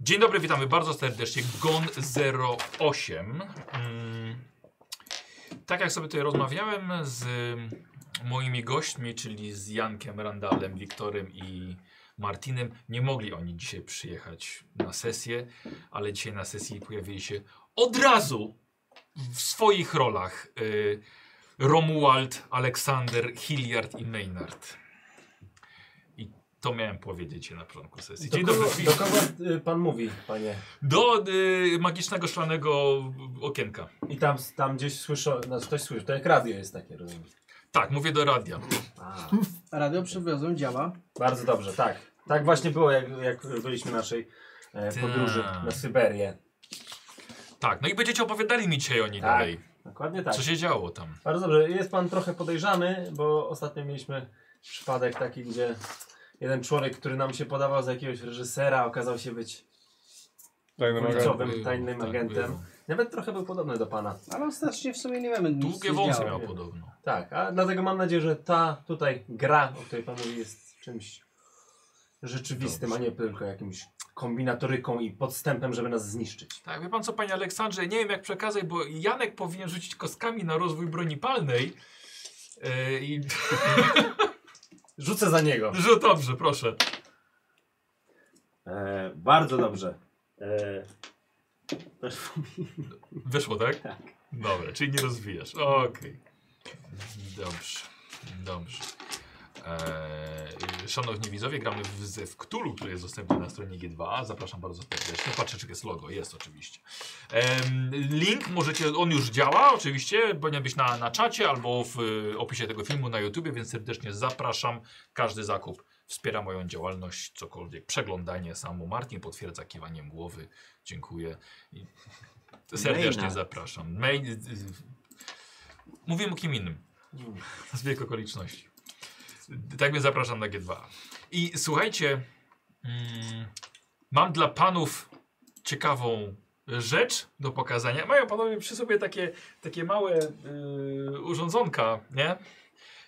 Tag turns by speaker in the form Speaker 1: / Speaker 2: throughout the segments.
Speaker 1: Dzień dobry, witamy bardzo serdecznie. Gon08. Mm, Tak jak sobie tutaj rozmawiałem z moimi gośćmi, czyli z Jankiem Randalem, Wiktorem i Martinem, nie mogli oni dzisiaj przyjechać na sesję, ale dzisiaj na sesji pojawili się od razu w swoich rolach y, Romuald, Aleksander, Hilliard i Maynard. I to miałem powiedzieć na początku sesji. Dzień
Speaker 2: do
Speaker 1: dobry.
Speaker 2: kogo, do kogo y, pan mówi, panie?
Speaker 1: Do y, magicznego szklanego okienka.
Speaker 2: I tam, tam gdzieś słyszę, znaczy ktoś słyszy, to jak radio jest takie, rozumiem.
Speaker 1: Tak, mówię do radia.
Speaker 2: A,
Speaker 3: Radio przywiozłem, działa.
Speaker 2: bardzo dobrze, tak. Tak właśnie było, jak, jak byliśmy na naszej e, podróży
Speaker 1: Tak.
Speaker 2: na Syberię.
Speaker 1: Tak, no i będziecie opowiadali mi dzisiaj o niej
Speaker 2: Tak.
Speaker 1: dalej.
Speaker 2: Dokładnie tak.
Speaker 1: Co się działo tam?
Speaker 2: Bardzo dobrze, jest pan trochę podejrzany, bo ostatnio mieliśmy przypadek taki, gdzie jeden człowiek, który nam się podawał za jakiegoś reżysera, okazał się być
Speaker 4: Tajnym
Speaker 2: Kurczowym.
Speaker 4: agentem.
Speaker 2: Byłem tajnym agentem.
Speaker 1: było.
Speaker 2: nawet trochę był podobny do pana.
Speaker 3: Ale ostatecznie w sumie nie wiemy nic
Speaker 1: Długie
Speaker 3: nie
Speaker 1: wąsy
Speaker 3: działo.
Speaker 1: miał podobno.
Speaker 2: Tak, a dlatego mam nadzieję, że ta tutaj gra, o której pan mówi, jest czymś rzeczywistym,
Speaker 1: Dobrze.
Speaker 2: a nie tylko jakimś kombinatoryką i podstępem, żeby nas zniszczyć.
Speaker 1: Tak, wie pan co, panie Aleksandrze, nie wiem jak przekazać, bo Janek powinien rzucić kostkami na rozwój broni palnej. E, I
Speaker 2: Rzucę za niego.
Speaker 1: że dobrze, proszę.
Speaker 5: E, bardzo dobrze. E, weszło mi.
Speaker 1: Wyszło, tak? Tak. Dobra, czyli nie rozwijasz. Okej. Dobrze, dobrze. Eee, szanowni widzowie, gramy w ze w Cthulhu, który jest dostępny na stronie G2A. Zapraszam bardzo serdecznie. Patrzę, czy jest logo. Jest oczywiście. Em, link możecie, on już działa oczywiście, powinien być na, na czacie albo w y, opisie tego filmu na YouTubie, więc serdecznie zapraszam. Każdy zakup wspiera moją działalność, cokolwiek. Przeglądanie samo. Martin potwierdza kiwaniem głowy. Dziękuję. I serdecznie
Speaker 5: Maynard.
Speaker 1: zapraszam. Main, y, y, mówiłem o kim innym. Zbieg okoliczności. Tak więc zapraszam na G2. I słuchajcie, mm, mam dla panów ciekawą rzecz do pokazania. Mają panowie przy sobie takie, takie małe yy, urządzonka, nie?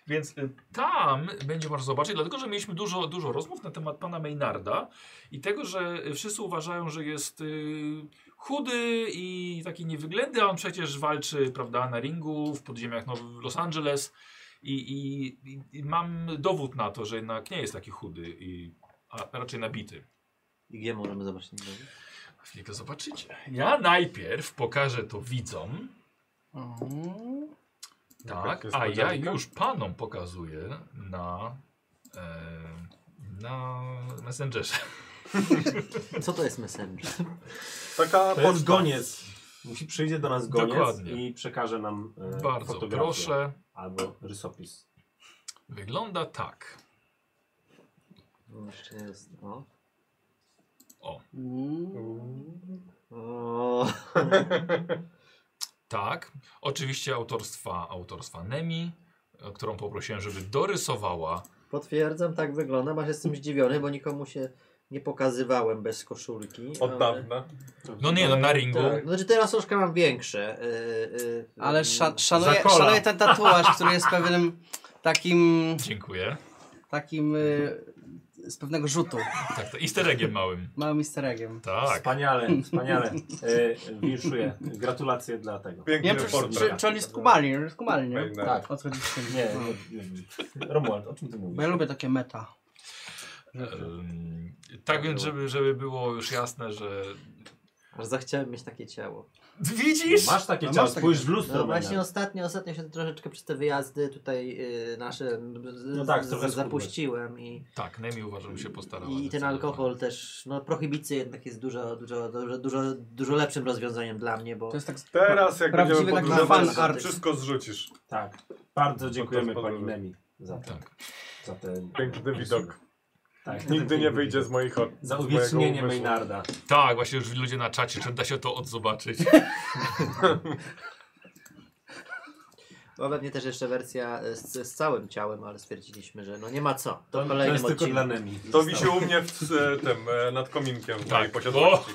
Speaker 1: Więc y, tam będzie można zobaczyć, dlatego że mieliśmy dużo, dużo rozmów na temat pana Maynarda i tego, że wszyscy uważają, że jest y, chudy i taki niewyględny, a on przecież walczy, prawda, na ringu w podziemiach Nowy Los Angeles i, i, i- i mam dowód na to, że jednak nie jest taki chudy, i, a raczej nabity.
Speaker 5: I gdzie możemy zobaczyć? ten dowód?
Speaker 1: A chwilkę zobaczycie. Ja najpierw pokażę to widzom,
Speaker 3: Mhm.
Speaker 4: Jakaś
Speaker 1: tak, a ja
Speaker 4: niespodzianka?
Speaker 1: już panom pokazuję na, e, na Messengerze.
Speaker 5: Co to jest Messenger?
Speaker 4: Taka
Speaker 2: To jest
Speaker 4: poczta.
Speaker 2: goniec. Musi przyjdzie do nas goniec
Speaker 1: Dokładnie.
Speaker 2: i przekaże nam e,
Speaker 1: Bardzo
Speaker 2: fotografię
Speaker 1: proszę.
Speaker 2: albo rysopis.
Speaker 1: Wygląda tak.
Speaker 5: No, Jeszcze jest. No.
Speaker 3: Mm.
Speaker 5: O,
Speaker 1: Tak. Oczywiście autorstwa, autorstwa Nemi, e, którą poprosiłem, żeby dorysowała.
Speaker 5: potwierdzam, tak wygląda. Masz jestem zdziwiony, bo nikomu się nie pokazywałem bez koszulki.
Speaker 4: Od dawna.
Speaker 3: tak.
Speaker 1: No nie, no na ringu.
Speaker 5: Tak, no znaczy teraz troszkę mam większe. y, y,
Speaker 3: Ale sza, szanuję,
Speaker 2: Zakola.
Speaker 3: szanuję ten tatuaż, który jest pewnym takim,
Speaker 1: Dziękuję.
Speaker 3: takim y, z pewnego rzutu,
Speaker 1: Tak, to easter eggiem małym.
Speaker 3: małym easter eggiem.
Speaker 1: Tak.
Speaker 2: Wspaniale, wspaniale. E, winszuję. Gratulacje dla tego.
Speaker 3: Nie
Speaker 4: Piękny
Speaker 3: wiem, czy,
Speaker 4: portret.
Speaker 3: czy, czy on jest Kumalin, Kumalin, nie?
Speaker 4: Fajne.
Speaker 2: Tak.
Speaker 3: O co chodzi z tym?
Speaker 2: Nie,
Speaker 3: No.
Speaker 2: nie, nie. Romuald, o czym ty mówisz?
Speaker 3: Bo ja lubię takie meta.
Speaker 1: Ym, tak więc, żeby, żeby było już jasne, że.
Speaker 5: Aż zachciałem mieć takie ciało.
Speaker 1: Widzisz?
Speaker 2: Masz takie
Speaker 3: No,
Speaker 2: ciało,
Speaker 3: masz takie-
Speaker 2: spójrz w lustro.
Speaker 5: No
Speaker 2: No,
Speaker 5: właśnie ostatnio, ostatnio się troszeczkę przez te wyjazdy tutaj y, nasze z,
Speaker 2: No tak,
Speaker 5: z,
Speaker 2: trochę schudłeś.
Speaker 5: zapuściłem i
Speaker 1: Tak, Nemi uważam, że się postarała.
Speaker 5: I ten
Speaker 1: zdecydowanie.
Speaker 5: alkohol też, no prohibicja jednak jest dużo, dużo, dużo, dużo, dużo lepszym rozwiązaniem dla mnie, bo
Speaker 3: To jest tak
Speaker 4: Teraz jak
Speaker 3: Prawdziwy
Speaker 4: będziemy
Speaker 3: tak
Speaker 4: podróżować,
Speaker 5: zwany art.
Speaker 4: wszystko zrzucisz.
Speaker 2: Tak. Bardzo dziękujemy
Speaker 4: Podróż.
Speaker 2: pani Nemi za to.
Speaker 1: Tak.
Speaker 2: Za ten
Speaker 4: Piękny widok.
Speaker 2: Tak.
Speaker 4: Nigdy nie wyjdzie z moich oczu.
Speaker 2: Za
Speaker 4: z mojego
Speaker 2: uwiecznienie
Speaker 4: umysłu.
Speaker 2: Maynarda.
Speaker 1: Tak, właśnie już ludzie na czacie, czy da się to odzobaczyć.
Speaker 5: bo No, pewnie też jeszcze wersja e, z, z całym ciałem, ale stwierdziliśmy, że no nie ma co. To w
Speaker 2: To
Speaker 5: kolejnym
Speaker 2: jest tylko dla
Speaker 5: odcinku.
Speaker 2: Nemi.
Speaker 4: To wisi u mnie w e, tym, e, nad kominkiem w
Speaker 1: Tak.
Speaker 4: mojej posiadłości.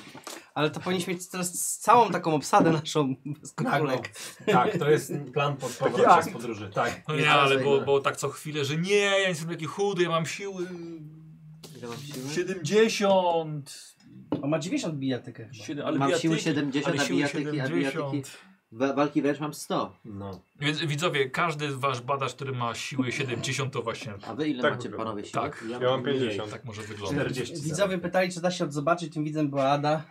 Speaker 3: Ale to powinniśmy mieć teraz całą taką obsadę naszą bez koszulek.
Speaker 2: Tak, to jest plan pod powrotem z podróży. Tak.
Speaker 1: No
Speaker 2: Jest
Speaker 1: nie, ale
Speaker 2: bardzo
Speaker 1: bo,
Speaker 2: inne.
Speaker 1: bo tak co chwilę, że nie, ja jestem taki chudy, ja mam siły
Speaker 5: Ile mam siły?
Speaker 1: 70.
Speaker 4: no.
Speaker 3: On ma 90 bijatykę chyba.
Speaker 6: Siedem, ale
Speaker 5: Mam
Speaker 6: bijatyki-
Speaker 5: siły 70,
Speaker 6: ale
Speaker 5: a
Speaker 6: siły
Speaker 5: bijatyki, a bijatyki
Speaker 6: 70.
Speaker 5: wa- walki wręcz mam 100.
Speaker 2: No.
Speaker 1: Więc widzowie, każdy wasz badacz, który ma siły 70, to właśnie
Speaker 5: A wy ile
Speaker 4: Tak
Speaker 5: macie
Speaker 4: wygląda.
Speaker 5: panowie siły?
Speaker 1: tak,
Speaker 4: Ja mam 50.
Speaker 1: tak może wyglądać.
Speaker 2: 40.
Speaker 3: Widzowie pytali, czy da się odzobaczyć, tym widzem była Ada.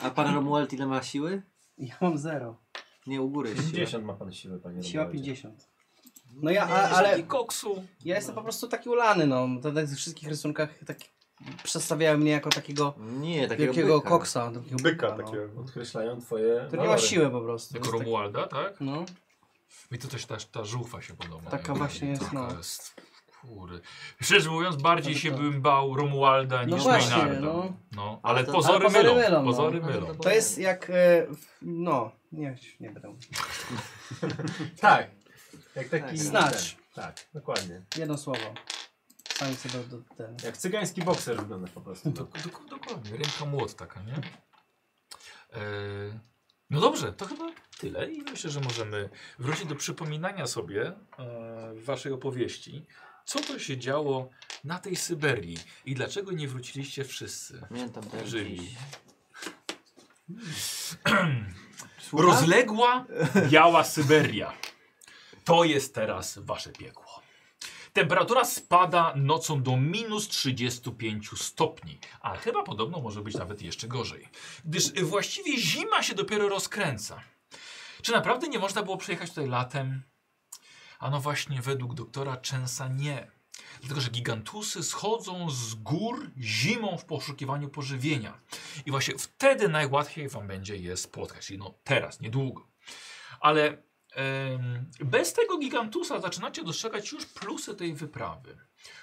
Speaker 5: A pan Romuald ile ma siły?
Speaker 3: Ja mam 0.
Speaker 5: Nie u góry siły.
Speaker 2: 50 ma pan siły, panie
Speaker 3: Siła
Speaker 2: Romualdzie.
Speaker 3: 50. No ja, a, ale
Speaker 1: I koksu.
Speaker 3: ja jestem po prostu taki ulany, no. To tak w wszystkich rysunkach tak przedstawiają mnie jako takiego
Speaker 5: Nie, takiego
Speaker 3: wielkiego
Speaker 5: byka.
Speaker 3: koksa. Takiego
Speaker 4: Byka
Speaker 3: no.
Speaker 4: takiego. No
Speaker 2: Podkreślają twoje
Speaker 3: Który nie ma
Speaker 2: walory.
Speaker 3: siły po prostu.
Speaker 1: Jako
Speaker 3: Jest taki-
Speaker 1: Romualda, tak?
Speaker 3: No.
Speaker 1: Mi to też ta, ta żuchwa się podoba.
Speaker 3: Taka właśnie jest,
Speaker 1: Taka
Speaker 3: no.
Speaker 1: jest. Kury. Szczerze mówiąc, bardziej
Speaker 3: Ale
Speaker 1: się
Speaker 3: to-
Speaker 1: bym bał Romualda
Speaker 3: No
Speaker 1: niż
Speaker 3: właśnie,
Speaker 1: Maynarda.
Speaker 3: no.
Speaker 1: No. ale,
Speaker 5: Ale to-
Speaker 1: pozory,
Speaker 3: ale pozory
Speaker 1: mylą.
Speaker 3: mylą, no.
Speaker 1: Pozory
Speaker 3: No
Speaker 1: mylą.
Speaker 3: To jest jak. e, w- No, nie, nie będę mówił.
Speaker 2: Tak. Jak taki...
Speaker 3: Snatch.
Speaker 2: ten. Tak, dokładnie.
Speaker 3: Jedno słowo. Sami sobie do, do ten.
Speaker 2: Jak cygański bokser wygląda po prostu.
Speaker 1: Dok- dok- Dokładnie, ręka młot taka, nie? E, No dobrze, to chyba tyle i myślę, że możemy wrócić do przypominania sobie e, waszej opowieści, co to się działo na tej Syberii i dlaczego nie wróciliście wszyscy
Speaker 5: Pamiętam też
Speaker 1: żywi.
Speaker 5: dziś.
Speaker 1: Rozległa biała Syberia. To jest teraz wasze piekło. Temperatura spada nocą do minus 35 stopni, a chyba podobno może być nawet jeszcze gorzej, gdyż właściwie zima się dopiero rozkręca. Czy naprawdę nie można było przejechać tutaj latem? A no właśnie, według doktora Częsa nie. Dlatego, że gigantusy schodzą z gór zimą w poszukiwaniu pożywienia. I właśnie wtedy najłatwiej wam będzie je spotkać. Czyli no teraz, niedługo. Ale em, bez tego gigantusa zaczynacie dostrzegać już plusy tej wyprawy.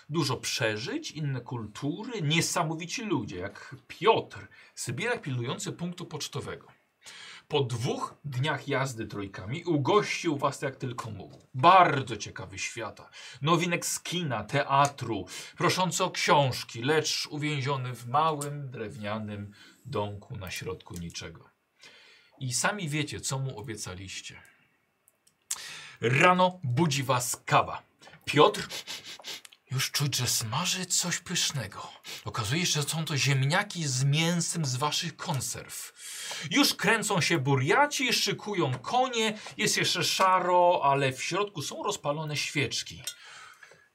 Speaker 1: Dużo przeżyć, inne kultury, niesamowici ludzie, jak Piotr, Sybierak pilnujący punktu pocztowego. Po dwóch dniach jazdy trójkami ugościł was jak tylko mógł. Bardzo ciekawy świata. Nowinek z kina, teatru, proszący o książki, lecz uwięziony w małym, drewnianym domku na środku niczego. I sami wiecie, co mu obiecaliście. Rano budzi was kawa. Piotr, już czuć, że smaży coś pysznego. Okazuje się, że są to ziemniaki z mięsem z waszych konserw. Już kręcą się burjaci, szykują konie, jest jeszcze szaro, ale w środku są rozpalone świeczki.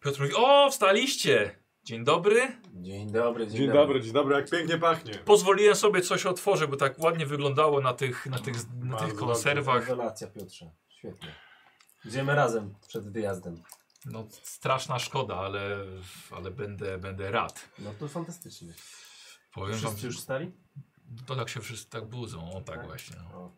Speaker 1: Piotr mówi, o, wstaliście! Dzień dobry.
Speaker 2: Dzień dobry, dzień,
Speaker 4: Dzień dobry, dzień dobry, jak pięknie pachnie.
Speaker 1: Pozwoliłem sobie coś otworzyć, bo tak ładnie wyglądało na tych, na tych, na tych
Speaker 4: Bardzo
Speaker 1: konserwach.
Speaker 2: Rewelacja Piotrze. Świetnie. Idziemy razem przed wyjazdem.
Speaker 1: No, straszna szkoda, ale, ale będę, będę rad.
Speaker 2: No to fantastycznie.
Speaker 1: Powiem wam,
Speaker 2: Wszyscy już stali?
Speaker 1: to tak się wszyscy tak budzą, o tak,
Speaker 2: Tak?
Speaker 1: właśnie. No.
Speaker 2: O.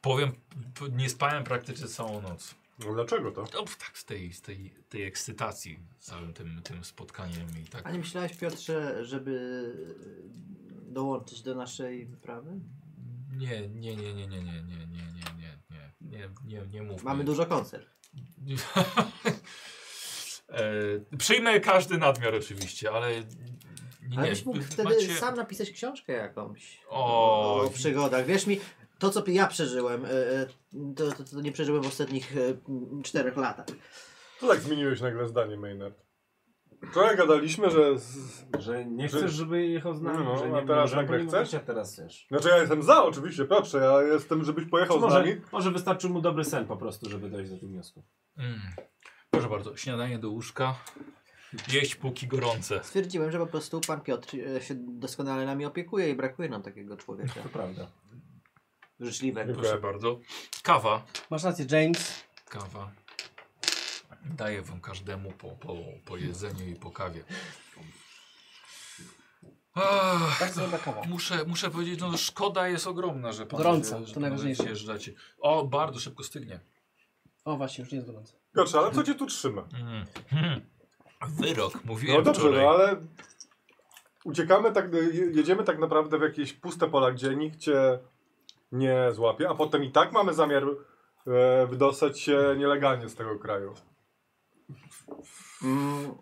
Speaker 1: Powiem, p- nie spałem praktycznie całą noc.
Speaker 4: No dlaczego to?
Speaker 1: No, tak z tej, z tej, tej ekscytacji całym tym, tym spotkaniem i tak.
Speaker 5: A nie myślałeś Piotrze, żeby dołączyć do naszej wyprawy?
Speaker 1: Nie, nie, nie, nie, nie, nie, nie, nie, nie, nie, nie, nie, nie, nie mów.
Speaker 5: Mamy dużo koncert.
Speaker 1: E, przyjmę każdy nadmiar oczywiście, ale nie,
Speaker 5: Ale
Speaker 1: nie,
Speaker 5: byś mógł
Speaker 1: wy-
Speaker 5: wtedy
Speaker 1: macie-
Speaker 5: sam napisać książkę jakąś.
Speaker 1: O,
Speaker 5: o przygodach. Wierz mi, to co ja przeżyłem, e, e, to, to, to nie przeżyłem w ostatnich e, m, czterech latach.
Speaker 4: To tak zmieniłeś nagle zdanie, Maynard. Wczoraj gadaliśmy, że... Z...
Speaker 2: Że nie
Speaker 4: Że-
Speaker 2: chcesz, żeby jechał z nami,
Speaker 4: No,
Speaker 2: że
Speaker 4: a
Speaker 2: nie
Speaker 4: teraz
Speaker 2: możemy,
Speaker 4: nagle
Speaker 2: bo nie
Speaker 4: chcesz?
Speaker 2: możecie, a teraz też.
Speaker 4: Znaczy ja jestem za, oczywiście, Piotrze, ja jestem, żebyś
Speaker 2: Czy
Speaker 4: pojechał z
Speaker 2: Znaczy, może,
Speaker 4: nami.
Speaker 2: może wystarczył mu dobry sen po prostu, żeby dojść do tego wniosku.
Speaker 1: mm. Proszę bardzo, śniadanie do łóżka. Jeść póki gorące.
Speaker 5: Stwierdziłem, że po prostu pan Piotr e, się doskonale nami opiekuje i brakuje nam takiego człowieka
Speaker 2: To prawda.
Speaker 5: życzliwego.
Speaker 1: Proszę bardzo. Kawa.
Speaker 3: Masz rację, James.
Speaker 1: Kawa. Daję wam każdemu po, po, po jedzeniu i po kawie. Ach,
Speaker 3: Tak sobie kawa.
Speaker 1: Muszę, muszę powiedzieć, no szkoda jest ogromna, że pan
Speaker 3: Gorąco,
Speaker 1: że,
Speaker 3: to
Speaker 1: panowie
Speaker 3: najważniejsze.
Speaker 1: zjeżdżacie. O, bardzo szybko stygnie.
Speaker 3: O właśnie, już nie jest gorąco.
Speaker 4: Piotrze, ale co cię tu trzyma?
Speaker 1: Mm. Hmm. Wyrok, mówiłem
Speaker 4: Mhm. No dobrze,
Speaker 1: wczoraj.
Speaker 4: no ale uciekamy tak, je- jedziemy tak naprawdę w jakieś puste pola, gdzie nikt cię nie złapie, a potem i tak mamy zamiar e, wydostać się nielegalnie z tego kraju.
Speaker 5: Mm,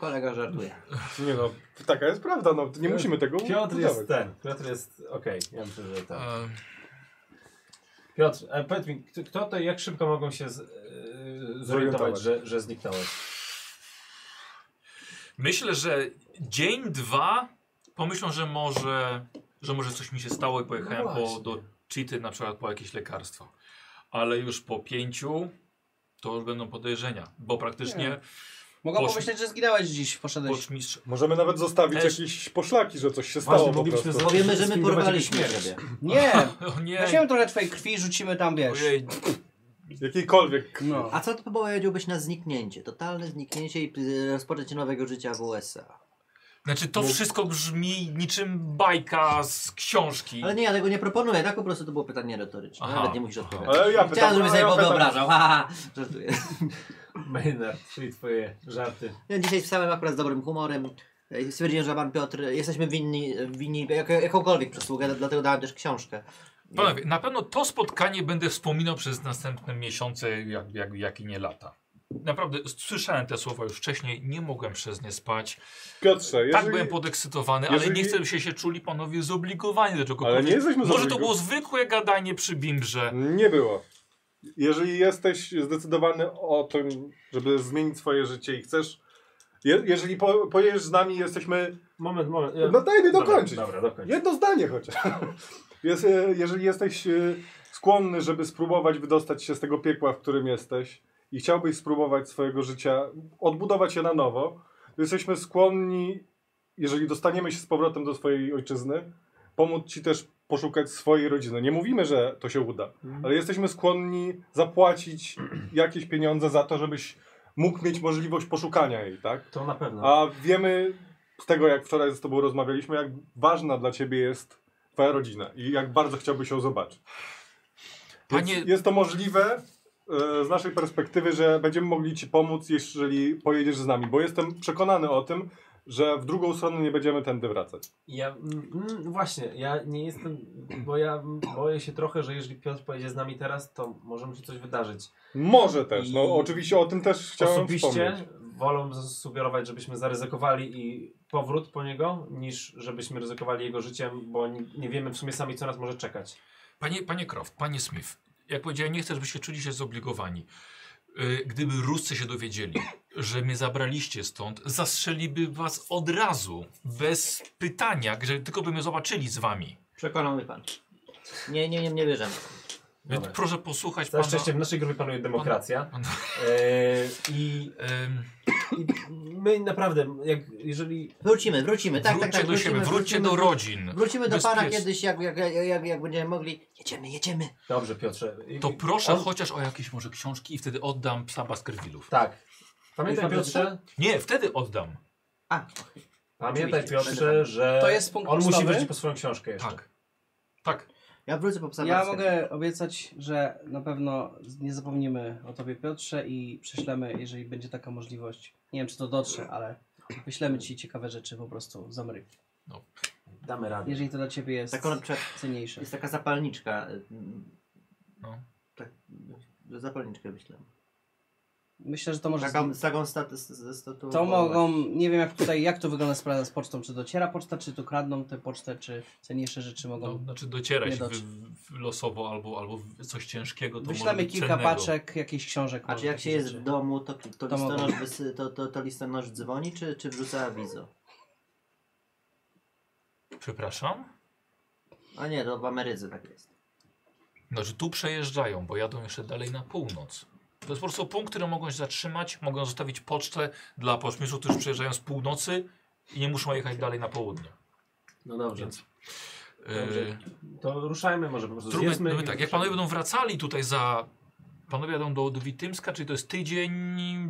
Speaker 5: kolega żartuje.
Speaker 4: Nie no, taka jest prawda, no nie musimy tego
Speaker 2: Piotr
Speaker 4: udawać.
Speaker 2: jest ten. Piotr jest... Okej, ja myślę, że tak.
Speaker 1: E,
Speaker 2: Piotr, e, powiedz mi, kto- kto to, jak szybko mogą się z, e, zorientować,
Speaker 4: Zorientować.
Speaker 2: że, że zniknąłeś?
Speaker 1: Myślę, że dzień, dwa pomyślą, że może, że może coś mi się stało i pojechałem
Speaker 2: No
Speaker 1: po,
Speaker 2: właśnie.
Speaker 1: do cheaty na przykład po jakieś lekarstwo. Ale już po pięciu to już będą podejrzenia, bo praktycznie
Speaker 3: Mogą
Speaker 1: Poszli.
Speaker 3: pomyśleć, że zginąłeś dziś, poszedłeś.
Speaker 1: burmistrz
Speaker 4: Możemy nawet zostawić
Speaker 1: Też-
Speaker 4: jakieś poszlaki, że coś się stało
Speaker 2: Właśnie,
Speaker 4: po
Speaker 2: moglibyśmy
Speaker 4: prostu.
Speaker 2: zrobić-
Speaker 5: Powiemy, że my
Speaker 2: Spindować
Speaker 5: porwaliśmy
Speaker 2: jakieś
Speaker 5: ciebie.
Speaker 3: Nie!
Speaker 1: O nie,
Speaker 3: Weźmiemy trochę twojej krwi, rzucimy tam, wiesz.
Speaker 1: ojej,
Speaker 4: Jakiejkolwiek.
Speaker 3: No.
Speaker 5: A co ty powiedziałbyś na zniknięcie? Totalne zniknięcie i y, rozpoczęcie nowego życia w USA.
Speaker 1: Znaczy to wszystko brzmi niczym bajka z książki.
Speaker 5: Ale nie, ja tego nie proponuję, tak po prostu to było pytanie retoryczne.
Speaker 1: Aha.
Speaker 5: Nawet nie musisz odpowiadać.
Speaker 4: Ale ja pytam,
Speaker 5: Chciałem, żebyś
Speaker 4: a
Speaker 5: sobie
Speaker 4: ja pytam-
Speaker 5: wyobrażał. Ha, ha, żartuję.
Speaker 2: Maynard, czyli twoje żarty.
Speaker 5: Ja dzisiaj wstałem akurat z dobrym humorem. E, Stwierdziłem, że pan Piotr, e, jesteśmy winni, winni jak, jakąkolwiek przysługę, dla- dlatego dałem też książkę.
Speaker 1: Panowie, na pewno to spotkanie będę wspominał przez następne miesiące, jak, jak, jak i nie lata. Naprawdę s- słyszałem te słowa już wcześniej, nie mogłem przez nie spać.
Speaker 4: Piotrze, jeżeli...
Speaker 1: tak byłem podekscytowany, ale nie
Speaker 4: jeżeli-
Speaker 1: chcę, byście się czuli panowie zobligowani do
Speaker 4: Ale
Speaker 1: czegokolwiek.
Speaker 4: nie jesteśmy
Speaker 1: Może to
Speaker 4: zobligo-
Speaker 1: było zwykłe gadanie przy bimbrze.
Speaker 4: Nie było. Jeżeli jesteś zdecydowany o tym, żeby zmienić swoje życie i chcesz... Je, jeżeli po, pojedziesz z nami, jesteśmy...
Speaker 2: Moment, moment.
Speaker 4: No daj mi
Speaker 2: Dobra,
Speaker 4: dokończyć.
Speaker 2: Dobra, dokończ.
Speaker 4: Jedno zdanie chociaż. Jest, e, jeżeli jesteś e, skłonny, żeby spróbować wydostać się z tego piekła, w którym jesteś i chciałbyś spróbować swojego życia, odbudować je na nowo, to jesteśmy skłonni, jeżeli dostaniemy się z powrotem do swojej ojczyzny, pomóc ci też poszukać swojej rodziny. Nie mówimy, że to się uda, ale jesteśmy skłonni zapłacić jakieś pieniądze za to, żebyś mógł mieć możliwość poszukania jej, tak?
Speaker 2: To na pewno.
Speaker 4: A wiemy z tego, jak wczoraj z Tobą rozmawialiśmy, jak ważna dla Ciebie jest Twoja rodzina i jak bardzo chciałbyś ją zobaczyć. Więc
Speaker 1: Panie-
Speaker 4: Jest to możliwe e, z naszej perspektywy, że będziemy mogli Ci pomóc, jeżeli pojedziesz z nami, bo jestem przekonany o tym, że w drugą stronę nie będziemy tędy wracać.
Speaker 2: Ja, mm, mm, właśnie, ja nie jestem, bo ja mm, boję się trochę, że jeżeli Piotr pojedzie z nami teraz, to może mu się coś wydarzyć.
Speaker 4: Może też,
Speaker 2: I-
Speaker 4: no oczywiście o tym też chciałem wspomnieć.
Speaker 2: Osobiście wolę zasugerować, żebyśmy zaryzykowali i powrót po niego, niż żebyśmy ryzykowali jego życiem, bo nie, nie wiemy w sumie sami, co nas może czekać.
Speaker 1: Panie, panie Croft, panie Smith, jak powiedziałem, nie chcę, żebyście czuli się zobligowani. Yy, Gdyby Ruscy się dowiedzieli, że mnie zabraliście stąd, zastrzeliby was od razu, bez pytania, że tylko by mnie zobaczyli z wami.
Speaker 5: Przekonał mnie pan. Nie, nie, nie, nie wierzę.
Speaker 1: Więc
Speaker 2: Dobra.
Speaker 1: proszę posłuchać
Speaker 2: Całe
Speaker 1: pana.
Speaker 2: szczęście w naszej grupie panuje demokracja.
Speaker 1: Pan-
Speaker 2: E, I
Speaker 1: Ym,
Speaker 2: I my naprawdę, jak, jeżeli.
Speaker 5: Wrócimy, wrócimy, tak,
Speaker 1: wróćcie
Speaker 5: tak, tak.
Speaker 1: do siebie, wróćcie do rodzin.
Speaker 5: Wrócimy do pana
Speaker 1: Bezpiecznie.
Speaker 5: kiedyś, jak, jak, jak, jak, jak będziemy mogli. Jedziemy, jedziemy.
Speaker 2: Dobrze, Piotrze. i-
Speaker 1: To proszę
Speaker 2: on-
Speaker 1: chociaż o jakieś może książki i wtedy oddam psa Baskervillów.
Speaker 2: Tak. Pamiętaj,
Speaker 5: Panie
Speaker 2: Piotrze,
Speaker 1: Nie, wtedy oddam.
Speaker 5: A,
Speaker 2: pamiętaj,
Speaker 5: Oczywiście.
Speaker 2: Piotrze, że.
Speaker 3: To jest punkt
Speaker 2: On musi
Speaker 3: ustawy?
Speaker 2: wrócić po swoją książkę jeszcze.
Speaker 1: Tak. Tak.
Speaker 5: ja wrócę po psa
Speaker 3: Ja
Speaker 5: Baskerville.
Speaker 3: mogę obiecać, że na pewno nie zapomnimy o tobie Piotrze i prześlemy, jeżeli będzie taka możliwość. Nie wiem, czy to dotrze, ale wyślemy ci ciekawe rzeczy po prostu z Ameryki.
Speaker 2: Damy radę.
Speaker 3: Jeżeli to dla ciebie jest
Speaker 5: Taką na przykład
Speaker 3: cenniejsze.
Speaker 5: Tak, jest taka zapalniczka. y, mm,
Speaker 1: No.
Speaker 5: Tak, y, zapalniczkę myślę.
Speaker 3: Myślę, że to może...
Speaker 5: Taką, z taką statu, statu,
Speaker 3: To mogą, nie wiem jak tutaj, jak to wygląda sprawa z pocztą, czy dociera poczta, czy tu kradną tę pocztę, czy cenniejsze rzeczy
Speaker 1: No,
Speaker 3: mogą.
Speaker 1: znaczy dociera
Speaker 3: Nie
Speaker 1: się
Speaker 3: dotrze.
Speaker 1: wy, wy- losowo albo, albo w- coś ciężkiego. To może
Speaker 3: Wyślemy
Speaker 1: być
Speaker 3: kilka
Speaker 1: cennego.
Speaker 3: paczek, jakichś książek.
Speaker 5: A
Speaker 3: może,
Speaker 5: czy jak
Speaker 3: takie
Speaker 5: się jest
Speaker 3: rzeczy.
Speaker 5: w domu, to, to,
Speaker 3: To mogą.
Speaker 5: listonosz, wysy, to, to, to listonosz dzwoni, czy, czy wrzuca awizo?
Speaker 1: Przepraszam?
Speaker 5: A nie, to w Ameryce tak jest.
Speaker 1: Znaczy tu przejeżdżają, bo jadą jeszcze dalej na północ. To jest po prostu punkt, który mogą się zatrzymać, mogą zostawić pocztę dla poczmisów, którzy przyjeżdżają z północy i nie muszą jechać dalej na południe.
Speaker 2: No dobrze.
Speaker 1: Więc,
Speaker 2: Dobrze.
Speaker 1: yy,
Speaker 2: To ruszajmy, może po prostu.
Speaker 1: Trudne,
Speaker 2: zjedzmy
Speaker 1: no
Speaker 2: i
Speaker 1: tak, jak panowie będą wracali tutaj za... Panowie jadą do, do Witymska, czyli to jest tydzień,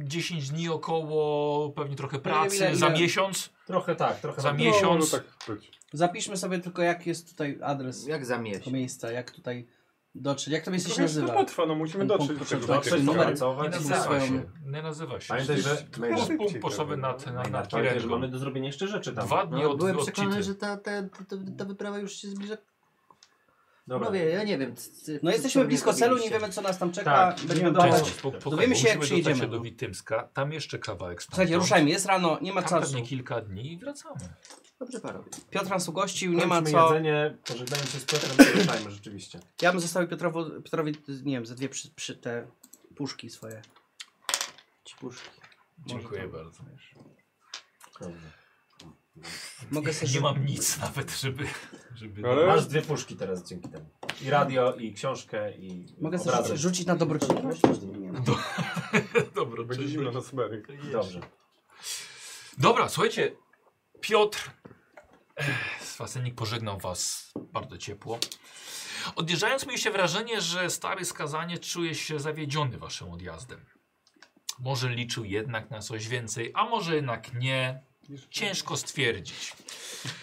Speaker 1: 10 dni około, pewnie trochę pracy,
Speaker 3: ile-
Speaker 1: za
Speaker 3: ile-
Speaker 1: miesiąc.
Speaker 2: Trochę tak, trochę
Speaker 1: Za
Speaker 2: tak.
Speaker 1: mi- Miesiąc.
Speaker 4: No, no tak, być.
Speaker 3: Zapiszmy sobie tylko jak jest tutaj adres
Speaker 5: Jak za miesiąc.
Speaker 3: tego miejsca, jak tutaj dotrzeć, jak tobie
Speaker 4: Tylko
Speaker 3: się
Speaker 4: wiesz, to
Speaker 3: nazywa.
Speaker 4: potrwa, no musimy
Speaker 3: Ten
Speaker 4: dotrzeć do
Speaker 3: punkt
Speaker 4: tego.
Speaker 3: potrzeba.
Speaker 4: takiego.
Speaker 2: Dotrzeć,
Speaker 3: numer.
Speaker 1: Nie
Speaker 2: numerować.
Speaker 1: nazywa
Speaker 3: swoją-
Speaker 1: się. Nie nazywa się.
Speaker 2: Pamiętaj, że.
Speaker 1: Punkt-
Speaker 4: szybciej
Speaker 1: Punkt
Speaker 4: to
Speaker 1: potrzeby
Speaker 4: będzie.
Speaker 1: nad, nad, nad
Speaker 2: Maynard, Pamiętaj, że
Speaker 1: Kirego.
Speaker 2: mamy do zrobienia jeszcze rzeczy tam.
Speaker 1: Dwa dni
Speaker 5: No,
Speaker 1: od,
Speaker 5: byłem
Speaker 1: od
Speaker 5: przekonany,
Speaker 1: City.
Speaker 5: że ta, ta, ta, ta wyprawa już się zbliża.
Speaker 2: Dobra.
Speaker 5: No wie, ja nie wiem. c- c-
Speaker 3: No
Speaker 5: co-
Speaker 3: jesteśmy
Speaker 5: co
Speaker 3: blisko
Speaker 5: mnie
Speaker 3: celu, nie
Speaker 5: zrobiliście.
Speaker 3: wiemy co nas tam czeka,
Speaker 2: Tak,
Speaker 3: będziemy
Speaker 2: nie
Speaker 1: Cześć,
Speaker 2: wiadomo.
Speaker 3: dawać.
Speaker 1: spok- spokojnie,
Speaker 3: Dowiemy się, jak
Speaker 1: musimy dostać
Speaker 3: przyjedziemy.
Speaker 1: do Witymska, tam jeszcze kawałek stąd.
Speaker 3: Słuchajcie, ruszajmy, jest rano, nie ma
Speaker 1: Tam
Speaker 3: czasu.
Speaker 1: pewnie kilka dni i wracamy.
Speaker 5: Dobrze, paro.
Speaker 3: Piotr nas ugościł, nie ma
Speaker 2: Kończmy
Speaker 3: co.
Speaker 2: jedzenie, pożegnajmy się z Piotrem i ruszajmy rzeczywiście.
Speaker 3: Ja bym zostawił Piotrowo, Piotrowi, nie wiem, ze dwie przy, przy te puszki swoje.
Speaker 5: Ci puszki.
Speaker 1: Dziękuję
Speaker 3: tak.
Speaker 1: bardzo.
Speaker 2: Dobrze.
Speaker 3: Mogę sobie...
Speaker 1: Nie mam nic nawet, żeby... żeby
Speaker 4: Ale-
Speaker 2: Masz dwie puszki teraz dzięki temu. I radio, i książkę, i
Speaker 3: Mogę sobie
Speaker 2: obrazek.
Speaker 3: rzucić, rzucić na dobrocinę.
Speaker 1: Dobra,
Speaker 4: Będzie
Speaker 1: czyli-
Speaker 4: zimno na smerek.
Speaker 2: Dobrze.
Speaker 1: Dobra, słuchajcie, Piotr eh, Swasenik pożegnał was bardzo ciepło. Odjeżdżając mieliście wrażenie, że stary skazanie czuje się zawiedziony waszym odjazdem. Może liczył jednak na coś więcej, a może jednak nie. Ciężko stwierdzić.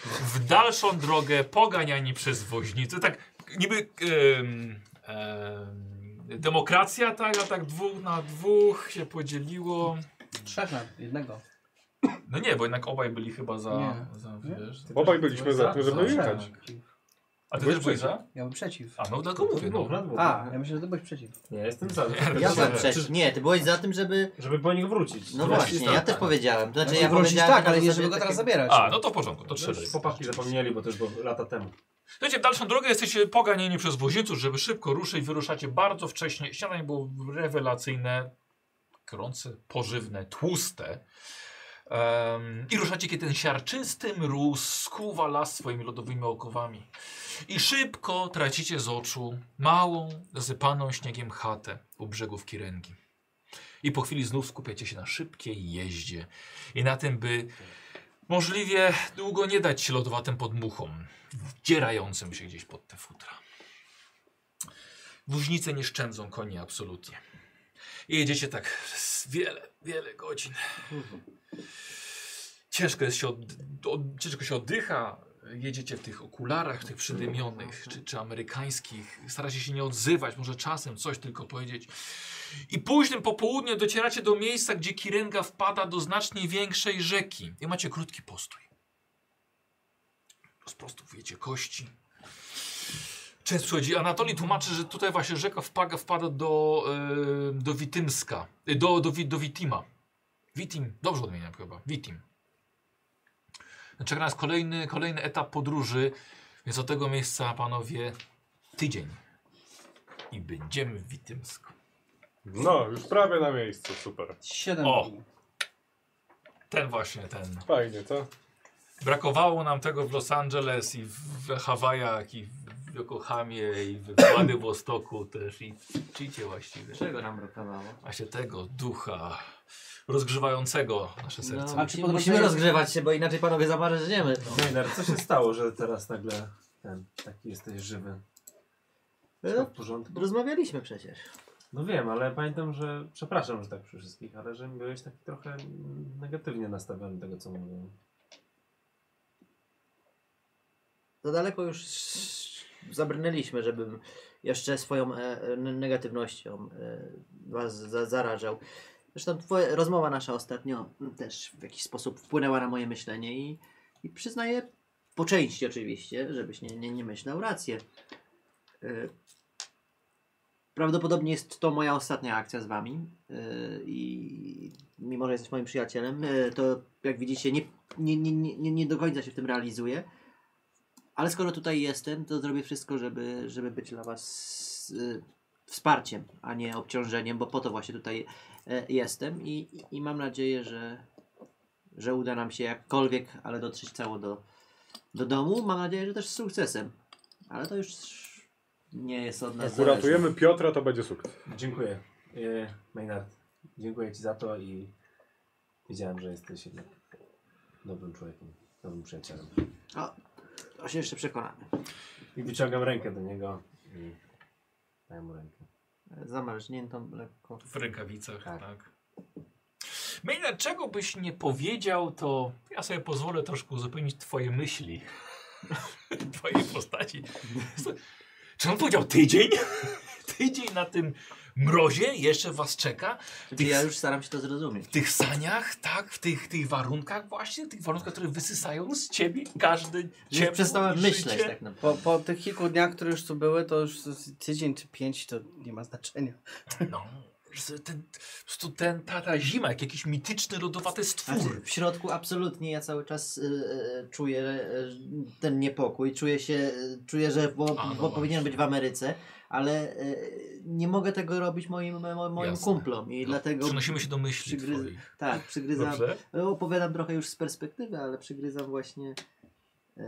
Speaker 1: W dalszą drogę poganiani przez woźnicę, tak niby em, em, demokracja, tak, a tak dwóch na dwóch się podzieliło.
Speaker 3: Trzech na jednego.
Speaker 1: No nie, bo jednak obaj byli chyba za.
Speaker 3: Nie.
Speaker 1: za
Speaker 3: Nie?
Speaker 1: wiesz.
Speaker 4: Obaj byliśmy za tym, żeby
Speaker 1: Za-
Speaker 4: jechać.
Speaker 1: A ty
Speaker 4: Byłeś
Speaker 1: też byłeś
Speaker 4: przeciw.
Speaker 1: za?
Speaker 3: Ja bym przeciw.
Speaker 1: A no dlatego mówię. No.
Speaker 3: A, ja myślę, że ty byłeś
Speaker 5: Znaczy,
Speaker 3: przeciw.
Speaker 2: Nie, jestem za.
Speaker 5: Ja
Speaker 1: Dobrze.
Speaker 5: byłem przeciw. Nie, ty byłeś za tym, żeby...
Speaker 2: Żeby po nich wrócić.
Speaker 5: No
Speaker 1: Wrócić,
Speaker 5: właśnie,
Speaker 1: tak,
Speaker 5: ja
Speaker 1: tak.
Speaker 5: też powiedziałem. Znaczy,
Speaker 3: Znaczy,
Speaker 5: ja
Speaker 3: wrócić
Speaker 5: powiedziałem
Speaker 3: tak,
Speaker 5: na
Speaker 3: ale nie
Speaker 5: zasadzie
Speaker 3: żeby go teraz
Speaker 5: takiej-
Speaker 3: zabierać.
Speaker 1: A, no to w porządku, to trzy.
Speaker 2: Już Chłopaki zapomnieli, bo też było lata temu.
Speaker 1: Słuchajcie, w dalszą drogę jesteście poganieni przez woźniców, żeby szybko ruszyć. Wyruszacie bardzo wcześnie. Śniadanie było rewelacyjne, krące, pożywne, tłuste. Em, I ruszacie, kiedy ten siarczysty mróz skuwa las swoimi lodowymi okowami. I szybko tracicie z oczu małą, zasypaną śniegiem chatę u brzegów Kirengi. I po chwili znów skupiacie się na szybkiej jeździe i na tym, by możliwie długo nie dać się lodowatym podmuchom wdzierającym się gdzieś pod te futra. Woźnice nie szczędzą koni absolutnie. I jedziecie tak z wiele, wiele godzin. Ciężko, jest się od, od, ciężko się oddycha. Jedziecie w tych okularach, tych przydymionych, czy, czy amerykańskich. Staracie się nie odzywać, może czasem coś tylko powiedzieć. I późnym popołudniem docieracie do miejsca, gdzie Kirenga wpada do znacznie większej rzeki. I macie krótki postój rozprostowujecie kości. Często przychodzi. Anatolii tłumaczy, że tutaj właśnie rzeka wpada, wpada do, e, do Witymska. E, Do, do, Wi- do Witima. Witim. Dobrze odmieniam chyba. Witim. Czeka nas kolejny, kolejny etap podróży, więc do tego miejsca, panowie, tydzień. I będziemy w Witymsku.
Speaker 4: No, już prawie na miejscu, super.
Speaker 3: Siedem.
Speaker 1: O.
Speaker 3: dni.
Speaker 1: Ten właśnie, ten.
Speaker 4: Fajnie, co?
Speaker 1: Brakowało nam tego w Los Angeles i w Hawajach i w Yokohamie i w Władywostoku też i w Chicie właściwie.
Speaker 5: Czego nam brakowało?
Speaker 1: Właśnie tego ducha rozgrzewającego nasze serce.
Speaker 3: No, A czy
Speaker 5: No, musimy,
Speaker 3: podobno-
Speaker 5: musimy rozgrzewać się, bo inaczej panowie zamarzniemy.
Speaker 2: Maynard, co się stało, że teraz nagle ten, taki jesteś żywy? Wszystko
Speaker 5: No,
Speaker 2: w porządku?
Speaker 5: rozmawialiśmy przecież.
Speaker 2: No wiem, ale pamiętam, że przepraszam, że tak przy wszystkich, ale że byłeś taki trochę mm, negatywnie nastawiony do tego, co mówiłem.
Speaker 5: Za daleko już zabrnęliśmy, żebym jeszcze swoją e, e, negatywnością e, was za, zarażał. Zresztą twoja rozmowa nasza ostatnio m, też w jakiś sposób wpłynęła na moje myślenie i, i przyznaję po części oczywiście, żebyś nie, nie, nie myślał rację. E, Prawdopodobnie jest to moja ostatnia akcja z wami e, i mimo, że jesteś moim przyjacielem, e, to jak widzicie nie, nie, nie, nie, nie do końca się w tym realizuję. Ale skoro tutaj jestem, to zrobię wszystko, żeby, żeby być dla Was y, wsparciem, a nie obciążeniem, bo po to właśnie tutaj e, jestem i, i, i mam nadzieję, że, że uda nam się jakkolwiek, ale dotrzeć cało do, do domu. Mam nadzieję, że też z sukcesem, ale to już nie jest od
Speaker 3: Tak,
Speaker 5: nas
Speaker 4: Jak uratujemy Piotra, to będzie sukces.
Speaker 2: Dziękuję. E, Maynard, dziękuję Ci za to i wiedziałem, że jesteś jednak dobrym człowiekiem, dobrym przyjacielem.
Speaker 5: zależne. O, o się jeszcze przekonamy.
Speaker 2: I wyciągam rękę do niego i daję mu rękę.
Speaker 5: Zamarzniętą lekko.
Speaker 1: W rękawicach, tak.
Speaker 2: Tak.
Speaker 1: Maynard, czego byś nie powiedział, to ja sobie pozwolę troszkę uzupełnić twoje myśli. Twojej postaci. Czy on powiedział tydzień? tydzień na tym mrozie jeszcze was czeka?
Speaker 5: Czyli ja już staram się to zrozumieć.
Speaker 1: W tych saniach, tak? W tych, tych warunkach właśnie? Tych warunkach, które wysysają z ciebie każdy
Speaker 5: Już
Speaker 1: ciepło
Speaker 5: przestałem
Speaker 1: i
Speaker 5: myśleć
Speaker 1: życie.
Speaker 5: tak naprawdę.
Speaker 3: Po, po tych kilku dniach, które już tu były, to już z- tydzień czy pięć to nie ma znaczenia.
Speaker 1: No. że sobie ten, po prostu ten tata zimak, jakiś mityczny, lodowaty
Speaker 5: Znaczy,
Speaker 1: stwór.
Speaker 5: w środku absolutnie ja cały czas y, y, czuję y, ten niepokój, czuję się, y, czuję, że bo,
Speaker 1: A, no
Speaker 5: bo
Speaker 1: właśnie.
Speaker 5: powinien być w Ameryce, ale y, nie mogę tego robić moim, mo- moim
Speaker 1: Jasne.
Speaker 5: kumplom i
Speaker 1: No,
Speaker 5: dlatego
Speaker 1: Przenosimy się do myśli
Speaker 5: przygryz-
Speaker 1: twoich.
Speaker 5: tak, przygryzam,
Speaker 1: Dobrze?
Speaker 5: opowiadam trochę już z perspektywy, ale przygryzam właśnie y,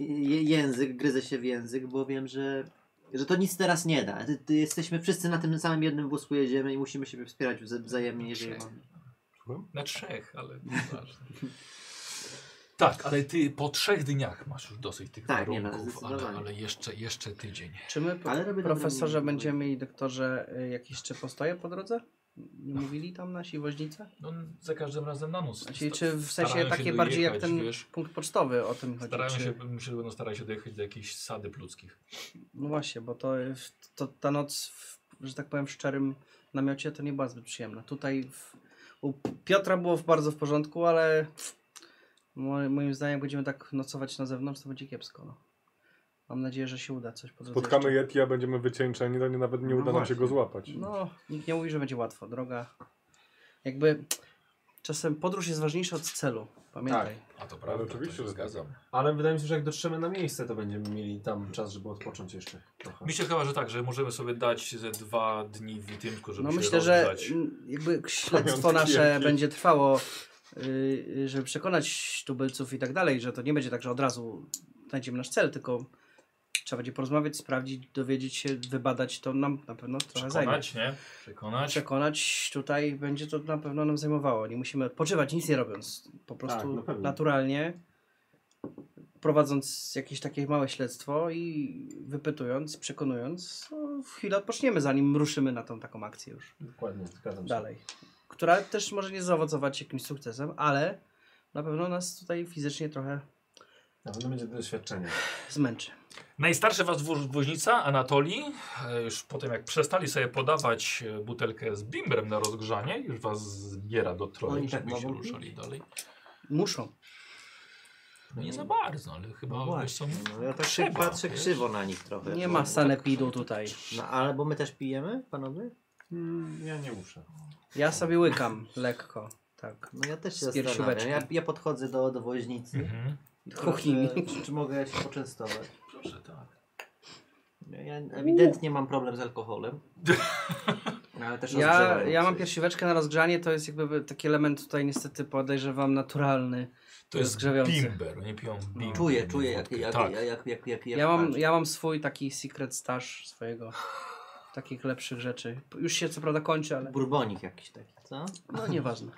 Speaker 5: je- język, gryzę się w język, bo wiem, że, że to nic teraz nie da. Ty, ty jesteśmy wszyscy na tym samym jednym wózku jedziemy i musimy siebie wspierać wze- wzajemnie, jeżeli
Speaker 1: Trzech.
Speaker 5: mamy.
Speaker 1: Na trzech, ale nieważne. Tak, ale ty po trzech dniach masz już dosyć tych
Speaker 5: Tak, nie, no,
Speaker 1: warunków, ale,
Speaker 5: zdecydowanie.
Speaker 1: ale jeszcze, jeszcze tydzień.
Speaker 3: Czy my,
Speaker 5: Ale robię
Speaker 3: profesorze,
Speaker 5: dobrym-
Speaker 3: będziemy i doktorze y, jakieś jeszcze postoje po drodze? Nie mówili tam nasi woźnicy?
Speaker 1: No, za każdym razem na noc.
Speaker 3: Czyli Znaczy, czy w sensie
Speaker 1: Starają się
Speaker 3: takie bardziej jak
Speaker 1: dojechać,
Speaker 3: ten
Speaker 1: wiesz.
Speaker 3: punkt pocztowy o tym chodzi?
Speaker 1: Starają
Speaker 3: czy...
Speaker 1: się, myślę, no, starają się dojechać do jakiejś sady ludzkich.
Speaker 3: No właśnie, bo to, to ta noc, w, że tak powiem, w szczerym namiocie to nie była zbyt przyjemna. Tutaj w, u Piotra było w bardzo w porządku, ale mo, moim zdaniem jak będziemy tak nocować na zewnątrz, to będzie kiepsko. No. Mam nadzieję, że się uda coś po drodze
Speaker 4: Spotkamy
Speaker 3: jeszcze.
Speaker 4: Yeti, a będziemy wycieńczeni, to nie, nawet nie
Speaker 5: No
Speaker 4: uda nam się
Speaker 5: właśnie.
Speaker 4: go złapać.
Speaker 3: No, nikt nie mówi, że będzie łatwo. Droga, jakby czasem podróż jest ważniejsza od celu. Pamiętaj.
Speaker 1: A to
Speaker 4: Ale
Speaker 1: prawda,
Speaker 4: oczywiście,
Speaker 1: to się
Speaker 4: że tak.
Speaker 1: zgadzam.
Speaker 2: Ale wydaje mi się, że jak dotrzemy na miejsce, to będziemy mieli tam czas, żeby odpocząć jeszcze trochę.
Speaker 1: Myślę chyba, że tak, że możemy sobie dać ze dwa dni w Witymsku, żeby
Speaker 3: No
Speaker 1: się
Speaker 3: myślę, że
Speaker 1: rozgrzać.
Speaker 3: m, jakby śledztwo
Speaker 4: Pamiątki
Speaker 3: nasze
Speaker 4: jakieś.
Speaker 3: będzie trwało, y, y, żeby przekonać tubylców i tak dalej, że to nie będzie tak, że od razu znajdziemy nasz cel, tylko trzeba będzie porozmawiać, sprawdzić, dowiedzieć się, wybadać, to nam na pewno trochę zajmie.
Speaker 1: Przekonać, nie? Przekonać.
Speaker 3: Przekonać tutaj będzie to na pewno nam zajmowało. Nie musimy odpoczywać, nic nie robiąc. Po
Speaker 2: Tak,
Speaker 3: prostu
Speaker 2: na pewno.
Speaker 3: naturalnie prowadząc jakieś takie małe śledztwo i wypytując, przekonując, no, chwilę odpoczniemy, zanim ruszymy na tą taką akcję już
Speaker 2: Dokładnie, zgadzam się.
Speaker 3: dalej. Która też może nie zaowocować jakimś sukcesem, ale na pewno nas tutaj fizycznie trochę
Speaker 2: Na pewno będzie doświadczenie.
Speaker 3: zmęczy.
Speaker 1: Najstarszy was wo- woźnica, Anatolii, e, już po tym jak przestali sobie podawać e, butelkę z bimbrem na rozgrzanie, już was zbiera do troli,
Speaker 5: Oni tak
Speaker 1: żebyście
Speaker 5: mogą
Speaker 1: ruszali dalej.
Speaker 3: Muszą.
Speaker 1: No nie za bardzo, ale chyba
Speaker 5: No
Speaker 1: no wiesz co,
Speaker 5: właśnie, no ja tak się
Speaker 1: trzeba,
Speaker 5: patrzę
Speaker 1: wiesz?
Speaker 5: krzywo na nich trochę.
Speaker 3: Nie
Speaker 5: bo-
Speaker 2: tak.
Speaker 3: ma sanepidu tutaj.
Speaker 5: No ale bo my też pijemy, panowie?
Speaker 2: Mm, ja nie muszę.
Speaker 3: Ja sobie łykam lekko. Tak.
Speaker 5: No ja też się
Speaker 3: Z piersióweczki.
Speaker 5: zastanawiam. Ja, ja podchodzę do, do woźnicy.
Speaker 1: Mhm.
Speaker 3: Do kuchni.
Speaker 5: Proszę, Czy, czy mogę się poczęstować?
Speaker 1: Proszę, tak.
Speaker 5: Ja ja ewidentnie mam problem z alkoholem. No, Ale też
Speaker 3: Ja,
Speaker 5: rozgrzewam
Speaker 3: ja mam
Speaker 5: coś.
Speaker 3: piersiweczkę na rozgrzanie, to jest jakby taki element tutaj niestety podejrzewam naturalny.
Speaker 1: To jest
Speaker 3: Rozgrzewający.
Speaker 1: bimber, nie piją
Speaker 3: No.
Speaker 1: bimber.
Speaker 5: Czuję,
Speaker 1: nie
Speaker 5: czuję jak,
Speaker 1: wódkę.
Speaker 5: jak,
Speaker 1: tak.
Speaker 5: jak, jak, jak, jak, jak
Speaker 3: Ja mam,
Speaker 5: patrzę.
Speaker 3: ja mam swój taki secret stash swojego. Takich lepszych rzeczy. Już się co prawda kończy, ale
Speaker 5: Burbonik jakiś taki, co?
Speaker 3: no nieważne.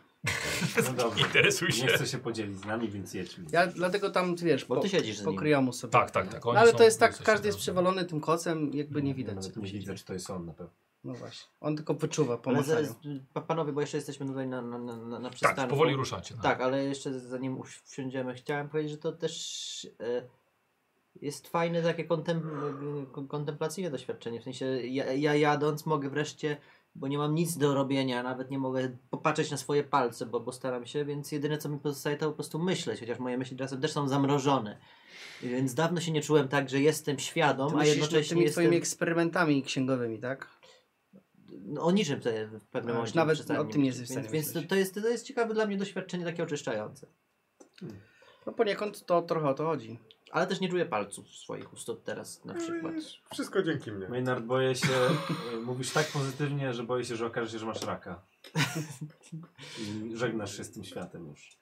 Speaker 2: No dobrze.
Speaker 1: Interesuj
Speaker 2: Nie
Speaker 1: się.
Speaker 2: chce się podzielić z nami, więc jedźmy.
Speaker 3: Ja dlatego tam, wiesz,
Speaker 5: Bo
Speaker 3: po-
Speaker 5: ty siedzisz z
Speaker 3: po
Speaker 5: nim.
Speaker 3: kryjomu sobie.
Speaker 1: Tak, tak, tak. oni
Speaker 3: No, ale
Speaker 1: są-
Speaker 3: to jest tak,
Speaker 1: jesteście
Speaker 3: każdy jest
Speaker 1: razem.
Speaker 3: przywalony tym kocem, jakby nie widać co
Speaker 2: Nawet
Speaker 3: tam
Speaker 2: nie
Speaker 3: się
Speaker 2: widzę,
Speaker 3: dzieje.
Speaker 2: czy to jest on na pewno.
Speaker 3: No właśnie. On tylko wyczuwa po
Speaker 5: Ale
Speaker 3: macaniu.
Speaker 5: zaraz, pa- panowie, bo jeszcze jesteśmy tutaj na, na, na, na, na przystanku.
Speaker 1: Tak, powoli ruszacie. No.
Speaker 5: Tak, ale jeszcze zanim uś- wsiądziemy, chciałem powiedzieć, że to też e, jest fajne takie kontem e, kontemplacyjne doświadczenie. W sensie ja, ja jadąc mogę wreszcie, bo nie mam nic do robienia, nawet nie mogę popatrzeć na swoje palce, bo, bo staram się, więc jedyne co mi pozostaje to po prostu myśleć, chociaż moje myśli czasem też są zamrożone. Więc dawno się nie czułem tak, że jestem świadom,
Speaker 3: Ty
Speaker 5: a
Speaker 3: myślisz nad
Speaker 5: jednocześnie
Speaker 3: tymi
Speaker 5: jestem...
Speaker 3: twoimi eksperymentami księgowymi, tak?
Speaker 5: no, o niczym tutaj w pewnym
Speaker 3: A,
Speaker 5: momencie
Speaker 3: nawet
Speaker 5: przestałem
Speaker 3: o tym nie
Speaker 5: myśleć.
Speaker 3: jesteś w stanie
Speaker 5: Więc, więc to,
Speaker 3: myśleć.
Speaker 5: to, jest, to jest ciekawe dla mnie doświadczenie takie oczyszczające.
Speaker 3: No poniekąd to trochę o to chodzi.
Speaker 5: Ale też nie czuję palców swoich u stóp teraz na przykład.
Speaker 4: Wszystko dzięki mnie.
Speaker 2: Maynard, boję się, y, mówisz tak pozytywnie, że boję się, że okaże się, że masz raka. I żegnasz się z tym światem już.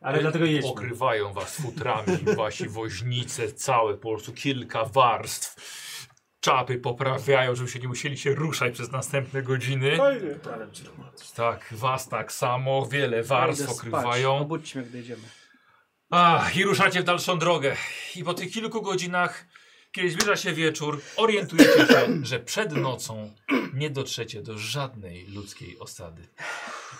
Speaker 2: Ale dlatego jedźmy.
Speaker 1: Okrywają was futrami, wasi woźnice całe, po prostu kilka warstw. Czapy poprawiają, żeby się nie musieli się ruszać przez następne godziny.
Speaker 2: No
Speaker 4: Fajnie.
Speaker 2: Prawie ci tłumaczę.
Speaker 1: Tak, was tak samo, wiele warstw
Speaker 3: Idę spać.
Speaker 1: okrywają.
Speaker 3: Obudźcie mnie, gdy idziemy.
Speaker 1: Ach, i ruszacie w dalszą drogę. I po tych kilku godzinach, kiedy zbliża się wieczór, orientujecie się, że przed nocą nie dotrzecie do żadnej ludzkiej osady.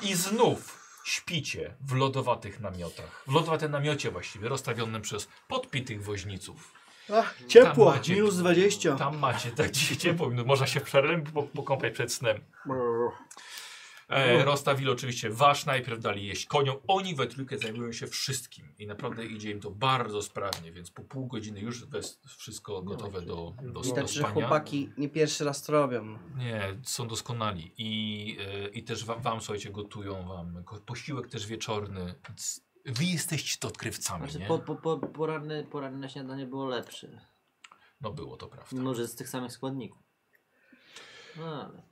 Speaker 1: I znów śpicie w lodowatych namiotach. W lodowatym namiocie właściwie, rozstawionym przez podpitych woźniców.
Speaker 3: Ach,
Speaker 1: ciepło,
Speaker 3: ciepło,
Speaker 1: macie-
Speaker 3: minus
Speaker 1: minus
Speaker 3: 20.
Speaker 1: Tam macie, tak dzisiaj ciepło, no, można się przerwem po- pokąpać przed snem. E, rozstawili oczywiście wasz, najpierw dali jeść koniom. Oni we trójkę zajmują się wszystkim i naprawdę idzie im to bardzo sprawnie, więc po pół godziny już wes- wszystko gotowe do, do, do
Speaker 3: Widać, że
Speaker 1: spania.
Speaker 3: chłopaki nie pierwszy raz to robią.
Speaker 1: Nie, są doskonali. I, e, i też wam, wam, słuchajcie, gotują wam ko- posiłek też wieczorny. Więc Wy jesteście to odkrywcami,
Speaker 5: Znaczy,
Speaker 1: nie?
Speaker 5: po, po, po, poranne, poranne śniadanie było lepsze.
Speaker 1: No było to prawda.
Speaker 5: Mimo, że z tych samych składników. No ale.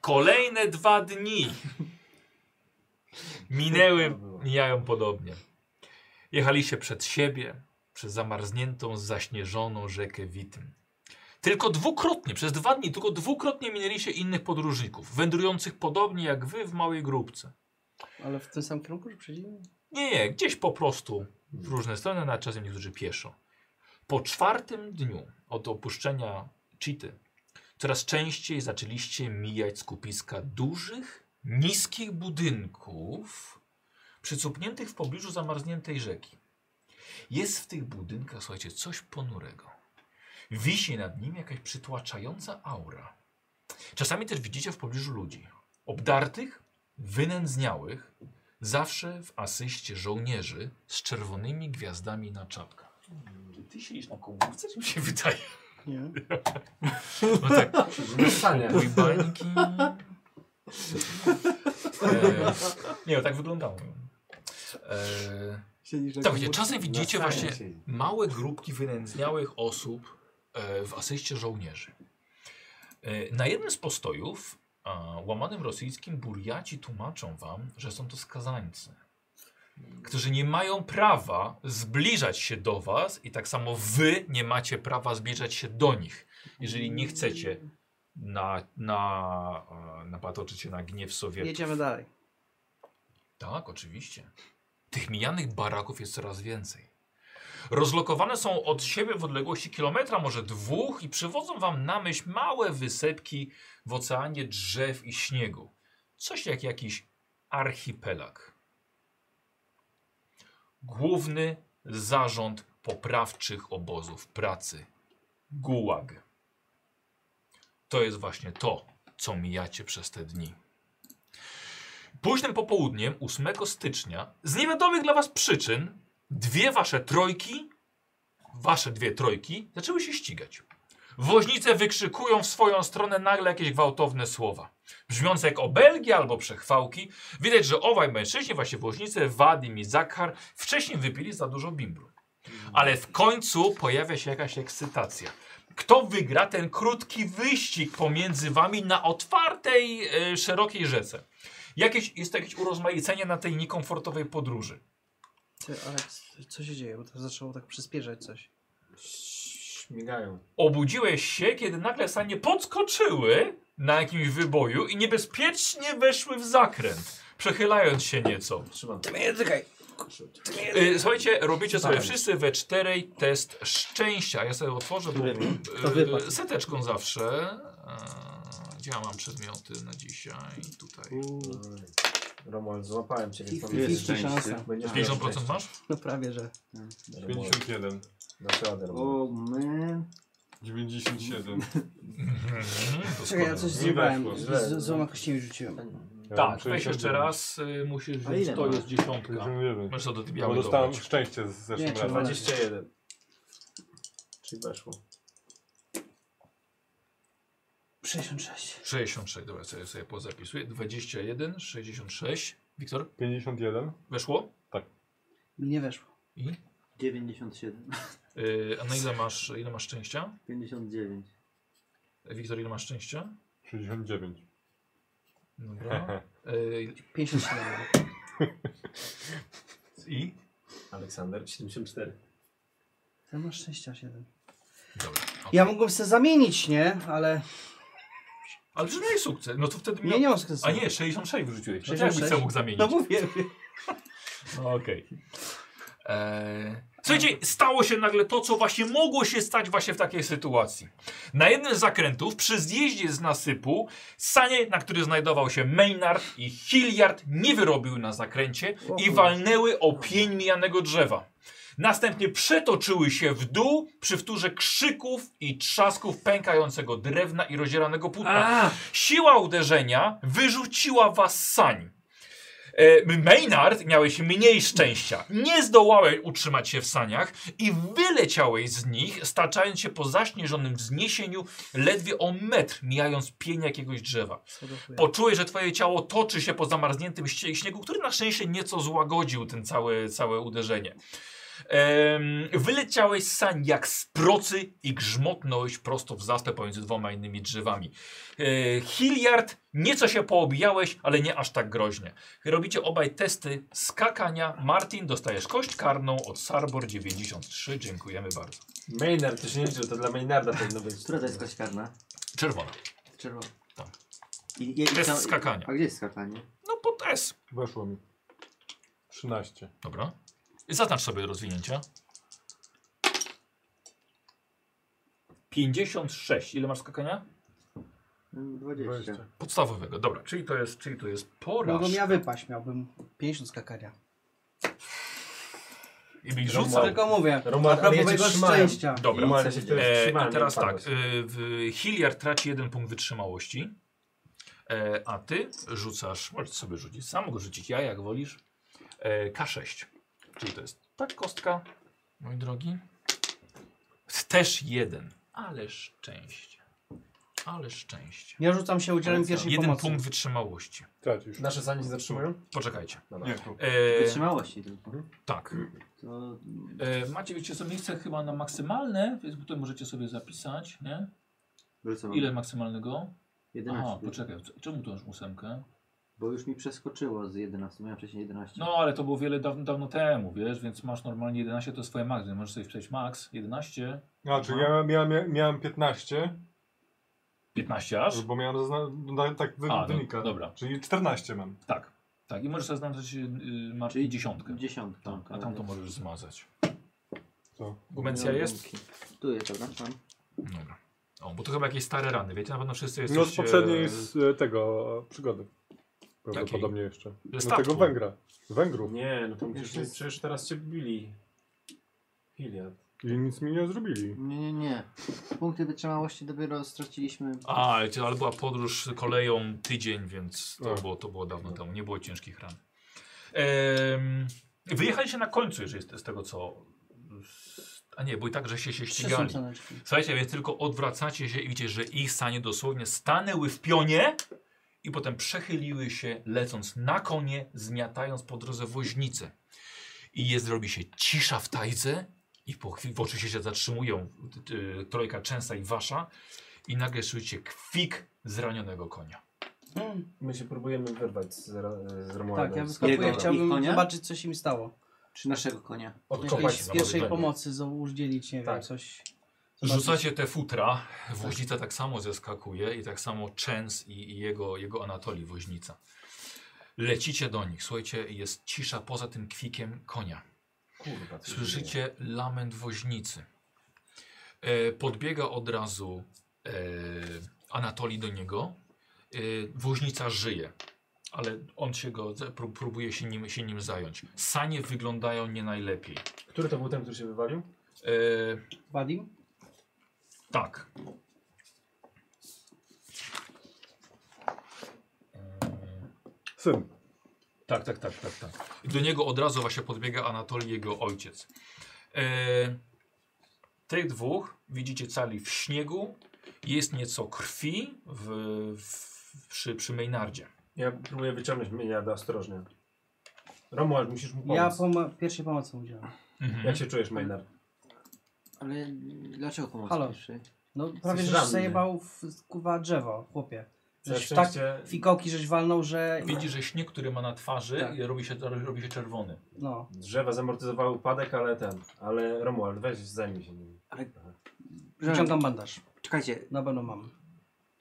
Speaker 1: Kolejne dwa dni minęły, mijają podobnie. Jechaliście przed siebie, przez zamarzniętą, zaśnieżoną rzekę Witym. Tylko dwukrotnie, przez dwa dni, tylko dwukrotnie minęliście innych podróżników, wędrujących podobnie jak wy w małej grupce.
Speaker 3: Ale w tym samym kierunku, że przejdziemy?
Speaker 1: Nie, nie, gdzieś po prostu w różne strony, na czasem niektórzy pieszo. Po czwartym dniu od opuszczenia Cheaty coraz częściej zaczęliście mijać skupiska dużych, niskich budynków przycupniętych w pobliżu zamarzniętej rzeki. Jest w tych budynkach, słuchajcie, coś ponurego. Wisi nad nim jakaś przytłaczająca aura. Czasami też widzicie w pobliżu ludzi obdartych, wynędzniałych, Zawsze w asyście żołnierzy z czerwonymi gwiazdami na czapkach. Czy ty siedzisz na kołówce, czy mi się wydaje?
Speaker 3: Nie.
Speaker 1: No tak,
Speaker 2: Mieszanie.
Speaker 1: kupuj bańki. E, nie, no tak wyglądało. E, tak, wiecie, czasem widzicie właśnie małe grupki wynędzniałych osób e, w asyście żołnierzy. E, na jednym z postojów a, łamanym rosyjskim burjaci tłumaczą wam, że są to skazańcy, którzy nie mają prawa zbliżać się do was i tak samo wy nie macie prawa zbliżać się do nich, jeżeli nie chcecie na, na, e, napatoczyć się na gniew Sowietów.
Speaker 3: Jedziemy dalej.
Speaker 1: Tak, oczywiście. Tych mijanych baraków jest coraz więcej. Rozlokowane są od siebie w odległości kilometra, może dwóch, i przywodzą wam na myśl małe wysepki w oceanie drzew i śniegu. Coś jak jakiś archipelag. Główny zarząd poprawczych obozów pracy Gułag. To jest właśnie to, co mijacie przez te dni. Późnym popołudniem 8 stycznia z niewiadomych dla was przyczyn dwie wasze trojki, wasze dwie trojki zaczęły się ścigać. Woźnice wykrzykują w swoją stronę nagle jakieś gwałtowne słowa. Brzmiące jak obelgi albo przechwałki. Widać, że owaj mężczyźni, właśnie woźnice, Wadim i Zakhar wcześniej wypili za dużo bimbru. Ale w końcu pojawia się jakaś ekscytacja. Kto wygra ten krótki wyścig pomiędzy wami na otwartej, e, szerokiej rzece? Jakieś, jest jakieś urozmaicenie na tej niekomfortowej podróży.
Speaker 3: Ty, ale c- co się dzieje? Bo to zaczęło tak przyspieszać coś.
Speaker 2: Migają.
Speaker 1: Obudziłeś się, kiedy nagle sanie podskoczyły na jakimś wyboju i niebezpiecznie weszły w zakręt, przechylając się nieco.
Speaker 2: Trzymam.
Speaker 3: Ty mnie dotykaj!
Speaker 1: Y, słuchajcie, robicie sobie
Speaker 2: Tak.
Speaker 1: wszyscy we czterej test szczęścia. Ja sobie otworzę bo,
Speaker 3: To wypadł.
Speaker 1: y, seteczką zawsze. E, Gdzie ja mam przedmioty na dzisiaj? Tutaj.
Speaker 2: No Romuald, złapałem cię, więc tam
Speaker 5: Jest
Speaker 2: jest
Speaker 5: szczęście.
Speaker 3: szansa.
Speaker 2: Będziesz miał
Speaker 1: 50%
Speaker 2: szczęście.
Speaker 1: masz?
Speaker 3: No prawie, że.
Speaker 2: Romuald,
Speaker 4: 51.
Speaker 2: Naprawdę, Romuald.
Speaker 5: O, my.
Speaker 4: 97.
Speaker 1: Mhm,
Speaker 3: Czekaj, ja
Speaker 1: doskonale.
Speaker 3: coś
Speaker 4: Nie
Speaker 3: zjebałem.
Speaker 4: weszło.
Speaker 3: Z, z, złoma kościami rzuciłem.
Speaker 4: Ja
Speaker 1: Tak,
Speaker 4: mam
Speaker 1: weź
Speaker 4: 61.
Speaker 1: jeszcze raz. y, Musisz
Speaker 5: A
Speaker 1: wziąć,
Speaker 5: ile
Speaker 1: to
Speaker 5: masz?
Speaker 1: jest dziesiątka.
Speaker 4: 51.
Speaker 1: Masz to do
Speaker 4: Bo
Speaker 1: białego.
Speaker 4: dostałem szczęście z zeszłym
Speaker 3: Nie, czy
Speaker 4: razem.
Speaker 2: 21. Czyli weszło.
Speaker 3: 66.
Speaker 1: 66, dobra, sobie, sobie pozapisuję. 21, 66. Wiktor,
Speaker 4: 51.
Speaker 1: weszło?
Speaker 3: Mi nie weszło.
Speaker 1: I?
Speaker 5: 97,
Speaker 1: Yy, a na ile masz, ile masz szczęścia?
Speaker 5: 59.
Speaker 1: Wiktor, ile masz szczęścia?
Speaker 4: 69.
Speaker 1: Dobra. Yy,
Speaker 3: 57.
Speaker 1: I?
Speaker 2: Aleksander, 74.
Speaker 3: Ty masz 67.
Speaker 1: Dobra. okej.
Speaker 3: Ja mógłbym sobie zamienić, nie? Ale
Speaker 1: Ale przynajmniej sukces. No to wtedy
Speaker 3: nie,
Speaker 1: miał...
Speaker 3: nie mam sukcesu.
Speaker 1: A nie, 66 wyrzuciłeś. No to jak
Speaker 3: 66?
Speaker 1: byś sam mógł zamienić?
Speaker 3: No mówię.
Speaker 1: No, Okej. Eee, Słuchajcie, stało się nagle to, co właśnie mogło się stać właśnie w takiej sytuacji. Na jednym z zakrętów, przy zjeździe z nasypu, sanie, na który znajdował się Maynard i Hilliard, nie wyrobił na zakręcie i walnęły o pień mijanego drzewa. Następnie przetoczyły się w dół przy wtórze krzyków i trzasków pękającego drewna i rozdzieranego płótna.
Speaker 2: A!
Speaker 1: Siła uderzenia wyrzuciła was z sań. E, Maynard miałeś mniej szczęścia. Nie zdołałeś utrzymać się w saniach i wyleciałeś z nich, staczając się po zaśnieżonym wzniesieniu ledwie o metr, mijając pień jakiegoś drzewa.
Speaker 3: Co do chuja.
Speaker 1: Poczułeś, że twoje ciało toczy się po zamarzniętym ście- śniegu, który na szczęście nieco złagodził ten całe, całe uderzenie. Em, wyleciałeś z sań jak z procy i grzmotnąłeś prosto w zaspę pomiędzy dwoma innymi drzewami. E, Hilliard, nieco się poobijałeś, ale nie aż tak groźnie. Robicie obaj testy skakania. Martin, dostajesz kość karną od Sarbor 93. Dziękujemy bardzo.
Speaker 2: Maynard, to się nie liczy, to dla Maynarda powinno być.
Speaker 5: Która to jest kość karna?
Speaker 1: Czerwona.
Speaker 5: Czerwona.
Speaker 1: Tak.
Speaker 5: I, i, i
Speaker 1: Test
Speaker 5: co-
Speaker 1: skakania.
Speaker 5: A gdzie jest skakanie?
Speaker 1: No pod S.
Speaker 4: Weszło mi. 13.
Speaker 1: Dobra. Zaznacz sobie rozwinięcia. 56. Ile masz skakania?
Speaker 5: Mm, 20.
Speaker 4: 20.
Speaker 1: Podstawowego, dobra. Czyli to jest, czyli to jest
Speaker 3: Mogą
Speaker 1: poraż.
Speaker 3: ja wypaść, miałbym 50 skakania.
Speaker 1: I byś rzucał.
Speaker 3: Tylko mówię,
Speaker 2: Roman, ale ja cię
Speaker 3: prawowego
Speaker 2: trzymałem.
Speaker 3: szczęścia.
Speaker 1: Dobra.
Speaker 2: I
Speaker 4: Normalnie
Speaker 2: w sensie
Speaker 4: to
Speaker 2: jest
Speaker 1: E,
Speaker 2: trzymanie
Speaker 1: I teraz tak.
Speaker 2: padło.
Speaker 1: E, w- Hilliard traci jeden punkt wytrzymałości. E, a ty rzucasz. Możesz sobie rzucić. Sam go rzucić ja, jak wolisz. E, K6. Czyli to jest tak kostka. Mój drogi. Też jeden. Ale szczęście. Ale szczęście.
Speaker 3: Ja rzucam się udzielam pierwszej
Speaker 1: Jeden
Speaker 3: pomocy.
Speaker 1: punkt wytrzymałości. e,
Speaker 4: Tracisz.
Speaker 2: Nasze sanie się zatrzymują?
Speaker 1: Poczekajcie.
Speaker 4: Nie, tu.
Speaker 1: E,
Speaker 5: Wytrzymałości tylko.
Speaker 1: tak.
Speaker 5: To
Speaker 1: E, macie wiecie co miejsce chyba na maksymalne, więc tutaj możecie sobie zapisać, nie?
Speaker 5: wrócę.
Speaker 1: Ile maksymalnego?
Speaker 5: 11.
Speaker 1: Aha, poczekaj, c- czemu to masz ósemkę?
Speaker 5: Bo już mi przeskoczyło z 11. Miałem wcześniej 11.
Speaker 1: No, ale to było wiele dawno, dawno temu, wiesz, więc masz normalnie 11, to jest twoje max, więc możesz sobie wpisać max 11,
Speaker 4: A, czyli Znaczy, ja miałem, miałem 15,
Speaker 1: 15 aż.
Speaker 4: bo miałem zazna- no, tak wy,
Speaker 1: A, no,
Speaker 4: wynika.
Speaker 1: dobra.
Speaker 4: Czyli 14 mam.
Speaker 1: Tak, tak. I możesz zaznaczyć y, masz
Speaker 5: Czyli
Speaker 1: dziesiątkę.
Speaker 5: Dziesiątka.
Speaker 1: Tam, a tam to możesz zmazać.
Speaker 4: Co?
Speaker 1: Gumencja jest?
Speaker 5: Tu jest, dobra. Tam.
Speaker 1: Dobra. O, bo to chyba jakieś stare rany, wiecie, na pewno wszyscy
Speaker 4: No
Speaker 1: jesteście...
Speaker 4: z poprzedniej z e, tego e, przygody. Prawdopodobnie jeszcze. Z
Speaker 1: statku.
Speaker 4: no, tego Węgra. Z Węgrów.
Speaker 2: Nie, no to przecież, przecież teraz cię bili. Hilliard.
Speaker 4: I nic mi nie zrobili.
Speaker 5: Nie, nie, nie. Punkty wytrzymałości dopiero straciliśmy.
Speaker 1: A, ale to- ale była podróż koleją tydzień, więc to,
Speaker 4: A.
Speaker 1: było, to było dawno temu. Nie było ciężkich ran. Ehm, wyjechaliście na końcu, jeżeli jest z tego co... A nie, bo i tak, że się, się
Speaker 3: Trzy
Speaker 1: ścigali.
Speaker 3: sąsiadeczki.
Speaker 1: Słuchajcie, więc tylko odwracacie się i widzicie, że ich sanie dosłownie stanęły w pionie i potem przechyliły się, lecąc na konie, zmiatając po drodze woźnicę. I jest, robi się cisza w tajdze i po chwili, bo oczywiście się zatrzymują y, y, trojka częsta i wasza i nagle słyszycie kwik zranionego konia.
Speaker 3: Mm.
Speaker 2: My się próbujemy wyrwać z, Ra- z Romualdem.
Speaker 3: Tak, ja wyskakuję,
Speaker 5: Jego- ich
Speaker 3: chciałbym
Speaker 5: konia?
Speaker 3: zobaczyć co się mi stało.
Speaker 5: Czy naszego konia?
Speaker 2: Odkopać
Speaker 3: Jakiejś
Speaker 1: się
Speaker 2: z
Speaker 1: na
Speaker 3: pierwszej
Speaker 1: podwórku.
Speaker 3: pomocy zo- udzielić, nie wiem,
Speaker 2: Tak.
Speaker 3: coś. zobaczyć.
Speaker 1: Rzucacie te futra, woźnica tak samo zeskakuje i tak samo Częs i, i jego, jego Anatoli woźnica. Lecicie do nich, słuchajcie, jest cisza poza tym kwikiem konia.
Speaker 2: Kurwa, co się dzieje?
Speaker 1: Słyszycie lament woźnicy. E, podbiega od razu e, Anatoli do niego. E, woźnica żyje, ale on się go, pró- próbuje się nim, się nim zająć. Sanie wyglądają nie najlepiej.
Speaker 2: Który to był ten, który się wywalił?
Speaker 1: E,
Speaker 3: Wadim?
Speaker 1: tak.
Speaker 4: Syn.
Speaker 1: Tak, tak, tak, tak, tak. I do niego od razu właśnie podbiega Anatolij, jego ojciec. E, tych dwóch widzicie cali w śniegu. Jest nieco krwi w, w, przy, przy Maynardzie.
Speaker 2: Ja próbuję wyciągnąć Maynarda ostrożnie. Romuald, musisz mu pomóc.
Speaker 3: Ja pomo pierwszej pomocy udzielam.
Speaker 2: Jak się czujesz, Maynard?
Speaker 5: Ale dlaczego pomoc
Speaker 3: Halo.
Speaker 5: pierwszej?
Speaker 3: No prawie żeś
Speaker 2: ranny.
Speaker 3: zajebał w kuwa drzewo, chłopie.
Speaker 2: Na
Speaker 3: Żeś tak
Speaker 2: szczęście
Speaker 3: fikołki żeś walnął, że...
Speaker 1: Widzi, że śnieg, który ma na twarzy,
Speaker 3: Tak.
Speaker 1: robi, się, robi się czerwony.
Speaker 3: No.
Speaker 2: drzewa zamortyzowały upadek, ale ten. Ale Romuald, weź zajmij się nim.
Speaker 3: Wyciągam bandaż.
Speaker 5: Czekajcie,
Speaker 3: Na pewno mam.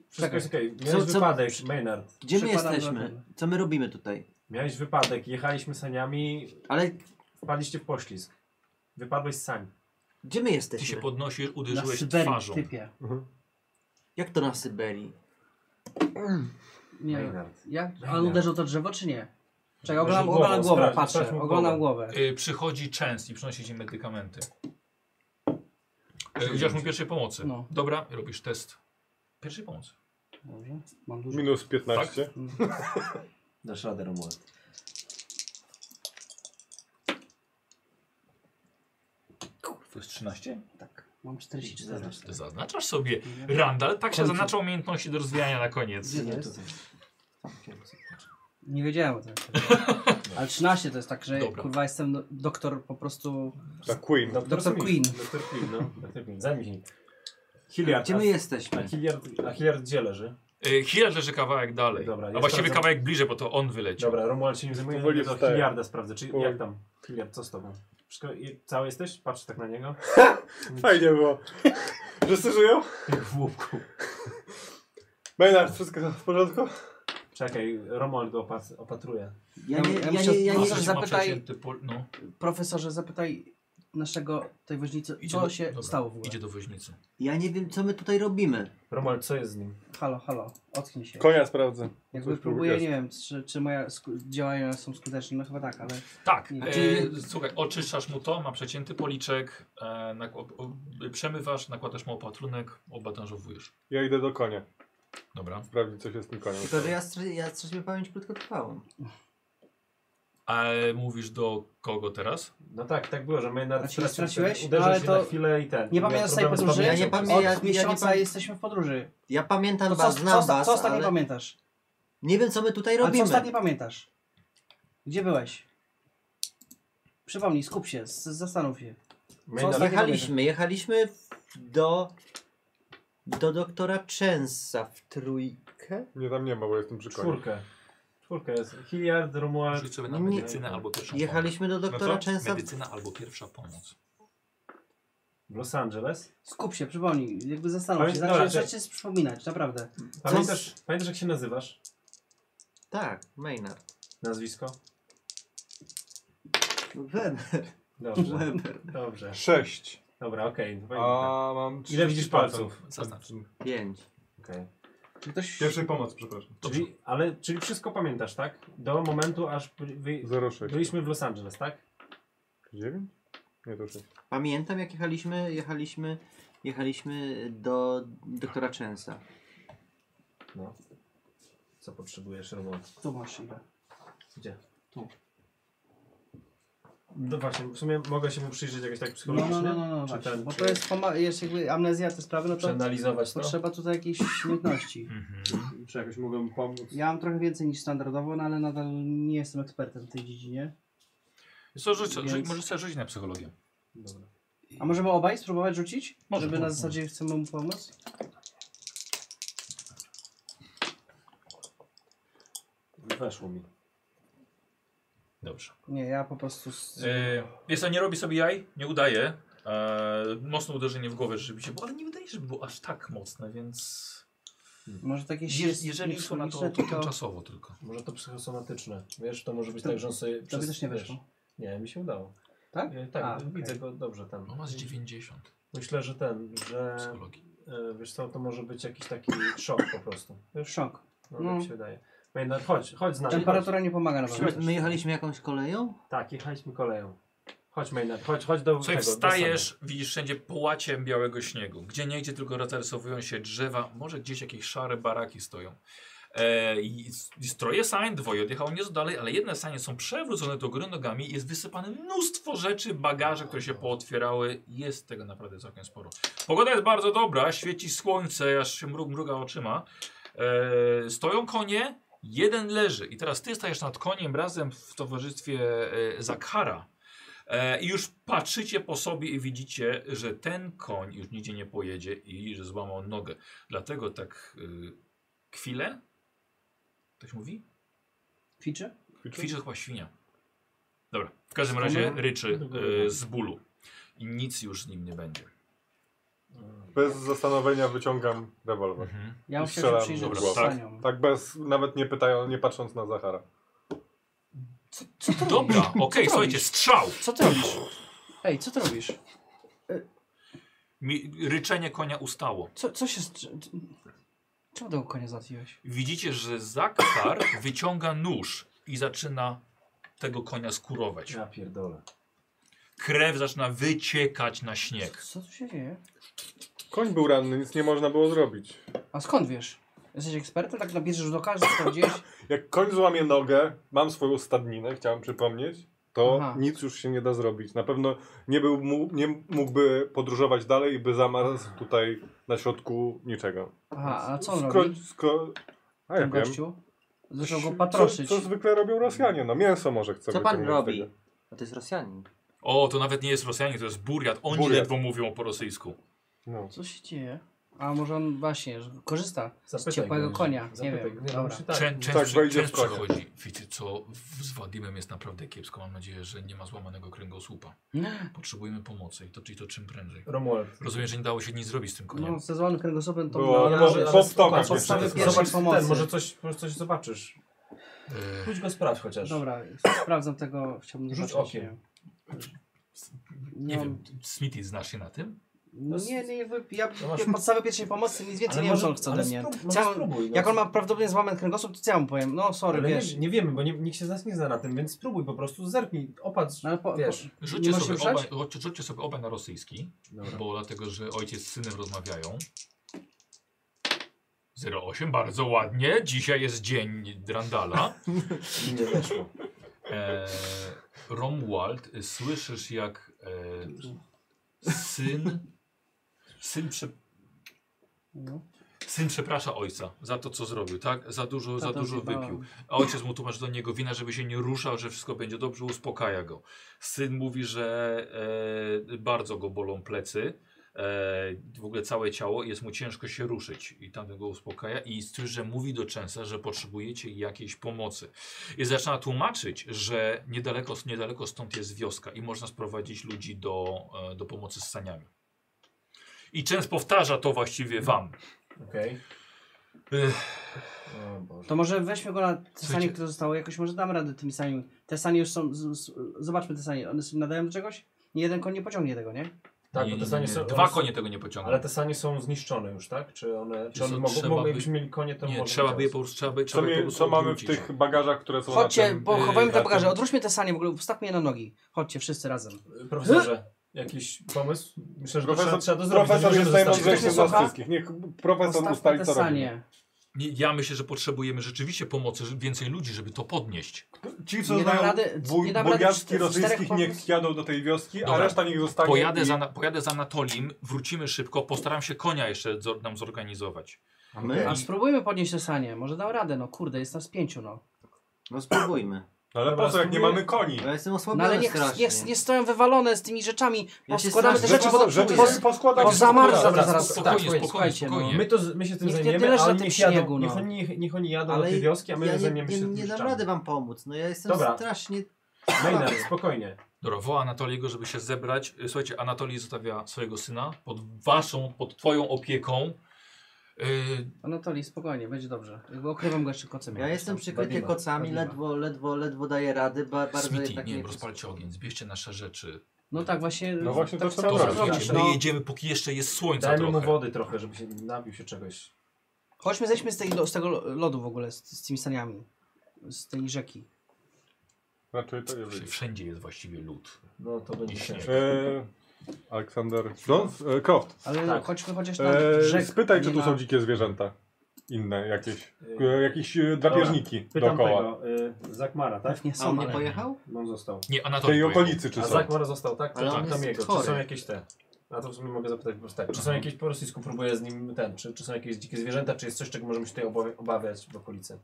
Speaker 2: Wszystko
Speaker 3: Czekaj.
Speaker 2: jest okej.
Speaker 5: Co-
Speaker 2: Miałeś
Speaker 5: co-
Speaker 2: wypadek, Maynard.
Speaker 5: gdzie my
Speaker 3: Przykładam
Speaker 5: jesteśmy?
Speaker 3: drogę.
Speaker 5: Co my robimy tutaj?
Speaker 2: Miałeś wypadek, jechaliśmy saniami,
Speaker 5: Ale
Speaker 2: wpadliście w poślizg. Wypadłeś z sani.
Speaker 5: gdzie my
Speaker 1: Ty się
Speaker 5: jesteśmy?
Speaker 1: podnosisz,
Speaker 3: tak. Na
Speaker 1: uderzyłeś
Speaker 3: Syberii,
Speaker 1: twarzą.
Speaker 3: typie.
Speaker 5: Jak to na Syberii?
Speaker 3: Nie.
Speaker 2: Maynard.
Speaker 3: Jak?
Speaker 2: Maynard.
Speaker 3: Ale uderzył to drzewo, czy nie? Czekaj, oglądam,
Speaker 2: Głową,
Speaker 3: oglądam głowę,
Speaker 2: sprawdź- sprawdź
Speaker 3: patrzę,
Speaker 2: mu
Speaker 3: oglądam
Speaker 2: głowę.
Speaker 3: głowę.
Speaker 1: Y, przychodzi częst i przynosi ci medykamenty. Y, Udzielasz mu pierwszej pomocy.
Speaker 3: No.
Speaker 1: Dobra, robisz test pierwszej pomocy.
Speaker 3: Dobrze, mam dużo.
Speaker 4: Minus 15.
Speaker 5: Do szrady Romuald.
Speaker 1: To jest 13?
Speaker 3: Tak, mam 43
Speaker 5: Zaznacz.
Speaker 1: Ty zaznaczasz sobie. Randall tak się
Speaker 3: Końcu.
Speaker 1: zaznacza umiejętności do rozwijania na koniec.
Speaker 5: Gdzie to
Speaker 3: Jest.
Speaker 5: tutaj?
Speaker 3: Nie wiedziałem o tym. Ale 13 to jest tak, że
Speaker 1: Dobra.
Speaker 3: kurwa jestem do, doktor po prostu...
Speaker 4: Ta Queen.
Speaker 2: No.
Speaker 3: Doktor Queen.
Speaker 2: Doktor Queen, no. Doktor Queen, zajmij się nim. Hilliard,
Speaker 5: Gdzie my
Speaker 2: a, a,
Speaker 5: jesteśmy?
Speaker 2: Hilliard, a Hilliard gdzie leży?
Speaker 1: Y, Hilliard leży kawałek dalej.
Speaker 2: Dobra,
Speaker 1: A
Speaker 2: ja
Speaker 1: właściwie
Speaker 2: sprawdzam.
Speaker 1: kawałek bliżej, bo to on wyleciał.
Speaker 2: Dobra, Romuald się nim zajmuje,
Speaker 4: Powoli
Speaker 2: nie do
Speaker 4: wstaję.
Speaker 2: Hilliarda sprawdzę. Czy
Speaker 4: Powoli.
Speaker 2: jak tam? Hilliard, co z tobą? Wszystko, i, cały jesteś? Patrz tak na niego.
Speaker 4: Fajnie było. Wszyscy żyją?
Speaker 2: W łupku.
Speaker 4: Maynard, wszystko w porządku?
Speaker 2: Czekaj, Romuald go opat opatruje.
Speaker 5: Ja nie, ja
Speaker 3: Ja
Speaker 5: nie, ja
Speaker 3: muszę-
Speaker 5: nie, ja
Speaker 1: No,
Speaker 5: nie
Speaker 1: coś ma
Speaker 3: zapytaj-
Speaker 1: przecięty pol- no.
Speaker 3: Profesorze, zapytaj naszego, tej woźnicy,
Speaker 1: Idzie
Speaker 3: co
Speaker 1: do-
Speaker 3: się
Speaker 1: dobra,
Speaker 3: stało w ogóle.
Speaker 1: Idzie do woźnicy.
Speaker 5: Ja nie wiem, co my tutaj robimy.
Speaker 2: Romuald, co jest z nim?
Speaker 3: Halo, halo, ocknij się.
Speaker 4: Konia sprawdzę.
Speaker 3: Jakby
Speaker 4: Coś próbuję
Speaker 3: próbuję, nie
Speaker 4: jest.
Speaker 3: wiem, czy, czy moje sku- działania są skuteczne, no chyba tak, ale...
Speaker 1: Tak,
Speaker 3: Nie.
Speaker 1: e,
Speaker 5: Czyli-
Speaker 1: słuchaj, oczyszczasz mu to, ma przecięty policzek, e, nak- o, o, przemywasz, nakładasz mu opatrunek, obatężowujesz.
Speaker 4: Ja idę do konia.
Speaker 1: Dobra.
Speaker 4: Sprawdzić, co się z tym koniem.
Speaker 5: Tylko, że ja, str- ja straciłem pamięć krótkotrwałą.
Speaker 1: A mówisz do kogo teraz?
Speaker 2: No tak, tak było, że Maynard
Speaker 3: Znaczy, straciłeś?
Speaker 2: uderzył
Speaker 3: Ale
Speaker 2: się
Speaker 3: to-
Speaker 2: na chwilę i ten.
Speaker 3: Nie
Speaker 2: miał
Speaker 3: pamiętasz tej
Speaker 2: problemy z
Speaker 3: podróży?
Speaker 5: Ja
Speaker 2: pamięcią.
Speaker 5: nie pamiętam.
Speaker 3: Od
Speaker 5: ja nie
Speaker 3: miesiąca
Speaker 5: pamię-
Speaker 3: jesteśmy w podróży.
Speaker 5: Ja
Speaker 3: To
Speaker 5: pamiętam
Speaker 3: co,
Speaker 5: was,
Speaker 3: co,
Speaker 5: znam
Speaker 3: co,
Speaker 5: was,
Speaker 3: co ostatnio
Speaker 5: ale
Speaker 3: pamiętasz?
Speaker 5: nie wiem, co my tutaj
Speaker 3: Ale co
Speaker 5: robimy.
Speaker 3: ostatnio pamiętasz? Gdzie byłeś? Przypomnij, skup się, z- zastanów się.
Speaker 2: Maynard,
Speaker 3: ostatnio-
Speaker 5: Jechaliśmy, jechaliśmy w- do... Do doktora Częsa w trójkę?
Speaker 4: Nie, tam nie ma, bo jestem przy koniu.
Speaker 2: czwórkę. Czwórkę jest. Hilliard, Romuald,
Speaker 1: Rzuć sobie na
Speaker 5: Nie.
Speaker 1: medycynę albo pierwszą
Speaker 5: Jechaliśmy do
Speaker 1: pomoc.
Speaker 5: doktora
Speaker 1: No co?
Speaker 5: Częsa w
Speaker 1: Medycyna albo pierwsza pomoc.
Speaker 2: w Los Angeles.
Speaker 3: Skup się, przypomnij, jakby zastanów się,
Speaker 2: Pamiętam, dobra,
Speaker 3: zacznij zacznij się przypominać, naprawdę.
Speaker 2: Pamiętasz, pamiętasz jak się nazywasz?
Speaker 5: Tak, Maynard.
Speaker 2: Nazwisko?
Speaker 5: Weber.
Speaker 2: Dobrze,
Speaker 5: Weber.
Speaker 2: dobrze.
Speaker 4: Sześć.
Speaker 2: Dobra, okej. to pamiętam.
Speaker 4: A mam
Speaker 2: Ile widzisz palców?
Speaker 1: Zaznacz.
Speaker 5: Pięć.
Speaker 2: Okej.
Speaker 3: Czy Ktoś...
Speaker 4: Pierwszej pomocy, przepraszam.
Speaker 2: Czyli, ale, czyli wszystko pamiętasz, tak? Do momentu, aż by- wy,
Speaker 4: 06.
Speaker 2: byliśmy w Los Angeles, tak?
Speaker 4: 9? Nie, to 6.
Speaker 5: Pamiętam jak jechaliśmy, jechaliśmy, jechaliśmy do doktora Częsa.
Speaker 2: No. Co potrzebujesz, Romuald?
Speaker 3: Tu masz ile?
Speaker 2: Gdzie?
Speaker 3: Tu.
Speaker 2: No właśnie, w sumie mogę się mu przyjrzeć jakoś tak
Speaker 3: No, no,
Speaker 2: psychologicznie?
Speaker 3: no, no, no,
Speaker 2: Czy
Speaker 3: właśnie,
Speaker 2: ten-
Speaker 3: bo
Speaker 2: czy
Speaker 3: to jest, poma- jest jakby amnezja te sprawy, no to
Speaker 2: Przeanalizować to?
Speaker 3: potrzeba tutaj jakiejś umiejętności.
Speaker 1: Mhm.
Speaker 4: Czy jakoś mogę pomóc?
Speaker 3: Ja mam trochę więcej niż standardowo, no ale nadal nie jestem ekspertem w tej dziedzinie.
Speaker 1: Co, rzuć, rzuć,
Speaker 3: Więc-
Speaker 1: możesz sobie rzucić na psychologię.
Speaker 2: Dobra.
Speaker 3: A możemy obaj spróbować rzucić?
Speaker 1: Może,
Speaker 3: żeby na
Speaker 1: może,
Speaker 3: zasadzie chcemy mu pomóc?
Speaker 2: Weszło mi.
Speaker 1: Dobrze.
Speaker 3: Nie, ja po prostu... Z...
Speaker 1: E, jest to nie robi sobie jaj, nie udaje. E, mocne uderzenie w głowę rzeczywiście, bo ale nie wydaje się, żeby było aż tak mocne, więc...
Speaker 3: Może takie
Speaker 1: Je, jeżeli szło na to,
Speaker 3: psychologiczne,
Speaker 1: to tymczasowo tylko.
Speaker 2: Może to psychosomatyczne. Wiesz, to może być
Speaker 3: To-
Speaker 2: tak, że on sobie...
Speaker 3: to by
Speaker 2: przez-
Speaker 3: też nie
Speaker 2: wiesz,
Speaker 3: wyszło.
Speaker 2: Nie, mi się udało.
Speaker 3: Tak?
Speaker 2: E, Tak,
Speaker 3: A,
Speaker 2: e,
Speaker 3: okej.
Speaker 2: widzę go dobrze tam.
Speaker 1: No ma z 90
Speaker 2: Myślę, że ten, że
Speaker 1: psychologii.
Speaker 2: e, wiesz co, to może być jakiś taki szok po prostu. Wiesz,
Speaker 3: Szok.
Speaker 2: no,
Speaker 3: No.
Speaker 2: tak mi się wydaje. Maynard, chodź, chodź
Speaker 4: Tak.
Speaker 2: z nami. Temperatura...
Speaker 3: Temperatura nie pomaga na pewno.
Speaker 5: My jechaliśmy jakąś koleją?
Speaker 2: Tak, jechaliśmy koleją. Chodź Maynard, chodź, chodź do
Speaker 1: Słuchaj,
Speaker 2: tego. do
Speaker 1: wstajesz, widzisz wszędzie połacie białego śniegu. Gdzie niegdzie tylko rozrysowują się drzewa, może gdzieś jakieś szare baraki stoją. E, i, I stroje sań, dwoje odjechało nieco dalej, ale jedne sanie są przewrócone do góry nogami, jest wysypane mnóstwo rzeczy, bagaże, które się pootwierały. Jest tego naprawdę całkiem sporo. Pogoda jest bardzo dobra, świeci słońce, aż się mrug, mruga oczyma. E, stoją konie, jeden leży i teraz ty stajesz nad koniem razem w towarzystwie e, Zakara. E, I już patrzycie po sobie i widzicie, że ten koń już nigdzie nie pojedzie i że złamał nogę. Dlatego tak y, chwilę, tak się mówi?
Speaker 3: Ficzy?
Speaker 1: Kwiczy chyba świnia. Dobra, w każdym razie ryczy y, z bólu. I nic już z nim nie będzie.
Speaker 2: basenu.
Speaker 4: Bez zastanowienia wyciągam rewolwer.
Speaker 3: Ja
Speaker 4: I
Speaker 3: muszę się
Speaker 4: strzelam
Speaker 3: przyjrzeć
Speaker 1: dobra,
Speaker 3: z
Speaker 1: tak.
Speaker 3: sanią.
Speaker 4: Tak bez, nawet nie pytają, nie patrząc na Zachara.
Speaker 1: Dobra, okej,
Speaker 3: robisz?
Speaker 1: słuchajcie, strzał!
Speaker 3: Co ty robisz? Ej, co ty robisz?
Speaker 1: Mi, ryczenie konia ustało.
Speaker 3: Co, co się... strze- Czemu tego konia zatwiłeś?
Speaker 1: Widzicie, że Zakar wyciąga nóż i zaczyna tego konia skurować.
Speaker 2: Ja pierdolę.
Speaker 1: Krew zaczyna wyciekać na śnieg.
Speaker 3: Co tu się dzieje?
Speaker 4: Koń był ranny, nic nie można było zrobić.
Speaker 3: A skąd wiesz? Jesteś ekspertem? Tak nabierzesz do każdego, co gdzieś?
Speaker 4: Jak koń złamie nogę, mam swoją stadninę, chciałem przypomnieć, to
Speaker 3: Aha.
Speaker 4: nic już się nie da zrobić. Na pewno nie, był, mu- nie mógłby podróżować dalej i by zamarzł tutaj na środku niczego.
Speaker 3: Aha, a co on
Speaker 4: Sko-
Speaker 3: robi?
Speaker 4: sko- a ja
Speaker 3: Ten
Speaker 4: wiem.
Speaker 3: gościu? Zaczął go
Speaker 4: Co,
Speaker 3: patroszyć.
Speaker 4: co zwykle robią Rosjanie? No mięso może chce
Speaker 5: Co pan
Speaker 4: wyciągnąć
Speaker 5: robi?
Speaker 4: tego.
Speaker 5: No to jest Rosjanin.
Speaker 1: O, to nawet nie jest Rosjanie, to jest Buriat. Oni
Speaker 4: Buriat.
Speaker 1: ledwo mówią po rosyjsku.
Speaker 4: No.
Speaker 3: Co się dzieje? A może on właśnie że korzysta
Speaker 2: Zapytaj
Speaker 3: z ciepłego
Speaker 2: go.
Speaker 3: konia. Nie
Speaker 2: Zapytaj go.
Speaker 3: wiem,
Speaker 2: Nie, no,
Speaker 3: dobra.
Speaker 2: musi tak.
Speaker 1: Czę, część
Speaker 4: tak,
Speaker 1: przy,
Speaker 4: wejdzie
Speaker 1: część
Speaker 4: w konia.
Speaker 1: przychodzi. Wiecie co, w- z Wadimem jest naprawdę kiepsko. Mam nadzieję, że nie ma złamanego kręgosłupa. Potrzebujemy pomocy i to, i to czym prędzej.
Speaker 2: Romuald.
Speaker 1: Rozumiem, że nie dało się nic zrobić z tym koniem.
Speaker 3: No, ze zwanym kręgosłupem to...
Speaker 4: Było-
Speaker 3: ale-
Speaker 4: po-
Speaker 3: ale-
Speaker 4: po wtokach
Speaker 3: zobacz,
Speaker 4: jeszcze
Speaker 3: podstawy
Speaker 4: to
Speaker 3: pierwszej
Speaker 2: Zobacz
Speaker 3: pomocy.
Speaker 2: ten, może coś, może coś zobaczysz.
Speaker 1: E,
Speaker 2: Pójdź go sprawdź chociaż.
Speaker 3: Dobra, sprawdzam tego, chciałbym
Speaker 2: Rzuć
Speaker 3: zobaczyć.
Speaker 2: okiem.
Speaker 3: nie wiem.
Speaker 1: nie
Speaker 3: No,
Speaker 1: wiem, Smithy, znasz się na tym?
Speaker 3: No nie, nie, wy- ja
Speaker 2: No masz-
Speaker 3: ja podstawę pierwszej pomocy, nic więcej
Speaker 2: Ale
Speaker 3: nie wiem,
Speaker 2: może-
Speaker 3: co on chce
Speaker 2: ale
Speaker 3: ode mnie.
Speaker 2: sprób- może
Speaker 3: Chciałem-
Speaker 2: spróbuj, no.
Speaker 3: Jak on ma prawdopodobnie złamany kręgosłup, to co ja mu powiem? No sorry,
Speaker 2: Ale
Speaker 3: wiesz.
Speaker 2: nie, nie wiemy, bo nie, nikt się z nas nie zna na tym, więc spróbuj po prostu, zerknij, opatrz,
Speaker 3: No ale po- po-
Speaker 2: wiesz.
Speaker 1: Rzućcie
Speaker 3: możesz
Speaker 1: sobie,
Speaker 3: ruszać?
Speaker 1: obaj, rzućcie- rzućcie sobie obaj na rosyjski, bo dlatego, że ojciec z synem rozmawiają. 08, bardzo ładnie. Dzisiaj jest dzień Drandala.
Speaker 2: Nie weszło.
Speaker 1: E, Romuald, y, słyszysz jak e, syn, syn, prze,
Speaker 3: No.
Speaker 1: syn przeprasza ojca za to, co zrobił, tak? Za dużo, za
Speaker 3: Tata
Speaker 1: dużo
Speaker 3: zjebałem.
Speaker 1: wypił. A ojciec mu tłumaczy do niego wina, żeby się nie ruszał, że wszystko będzie dobrze, uspokaja go. Syn mówi, że e, bardzo go bolą plecy, e, w ogóle całe ciało, jest mu ciężko się ruszyć i tam go uspokaja i słyszy, że mówi do Częsa, że potrzebujecie jakiejś pomocy. I zaczyna tłumaczyć, że niedaleko, niedaleko stąd jest wioska i można sprowadzić ludzi do, e, do pomocy z saniami. I Częs powtarza to właściwie wam.
Speaker 2: Okej.
Speaker 1: Ech,
Speaker 2: O Boże.
Speaker 3: To może weźmy go na te sanie,
Speaker 1: Słuchajcie.
Speaker 3: które zostały, jakoś może damy radę tymi saniami. Te sanie już są, z, z, zobaczmy te sanie, one są nadają do czegoś? Nie jeden koń nie pociągnie tego, nie?
Speaker 2: Tak,
Speaker 1: nie,
Speaker 2: bo
Speaker 1: nie,
Speaker 2: te sanie
Speaker 1: nie,
Speaker 2: są...
Speaker 1: Dwa konie tego nie pociągną.
Speaker 2: Ale te sanie są zniszczone już, tak? Czy one, czy
Speaker 1: Wiesz
Speaker 2: one
Speaker 1: co,
Speaker 2: mogą,
Speaker 1: trzeba
Speaker 2: mogą
Speaker 1: by-
Speaker 2: jakbyśmy mieli konie, to
Speaker 1: Nie,
Speaker 2: może
Speaker 1: trzeba by je po prostu, trzeba by,
Speaker 4: Co,
Speaker 1: trzeba by po
Speaker 4: mie,
Speaker 1: prostu
Speaker 4: co mamy w
Speaker 1: odwrócić.
Speaker 4: tych bagażach, które są na
Speaker 3: Chodźcie,
Speaker 4: tym,
Speaker 3: bo
Speaker 4: y,
Speaker 3: chowajmy
Speaker 4: na
Speaker 3: te bagaże,
Speaker 4: tym-
Speaker 3: odwróćmy te sanie, w ogóle wstawmy je na nogi. Chodźcie wszyscy razem.
Speaker 2: Profesorze, jakiś pomysł? Myślę, że to trzeba,
Speaker 4: Profesor,
Speaker 2: trzeba to zrobić.
Speaker 4: profesor
Speaker 2: nie
Speaker 4: jest
Speaker 2: możemy zostawić.
Speaker 4: najmądrzejszy
Speaker 3: Ktoś
Speaker 4: z
Speaker 3: mnie
Speaker 4: nas
Speaker 3: słucha?
Speaker 4: wszystkich. Niech profesor
Speaker 3: Postawmy
Speaker 4: ustali,
Speaker 3: te
Speaker 4: co robi.
Speaker 3: sanie.
Speaker 1: Nie, Ja myślę, że potrzebujemy rzeczywiście pomocy, że- więcej ludzi, żeby to podnieść.
Speaker 4: Ci,
Speaker 3: Nie
Speaker 4: co
Speaker 3: dam
Speaker 4: znają
Speaker 3: rady-
Speaker 4: wuj-
Speaker 3: nie dam rady z-
Speaker 4: bojarski
Speaker 3: z
Speaker 4: rosyjskich,
Speaker 3: czterech
Speaker 4: niech
Speaker 3: pomysłów.
Speaker 4: jadą do tej wioski, a
Speaker 1: Dobra.
Speaker 4: reszta niech zostanie.
Speaker 1: Pojadę
Speaker 4: Tak, i-
Speaker 1: za, na- pojadę za Anatolim, wrócimy szybko, postaram się konia jeszcze zor- nam zorganizować.
Speaker 5: A my?
Speaker 3: A spróbujmy podnieść te sanie, może dam radę, no kurde, jest nas pięciu, no.
Speaker 5: No spróbujmy.
Speaker 4: No ale po co, jak nie mamy koni?
Speaker 5: Bo ja jestem
Speaker 3: No
Speaker 5: osłabiony
Speaker 3: ale niech,
Speaker 5: strasznie.
Speaker 3: niech, niech stoją wywalone z tymi rzeczami,
Speaker 5: Ja
Speaker 3: bo
Speaker 5: się
Speaker 3: składamy te
Speaker 5: strasznie
Speaker 3: rzeczy, bo to,
Speaker 5: żeby-
Speaker 3: bo,
Speaker 5: żeby-
Speaker 4: poskładać.
Speaker 3: bo zamarza
Speaker 2: Dobra,
Speaker 3: to
Speaker 2: dobra,
Speaker 3: zaraz.
Speaker 1: spokojnie,
Speaker 3: Tak,
Speaker 1: spokojnie,
Speaker 3: słuchajcie, no.
Speaker 1: spokojnie.
Speaker 2: My, to, z- my się tym
Speaker 3: Niech nie
Speaker 2: zajmiemy,
Speaker 3: tyle, że
Speaker 2: a
Speaker 3: na
Speaker 2: oni
Speaker 3: tym
Speaker 2: niech jadą,
Speaker 3: śniegu, no.
Speaker 2: niech, oni, niech oni jadą
Speaker 5: Ale
Speaker 2: do tej wioski, a my
Speaker 5: ja
Speaker 2: zajmiemy
Speaker 5: nie,
Speaker 2: się
Speaker 5: nie,
Speaker 2: tym
Speaker 5: nie dam
Speaker 2: rzeczami.
Speaker 5: rady wam pomóc. No ja jestem
Speaker 2: Dobra.
Speaker 5: strasznie...
Speaker 2: Maynard, spokojnie.
Speaker 1: Dobra, woła Anatoliego, żeby się zebrać. Y, Słuchajcie, Anatolij zostawia swojego syna pod waszą, pod twoją opieką. Y,
Speaker 3: Anatolij, spokojnie, będzie dobrze. Jakby Okrywam go jeszcze kocem.
Speaker 5: Ja
Speaker 3: jakimś
Speaker 5: jestem
Speaker 3: tam.
Speaker 5: przykryty
Speaker 2: Badima,
Speaker 5: kocami,
Speaker 3: Badima.
Speaker 5: ledwo, ledwo, ledwo daję rady. Ba, bardzo
Speaker 1: Smithy,
Speaker 5: jednak
Speaker 1: Yy, nie
Speaker 5: nie
Speaker 1: wiem, rozpalcie ogień, zbierzcie nasze rzeczy.
Speaker 3: No tak, właśnie.
Speaker 4: No właśnie
Speaker 3: tak
Speaker 4: to trzeba
Speaker 3: chciałem
Speaker 1: Dobra,
Speaker 4: Dobra,
Speaker 3: zrobić,
Speaker 1: słuchajcie,
Speaker 3: no.
Speaker 1: my jedziemy, póki jeszcze jest słońce
Speaker 2: Dajmy mu
Speaker 1: trochę.
Speaker 2: wody trochę, żeby się nabił się czegoś.
Speaker 3: Chodźmy, zejdźmy z, tej, lo- z tego lo- lodu w ogóle, z, z tymi saniami. Z tej rzeki.
Speaker 4: Znaczy, to jest.
Speaker 1: Wsz- Wszędzie jest właściwie lód.
Speaker 2: No to będzie
Speaker 1: I śnieg.
Speaker 2: ciężko.
Speaker 4: E, Aleksander Jones? E, Croft.
Speaker 3: Ale
Speaker 2: Tak.
Speaker 3: chodźmy chociaż na
Speaker 4: E,
Speaker 3: rzek.
Speaker 4: spytaj,
Speaker 3: a
Speaker 4: czy
Speaker 3: nie
Speaker 4: tu są
Speaker 3: na-
Speaker 4: dzikie zwierzęta. Inne jakieś. E,
Speaker 2: Y,
Speaker 4: jakieś e, drapieżniki
Speaker 2: Pytam
Speaker 4: dookoła.
Speaker 2: tego, y, Zakmara, tak?
Speaker 3: Pewnie
Speaker 5: A on
Speaker 3: są,
Speaker 5: nie
Speaker 3: ale...
Speaker 5: pojechał?
Speaker 2: No on został.
Speaker 1: Nie,
Speaker 4: W
Speaker 1: Anatolij
Speaker 4: tej
Speaker 1: pojechał.
Speaker 4: okolicy, czy
Speaker 2: A
Speaker 4: są.
Speaker 2: Zakmar został, tak? To
Speaker 5: Ale on
Speaker 2: tam, tam
Speaker 5: jest
Speaker 2: jego.
Speaker 5: chory.
Speaker 2: Czy są jakieś te? A to w sumie mogę zapytać po prostu tak. Czy są
Speaker 1: Mhm.
Speaker 2: jakieś, po rosyjsku próbuję z nim ten, czy, czy są jakieś dzikie zwierzęta, czy jest coś, czego możemy się tutaj obawi- obawiać w okolicy?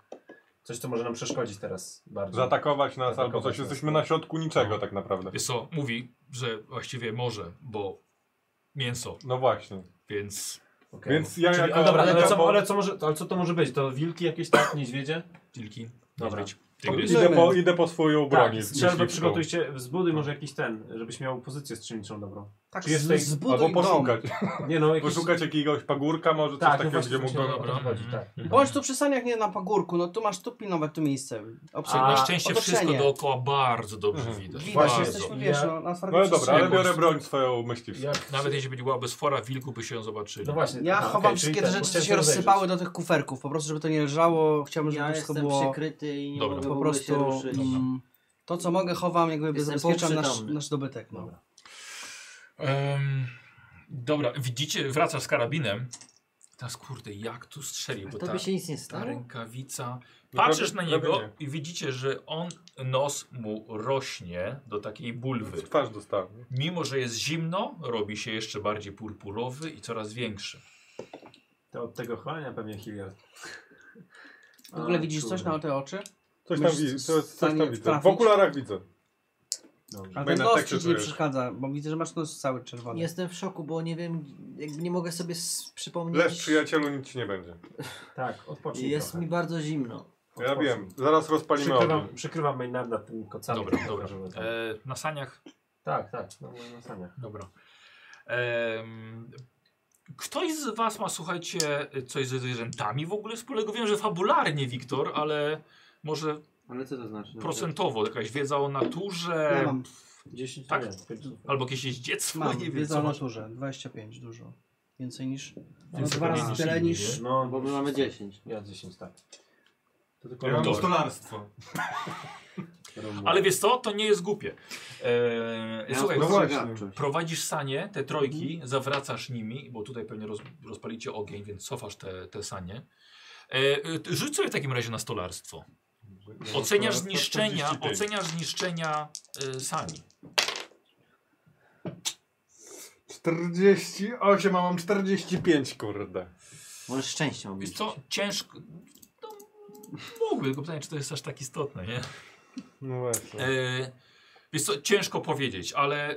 Speaker 2: Coś, co może nam przeszkodzić teraz bardziej.
Speaker 4: Zaatakować nas albo
Speaker 2: Zaatakować
Speaker 4: coś.
Speaker 2: nas.
Speaker 4: Jesteśmy na środku niczego
Speaker 1: No.
Speaker 4: tak naprawdę.
Speaker 1: Wiesz co, mówi, że właściwie może, bo mięso,
Speaker 4: No właśnie.
Speaker 1: więc
Speaker 2: Okej.
Speaker 4: Więc ja
Speaker 2: Czyli,
Speaker 4: jako...
Speaker 2: a dobra, ale
Speaker 4: jako-
Speaker 2: co, ale, co może, ale co to może być? To wilki jakieś, tak? Niedźwiedzie?
Speaker 1: wilki,
Speaker 2: Dobra.
Speaker 1: niedźwiedź,
Speaker 4: to
Speaker 1: tygrys.
Speaker 4: Idę po, idę po swoją broń.
Speaker 2: Tak, strzelbę przygotujcie,
Speaker 4: No.
Speaker 2: zbuduj może jakiś ten, żebyś miał pozycję strzelniczą dobrą.
Speaker 3: Tak,
Speaker 2: Czy jest
Speaker 3: z-
Speaker 2: tej-
Speaker 3: zbuduj
Speaker 4: Albo
Speaker 3: dom.
Speaker 4: poszukać.
Speaker 2: Nie no, jakiś...
Speaker 4: Tak. Poszukać jakiegoś pagórka, może coś
Speaker 2: Tak, no
Speaker 4: takiego,
Speaker 2: właśnie,
Speaker 4: gdzie mógł
Speaker 2: właśnie
Speaker 4: go...
Speaker 2: o to
Speaker 1: Dobra.
Speaker 2: chodzi,
Speaker 1: Mhm.
Speaker 2: tak.
Speaker 3: Bądź tu przy saniach, nie na pagórku, no tu masz tu pilnować to miejsce. Obserw-
Speaker 2: A,
Speaker 1: Na szczęście wszystko
Speaker 3: otoczenie.
Speaker 1: dookoła bardzo dobrze
Speaker 4: Mhm.
Speaker 1: widać.
Speaker 3: Widać,
Speaker 2: Właśnie,
Speaker 1: bardzo.
Speaker 3: jesteśmy,
Speaker 2: ja-
Speaker 3: wiesz, no, na
Speaker 4: No
Speaker 3: twardo
Speaker 4: dobra, ale
Speaker 1: Jakoś-
Speaker 4: biorę broń swoją myśliwską.
Speaker 2: Jak...
Speaker 1: Nawet jeśli będzie była bez fora, wilku by się ją zobaczyli.
Speaker 2: No właśnie.
Speaker 3: Ja
Speaker 2: aha,
Speaker 3: chowam
Speaker 2: okej, czyli
Speaker 3: wszystkie te
Speaker 2: ten,
Speaker 3: rzeczy, co
Speaker 2: chciałem
Speaker 3: się
Speaker 2: rozejrzeć.
Speaker 3: rozsypały do tych kuferków, po prostu żeby to nie leżało, chciałbym, żeby
Speaker 5: Ja
Speaker 3: to wszystko
Speaker 5: jestem
Speaker 3: było
Speaker 5: przykryty i nie
Speaker 1: Dobra.
Speaker 5: mogę
Speaker 3: po
Speaker 5: w ogóle się
Speaker 3: prostu...
Speaker 5: ruszyć.
Speaker 3: mm, To, co mogę, chowam, jakby
Speaker 5: Jestem
Speaker 3: zabezpieczam nasz,
Speaker 5: półprzytomny.
Speaker 3: nasz dobytek. No.
Speaker 5: Dobra.
Speaker 1: Em, dobra, widzicie, wraca z karabinem. Teraz kurde, jak tu strzelił, bo
Speaker 5: To
Speaker 1: ta,
Speaker 5: by się nic nie
Speaker 1: ta
Speaker 5: stało?
Speaker 1: rękawica... Patrzysz na
Speaker 4: prawie-
Speaker 1: niego
Speaker 4: prawie
Speaker 1: i widzicie, że on, nos mu rośnie do takiej
Speaker 4: nie.
Speaker 1: bulwy.
Speaker 4: W twarz dostałem.
Speaker 1: Mimo, że jest zimno, robi się jeszcze bardziej purpurowy i coraz większy.
Speaker 2: To od tego chwalenia pewnie Hilliard.
Speaker 3: W ogóle widzisz coś na te oczy?
Speaker 4: Coś tam,
Speaker 3: Myślisz,
Speaker 4: widzę, coś, coś
Speaker 3: stanie
Speaker 4: tam widzę. W
Speaker 3: trafić?
Speaker 4: okularach widzę.
Speaker 3: A
Speaker 4: Będę
Speaker 3: ten
Speaker 4: tak
Speaker 3: nos
Speaker 4: się
Speaker 3: ci nie
Speaker 4: czujesz.
Speaker 3: przeszkadza, bo widzę, że masz nos cały czerwony.
Speaker 5: Jestem w szoku, bo nie wiem, jakby nie mogę sobie s- przypomnieć.
Speaker 4: Leż przyjacielu, nic ci nie będzie.
Speaker 2: Tak, odpocznij
Speaker 5: Jest
Speaker 2: trochę.
Speaker 5: mi bardzo zimno.
Speaker 4: Ja
Speaker 2: Odpocznij.
Speaker 4: wiem, zaraz rozpalimy
Speaker 2: Przykrywam,
Speaker 4: ogień.
Speaker 2: przykrywam Maynarda tym kocami.
Speaker 1: Dobra,
Speaker 2: tak,
Speaker 1: dobra.
Speaker 2: żeby tam-
Speaker 1: E, na saniach
Speaker 2: Tak, tak, no moje nasania.
Speaker 1: Dobra. Em, ktoś z Was ma, słuchajcie, coś ze zwierzętami w ogóle wspólnego? Wiem, że fabularnie, Wiktor, ale może
Speaker 5: Ale co to znaczy?
Speaker 1: procentowo jakaś wiedza o naturze,
Speaker 3: Ja mam,
Speaker 2: 10
Speaker 1: Tak.
Speaker 2: nie, tylko-
Speaker 1: albo jakieś dziecko,
Speaker 3: mam
Speaker 1: nie wiem
Speaker 3: wiedzę
Speaker 1: co
Speaker 3: o
Speaker 1: masz.
Speaker 3: naturze, 25, dużo. Więcej niż... No,
Speaker 1: Więcej
Speaker 3: dwa
Speaker 1: pewnie
Speaker 3: razy
Speaker 1: niż
Speaker 3: tyle
Speaker 1: inni,
Speaker 3: niż...
Speaker 1: nie?
Speaker 2: No,
Speaker 5: Bo my mamy 10.
Speaker 2: Ja 10, tak. To tylko
Speaker 4: Ja mam
Speaker 1: Dobra.
Speaker 4: stolarstwo.
Speaker 1: Ale wiesz co, to nie jest głupie. E,
Speaker 5: Ja
Speaker 1: słuchaj,
Speaker 4: no
Speaker 1: pro-
Speaker 4: właśnie.
Speaker 5: spostrzegawczość.
Speaker 1: prowadzisz sanie, te trojki,
Speaker 3: Mhm.
Speaker 1: zawracasz nimi, bo tutaj pewnie roz, rozpalicie ogień, więc cofasz te, te sanie. E, e, t- rzuć sobie w takim razie na stolarstwo. Oceniasz zniszczenia, oceniasz zniszczenia y, sani.
Speaker 4: 48, a mam 45, kurde.
Speaker 5: Może szczęście mam
Speaker 1: Wiesz
Speaker 5: mieć.
Speaker 1: co, ciężko. No, mógłby, tylko pytanie, czy to jest aż tak istotne, nie?
Speaker 4: No właśnie.
Speaker 1: E, wiesz co, ciężko powiedzieć, ale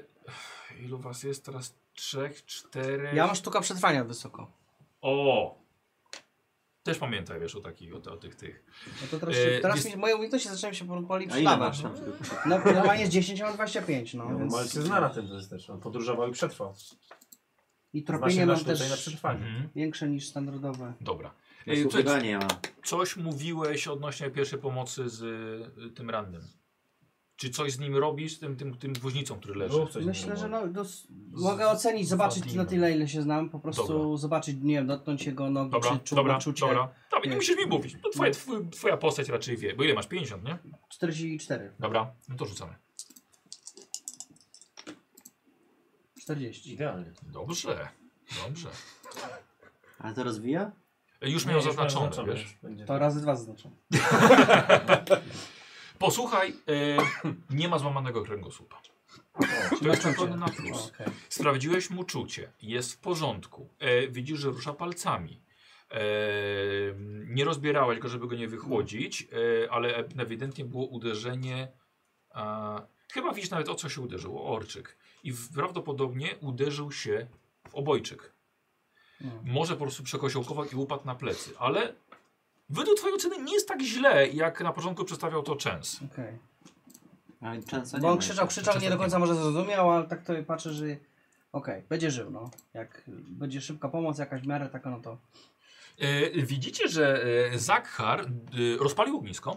Speaker 1: ilu was jest teraz? Trzech,
Speaker 5: E,
Speaker 1: czterech.
Speaker 3: Ja mam sztuka przetrwania wysoko.
Speaker 1: O! Też pamiętaj, wiesz, o takich, o, o tych tych.
Speaker 3: No to teraz,
Speaker 1: E,
Speaker 3: się, teraz
Speaker 1: jest-
Speaker 3: mi, moje umiejętności zaczynają się powoli
Speaker 5: A ile
Speaker 3: przydawać.
Speaker 5: masz tam? tego?
Speaker 3: No, normalnie jest 10, a mam 25, no,
Speaker 2: No,
Speaker 3: więc...
Speaker 2: Mal się zna na tym, to jest też. On podróżował i przetrwał. Zna
Speaker 3: I
Speaker 2: się
Speaker 3: tropienie
Speaker 2: na
Speaker 3: mam
Speaker 2: sztuce i na
Speaker 3: też
Speaker 2: przetrwanie.
Speaker 1: Mhm.
Speaker 3: większe niż standardowe.
Speaker 1: Dobra.
Speaker 5: No,
Speaker 1: E, co,
Speaker 5: słuchaj, nie ma.
Speaker 1: coś mówiłeś odnośnie pierwszej pomocy z y, tym rannym. Czy coś z nim robisz, tym, tym, tym dwoźnicą, który leży?
Speaker 2: Rób coś
Speaker 3: Myślę,
Speaker 2: z
Speaker 3: że
Speaker 2: nim.
Speaker 3: no, dos- mogę ocenić, zobaczyć
Speaker 1: Fatima.
Speaker 3: na tyle, ile się znam, po prostu
Speaker 1: Dobra.
Speaker 3: zobaczyć, nie wiem, dotknąć jego nogi,
Speaker 1: Dobra,
Speaker 3: czy Znaczy, czuł
Speaker 1: dobra,
Speaker 3: czucie.
Speaker 1: dobra. Dobra, nie
Speaker 3: Wiesz.
Speaker 1: musisz mi mówić. To twoja, tw- twoja postać raczej wie, bo ile masz? 50, nie?
Speaker 3: 44,
Speaker 1: Dobra, no to rzucamy.
Speaker 3: 40.
Speaker 2: Idealnie.
Speaker 1: no, Dobrze, dobrze.
Speaker 5: Ale to rozwija?
Speaker 1: E, Już
Speaker 2: Nie,
Speaker 1: miał
Speaker 2: już
Speaker 1: zaznaczone,
Speaker 2: zaznaczone,
Speaker 1: wiesz.
Speaker 2: już będzie
Speaker 3: To
Speaker 2: tak.
Speaker 3: razy dwa zaznaczam.
Speaker 1: Posłuchaj, e, nie ma złamanego kręgosłupa. To jest
Speaker 3: Czucie.
Speaker 1: tylko na
Speaker 3: O,
Speaker 1: plus.
Speaker 3: okej.
Speaker 1: Sprawdziłeś mu czucie, jest w porządku. E, widzisz, że rusza palcami. E, nie rozbierałeś go, żeby go nie wychłodzić, e, ale ewidentnie było uderzenie. A, chyba widzisz nawet o co się uderzyło, o orczyk. I w, prawdopodobnie uderzył się w obojczyk.
Speaker 3: No.
Speaker 1: Może po prostu przekosiołkował i upadł na plecy, ale według twojej oceny nie jest tak źle, jak na początku przedstawiał to Częs.
Speaker 3: Okej.
Speaker 5: Ale często nie
Speaker 3: Bo on
Speaker 5: ma
Speaker 3: krzyczał,
Speaker 5: jeszcze.
Speaker 3: krzyczał, nie do
Speaker 1: Czasem tak
Speaker 3: końca może zrozumiał, ale tak to patrzę, że okej, będzie żył, no. Jak będzie szybka pomoc, jakaś w miarę taka, no to...
Speaker 1: E, widzicie, że e, Zakhar e, rozpalił ognisko,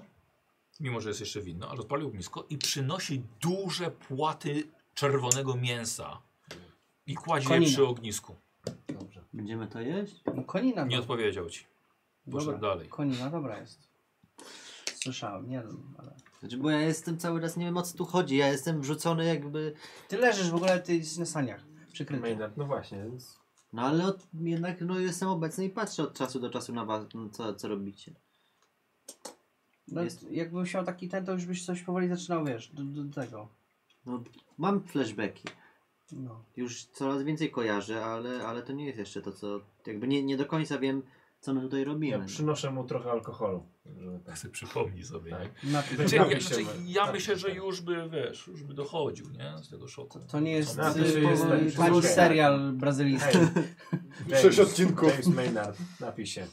Speaker 1: mimo że jest jeszcze winno, ale rozpalił ognisko i przynosi duże płaty czerwonego mięsa i kładzie je
Speaker 3: Konina.
Speaker 1: przy ognisku.
Speaker 2: Dobrze.
Speaker 5: Będziemy to jeść?
Speaker 3: No konina,
Speaker 1: Nie
Speaker 3: no.
Speaker 1: odpowiedział ci. Poszedł
Speaker 3: Dobra.
Speaker 1: dalej.
Speaker 3: Konina dobra jest. Słyszałem, nie wiem, ale...
Speaker 5: Znaczy, bo ja jestem cały czas, nie wiem o co tu chodzi. Ja jestem wrzucony jakby...
Speaker 3: Ty leżysz w ogóle, ty jesteś na saniach. Przykryty.
Speaker 2: Maynard, no właśnie, więc...
Speaker 5: No ale od, jednak no, jestem obecny i patrzę od czasu do czasu na was, no, co, co robicie.
Speaker 3: No,
Speaker 5: Jest-
Speaker 3: Jakbym miał taki ten, to już byś coś powoli zaczynał, wiesz, do, do tego.
Speaker 5: No, mam flashbacki.
Speaker 3: No.
Speaker 5: Już coraz więcej kojarzę, ale, ale to nie jest jeszcze to, co... Jakby nie, nie do końca wiem, co my tutaj robimy.
Speaker 2: Ja przynoszę mu trochę alkoholu. żeby tak-
Speaker 1: Sobie przypomnij sobie.
Speaker 2: Tak.
Speaker 1: nie?
Speaker 3: Na
Speaker 1: Znaczy,
Speaker 2: Napisz
Speaker 1: ja,
Speaker 2: się, tak,
Speaker 1: znaczy,
Speaker 2: Marek.
Speaker 1: ja
Speaker 2: Napisz
Speaker 1: myślę, że
Speaker 2: się.
Speaker 1: już by, wiesz, już by dochodził, nie? Z tego szoku. Znaczy,
Speaker 3: to nie jest
Speaker 2: Na
Speaker 1: Co-
Speaker 2: ty się
Speaker 3: y,
Speaker 2: jest
Speaker 3: po-
Speaker 2: lepszy.
Speaker 3: taki
Speaker 2: Okej.
Speaker 3: serial brazylijski.
Speaker 2: Hej, James,
Speaker 4: Sześć odcinków.
Speaker 2: James Maynard, napij się.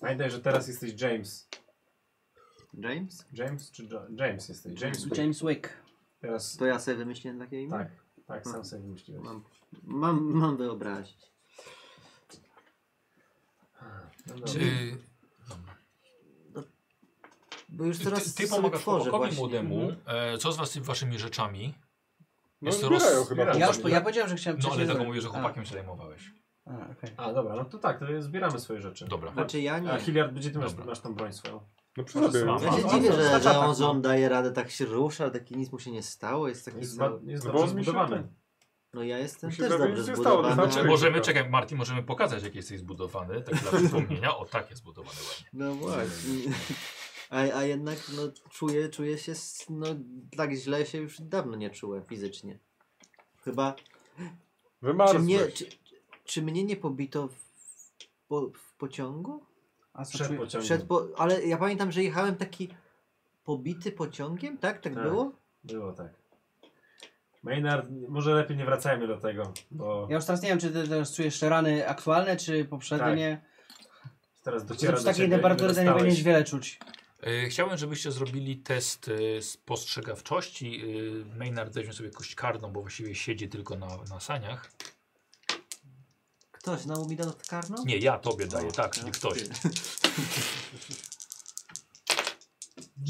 Speaker 2: Pamiętaj, że teraz jesteś James.
Speaker 5: James?
Speaker 2: James czy jo James jesteś? James.
Speaker 3: James Wick.
Speaker 2: Teraz...
Speaker 5: To ja sobie wymyśliłem takie imię?
Speaker 2: Tak, tak, sam sobie wymyśliłeś.
Speaker 5: Mam, mam, mam wyobrazić.
Speaker 2: No
Speaker 1: Czy,
Speaker 2: dobra.
Speaker 5: Bo już
Speaker 1: ty,
Speaker 5: teraz
Speaker 1: ty
Speaker 5: sobie
Speaker 1: pomagasz
Speaker 5: tworzę
Speaker 1: chłopakowi
Speaker 5: właśnie.
Speaker 1: młodemu. E, co z was, waszymi rzeczami?
Speaker 4: No
Speaker 1: Jest
Speaker 4: zbierają
Speaker 1: roz-
Speaker 4: chyba.
Speaker 3: Ja,
Speaker 4: po
Speaker 3: już,
Speaker 4: prostu.
Speaker 3: ja powiedziałem, że chciałem
Speaker 1: No ale
Speaker 3: wcześniej
Speaker 1: tego
Speaker 3: zrobić.
Speaker 1: mówię, że chłopakiem się zajmowałeś.
Speaker 3: A, a, okej.
Speaker 2: A dobra, no to tak, to zbieramy swoje rzeczy.
Speaker 1: Dobra.
Speaker 5: Znaczy ja
Speaker 2: A
Speaker 5: nie.
Speaker 2: Hilliard będzie ty masz,
Speaker 1: Dobra.
Speaker 2: masz tą broń swoją.
Speaker 4: No przy sobie.
Speaker 1: Mam.
Speaker 5: Ja
Speaker 1: A,
Speaker 5: się
Speaker 1: a
Speaker 5: dziwię,
Speaker 2: co,
Speaker 5: że, że
Speaker 2: zaczapa,
Speaker 5: on,
Speaker 2: no.
Speaker 5: że on daje radę tak się rusza, taki nic mu się nie stało, jest taki
Speaker 2: Jest, ba-
Speaker 5: cały...
Speaker 2: jest
Speaker 4: Bo
Speaker 2: dobrze
Speaker 4: on mi się
Speaker 2: zbudowany.
Speaker 5: No ja jestem
Speaker 4: Mi się
Speaker 5: też
Speaker 4: prawie
Speaker 5: dobrze
Speaker 4: nic nie stało, to
Speaker 5: zbudowany.
Speaker 4: znaczy-
Speaker 1: Możemy, czekaj, Martin, możemy pokazać, jak jesteś zbudowany. Tak dla przypomnienia. O, tak jest zbudowany ładnie.
Speaker 5: No właśnie. A, a jednak no, czuję, czuję się, s- no tak źle się już dawno nie czułem fizycznie. Chyba, czy mnie,
Speaker 4: Wymarzłeś.
Speaker 5: czy, czy mnie nie pobito w, po, w pociągu?
Speaker 3: A co
Speaker 2: Przed
Speaker 3: czuję?
Speaker 2: pociągiem.
Speaker 5: Przed po, ale ja pamiętam, że jechałem taki pobity pociągiem, tak? Tak,
Speaker 2: Tak.
Speaker 5: było?
Speaker 2: Było tak. Maynard, może lepiej nie wracajmy do tego, bo
Speaker 3: Ja już teraz nie wiem, czy ty teraz czujesz rany aktualne, czy poprzednie.
Speaker 2: teraz
Speaker 3: Że
Speaker 2: dociera
Speaker 3: Przy
Speaker 2: do
Speaker 3: takiej
Speaker 2: ciebie,
Speaker 3: temperaturze nie
Speaker 2: dostałeś.
Speaker 3: będziesz wiele czuć.
Speaker 1: E, Chciałem, żebyście zrobili test e, spostrzegawczości. E, Maynard weźmie sobie kość karną, bo właściwie siedzi tylko na, na saniach.
Speaker 5: Ktoś znowu mi dał karną?
Speaker 1: Nie, ja tobie daję,
Speaker 5: O,
Speaker 1: tak, czyli ktoś.
Speaker 5: ty.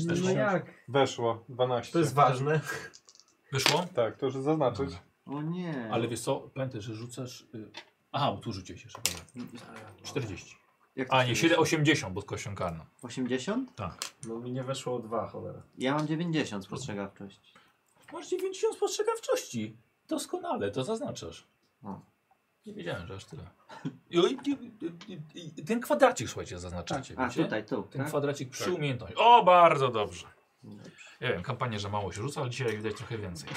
Speaker 1: też
Speaker 3: No
Speaker 1: nie?
Speaker 3: jak?
Speaker 4: Weszło. 12.
Speaker 2: To jest ważne.
Speaker 1: Wyszło?
Speaker 4: Tak, to już zaznaczyć.
Speaker 1: Dobra.
Speaker 5: O nie.
Speaker 1: Ale wiesz co, pamiętaj, że rzucasz... y, Aha, bo tu rzuciłeś jeszcze. dobra.
Speaker 2: No.
Speaker 1: 40.
Speaker 5: Jak to
Speaker 1: A nie, 7,
Speaker 5: 40?
Speaker 1: 80, bo z kością karną.
Speaker 5: 80?
Speaker 2: No mi nie weszło o dwa, cholera.
Speaker 5: Ja mam 90 spostrzegawczość.
Speaker 1: Masz 90 spostrzegawczości. Doskonale, to zaznaczasz.
Speaker 5: O.
Speaker 1: Nie wiedziałem, że aż tyle. I, i, i, i ten kwadracik, słuchajcie, zaznaczacie.
Speaker 5: A
Speaker 1: wiecie?
Speaker 5: tutaj, tu.
Speaker 1: Ten
Speaker 5: Tak?
Speaker 1: kwadracik przy
Speaker 4: Tak.
Speaker 1: umiejętności. O, bardzo dobrze.
Speaker 5: Dobrze.
Speaker 1: Ja wiem, kampania, że mało się rzuca, ale dzisiaj widać trochę więcej.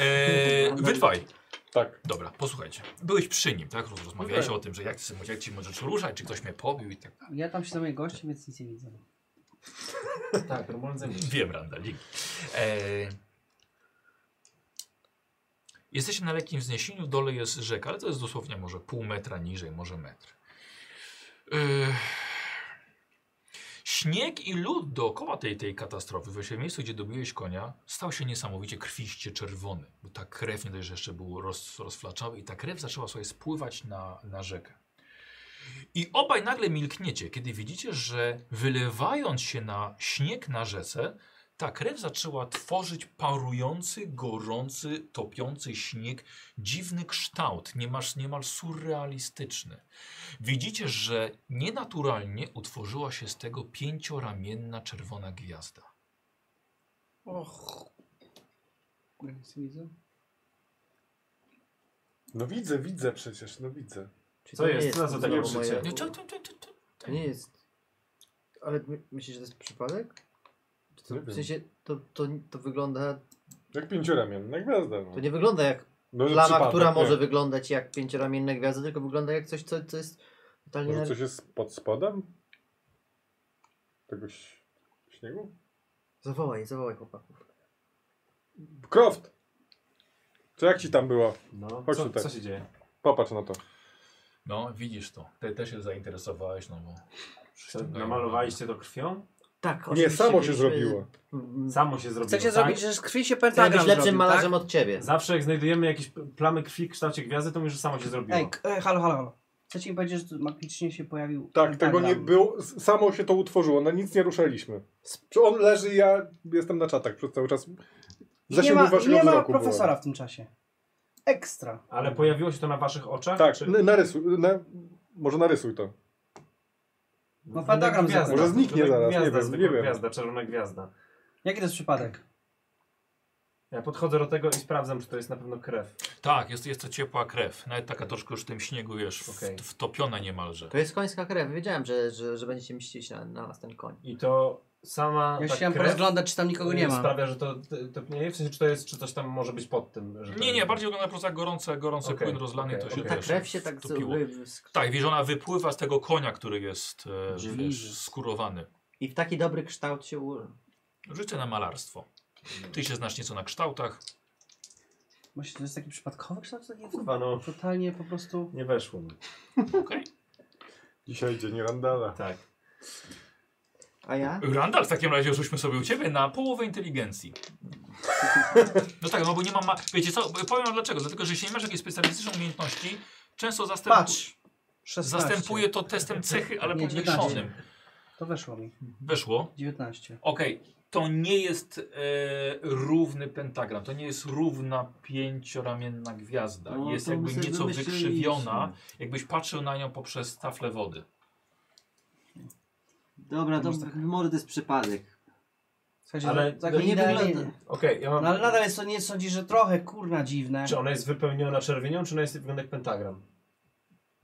Speaker 5: No,
Speaker 1: E, wy dwaj.
Speaker 4: Tak.
Speaker 1: Dobra, posłuchajcie. Byłeś przy nim, tak? Roz- Rozmawiałeś o tym, że jak, ty sobie- jak ci możesz ruszać, czy ktoś mnie pobił i tak dalej.
Speaker 3: Ja tam się zajmuję gości, więc nic nie widzę.
Speaker 2: Tak, normalnie ze mnie.
Speaker 1: Wiem, Randalik. E, jesteście na lekkim wzniesieniu, w dole jest rzeka, ale to jest dosłownie może pół metra niżej, może metr. E, śnieg i lód dookoła tej, tej katastrofy, właściwie miejscu, gdzie dobiłeś konia, stał się niesamowicie krwiście czerwony, bo ta krew, nie dość, że jeszcze był roz, rozflaczały i ta krew zaczęła sobie spływać na, na rzekę. I obaj nagle milkniecie, kiedy widzicie, że wylewając się na śnieg na rzece, ta krew zaczęła tworzyć parujący, gorący, topiący śnieg, dziwny kształt, niemal, niemal surrealistyczny. Widzicie, że nienaturalnie utworzyła się z tego pięcioramienna czerwona gwiazda.
Speaker 3: Och. Ja nic nie widzę.
Speaker 4: No widzę, widzę przecież, no widzę.
Speaker 5: Czyli
Speaker 2: Co
Speaker 5: to nie
Speaker 2: jest? Co za
Speaker 5: to
Speaker 2: tego
Speaker 5: nie
Speaker 2: użycie?
Speaker 5: moje-
Speaker 1: Nie, No to, to, to, to, to,
Speaker 5: To nie jest. Ale my, myślisz, że to jest przypadek? Czy to,
Speaker 4: Nie
Speaker 5: w
Speaker 4: wiem.
Speaker 5: sensie to, to, to wygląda.
Speaker 4: Jak pięcioramienna gwiazda. No.
Speaker 5: To nie wygląda jak
Speaker 4: No, że
Speaker 5: plama,
Speaker 4: przypadek,
Speaker 5: która
Speaker 4: nie.
Speaker 5: może wyglądać jak pięcioramienna gwiazda, tylko wygląda jak coś, co, co jest totalnie.
Speaker 4: Może
Speaker 5: na-
Speaker 4: coś jest pod spodem? Tego ś- śniegu?
Speaker 5: Zawołaj, zawołaj chłopaków.
Speaker 4: Croft! Co jak ci tam było?
Speaker 2: No,
Speaker 4: Chodź
Speaker 2: co,
Speaker 4: tutaj.
Speaker 2: co się dzieje?
Speaker 4: Popatrz na to. Tak,
Speaker 1: No, widzisz to. Ty też się zainteresowałeś, no bo...
Speaker 2: Czy Namalowaliście to krwią?
Speaker 5: Tak,
Speaker 4: Nie,
Speaker 5: oczywiście
Speaker 4: samo się
Speaker 5: byliśmy-
Speaker 4: zrobiło.
Speaker 5: Mm,
Speaker 2: Samo się zrobiło,
Speaker 3: Chcecie
Speaker 2: tak?
Speaker 3: zrobić, że z krwi się
Speaker 5: Chciałem
Speaker 3: pentagram
Speaker 5: być lepszym
Speaker 3: zrobił, tak?
Speaker 5: malarzem od ciebie.
Speaker 2: Zawsze jak znajdujemy jakieś p- plamy krwi w kształcie gwiazdy, to mówisz, że samo się
Speaker 3: tak?
Speaker 2: zrobiło.
Speaker 3: Ej, k- e, halo, halo, halo. Chcecie mi powiedzieć, że tu magicznie się pojawił
Speaker 4: Tak, tego nie
Speaker 3: pentagram?
Speaker 4: było, s- samo się to utworzyło, na nic nie ruszaliśmy. Sp- On leży i ja jestem na czatach przez cały czas. W
Speaker 3: I Nie ma,
Speaker 4: zasięgu
Speaker 3: i nie
Speaker 4: waszego
Speaker 3: ma
Speaker 4: wzroku
Speaker 3: profesora
Speaker 4: byłem.
Speaker 3: w tym czasie. Ekstra.
Speaker 2: Ale pojawiło się to na waszych oczach?
Speaker 4: Tak,
Speaker 2: Czy...
Speaker 4: n- narysuj, na, może narysuj to.
Speaker 3: No, pentagram
Speaker 2: Gwiazda.
Speaker 4: Może zniknie
Speaker 2: Zwykła
Speaker 4: zaraz, nie
Speaker 2: Gwiazda,
Speaker 4: wiem,
Speaker 2: zwykła
Speaker 4: nie wiem.
Speaker 2: gwiazda, czerwona gwiazda.
Speaker 3: Jaki to jest przypadek?
Speaker 2: Tak. Ja podchodzę do tego i sprawdzam, czy to jest na pewno krew.
Speaker 1: Tak, jest, jest to ciepła krew. Nawet taka troszkę już w tym śniegu, wiesz, w-
Speaker 2: Okej.
Speaker 1: wtopiona niemalże.
Speaker 5: To jest końska krew. Wiedziałem, że, że, że będziecie mścić na, na nas ten koń.
Speaker 2: I to sama
Speaker 3: Ja
Speaker 2: ta
Speaker 3: się chciałem
Speaker 2: Tak, krew
Speaker 3: porozglądać, czy tam nikogo nie
Speaker 2: y,
Speaker 3: ma.
Speaker 2: sprawia, że to, to, to nie wiem, w sensie, czy to jest, czy coś tam może być pod tym. Że to-
Speaker 1: Nie, nie, bardziej wygląda po prostu jak gorące, gorący
Speaker 2: Okej,
Speaker 1: płyn rozlany,
Speaker 2: okej,
Speaker 1: to się
Speaker 2: okej.
Speaker 5: Ta
Speaker 1: wiesz,
Speaker 5: krew się tak
Speaker 1: wtopiło.
Speaker 5: wy- wy- sk-
Speaker 1: Tak, wiesz, ona wypływa z tego konia, który jest, e,
Speaker 3: Jezus.
Speaker 1: wiesz, skórowany.
Speaker 5: I w taki dobry kształt się ułożył.
Speaker 1: Życzę na malarstwo. Ty się znasz nieco na kształtach.
Speaker 3: Myślisz, to jest taki przypadkowy kształt? Taki
Speaker 2: Kurwa, no.
Speaker 3: Totalnie po prostu...
Speaker 2: Nie weszło mi.
Speaker 1: Okej.
Speaker 4: Dzisiaj dzień randala.
Speaker 2: Tak.
Speaker 5: A ja?
Speaker 1: Randall, w takim razie rzućmy sobie u ciebie na połowę inteligencji. No tak, no bo nie mam. Ma... Wiecie co, powiem wam dlaczego. Dlatego, że jeśli nie masz jakiejś specjalistycznej umiejętności, często zastępu...
Speaker 3: Patrz! 16.
Speaker 1: zastępuje to testem cechy, ale
Speaker 3: Nie,
Speaker 1: pomniejszonym.
Speaker 3: 19. To weszło mi.
Speaker 1: Weszło.
Speaker 3: 19.
Speaker 1: Okej, to nie jest e, równy pentagram, to nie jest równa pięcioramienna gwiazda.
Speaker 5: No,
Speaker 1: jest
Speaker 5: to my
Speaker 1: jakby
Speaker 5: sobie
Speaker 1: nieco
Speaker 5: wymyśliliśmy.
Speaker 1: wykrzywiona, jakbyś patrzył na nią poprzez taflę wody.
Speaker 5: Dobra, to
Speaker 3: Może trochę.
Speaker 5: może to jest przypadek.
Speaker 3: W sensie,
Speaker 2: Ale
Speaker 3: ale tak nie,
Speaker 5: nie
Speaker 3: idealnie.
Speaker 5: wygląda.
Speaker 2: Okej, ja mam...
Speaker 3: No ale nadal jest to nie sądzi, że trochę kurna dziwne.
Speaker 2: Czy ona jest wypełniona czerwienią, czy ona jest wygląda jak pentagram?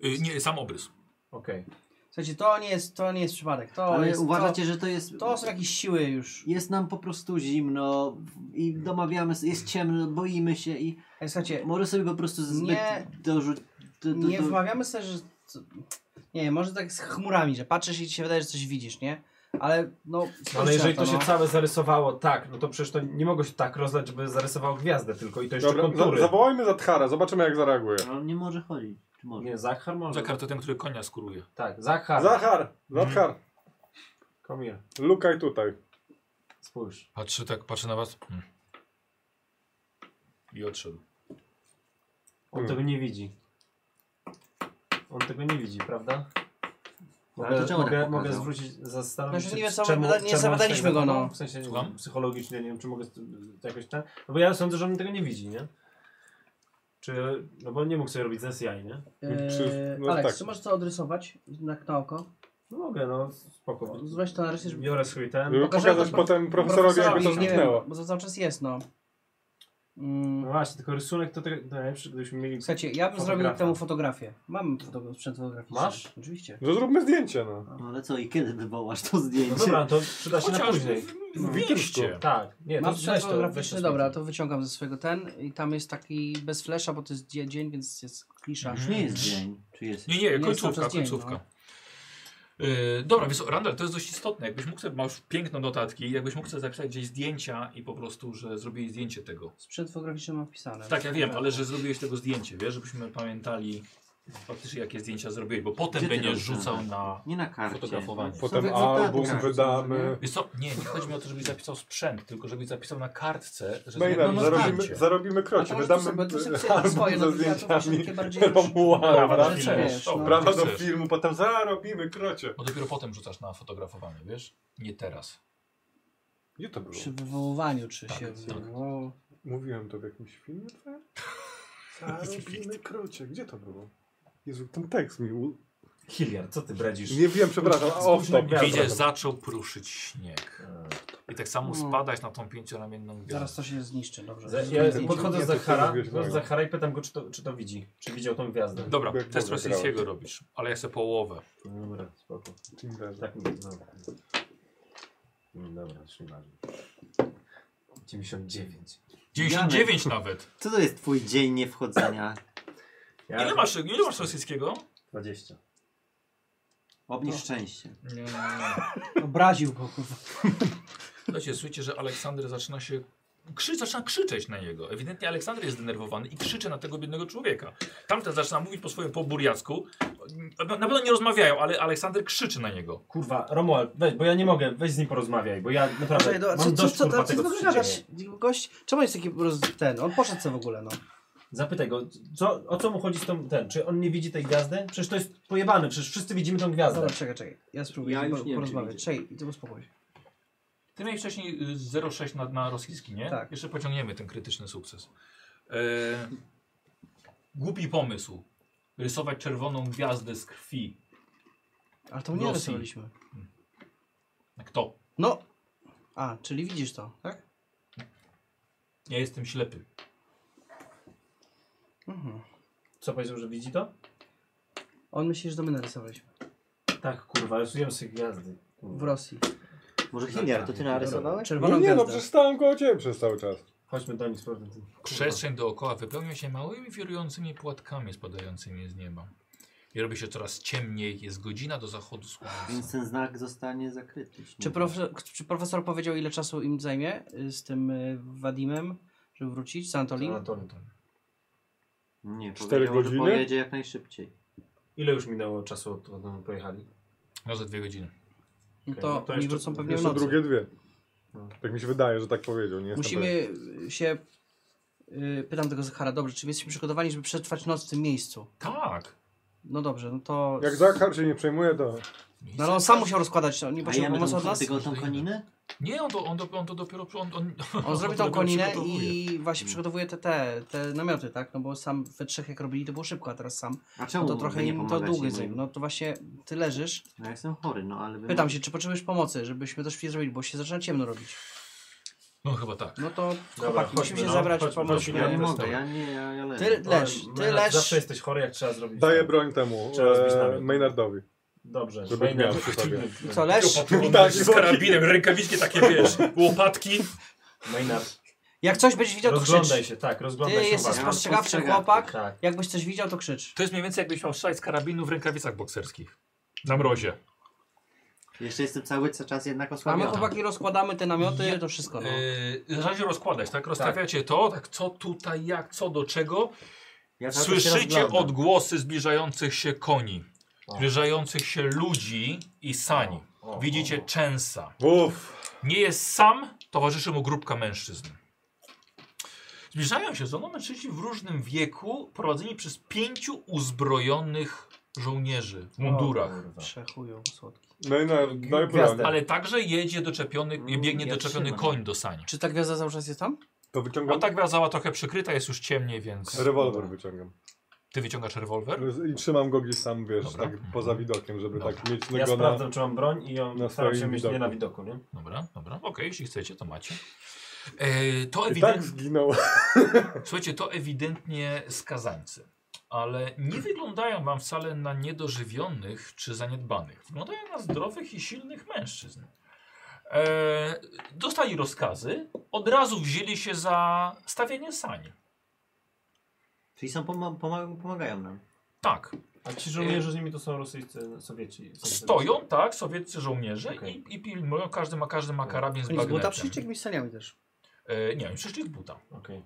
Speaker 1: Y, nie, sam obrys.
Speaker 2: Okej.
Speaker 3: W sensie, to nie jest, to nie jest przypadek. To
Speaker 5: Ale
Speaker 3: jest,
Speaker 5: uważacie, że to jest...
Speaker 3: to, to są jakieś siły już.
Speaker 5: Jest nam po prostu zimno i domawiamy, się- jest ciemno, boimy się i
Speaker 3: Ej, słuchajcie,
Speaker 5: może sobie po prostu zbyt
Speaker 3: Nie.
Speaker 5: dorzucić.
Speaker 3: nie wmawiamy sobie, że... to- Nie wiem, może tak z chmurami, że patrzysz i ci się wydaje, że coś widzisz, nie? Ale no...
Speaker 2: No Ale jeżeli to
Speaker 3: kurczę,
Speaker 2: się
Speaker 3: no.
Speaker 2: całe zarysowało tak, no to przecież to nie mogło się tak rozlać, żeby zarysowało gwiazdę tylko i to jeszcze
Speaker 4: Dobra, za,
Speaker 2: kontury.
Speaker 4: zawołajmy Zathara, zobaczymy jak zareaguje.
Speaker 5: No, On nie może chodzić. Czy może?
Speaker 2: Nie, Zachar może.
Speaker 1: Zakar to ten, który konia skuruje.
Speaker 2: Tak, Zachar.
Speaker 4: Zachar, Zathar,
Speaker 2: Come here,
Speaker 4: lukaj tutaj.
Speaker 2: spójrz.
Speaker 1: Patrzy tak, patrzy na was. Mm. I odszedł.
Speaker 2: On
Speaker 4: Hmm.
Speaker 2: tego nie widzi. On tego nie widzi, prawda?
Speaker 5: Ale
Speaker 2: Mogę,
Speaker 5: to czemu
Speaker 2: mogę,
Speaker 5: tak
Speaker 2: mogę
Speaker 5: pokazał?
Speaker 2: zwrócić, zastanowić się,
Speaker 3: Znaczy, nie
Speaker 2: czy-
Speaker 3: wiesz, co,
Speaker 2: czemu,
Speaker 3: my nie
Speaker 2: czemu on
Speaker 3: zapytaliśmy
Speaker 2: tego
Speaker 3: go,
Speaker 2: nie
Speaker 3: no.
Speaker 2: ma? W sensie nie
Speaker 1: Słucham?
Speaker 2: wiem, psychologicznie, nie wiem, czy mogę z- z- jakoś ten... No bo ja sądzę, że on tego nie widzi, nie? Czy... No bo on nie mógł sobie robić z SI, nie?
Speaker 4: Czy- no
Speaker 3: Eee, Aleks,
Speaker 4: tak.
Speaker 3: czy możesz to odrysować na na oko?
Speaker 2: No mogę, no spoko.
Speaker 3: Weź to na rysy, żeby...
Speaker 2: Biorę swój ten.
Speaker 4: Żeby
Speaker 3: Pokażemy
Speaker 4: pokazać
Speaker 3: to-
Speaker 4: potem profesorowi, jakby to
Speaker 3: nie wiem,
Speaker 4: zniknęło.
Speaker 3: bo to cały czas jest, no.
Speaker 2: No
Speaker 3: Mm,
Speaker 2: właśnie, tylko rysunek to tego... No, najlepszy, gdybyśmy mieli...
Speaker 3: słuchajcie, ja bym zrobił
Speaker 2: Fotografa.
Speaker 3: temu fotografię. Mam foto sprzęt fotograficzny.
Speaker 2: Masz?
Speaker 3: Oczywiście.
Speaker 4: No zróbmy zdjęcie, no.
Speaker 5: No ale co i kiedy wywołasz to
Speaker 2: No
Speaker 5: zdjęcie?
Speaker 2: dobra, to przyda się na
Speaker 1: Chociaż
Speaker 2: później.
Speaker 1: w- w wieście.
Speaker 2: Tak, nie, to
Speaker 3: Mam
Speaker 2: weź
Speaker 3: sprzęt
Speaker 2: to, weź
Speaker 3: fotograficzny,
Speaker 2: to
Speaker 3: dobra,
Speaker 2: spójrz.
Speaker 3: to wyciągam ze swojego ten i tam jest taki bez flesza, bo to jest dzie- dzień, więc jest klisza.
Speaker 1: Mhm.
Speaker 5: Już nie jest dzień. Czy jest?
Speaker 1: Nie, nie,
Speaker 3: jest cały
Speaker 1: końcówka,
Speaker 3: czas dzień,
Speaker 1: końcówka. Yy, dobra, więc Randall, to jest dość istotne. Jakbyś mógł sobie, masz piękne notatki, jakbyś mógł sobie zapisać gdzieś zdjęcia i po prostu, że zrobiłeś zdjęcie tego.
Speaker 3: Sprzęt fotograficzny mam wpisane.
Speaker 1: Tak, ja wiem, ale że zrobiłeś tego zdjęcie, wiesz, żebyśmy pamiętali faktycznie jakie zdjęcia zrobiłeś, bo potem
Speaker 5: Gdzie ty
Speaker 1: będziesz
Speaker 5: robisz
Speaker 1: rzucał
Speaker 5: ten?
Speaker 1: na...
Speaker 5: Nie na karcie.
Speaker 1: Fotografowanie.
Speaker 5: Są
Speaker 4: Potem
Speaker 5: w egzemplarzu
Speaker 4: album
Speaker 5: karty,
Speaker 4: wydamy.
Speaker 1: Wiesz co, nie, nie chodzi mi o to, żebyś zapisał sprzęt, tylko żebyś zapisał na kartce, że
Speaker 3: No,
Speaker 1: no, zrobiłeś
Speaker 4: Mailem, No tak, zarobimy,
Speaker 1: zdjęcie.
Speaker 4: zarobimy
Speaker 3: A
Speaker 4: krocie,
Speaker 3: No to może to
Speaker 4: wydamy
Speaker 3: sobie, to sobie
Speaker 4: album
Speaker 3: swoje, no
Speaker 4: ze
Speaker 3: to ja to właśnie
Speaker 4: zdjęciami
Speaker 3: takie bardziej...
Speaker 4: Romuła,
Speaker 1: Prawa do
Speaker 4: prawda?
Speaker 3: Znaczy,
Speaker 1: filmu.
Speaker 3: wiesz,
Speaker 1: O,
Speaker 3: no.
Speaker 4: Prawa
Speaker 1: ty
Speaker 4: do
Speaker 1: chcesz.
Speaker 4: filmu, potem zarobimy krocie.
Speaker 1: Bo dopiero potem rzucasz na fotografowanie, wiesz? Nie teraz.
Speaker 4: Gdzie to było?
Speaker 3: Przy wywoływaniu, czy
Speaker 1: Tak,
Speaker 3: się
Speaker 1: tak.
Speaker 3: wywołało.
Speaker 4: Mówiłem to w jakimś filmie twoim? Zarobimy krocie, gdzie to było? Jezu, ten tekst mi... U...
Speaker 2: Hilliard, co ty bredzisz?
Speaker 4: Nie wiem, przepraszam, a off top.
Speaker 2: Ja
Speaker 1: Widzisz,
Speaker 2: zrobię.
Speaker 1: zaczął pruszyć śnieg.
Speaker 2: E,
Speaker 1: I tak samo
Speaker 3: No.
Speaker 1: spadać na tą pięcioramienną gwiazdę.
Speaker 3: Zaraz to się zniszczy, dobrze.
Speaker 2: Za-
Speaker 3: Zdjęcie.
Speaker 2: Ja podchodzę do
Speaker 4: Nie, to
Speaker 2: Zachara,
Speaker 4: ty mówisz,
Speaker 2: do
Speaker 4: no.
Speaker 2: Zachara i pytam go, czy to, czy to widzi. Czy widział tą gwiazdę.
Speaker 1: Dobra,
Speaker 4: Jak
Speaker 1: test
Speaker 4: Boga
Speaker 1: rosyjskiego robisz, ale ja chcę połowę.
Speaker 2: Dobra, spoko. Tak, dobra. Dobra, już nieważne. 99.
Speaker 1: 99 nawet.
Speaker 5: Co to jest twój dzień niewchodzenia?
Speaker 2: Ja
Speaker 1: Ile masz, ile masz rosyjskiego?
Speaker 2: 20.
Speaker 3: No.
Speaker 5: Obniż szczęście.
Speaker 1: Nie, nie, nie.
Speaker 3: Obraził go, kurwa.
Speaker 1: Słuchajcie, słyszycie, że Aleksander zaczyna się. Krzy, zaczyna krzyczeć na niego. Ewidentnie Aleksander jest zdenerwowany i krzyczy na tego biednego człowieka. Tamten zaczyna mówić po swoim po burjacku. Na pewno nie rozmawiają, ale Aleksander krzyczy na niego.
Speaker 2: Kurwa, Romuald, weź, bo ja nie mogę, weź z nim porozmawiaj, bo ja naprawdę
Speaker 3: Czekaj, dobra, co,
Speaker 2: mam
Speaker 3: co,
Speaker 2: dość
Speaker 3: co,
Speaker 2: kurwa
Speaker 3: co,
Speaker 2: tego,
Speaker 3: co,
Speaker 2: co
Speaker 3: ty
Speaker 2: się dzieje.
Speaker 3: gadasz? Gość, czemu jest taki roz... ten? On poszedł sobie w ogóle, no.
Speaker 2: Zapytaj go, co, o co mu chodzi z tą, ten, czy on nie widzi tej gwiazdy? Przecież to jest pojebane, przecież wszyscy widzimy tą gwiazdę.
Speaker 3: Dobra, czekaj, czekaj. Ja spróbuję
Speaker 5: Ja
Speaker 3: z nim
Speaker 5: już
Speaker 3: po-
Speaker 5: nie wiem,
Speaker 3: porozmawiać.
Speaker 5: czy
Speaker 3: Czekaj, ty uspokój się.
Speaker 1: Ty miałeś wcześniej y, 0,6 na, na rosyjski, nie?
Speaker 3: Tak.
Speaker 1: Jeszcze pociągniemy ten krytyczny sukces. E, głupi pomysł. Rysować czerwoną gwiazdę z krwi.
Speaker 3: Ale to nie
Speaker 1: Rosji.
Speaker 3: rysowaliśmy.
Speaker 1: Kto?
Speaker 3: No. A, czyli widzisz to, tak?
Speaker 1: Ja jestem ślepy.
Speaker 3: Mhm.
Speaker 2: Co powiedział, że widzi to?
Speaker 3: On myśli, że to my narysowaliśmy.
Speaker 2: Tak, kurwa, rysujemy sobie gwiazdy.
Speaker 3: W
Speaker 2: Kurwa.
Speaker 3: Rosji.
Speaker 5: Może Hilliard, to ty narysowałeś?
Speaker 4: No
Speaker 3: Czerwoną
Speaker 4: nie, no
Speaker 3: gwiazdę.
Speaker 4: przecież stałem koło ciebie przez cały czas.
Speaker 2: Chodźmy do nich z powrotem.
Speaker 1: Przestrzeń dookoła wypełnia się małymi, wirującymi płatkami spadającymi z nieba. I robi się coraz ciemniej, jest godzina do zachodu
Speaker 5: Więc
Speaker 1: słońca.
Speaker 5: ten znak zostanie zakryty.
Speaker 3: Czy profesor, czy profesor powiedział, ile czasu im zajmie y, z tym y, Wadimem, żeby wrócić z Antolim?
Speaker 4: Tak.
Speaker 2: Anatolium.
Speaker 5: Nie,
Speaker 4: Cztery
Speaker 5: powiedział, że
Speaker 4: godziny?
Speaker 5: pojedzie jak najszybciej.
Speaker 2: Ile już minęło czasu od kiedy oni pojechali?
Speaker 1: No za dwie godziny.
Speaker 3: No
Speaker 2: Okej, no
Speaker 3: to,
Speaker 2: to
Speaker 3: oni
Speaker 2: jeszcze-
Speaker 3: wrócą pewnie w
Speaker 4: Jeszcze
Speaker 3: nocy.
Speaker 4: drugie dwie.
Speaker 2: No.
Speaker 4: Tak mi się wydaje, że tak powiedział. Nie jestem pewien.
Speaker 3: Musimy y, się... y, Pytam tego Zachara, dobrze, czy jesteśmy przygotowani, żeby przetrwać noc w tym miejscu?
Speaker 1: Tak.
Speaker 3: No dobrze, no to...
Speaker 2: tak?
Speaker 4: Jak Zachar się nie przejmuje, to...
Speaker 3: No ale on sam musiał rozkładać, on nie
Speaker 5: A
Speaker 3: potrzebował
Speaker 5: jemy
Speaker 3: pomocy od
Speaker 5: tą,
Speaker 3: nas?
Speaker 5: tego, tą koninę?
Speaker 1: Nie, on to, on to, on to dopiero... On, on,
Speaker 3: On zrobi tą
Speaker 1: dopiero
Speaker 3: koninę
Speaker 1: przygotowuje.
Speaker 3: i
Speaker 5: Hmm.
Speaker 3: właśnie przygotowuje te, te, te namioty, tak? No bo sam we trzech jak robili, to było szybko, a teraz sam.
Speaker 5: A
Speaker 3: No
Speaker 5: czemu
Speaker 3: to trochę
Speaker 5: nie
Speaker 3: im to
Speaker 5: pomagacie
Speaker 3: długo
Speaker 5: moim?
Speaker 3: z nim. No to właśnie ty leżysz.
Speaker 5: No ja jestem chory, no ale... wy-
Speaker 3: Pytam się, czy potrzebujesz pomocy, żebyśmy to szybciej zrobili, bo się zaczyna ciemno robić.
Speaker 1: No chyba tak.
Speaker 3: No to
Speaker 2: Dobra,
Speaker 3: chłopaki, musimy
Speaker 2: chodźmy,
Speaker 3: się
Speaker 2: no.
Speaker 3: zebrać
Speaker 2: Chodźmy,
Speaker 3: pomóc.
Speaker 2: chodźmy.
Speaker 5: Ja nie
Speaker 3: nie?
Speaker 5: mogę, ja nie, ja, ja leżę.
Speaker 3: Ty leż,
Speaker 2: Oj,
Speaker 3: ty
Speaker 2: Maynard, Zawsze
Speaker 3: leż.
Speaker 2: jesteś chory, jak trzeba zrobić.
Speaker 4: Daję broń temu
Speaker 2: Trzeba zbić
Speaker 4: e,
Speaker 2: namiot.
Speaker 4: Maynardowi.
Speaker 2: Dobrze.
Speaker 4: Żeby
Speaker 2: Maynard,
Speaker 4: miał przy sobie.
Speaker 2: chodźmy.
Speaker 3: Co, leż?
Speaker 1: On
Speaker 4: Tak,
Speaker 1: z karabinem, rękawiczki takie, wiesz, łopatki.
Speaker 2: Maynard,
Speaker 3: Jak coś będziesz widział, to
Speaker 2: rozglądaj
Speaker 3: krzycz.
Speaker 2: się, tak,
Speaker 3: Ty
Speaker 2: rozglądaj się
Speaker 3: jesteś
Speaker 5: uważnie.
Speaker 2: uważnie.
Speaker 3: spostrzegawczy
Speaker 5: Spostrzegawczy,
Speaker 3: chłopak.
Speaker 2: Tak.
Speaker 3: Jakbyś coś widział, to krzycz.
Speaker 1: To jest mniej więcej jakbyś miał strzelać z karabinu w rękawicach bokserskich. Na mrozie.
Speaker 5: Jeszcze jestem cały czas jednak
Speaker 3: A my
Speaker 5: osłabiony.
Speaker 3: chłopaki rozkładamy te namioty, to wszystko. No.
Speaker 1: Yy, na razie rozkładać, tak? Rozstawiacie to, tak co tutaj, jak, co do czego.
Speaker 5: Ja cały czas się
Speaker 1: Słyszycie
Speaker 5: rozglądam.
Speaker 1: odgłosy zbliżających się koni,
Speaker 2: O.
Speaker 1: zbliżających się ludzi i sani.
Speaker 2: O, o,
Speaker 1: Widzicie
Speaker 2: o.
Speaker 1: Częsa.
Speaker 4: Uff,
Speaker 1: Nie jest sam, towarzyszy mu grupka mężczyzn. Zbliżają się do mężczyźni w różnym wieku, prowadzeni przez pięciu uzbrojonych żołnierzy w mundurach.
Speaker 2: O kurwa.
Speaker 3: Przechują, słodki.
Speaker 4: Maynard, daj broń.
Speaker 2: Gwiazda.
Speaker 1: Ale także jedzie doczepiony,
Speaker 5: Mm,
Speaker 1: biegnie
Speaker 5: ja
Speaker 1: doczepiony
Speaker 5: trzymam.
Speaker 1: koń do sani.
Speaker 3: Czy ta gwiazda cały czas jest tam?
Speaker 4: To
Speaker 1: No
Speaker 4: wyciągam.
Speaker 1: tak gwiazdała trochę przykryta, jest już ciemniej, więc
Speaker 4: Rewolwer wyciągam.
Speaker 1: ty wyciągasz rewolwer.
Speaker 4: I trzymam go gdzieś sam, wiesz,
Speaker 1: Dobra.
Speaker 4: tak poza widokiem, żeby
Speaker 1: Dobra.
Speaker 4: tak mieć
Speaker 2: Ja
Speaker 4: tego na...
Speaker 2: sprawdzam, czy mam broń i ją
Speaker 4: na
Speaker 2: staram się
Speaker 4: swoim
Speaker 2: mieć
Speaker 4: widoku.
Speaker 2: nie na widoku, nie?
Speaker 1: Dobra, dobra, okej, jeśli chcecie, to macie. E, to
Speaker 4: I tak
Speaker 1: ewidentnie,
Speaker 4: zginął.
Speaker 1: słuchajcie, to ewidentnie skazańcy, ale nie wyglądają wam wcale na niedożywionych czy zaniedbanych. Wyglądają na zdrowych i silnych mężczyzn. E, dostali rozkazy, od razu wzięli się za stawienie sani.
Speaker 5: Czyli są pom pom pomagają nam.
Speaker 1: Tak,
Speaker 2: A ci żołnierze z nimi to są rosyjscy, Sowieci. są
Speaker 1: Stoją, tak, sowieccy żołnierze
Speaker 2: Okej.
Speaker 1: i, i pilnują, każdy ma, każdy ma karabin z
Speaker 3: Oni z buta
Speaker 1: bagnetem.
Speaker 3: przyjdzie jakimiś saniami też.
Speaker 1: E, nie, oni przyszli z buta.
Speaker 2: Okej.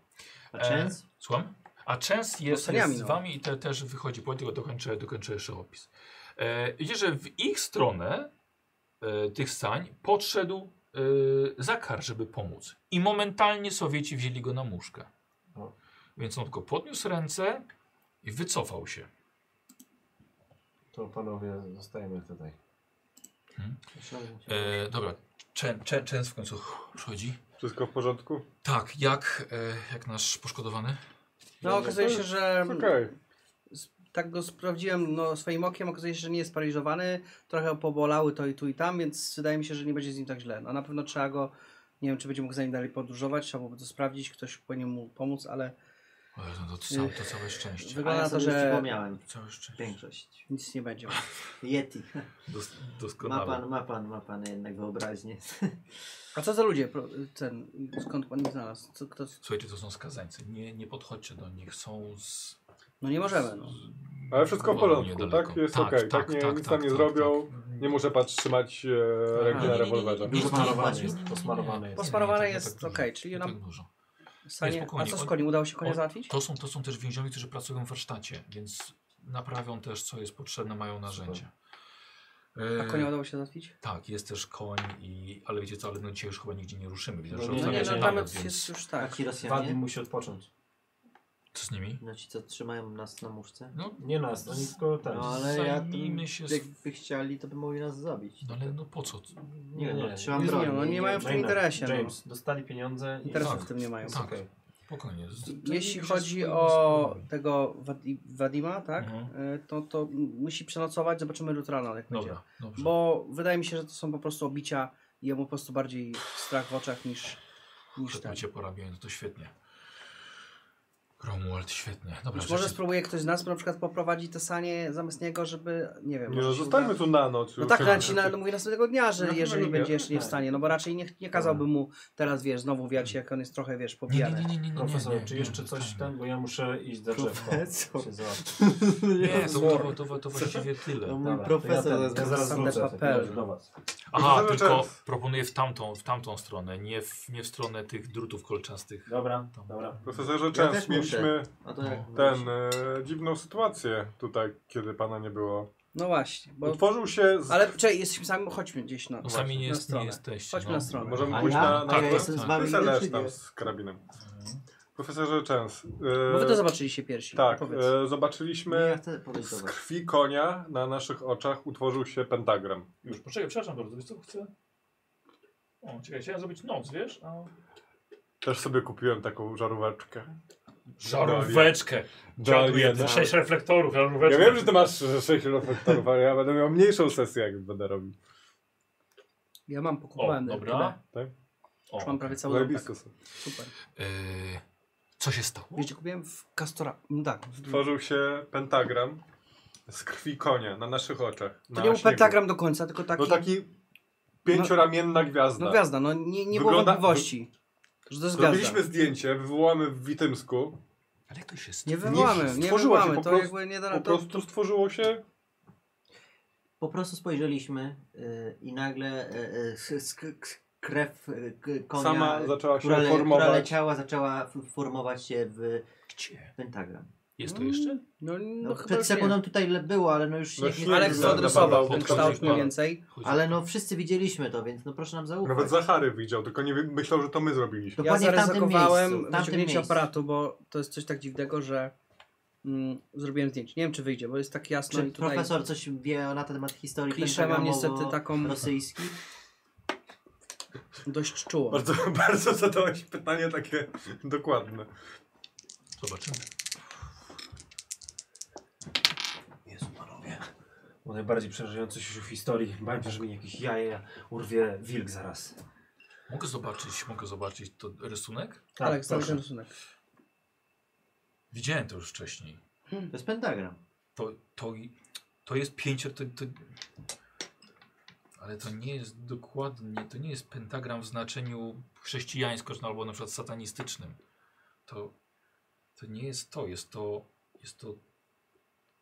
Speaker 5: A
Speaker 1: E,
Speaker 5: Chance?
Speaker 1: Słucham? A Częs jest,
Speaker 3: saniami,
Speaker 1: jest z
Speaker 3: no.
Speaker 1: wami i te, też wychodzi, bo tylko dokończę, dokończę jeszcze opis. E, widzicie, że w ich stronę e, tych sań podszedł e, Zakar, żeby pomóc. I momentalnie Sowieci wzięli go na muszkę.
Speaker 2: O.
Speaker 1: Więc on tylko podniósł ręce i wycofał się.
Speaker 2: To panowie, zostajemy tutaj.
Speaker 1: E, dobra, Czę- Czę- Częs w końcu uff, przychodzi.
Speaker 4: Wszystko w porządku?
Speaker 1: Tak, jak, e, jak nasz poszkodowany?
Speaker 3: No okazuje się, że
Speaker 4: Okej.
Speaker 3: tak go sprawdziłem no, swoim okiem, okazuje się, że nie jest paraliżowany, trochę pobolały to i tu i tam, więc wydaje mi się, że nie będzie z nim tak źle. No na pewno trzeba go, nie wiem czy będzie mógł za nim dalej podróżować, trzeba byłoby to sprawdzić, ktoś powinien mu pomóc, ale
Speaker 1: O, no to, całe, to całe szczęście.
Speaker 3: wygląda
Speaker 5: A ja
Speaker 3: na to,
Speaker 5: sobie już
Speaker 3: że
Speaker 5: przypomniałem.
Speaker 1: Całe szczęście.
Speaker 5: Większość.
Speaker 3: nic nie będzie.
Speaker 5: Yeti.
Speaker 1: Dos,
Speaker 5: Ma
Speaker 1: doskonale.
Speaker 5: pan, ma pan, ma pan jednak wyobraźnię.
Speaker 3: A co za ludzie? Pro- Ten, skąd pan ich znalazł? Co, kto,
Speaker 1: Słuchajcie, to są skazańcy. Nie, nie podchodźcie do nich. Są z...
Speaker 3: no nie możemy. No.
Speaker 1: z-
Speaker 4: Ale wszystko w
Speaker 1: głowy
Speaker 4: porządku,
Speaker 1: niedaleko.
Speaker 4: tak? Jest okej, tak, nie, nic tam nie zrobią. Nie muszę patrz trzymać e, ręki
Speaker 1: tak. Nie, nie,
Speaker 4: na
Speaker 1: nie,
Speaker 4: rewolwerze.
Speaker 1: nie, nie, nie.
Speaker 2: Posmarowany jest, posmarowany jest.
Speaker 3: Posmarowane
Speaker 1: nie, nie,
Speaker 3: jest
Speaker 1: tak dużo.
Speaker 3: okej, czyli
Speaker 1: Nie
Speaker 3: nam
Speaker 1: tak dużo.
Speaker 3: sanie... A
Speaker 1: spokojnie,
Speaker 3: co z
Speaker 1: on-
Speaker 3: koniem? Udało się konia
Speaker 1: on-
Speaker 3: załatwić?
Speaker 1: To są, to są też więźniowie, którzy pracują w warsztacie, więc naprawią też, co jest potrzebne, mają narzędzia.
Speaker 3: A
Speaker 1: E,
Speaker 3: konia udało się załatwić?
Speaker 1: Tak, jest też koń i... Ale wiecie co, ale no dzisiaj już chyba nigdzie nie ruszymy. Widzę,
Speaker 2: No
Speaker 1: że
Speaker 2: nie,
Speaker 3: No nie,
Speaker 1: rozmawiacie
Speaker 3: no
Speaker 2: nie,
Speaker 1: nawet,
Speaker 3: namiot
Speaker 1: więc...
Speaker 3: jest już
Speaker 5: A
Speaker 3: tak.
Speaker 5: ci
Speaker 2: Dwa dni
Speaker 5: Rosjanie?
Speaker 2: musi odpocząć.
Speaker 1: Co z nimi?
Speaker 5: No ci co trzymają nas na muszce?
Speaker 1: No,
Speaker 2: Nie nas, no tylko
Speaker 3: Tak,
Speaker 2: ten.
Speaker 5: No ale ja tu,
Speaker 1: Zajmijmy się s-
Speaker 5: jakby chcieli, to by mogli nas zabić.
Speaker 1: no ale no po co?
Speaker 5: Nie wiem, no, trzymam
Speaker 3: Nie,
Speaker 5: broń.
Speaker 3: nie, no nie mają w tym
Speaker 2: Maynard,
Speaker 3: interesie. No.
Speaker 2: James, dostali pieniądze. i-
Speaker 3: Interesów
Speaker 1: Tak.
Speaker 3: w tym nie mają.
Speaker 1: Tak.
Speaker 2: Okej.
Speaker 1: Spokojnie. z-
Speaker 3: Jeśli
Speaker 1: zajmijmy się
Speaker 3: chodzi
Speaker 1: swoimi
Speaker 3: o
Speaker 1: sprawami.
Speaker 3: tego Wadi- Wadima, tak?
Speaker 1: Mhm.
Speaker 3: Y, To, to musi przenocować, zobaczymy jutro rano, jak będzie.
Speaker 1: Dobra, dobrze.
Speaker 3: Bo wydaje mi się, że to są po prostu obicia i jemu po prostu bardziej strach w oczach niż, niż
Speaker 1: Że
Speaker 3: ten.
Speaker 1: cię porabiają, no to świetnie. Cromwell, świetnie. Dobra,
Speaker 3: Być może
Speaker 1: rzeczy-
Speaker 3: spróbuje ktoś z nas na przykład poprowadzić te sanie zamiast niego, żeby, nie wiem,
Speaker 4: Nie,
Speaker 3: może
Speaker 4: no,
Speaker 3: się
Speaker 4: zostańmy
Speaker 3: uda.
Speaker 4: tu na noc.
Speaker 3: No
Speaker 4: już.
Speaker 3: tak, ale ci na, no mówię następnego dnia, że
Speaker 4: Następnego
Speaker 3: jeżeli
Speaker 4: dnia,
Speaker 3: będzie jeszcze nie w
Speaker 2: tak.
Speaker 3: stanie, no bo raczej nie, nie kazałby mu teraz, wiesz, znowu wiać, jak on jest trochę, wiesz,
Speaker 1: nie, nie, nie,
Speaker 3: pobijany.
Speaker 1: nie, nie, nie, nie,
Speaker 2: Profesor,
Speaker 1: nie,
Speaker 2: czy
Speaker 1: nie,
Speaker 2: jeszcze
Speaker 1: nie,
Speaker 2: coś
Speaker 1: nie.
Speaker 2: ten, bo ja muszę iść do drzewka.
Speaker 5: Profesor.
Speaker 2: Się załatwić.
Speaker 1: Nie, to, to, to, to, to właściwie
Speaker 3: No,
Speaker 1: tyle.
Speaker 5: Mój
Speaker 2: Dobra, to
Speaker 5: profesor
Speaker 2: ja, ten, ja zaraz
Speaker 3: Sande
Speaker 2: wrócę.
Speaker 3: Papel.
Speaker 2: Dobrze, do was.
Speaker 1: Aha,
Speaker 4: Profesor
Speaker 1: tylko
Speaker 4: Czerw.
Speaker 1: proponuję w tamtą, w tamtą stronę, nie w, nie w stronę tych drutów
Speaker 3: No
Speaker 1: kolczastych.
Speaker 2: Dobra, dobra.
Speaker 4: Profesorze
Speaker 5: też
Speaker 4: Częs,
Speaker 5: muszę.
Speaker 4: mieliśmy
Speaker 5: A to jak
Speaker 4: ten e, dziwną sytuację tutaj, kiedy pana nie było.
Speaker 3: No właśnie, bo...
Speaker 4: Utworzył się z...
Speaker 3: Ale czekaj, jesteśmy sami, chodźmy gdzieś na...
Speaker 1: No sami nie,
Speaker 3: na
Speaker 1: jest, nie
Speaker 3: stronę.
Speaker 1: jesteście.
Speaker 3: Chodźmy
Speaker 1: no. Tak,
Speaker 3: na stronę.
Speaker 4: Możemy
Speaker 5: A
Speaker 4: pójść
Speaker 5: ja?
Speaker 4: na... na
Speaker 5: A ja
Speaker 4: to?
Speaker 5: jestem z wami,
Speaker 4: Ty se
Speaker 5: nie,
Speaker 4: leż
Speaker 5: czy
Speaker 4: tam
Speaker 5: nie?
Speaker 4: z karabinem.
Speaker 1: Mhm.
Speaker 4: Profesorze Częs. e,
Speaker 3: Bo wy to zobaczyliście piersi.
Speaker 4: Tak,
Speaker 3: powiedz.
Speaker 4: e,
Speaker 5: Nie, ja
Speaker 4: zobaczyliśmy
Speaker 5: chcę powiedzieć do
Speaker 4: z
Speaker 5: was.
Speaker 4: krwi konia na naszych oczach utworzył się pentagram.
Speaker 1: Już, poczekaj, przepraszam bardzo, wiesz co chcę? O, czekaj, chciałem zrobić noc, wiesz? A...
Speaker 4: Też sobie kupiłem taką żaróweczkę.
Speaker 1: Żaróweczkę. Żarówkę.
Speaker 4: Dalian.
Speaker 1: Sześć reflektorów, żaróweczkę.
Speaker 4: Ja wiem, że ty masz 6 reflektorów, ale ja będę miał mniejszą sesję, jak będę robił.
Speaker 3: Ja mam
Speaker 1: O,
Speaker 3: pokupowany.
Speaker 1: dobra.
Speaker 4: Tak?
Speaker 1: O.
Speaker 3: Już mam prawie cały domek.
Speaker 5: tak.
Speaker 4: Zajebiste są.
Speaker 3: Super.
Speaker 1: Yy, co się stało?
Speaker 3: Wiecie, kupiłem w Castora. mm, Tak. w-
Speaker 4: Tworzył się pentagram z krwi konia na naszych oczach.
Speaker 3: To
Speaker 4: na
Speaker 3: nie był
Speaker 4: śniegu.
Speaker 3: pentagram do końca, tylko taki.
Speaker 4: No taki pięcioramienna gwiazda.
Speaker 3: No gwiazda, no nie, nie było
Speaker 4: Wygląda-
Speaker 3: wątpliwości. Że to jest gwiazda.
Speaker 4: Zrobiliśmy zdjęcie, wywołamy w Witymsku.
Speaker 1: Ale jak to się stało?
Speaker 3: Nie wywołamy, nie
Speaker 4: stworzyło się
Speaker 3: wywołamy.
Speaker 4: po
Speaker 3: To
Speaker 4: prostu-
Speaker 3: jakby nie da
Speaker 4: Po
Speaker 3: No, to...
Speaker 4: prostu stworzyło się
Speaker 5: Po prostu spojrzeliśmy y, i nagle y, y, sk- sk- krew y, k- konia,
Speaker 4: Sama zaczęła się
Speaker 5: która, le, która
Speaker 4: formować.
Speaker 5: leciała, zaczęła f- formować się w
Speaker 1: Gdzie?
Speaker 5: pentagram.
Speaker 1: Jest to jeszcze?
Speaker 3: No, no,
Speaker 5: No,
Speaker 3: chyba
Speaker 5: przed
Speaker 3: już nie.
Speaker 5: sekundą tutaj le- było, ale no już
Speaker 4: No
Speaker 5: nikt nie,
Speaker 4: śnieg
Speaker 3: Alex to
Speaker 4: Dobra,
Speaker 3: odrysował
Speaker 4: dobra,
Speaker 3: ten
Speaker 1: podchodzi
Speaker 3: kształt mniej
Speaker 1: pan.
Speaker 3: więcej.
Speaker 1: Chodzi.
Speaker 5: Ale no wszyscy widzieliśmy to, więc no proszę nam zaufać.
Speaker 4: Nawet Zachary widział, tylko nie wy- myślał, że to my
Speaker 3: Ja
Speaker 4: zrobiliśmy.
Speaker 5: Dokładnie w tamtym miejscu, w
Speaker 3: zaryzykowałem
Speaker 5: tamtym
Speaker 3: wyciągnięcie
Speaker 5: miejscu.
Speaker 3: aparatu, bo to jest coś tak dziwnego, że mm, zrobiłem zdjęcie. Nie wiem, czy wyjdzie, bo jest tak jasno
Speaker 5: Czy
Speaker 3: i tutaj
Speaker 5: profesor coś wie na temat historii
Speaker 3: kliszę mam niestety
Speaker 5: pentagramowo-
Speaker 3: taką
Speaker 5: rosyjskich?
Speaker 3: dość czuło.
Speaker 4: Bardzo, bardzo zadałeś pytanie takie dokładne.
Speaker 1: Zobaczymy.
Speaker 2: Jezu panowie. Bo najbardziej przerażający się w historii. Bałem się, że mi jakieś jaja urwie wilk zaraz. Tak,
Speaker 1: Mogę zobaczyć, mogę zobaczyć to rysunek?
Speaker 2: Tak,
Speaker 3: Alex, tak,
Speaker 2: proszę.
Speaker 3: ten rysunek.
Speaker 1: Widziałem to już wcześniej.
Speaker 5: To jest pentagram.
Speaker 1: To, to, to jest pięcio... To, to... Ale to nie jest dokładnie, to nie jest pentagram w znaczeniu chrześcijańsko czy albo na przykład satanistycznym. To, to nie jest to, jest to, jest to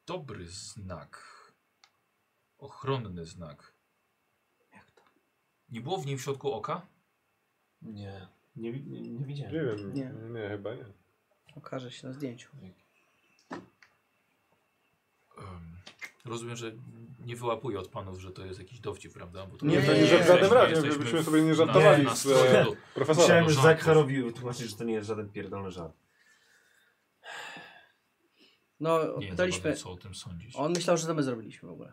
Speaker 1: dobry znak. Ochronny znak.
Speaker 5: Jak to?
Speaker 1: Nie było w nim w środku oka?
Speaker 2: Nie. Nie, wi- nie, nie
Speaker 4: Nie
Speaker 2: widziałem.
Speaker 4: wiem, nie,
Speaker 3: Nie.
Speaker 4: chyba nie.
Speaker 3: Okaże się na zdjęciu.
Speaker 1: Em, rozumiem, że nie wyłapuję od panów, że to jest jakiś dowcip, prawda? Bo to
Speaker 4: Nie,
Speaker 3: Nie,
Speaker 4: to
Speaker 3: nie,
Speaker 4: nie, że w żadnym
Speaker 1: jesteśmy-
Speaker 4: razie,
Speaker 1: jesteśmy
Speaker 4: żebyśmy
Speaker 1: w-
Speaker 4: sobie nie
Speaker 1: na-
Speaker 4: żartowali
Speaker 1: na
Speaker 4: z e,
Speaker 1: stroju.
Speaker 4: profesorem.
Speaker 2: Chciałem, że
Speaker 1: porządku.
Speaker 2: Zacharowi wytłumaczyć, że to nie jest żaden pierdolony żart.
Speaker 3: No,
Speaker 1: Nie wiem,
Speaker 3: pytaliśmy.
Speaker 1: co o tym sądzić.
Speaker 3: On myślał, że to my zrobiliśmy w ogóle.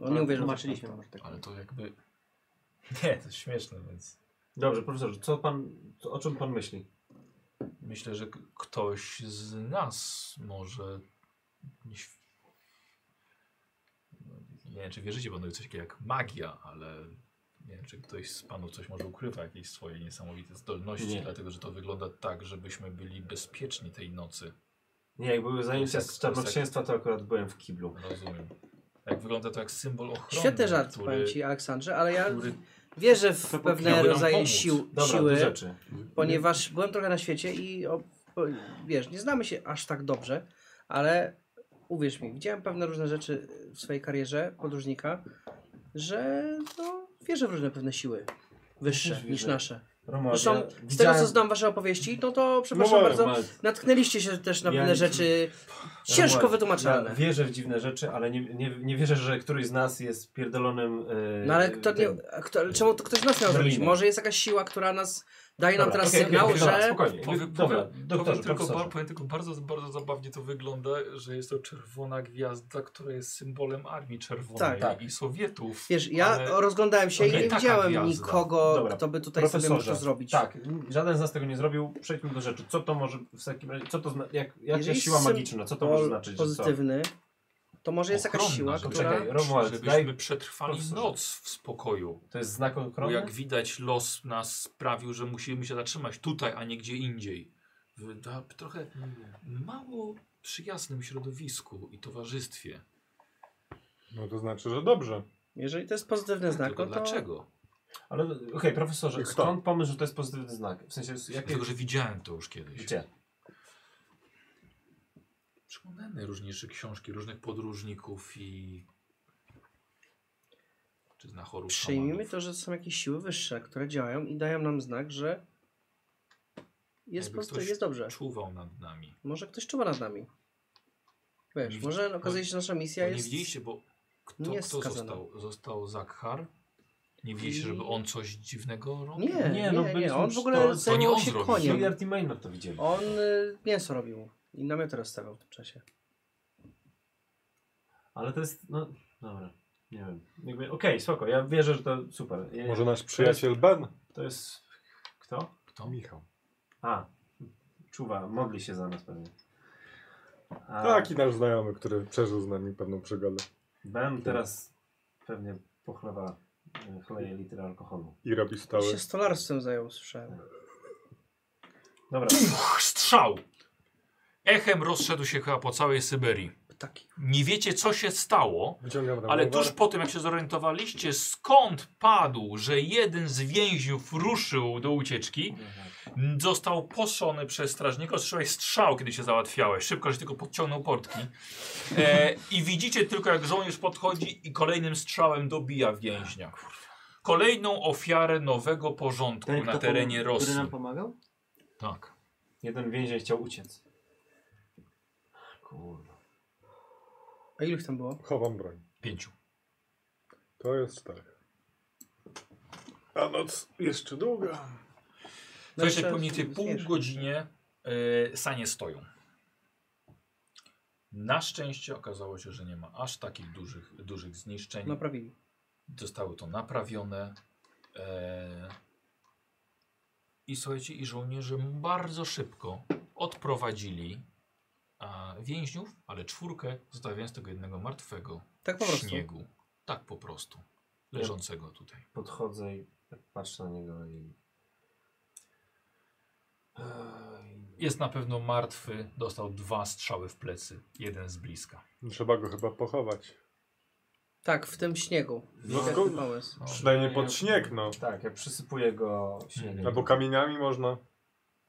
Speaker 3: On nie
Speaker 5: Ale
Speaker 3: uwierzył.
Speaker 5: tłumaczyliśmy.
Speaker 3: że tak.
Speaker 1: Ale to jakby... Nie, to jest śmieszne, więc...
Speaker 2: Dobrze, profesorze, co pan, co, o czym pan myśli?
Speaker 1: Myślę, że k- ktoś z nas może... ś- No, Nie wiem, czy wierzycie panowie w coś takiego jak magia, ale... Nie wiem, czy ktoś z panów coś może ukrywa, jakieś swoje niesamowite zdolności,
Speaker 2: Nie.
Speaker 1: dlatego że to wygląda tak, żebyśmy byli bezpieczni tej nocy.
Speaker 2: Nie, jak były zajęcia
Speaker 1: To
Speaker 2: z
Speaker 1: jest tak-
Speaker 2: czarnoksięstwa, to akurat byłem w kiblu.
Speaker 1: Rozumiem. Jak wygląda to jak symbol ochrony.
Speaker 3: Świetny żart,
Speaker 1: który-
Speaker 3: powiem ci, Aleksandrze, ale ja
Speaker 1: który-
Speaker 3: wierzę w
Speaker 5: propos
Speaker 3: pewne
Speaker 1: miałby nam
Speaker 3: rodzaje
Speaker 1: pomóc.
Speaker 3: sił,
Speaker 2: Dobra,
Speaker 3: siły.
Speaker 2: do rzeczy.
Speaker 3: ponieważ byłem trochę na świecie i o, po, wiesz, nie znamy się aż tak dobrze, ale uwierz mi, widziałem pewne różne rzeczy w swojej karierze podróżnika, że no, wierzę w różne pewne siły
Speaker 2: Ja
Speaker 3: wyższe
Speaker 2: też
Speaker 3: niż
Speaker 2: wierzę.
Speaker 3: nasze.
Speaker 2: Romowie,
Speaker 3: Zresztą z tego,
Speaker 2: widziałem-
Speaker 3: co znam wasze opowieści, no to przepraszam
Speaker 4: No,
Speaker 3: bardzo,
Speaker 2: Ma-
Speaker 3: natknęliście się też na
Speaker 2: Ja
Speaker 3: pewne
Speaker 2: nie-
Speaker 3: rzeczy ciężko
Speaker 2: Romuald,
Speaker 3: wytłumaczalne.
Speaker 2: Ja wierzę w dziwne rzeczy, ale nie, nie, nie wierzę, że któryś z nas jest pierdolonym. e,
Speaker 3: No ale kto, nie,
Speaker 2: tym.
Speaker 3: a kto, ale czemu to ktoś nas miał zrobić?
Speaker 2: Berlinem.
Speaker 3: Może jest jakaś siła, która nas daje nam
Speaker 2: Dobra,
Speaker 3: teraz
Speaker 2: okej,
Speaker 3: sygnał,
Speaker 2: okej, dobra,
Speaker 3: że...
Speaker 2: Spokojnie.
Speaker 1: Powiem,
Speaker 2: dobra,
Speaker 1: powiem,
Speaker 2: doktorze,
Speaker 1: powiem, tylko,
Speaker 2: profesorze.
Speaker 1: ba- powiem tylko bardzo, bardzo zabawnie to wygląda, że jest to czerwona gwiazda, która jest symbolem Armii Czerwonej
Speaker 3: Tak,
Speaker 2: tak.
Speaker 1: i Sowietów.
Speaker 3: Wiesz, ja
Speaker 1: Ale-
Speaker 3: rozglądałem się
Speaker 1: to
Speaker 3: i
Speaker 1: nie
Speaker 3: nie
Speaker 1: taka
Speaker 3: widziałem
Speaker 1: gwiazda.
Speaker 3: nikogo,
Speaker 2: Dobra,
Speaker 3: kto by tutaj sobie mógł to zrobić.
Speaker 2: Tak, n- żaden z nas tego nie zrobił. Przejdźmy do rzeczy. Co to może w takim razie, co to zna, jak, jaka
Speaker 3: Jeżeli
Speaker 2: siła
Speaker 3: sym-
Speaker 2: magiczna, co to
Speaker 3: To
Speaker 2: może znaczyć? że co?
Speaker 3: pozytywny. To może jest jakaś
Speaker 1: Ochronna,
Speaker 3: siła,
Speaker 1: żeby-
Speaker 3: która...
Speaker 2: Czekaj, Romuald,
Speaker 1: żebyśmy
Speaker 2: daj-
Speaker 1: przetrwali
Speaker 2: Profesorze.
Speaker 1: noc w spokoju.
Speaker 2: To jest znak
Speaker 1: Bo
Speaker 2: ochrony?
Speaker 1: jak widać, los nas sprawił, że musimy się zatrzymać tutaj, a nie gdzie indziej. W ta- trochę mało przyjaznym środowisku i towarzystwie.
Speaker 4: No to znaczy, że dobrze.
Speaker 3: Jeżeli to jest pozytywny znak,
Speaker 1: Tylko
Speaker 3: no to...
Speaker 1: dlaczego?
Speaker 2: Ale okej, profesorze,
Speaker 4: Kto?
Speaker 2: skąd pomysł, że to jest pozytywny znak? W sensie, z jakie...
Speaker 1: Dlatego, że widziałem to już kiedyś.
Speaker 2: Gdzie?
Speaker 1: Przyglądałem najróżniejsze książki różnych podróżników i. Czy na chorób
Speaker 3: Przyjmijmy
Speaker 1: szamanów.
Speaker 3: to, że są jakieś siły wyższe, które działają i dają nam znak, że jest
Speaker 1: Jakby
Speaker 3: pozytywnie,
Speaker 1: ktoś
Speaker 3: jest dobrze.
Speaker 1: Czuwał nad nami.
Speaker 3: Może ktoś czuwa nad nami. Wiesz,
Speaker 1: Nie
Speaker 3: może
Speaker 1: widzi-
Speaker 3: okazuje się, że nasza
Speaker 1: Bo
Speaker 3: misja
Speaker 1: Nie
Speaker 3: jest...
Speaker 1: widzieliście, bo kto,
Speaker 3: nie
Speaker 1: kto
Speaker 3: jest skazana.
Speaker 1: został? Został Zakhar. Nie widzieliście, żeby on coś dziwnego robił?
Speaker 3: Nie, nie,
Speaker 2: Nie,
Speaker 3: nie,
Speaker 2: no
Speaker 3: nie.
Speaker 2: byliśmy
Speaker 3: On w
Speaker 2: przy-
Speaker 1: to-
Speaker 3: ogóle
Speaker 1: to nie
Speaker 3: zajmował
Speaker 1: on
Speaker 3: się
Speaker 1: zrobił.
Speaker 2: Nie.
Speaker 3: koniem.
Speaker 2: Yard i Maynard to widzieli.
Speaker 3: On y, mięso robił i namioty rozstawiał w tym czasie.
Speaker 2: Ale to jest, no, dobra. Nie wiem. Jakby, Okej, spoko, ja wierzę, że to super. Ja-
Speaker 4: Może nasz przyjaciel Ben?
Speaker 2: To jest... Kto?
Speaker 3: No,
Speaker 1: Kto?
Speaker 4: Michał.
Speaker 2: A, czuwa, modli się za nas pewnie. A
Speaker 4: Taki nasz znajomy, który przeżył z nami pewną przygodę.
Speaker 2: Ben teraz pewnie pochlewa, e, chleje liter alkoholu.
Speaker 4: I robi
Speaker 3: Ja
Speaker 4: stoły.
Speaker 3: się stolarstwem zajął, słyszałem.
Speaker 2: Dobra,
Speaker 1: Puch, strzał! Echem rozszedł się chyba po całej Syberii.
Speaker 3: Ptaki.
Speaker 1: Nie wiecie, co się stało,
Speaker 4: Wyciągam
Speaker 1: ale
Speaker 4: rewolwer.
Speaker 1: tuż po tym, jak się zorientowaliście, skąd padł, że jeden z więźniów ruszył do ucieczki,
Speaker 2: Mhm.
Speaker 1: m, został poszony przez strażnika, otrzymałeś strzał, kiedy się załatwiałeś. Szybko, że tylko podciągnął portki. E, I widzicie tylko, jak żołnierz podchodzi i kolejnym strzałem dobija więźnia. Kolejną ofiarę nowego porządku
Speaker 5: Ten, kto
Speaker 1: na
Speaker 5: pom-
Speaker 1: terenie
Speaker 5: Który
Speaker 1: Rosji.
Speaker 5: nam pomagał?
Speaker 1: Tak.
Speaker 2: jeden więzień chciał uciec. Kurwa.
Speaker 3: A ilu ich tam było?
Speaker 4: Chowam broń.
Speaker 5: No
Speaker 1: Pięciu.
Speaker 4: To jest tak. czterech. A noc jeszcze długa.
Speaker 1: Słuchajcie,
Speaker 3: Jeszcze
Speaker 1: po mniej więcej pół
Speaker 3: zmniejszy.
Speaker 1: godzinie y, sanie stoją. Na szczęście okazało się, że nie ma aż takich dużych, dużych zniszczeń.
Speaker 3: Naprawili.
Speaker 1: Zostało to naprawione. E, I słuchajcie, i żołnierze bardzo szybko odprowadzili a, więźniów, ale czwórkę, zostawiając tego jednego martwego
Speaker 3: Tak po
Speaker 1: w
Speaker 3: prostu.
Speaker 1: śniegu. Tak po prostu. Leżącego tutaj.
Speaker 2: Podchodzę i patrzę na niego i... Ej,
Speaker 1: Jest na pewno martwy, dostał dwa strzały w plecy, jeden z bliska.
Speaker 4: Trzeba go chyba pochować.
Speaker 3: Tak, w tym śniegu.
Speaker 4: No,
Speaker 3: jak
Speaker 4: go-
Speaker 3: ty pomysł.
Speaker 1: No.
Speaker 4: Przynajmniej pod śnieg, no.
Speaker 2: Tak, ja przysypuję go śniegiem.
Speaker 4: Albo kamieniami można.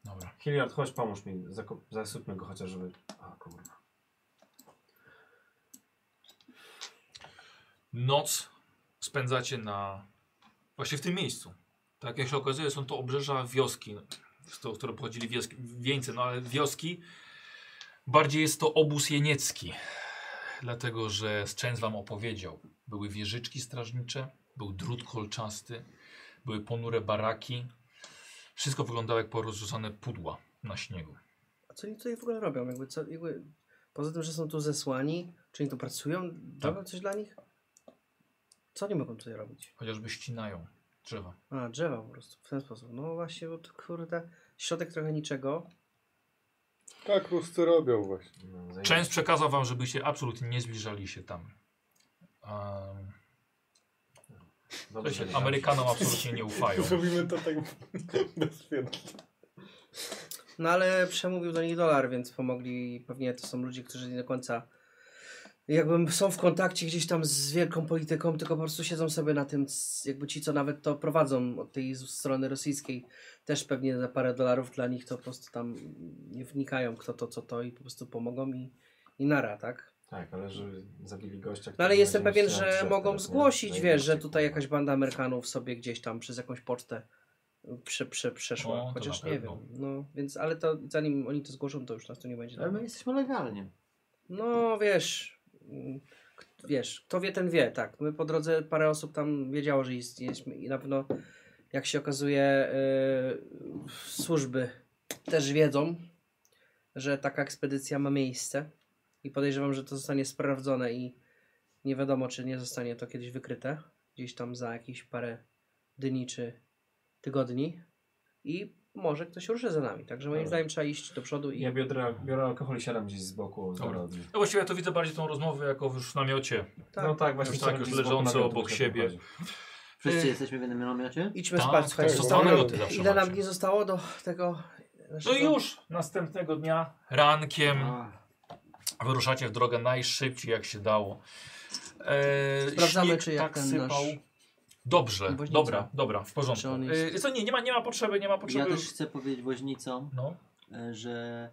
Speaker 1: Dobra.
Speaker 2: Hilliard, chodź, pomóż mi. Zakop- Zasypmy go chociaż, żeby... A, kurwa.
Speaker 1: Noc spędzacie na... właśnie w tym miejscu. Tak jak się okazuje, są to obrzeża wioski, no, z to- które pochodzili wioski, wieńce, no ale wioski. Bardziej jest to obóz jeniecki. Dlatego, że Szczęs wam opowiedział. Były wieżyczki strażnicze, był drut kolczasty, były ponure baraki. Wszystko wyglądało jak porozrzucane pudła na śniegu.
Speaker 3: A co oni tutaj w ogóle robią? Jakby, co, jakby, poza tym, że są tu zesłani, czy oni tu pracują?
Speaker 1: Tak.
Speaker 3: Robią coś dla nich? Co oni mogą tutaj robić?
Speaker 1: Chociażby ścinają drzewa.
Speaker 3: A, drzewa po prostu, w ten sposób. No właśnie, bo to kurde, środek trochę niczego.
Speaker 4: Tak ruscy robią właśnie.
Speaker 2: No, zajmę-
Speaker 1: Częst przekazał wam, żebyście absolutnie nie zbliżali się tam. Ehm,
Speaker 2: Dobrze, że nie
Speaker 1: Amerykanom absolutnie nie ufają.
Speaker 4: Zrobimy to tak bezwiednie.
Speaker 3: No ale przemówił do nich dolar, więc pomogli. Pewnie to są ludzie, którzy nie do końca jakby są w kontakcie gdzieś tam z wielką polityką, tylko po prostu siedzą sobie na tym, c- jakby ci, co nawet to prowadzą od tej z- strony rosyjskiej, też pewnie za parę dolarów dla nich to po prostu tam nie wnikają kto to, co to i po prostu pomogą i, i nara, tak?
Speaker 2: Tak, ale żeby zabili gościa.
Speaker 3: No
Speaker 2: który
Speaker 3: ale jestem
Speaker 2: będzie
Speaker 3: pewien,
Speaker 2: musiał
Speaker 3: że
Speaker 2: przyjechać
Speaker 3: mogą
Speaker 2: teraz, tak nie?
Speaker 3: zgłosić,
Speaker 2: Zajebiście,
Speaker 3: wiesz, że tutaj
Speaker 2: kurwa.
Speaker 3: jakaś banda Amerykanów sobie gdzieś tam przez jakąś pocztę prze, prze,
Speaker 1: O,
Speaker 3: przeszła,
Speaker 1: to
Speaker 3: chociaż
Speaker 1: na
Speaker 3: nie
Speaker 1: pewno.
Speaker 3: wiem. No, więc, ale to zanim oni to zgłoszą, to już nas tu nie będzie.
Speaker 5: Ale my jesteśmy legalnie.
Speaker 3: No wiesz, mm, k- wiesz, kto wie, ten wie, tak. My po drodze parę osób tam wiedziało, że istniejemy i na pewno, jak się okazuje, yy, służby też wiedzą, że taka ekspedycja ma miejsce i podejrzewam, że to zostanie sprawdzone i nie wiadomo, czy nie zostanie to kiedyś wykryte, gdzieś tam za jakieś parę dni czy tygodni i może ktoś ruszy za nami, także moim
Speaker 2: Dobra.
Speaker 3: zdaniem trzeba iść do przodu i
Speaker 2: Ja biorę, biorę alkohol i siadam gdzieś z boku.
Speaker 1: Dobra.
Speaker 2: zaraz.
Speaker 1: No właściwie ja to widzę bardziej tą rozmowę jako już w namiocie.
Speaker 3: tak.
Speaker 2: No tak, właśnie.
Speaker 1: Już tak,
Speaker 2: siadam
Speaker 1: już
Speaker 2: gdzieś z boku
Speaker 1: leżący
Speaker 2: na tym,
Speaker 1: obok
Speaker 2: to się
Speaker 1: siebie.
Speaker 2: prowadzi.
Speaker 5: Wszyscy
Speaker 3: Y-
Speaker 5: jesteśmy w jednym namiocie?
Speaker 3: Idźmy
Speaker 1: Tak,
Speaker 3: spać,
Speaker 1: tak,
Speaker 3: słuchajcie.
Speaker 4: to
Speaker 3: Zostało
Speaker 4: mamy
Speaker 3: nam,
Speaker 1: loty zawsze
Speaker 3: ile nam
Speaker 1: macie.
Speaker 3: dni zostało do tego znaczy
Speaker 1: No
Speaker 3: naszego...
Speaker 1: i już następnego dnia rankiem
Speaker 5: A,
Speaker 1: wyruszacie w drogę najszybciej jak się dało. E,
Speaker 3: Sprawdzamy,
Speaker 1: śnieg
Speaker 3: czy jak ten nasz-
Speaker 1: Dobrze,
Speaker 3: Woźnica.
Speaker 1: dobra, dobra, w porządku.
Speaker 3: Czy on jest-
Speaker 1: E, co nie, nie ma, nie ma potrzeby, nie ma
Speaker 5: ja
Speaker 1: potrzeby.
Speaker 5: też chcę powiedzieć woźnicom,
Speaker 1: No,
Speaker 5: e, że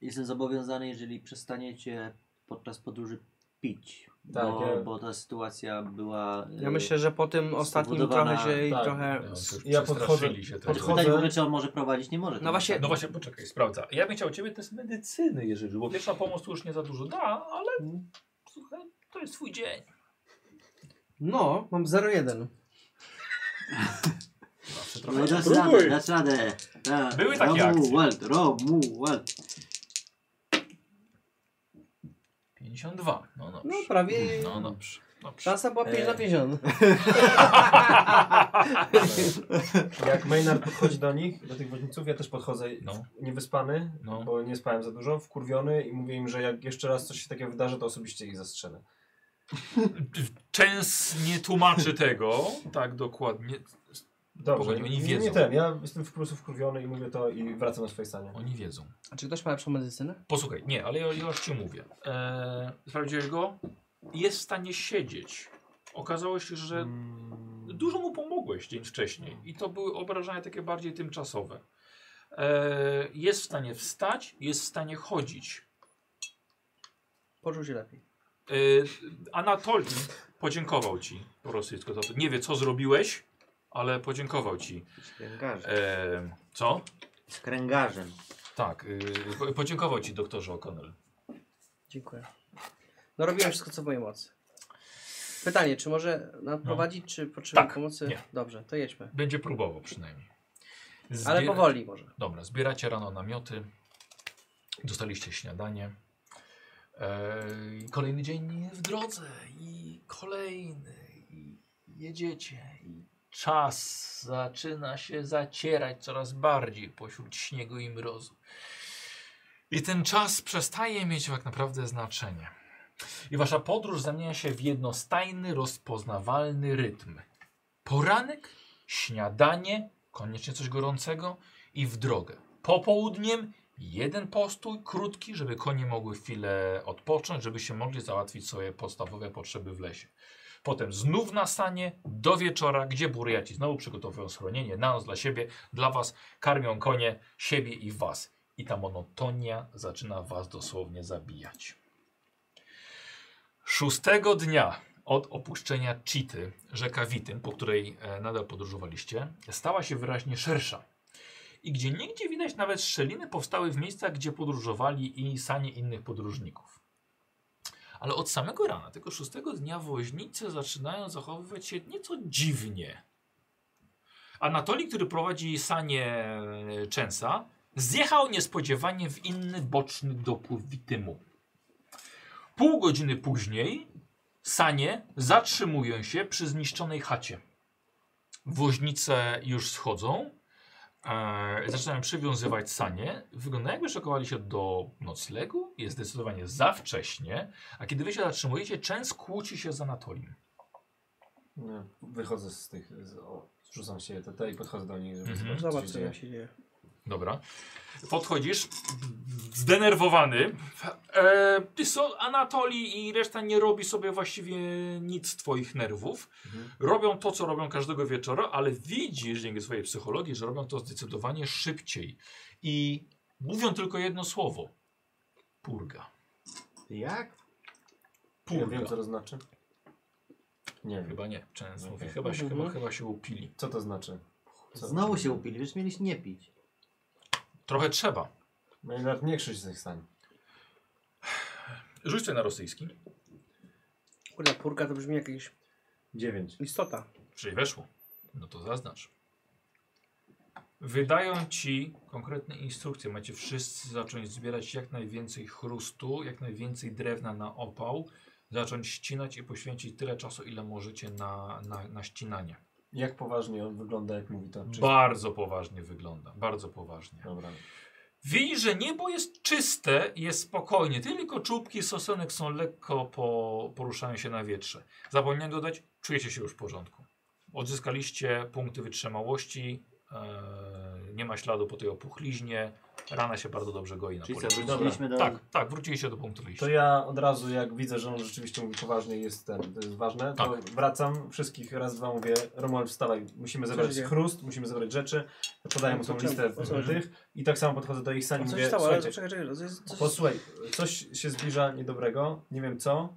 Speaker 5: jestem zobowiązany, jeżeli przestaniecie podczas podróży pić.
Speaker 2: Tak,
Speaker 5: bo,
Speaker 2: ja-
Speaker 5: bo ta sytuacja była. e,
Speaker 3: Ja myślę, że po tym ostatnim
Speaker 5: Spowodowana-
Speaker 3: trochę się i
Speaker 2: tak.
Speaker 1: no,
Speaker 3: trochę...
Speaker 1: to już
Speaker 2: Ja
Speaker 1: przestraszyli
Speaker 2: podchodzę-
Speaker 1: się trochę.
Speaker 2: podchodzę-
Speaker 5: Pytanie no tak, w ogóle, czy on może prowadzić? Nie może.
Speaker 3: No właśnie-
Speaker 1: No właśnie, poczekaj, sprawdza. Ja bym chciał ciebie test medycyny, jeżeli, bo pierwsza pomoc tu już nie za dużo da, ale
Speaker 2: Mm.
Speaker 1: słuchaj, to jest twój dzień.
Speaker 3: No, mam 0,1.
Speaker 1: Zawsze
Speaker 5: No,
Speaker 1: trochę.
Speaker 5: dasz
Speaker 4: Próbuj.
Speaker 5: radę, dasz radę. Tak.
Speaker 1: Były takie akcje.
Speaker 5: Romuald, Romuald.
Speaker 1: 52. No dobrze.
Speaker 3: No prawie.
Speaker 1: No dobrze. dobrze.
Speaker 3: Szansa była 5
Speaker 2: E.
Speaker 3: na 50.
Speaker 2: Jak Maynard podchodzi do nich, do tych woźniców, ja też podchodzę
Speaker 1: No.
Speaker 2: niewyspany,
Speaker 1: No.
Speaker 2: bo nie spałem za dużo, wkurwiony i mówię im, że jak jeszcze raz coś się takiego wydarzy, to osobiście ich zastrzelę.
Speaker 1: Częs nie tłumaczy tego tak dokładnie.
Speaker 2: Dobrze,
Speaker 1: Pogoń, oni
Speaker 2: nie-
Speaker 1: wiedzą.
Speaker 2: nie ten, ja jestem po prostu wkurwiony i mówię to i wracam na swoje stanie.
Speaker 1: Oni wiedzą.
Speaker 3: A czy ktoś ma lepszą medycynę?
Speaker 1: Posłuchaj, nie, ale ja, ja już ci mówię. Eee, sprawdziłeś go? Jest w stanie siedzieć. Okazało się, że
Speaker 2: Hmm.
Speaker 1: dużo mu pomogłeś dzień wcześniej i to były obrażenia takie bardziej tymczasowe. Eee, jest w stanie wstać, jest w stanie chodzić.
Speaker 3: Poczuł się lepiej.
Speaker 1: Yy, Anatolij podziękował ci po rosyjsku. za to. Nie wie, co zrobiłeś, ale podziękował ci.
Speaker 5: Skręgarzem.
Speaker 1: Yy, co?
Speaker 5: Skręgarzem.
Speaker 1: Tak, yy, po- podziękował ci doktorze O'Connell.
Speaker 3: Dziękuję. No robiłem wszystko co w mojej mocy. Pytanie, czy może nadprowadzić, czy potrzeba
Speaker 1: Tak,
Speaker 3: pomocy?
Speaker 1: nie.
Speaker 3: Dobrze, to jedźmy.
Speaker 1: Będzie próbował przynajmniej.
Speaker 3: Ale
Speaker 1: Zbiera-
Speaker 3: powoli może.
Speaker 1: Dobra, zbieracie rano namioty. Dostaliście śniadanie. Eee, kolejny dzień w drodze i kolejny i jedziecie i czas zaczyna się zacierać coraz bardziej pośród śniegu i mrozu. I ten czas przestaje mieć tak naprawdę znaczenie. I wasza podróż zamienia się w jednostajny, rozpoznawalny rytm. Poranek, śniadanie, koniecznie coś gorącego i w drogę. Popołudniem jeden postój, krótki, żeby konie mogły chwilę odpocząć, żeby się mogli załatwić swoje podstawowe potrzeby w lesie. Potem znów na stanie do wieczora, gdzie burjaci znowu przygotowują schronienie na noc dla siebie, dla was, karmią konie, siebie i was. I ta monotonia zaczyna was dosłownie zabijać. Szóstego dnia od opuszczenia Czity, rzeka Witym, po której e, nadal podróżowaliście, stała się wyraźnie szersza i gdzie niegdzie widać nawet szczeliny powstały w miejscach, gdzie podróżowali i sanie innych podróżników. Ale od samego rana, tego szóstego dnia, woźnicy zaczynają zachowywać się nieco dziwnie. Anatolij, który prowadzi sanie e, Częsa, zjechał niespodziewanie w inny boczny dopływ Witymu. Pół godziny później sanie zatrzymują się przy zniszczonej chacie. Woźnice już schodzą, E, zaczynają przywiązywać sanie. Wygląda jakby szokowali się do noclegu. Jest zdecydowanie za wcześnie. A kiedy wy się zatrzymujecie, Częs kłóci się z Anatolim.
Speaker 2: No, Wychodzę z tych, z, o, zrzucam się te, te i podchodzę do nich, żeby
Speaker 1: Mhm.
Speaker 2: zobaczyć co
Speaker 3: Zobacz,
Speaker 2: się
Speaker 3: co
Speaker 2: dzieje.
Speaker 3: tam się dzieje.
Speaker 1: Dobra. Podchodzisz, zdenerwowany. E, ty so, Anatoli i reszta nie robi sobie właściwie nic z twoich nerwów.
Speaker 2: Mhm.
Speaker 1: Robią to, co robią każdego wieczora, ale widzisz dzięki swojej psychologii, że robią to zdecydowanie szybciej. I mówią tylko jedno słowo. Purga.
Speaker 5: Jak?
Speaker 2: Ja
Speaker 1: Purga.
Speaker 2: wiem co to znaczy. Nie wiem.
Speaker 1: Chyba nie. Często
Speaker 2: Okej.
Speaker 1: mówi, chyba się,
Speaker 3: Mhm.
Speaker 1: chyba, chyba się upili.
Speaker 2: Co to znaczy? Co?
Speaker 5: Znowu się upili, wiesz, mieliście nie pić.
Speaker 1: Trochę trzeba.
Speaker 2: Maynard, nie krzycz z tych stań.
Speaker 1: Rzuć sobie na rosyjski.
Speaker 3: Kurde, purka to brzmi jak jakaś
Speaker 2: Dziewięć.
Speaker 3: istota.
Speaker 1: Czyli weszło. No to zaznacz. Wydają ci konkretne instrukcje. Macie wszyscy zacząć zbierać jak najwięcej chrustu, jak najwięcej drewna na opał. Zacząć ścinać i poświęcić tyle czasu, ile możecie na, na, na ścinanie.
Speaker 2: Jak poważnie on wygląda, jak mówi to? Czy...
Speaker 1: Bardzo poważnie wygląda. Bardzo poważnie.
Speaker 2: Dobra.
Speaker 1: Widzi, że niebo jest czyste i jest spokojnie, tylko czubki sosenek są lekko po, poruszają się na wietrze. Zapomniałem dodać, czujecie się już w porządku. Odzyskaliście punkty wytrzymałości, e, nie ma śladu po tej opuchliźnie, rana się bardzo dobrze goi na
Speaker 5: Czyli co,
Speaker 1: policzku.
Speaker 5: wróciliśmy do...
Speaker 1: Tak, tak, wróciliście do punktu wyjścia.
Speaker 2: To ja od razu, jak widzę, że on rzeczywiście mówi poważnie, jest ten, to jest ważne, to wracam, wszystkich raz, dwa mówię, Romuald wstawaj, musimy
Speaker 3: się
Speaker 2: zebrać
Speaker 3: dzieje?
Speaker 2: chrust, musimy zebrać rzeczy, podaję mu
Speaker 3: Co,
Speaker 2: tą
Speaker 3: czemu?
Speaker 2: listę
Speaker 3: O co chodzi?
Speaker 2: tych i tak samo podchodzę do ich sali
Speaker 3: A
Speaker 2: i
Speaker 3: co
Speaker 2: mówię,
Speaker 3: się stało? Ale
Speaker 2: słuchajcie,
Speaker 3: czekaj, czekaj, to jest- to jest-
Speaker 2: posłuchaj, coś się zbliża niedobrego, nie wiem co.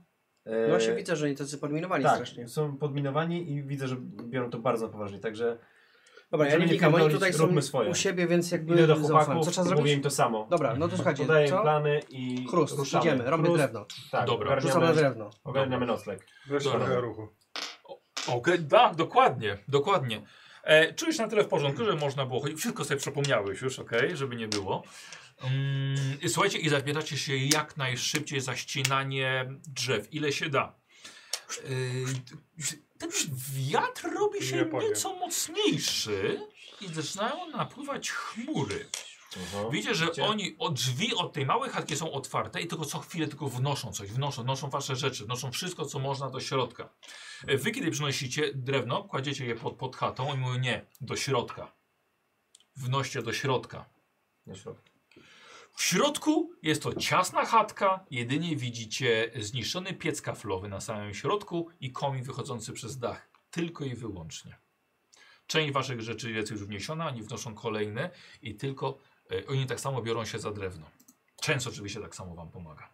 Speaker 2: E,
Speaker 3: No właśnie widzę, że oni tacy podminowani
Speaker 2: tak,
Speaker 3: strasznie.
Speaker 2: są podminowani i widzę, że biorą to bardzo na poważnie, także
Speaker 3: Dobra, ja
Speaker 2: żeby
Speaker 3: nie
Speaker 2: nie
Speaker 3: wnikam, oni
Speaker 2: pierdolić,
Speaker 3: tutaj są
Speaker 2: róbmy swoje.
Speaker 3: u siebie, więc jakby
Speaker 2: idę do
Speaker 3: zaufam.
Speaker 2: chłopaków,
Speaker 3: Co trzeba
Speaker 2: mówię
Speaker 3: zrobić?
Speaker 2: im to samo.
Speaker 3: Dobra, no to słuchajcie,
Speaker 2: Podaję im
Speaker 3: co?
Speaker 2: plany i
Speaker 3: Chrust,
Speaker 2: ruszamy.
Speaker 3: idziemy, robię
Speaker 2: Chrust,
Speaker 3: drewno.
Speaker 2: Tak,
Speaker 1: Dobra.
Speaker 3: Rzucam na
Speaker 2: ogarniamy,
Speaker 3: drewno.
Speaker 2: ogarniamy nocleg.
Speaker 4: Wiesz,
Speaker 1: Dobra.
Speaker 4: trochę ruchu.
Speaker 1: Okej, tak, dokładnie, dokładnie. E, czujesz na tyle w porządku, że można było chodzić. Wszystko sobie przypomniałeś już, okej, żeby nie było. Mm, i słuchajcie, i zabieracie się jak najszybciej za ścinanie drzew, ile się da. Yy, ten wiatr robi się
Speaker 4: Nie powiem.
Speaker 1: nieco mocniejszy i zaczynają napływać chmury.
Speaker 2: Mhm.
Speaker 1: Widzicie, że
Speaker 2: No, Widzicie?
Speaker 1: oni, o, drzwi od tej małej chatki są otwarte i tylko co chwilę tylko wnoszą coś, wnoszą, noszą wasze rzeczy, noszą wszystko, co można do środka. E, Wy, kiedy przynosicie drewno, kładziecie je pod, pod chatą, oni mówią nie, do środka. Wnoście do środka.
Speaker 2: Na środku.
Speaker 1: W środku jest to ciasna chatka, jedynie widzicie zniszczony piec kaflowy na samym środku i komin wychodzący przez dach. Tylko i wyłącznie. Część waszych rzeczy jest już wniesiona, oni wnoszą kolejne i tylko e, oni tak samo biorą się za drewno. Często oczywiście tak samo wam pomaga.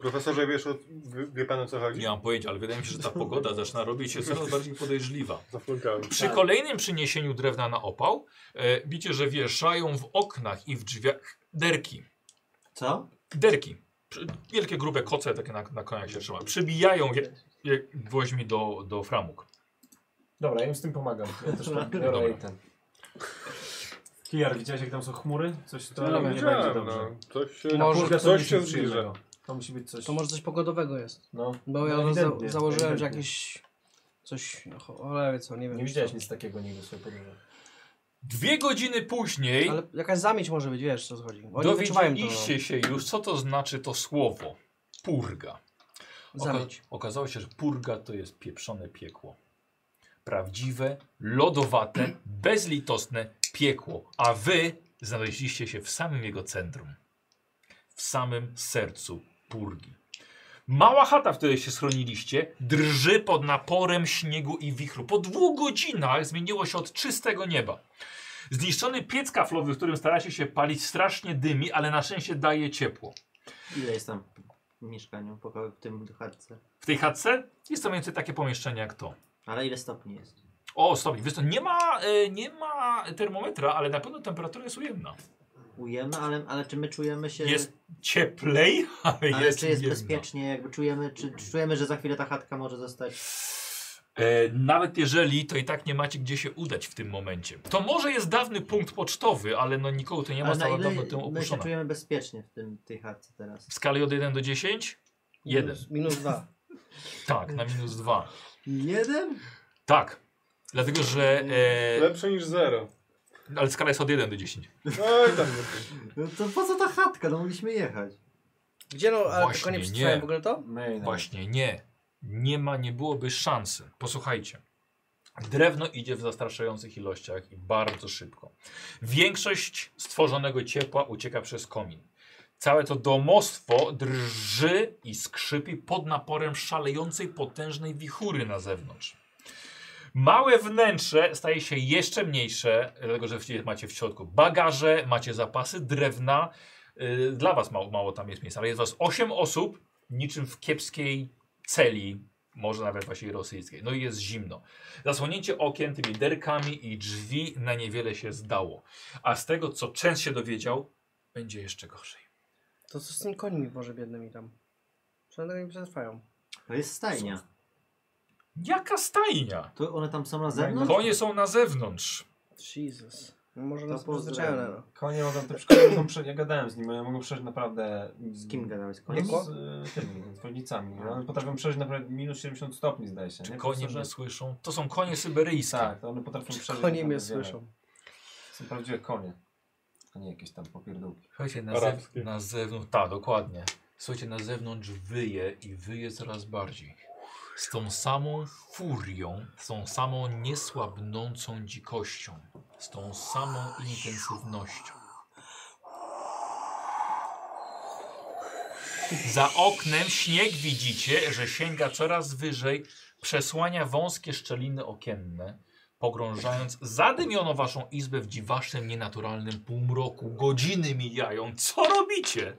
Speaker 4: Profesorze, wiesz, o- wie, wie pan o co chodzi?
Speaker 1: Nie mam pojęcia, ale wydaje mi się, że ta pogoda zaczyna robić się coraz bardziej podejrzliwa.
Speaker 4: Zaflunkałem.
Speaker 1: Przy kolejnym przyniesieniu drewna na opał e, widzicie, że wieszają w oknach i w drzwiach derki.
Speaker 5: Co?
Speaker 1: derki. Przy- Wielkie, grube koce takie na, na koniach się trzyma. Przybijają je, je gwoźdźmi do, do framug.
Speaker 2: Dobra, ja im z tym pomagam. Ja też tam biorę i ten. Kijar, widziałeś jak tam są chmury? Coś to
Speaker 3: No,
Speaker 2: nie będzie
Speaker 4: Wiedziałem,
Speaker 2: dobrze.
Speaker 4: no. Coś się,
Speaker 3: Może-
Speaker 2: Kurka, to
Speaker 4: coś
Speaker 2: musi
Speaker 4: się
Speaker 2: być
Speaker 4: zbliża.
Speaker 2: przyjemnego. To musi być coś.
Speaker 3: To może coś pogodowego jest.
Speaker 2: No,
Speaker 3: Bo ja
Speaker 2: no,
Speaker 3: za
Speaker 2: ewidentnie,
Speaker 3: założyłem, że
Speaker 2: ewidentnie.
Speaker 3: jakieś coś, no, cholera wie co, nie wiem.
Speaker 2: Nie widziałeś nic takiego nigdy w swojej podróży.
Speaker 1: Dwie godziny później
Speaker 3: Ale jakaś zamieć może być, wiesz co chodzi. Oni nie wyczuwają to.
Speaker 1: dowiedzieliście się już, co to znaczy to słowo. Purga. Oka
Speaker 3: Zamieć.
Speaker 1: okazało się, że purga to jest pieprzone piekło. Prawdziwe, lodowate, bezlitosne piekło. A wy znaleźliście się w samym jego centrum. W samym sercu purgi. Mała chata, w której się schroniliście, drży pod naporem śniegu i wichru. Po dwóch godzinach zmieniło się od czystego nieba. Zniszczony piec kaflowy, w którym staracie się palić, strasznie dymi, ale na szczęście daje ciepło.
Speaker 5: Ile jest tam w mieszkaniu, pokoju, w tym chatce?
Speaker 1: W tej chatce jest to mniej więcej takie pomieszczenie jak to.
Speaker 5: Ale ile stopni jest?
Speaker 1: O, stopień. Wiesz co, nie ma, e, nie ma termometra, ale na pewno temperatura jest ujemna.
Speaker 5: Ujemy, ale, ale czy my czujemy się...
Speaker 1: Jest cieplej, ale,
Speaker 5: ale
Speaker 1: jest
Speaker 5: czy jest
Speaker 1: ujemna.
Speaker 5: bezpiecznie, jakby czujemy, czy, czy czujemy, że za chwilę ta chatka może zostać...
Speaker 1: E, nawet jeżeli, to i tak nie macie gdzie się udać w tym momencie. To może jest dawny punkt pocztowy, ale no nikogo to nie ma,
Speaker 5: Ale na
Speaker 1: stała dawno
Speaker 5: ile
Speaker 1: tym
Speaker 5: my się
Speaker 1: opuszczona.
Speaker 5: czujemy bezpiecznie w tym, tej chatce teraz?
Speaker 1: W skali od 1 do 10? Jeden.
Speaker 3: Minus, minus dwa.
Speaker 1: Tak, na minus 2.
Speaker 5: Jeden?
Speaker 1: Tak. Dlatego, że... E,
Speaker 4: Lepsze niż zero.
Speaker 1: ale skala jest od 1 do 10.
Speaker 4: Oj, tam nie.
Speaker 5: No to po co ta chatka? No mogliśmy jechać.
Speaker 3: Gdzie no, ale
Speaker 1: Właśnie,
Speaker 3: tylko nie
Speaker 1: nie.
Speaker 3: przetrwałem w ogóle to?
Speaker 2: Mej, no.
Speaker 1: Właśnie nie. Nie ma, nie byłoby szansy. Posłuchajcie. Drewno idzie w zastraszających ilościach i bardzo szybko. Większość stworzonego ciepła ucieka przez komin. Całe to domostwo drży i skrzypi pod naporem szalejącej potężnej wichury na zewnątrz. Małe wnętrze staje się jeszcze mniejsze, dlatego że w- macie w środku bagaże, macie zapasy drewna. Yy, Dla was mało, mało tam jest miejsca, ale jest was 8 osób, niczym w kiepskiej celi, może nawet właśnie rosyjskiej. No i jest zimno. Zasłonięcie okien tymi derkami i drzwi na niewiele się zdało. A z tego, co Częst się dowiedział, będzie jeszcze gorzej.
Speaker 3: To co z tym końmi Boże biednymi tam? Przynajmniej nie przetrwają.
Speaker 5: To jest stajnia.
Speaker 1: Jaka stajnia!
Speaker 5: To one tam są na zewnątrz?
Speaker 1: Konie są na zewnątrz.
Speaker 3: Jesus. No może
Speaker 5: To
Speaker 3: nas
Speaker 5: pozdrawiam.
Speaker 3: pozwyczają, no.
Speaker 2: Konie mogą te przeszkody, mogą prze... ja gadałem z nim, one mogą przejść naprawdę...
Speaker 5: Z kim gadałeś?
Speaker 2: No,
Speaker 5: Koniec?
Speaker 2: z e, tymi, z wodnicami. No, one potrafią przeżyć naprawdę minus 70 stopni, zdaje się.
Speaker 1: Czy
Speaker 2: nie?
Speaker 1: konie mnie
Speaker 2: Profesorze?
Speaker 1: słyszą? To są konie syberyjskie.
Speaker 2: Tak, to one potrafią przeżyć.
Speaker 3: Konie mnie
Speaker 2: naprawdę wiele.
Speaker 3: słyszą.
Speaker 2: Są prawdziwe konie. A nie jakieś tam popierdółki.
Speaker 1: Słuchajcie, na,
Speaker 4: Arabskie.
Speaker 1: zew- na zewnątrz. Tak, dokładnie. Słuchajcie, na zewnątrz wyje i wyje coraz bardziej. Z tą samą furią, z tą samą niesłabnącą dzikością, z tą samą intensywnością. Za oknem śnieg widzicie, że sięga coraz wyżej, przesłania wąskie szczeliny okienne, pogrążając zadymioną waszą izbę w dziwacznym, nienaturalnym półmroku. Godziny mijają. Co robicie?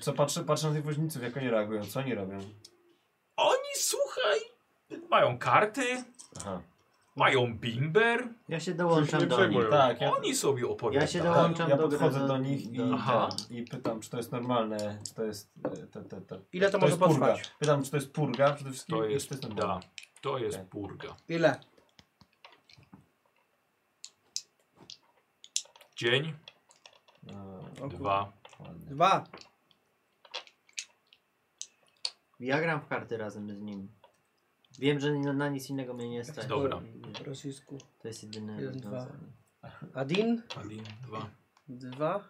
Speaker 2: Co, patrzę, patrzę na tych woźniców, jak oni reagują, co oni robią.
Speaker 1: Oni, słuchaj, mają karty,
Speaker 2: Aha.
Speaker 1: mają bimber,
Speaker 5: Ja się
Speaker 4: Coś nie
Speaker 5: dołączam do nich.
Speaker 4: przejmują.
Speaker 2: Tak, ja,
Speaker 1: oni sobie
Speaker 5: Ja
Speaker 1: opowiadają.
Speaker 5: się
Speaker 2: tak,
Speaker 5: dołączam
Speaker 2: ja
Speaker 5: do gry.
Speaker 2: podchodzę do nich i,
Speaker 1: Aha.
Speaker 2: ten, i pytam, czy to jest normalne, czy to jest... e, Te, te, te.
Speaker 3: Ile to,
Speaker 2: To
Speaker 3: może
Speaker 2: jest purga.
Speaker 3: potrwać?
Speaker 2: Pytam, czy to jest purga przede wszystkim.
Speaker 1: To
Speaker 2: i
Speaker 1: jest,
Speaker 2: czy to
Speaker 1: da,
Speaker 2: normalne.
Speaker 1: to jest
Speaker 2: Okej.
Speaker 1: purga.
Speaker 3: Ile?
Speaker 1: Dzień,
Speaker 2: No,
Speaker 3: O
Speaker 1: dwa.
Speaker 3: Dwa.
Speaker 5: Ja gram w karty razem z nim. Wiem, że na, na nic innego mnie nie stać.
Speaker 1: Dobra.
Speaker 3: Po rosyjsku.
Speaker 5: To jest jedyne
Speaker 3: Jeden, dwa.
Speaker 5: rozwiązanie.
Speaker 3: Adin.
Speaker 1: Adin, dwa.
Speaker 3: Dwa.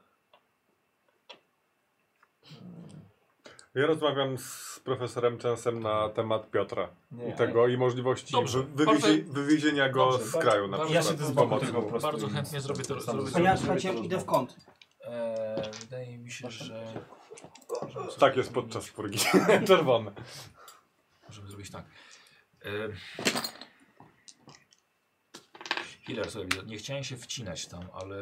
Speaker 4: Ja rozmawiam z profesorem Częsem na temat Piotra
Speaker 6: Nie,
Speaker 4: i tak tego i możliwości
Speaker 1: Dobrze,
Speaker 4: wy-
Speaker 1: bardzo-
Speaker 4: wywiezie, wywiezienia go
Speaker 1: Dobrze,
Speaker 4: z
Speaker 1: bardzo-
Speaker 4: kraju na
Speaker 1: bardzo-
Speaker 4: przykład.
Speaker 1: Ja się
Speaker 4: z
Speaker 1: dozwolę
Speaker 4: pomocą.
Speaker 6: tego. Po prostu
Speaker 1: Bardzo
Speaker 6: i-
Speaker 1: chętnie zrobię to.
Speaker 6: sam
Speaker 1: Zrobię
Speaker 6: ze
Speaker 1: to.
Speaker 6: sobą.
Speaker 3: Ja
Speaker 6: Żeby
Speaker 3: słuchajcie,
Speaker 6: to
Speaker 3: idę w
Speaker 6: rozmawiać.
Speaker 3: kąt.
Speaker 6: Eee, wydaje mi się, że. możemy sobie
Speaker 4: Tak jest
Speaker 6: zmienić-
Speaker 4: podczas purgi. Tak, Czerwony.
Speaker 1: Możemy zrobić tak. Ym. Healer sobie widzę. Nie chciałem się wcinać tam, ale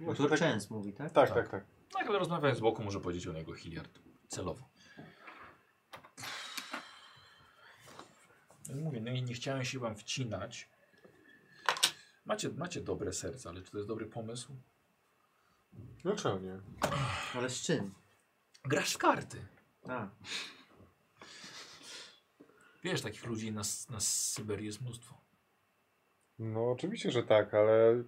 Speaker 5: No to
Speaker 4: tak,
Speaker 5: Częs mówi, tak?
Speaker 4: tak, tak, tak.
Speaker 1: Tak, ale rozmawiając z boku może powiedzieć o niego Hilliard celowo. No i Mówię, no i nie chciałem się wam wcinać. Macie, macie dobre serce, ale czy to jest dobry pomysł?
Speaker 4: Dlaczego nie?
Speaker 5: Ale z czym?
Speaker 1: Grasz w karty.
Speaker 5: A,
Speaker 1: Wiesz, takich ludzi na, s- na Syberii jest mnóstwo.
Speaker 4: No oczywiście, że tak, ale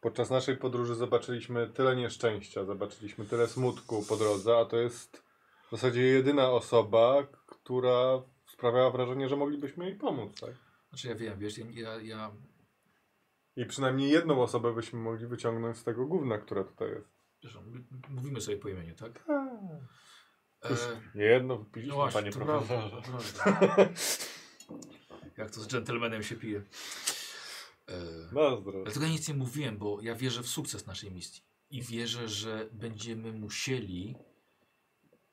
Speaker 4: podczas naszej podróży zobaczyliśmy tyle nieszczęścia, zobaczyliśmy tyle smutku po drodze, a to jest w zasadzie jedyna osoba, która sprawiała wrażenie, że moglibyśmy jej pomóc, tak?
Speaker 1: Znaczy ja wiem, wiesz, ja, ja, ja
Speaker 4: I przynajmniej jedną osobę byśmy mogli wyciągnąć z tego gówna, które tutaj jest.
Speaker 1: wiesz, m- mówimy sobie po imieniu, tak? E,
Speaker 4: Już nie jedno wypiliśmy,
Speaker 1: no właśnie,
Speaker 4: panie
Speaker 1: to
Speaker 4: profesorze.
Speaker 1: prawda, to prawda. Jak to z dżentelmenem się pije. E,
Speaker 4: Na zdrowie.
Speaker 1: Dlatego ja nic nie mówiłem, bo ja wierzę w sukces naszej misji. I wierzę, że będziemy musieli.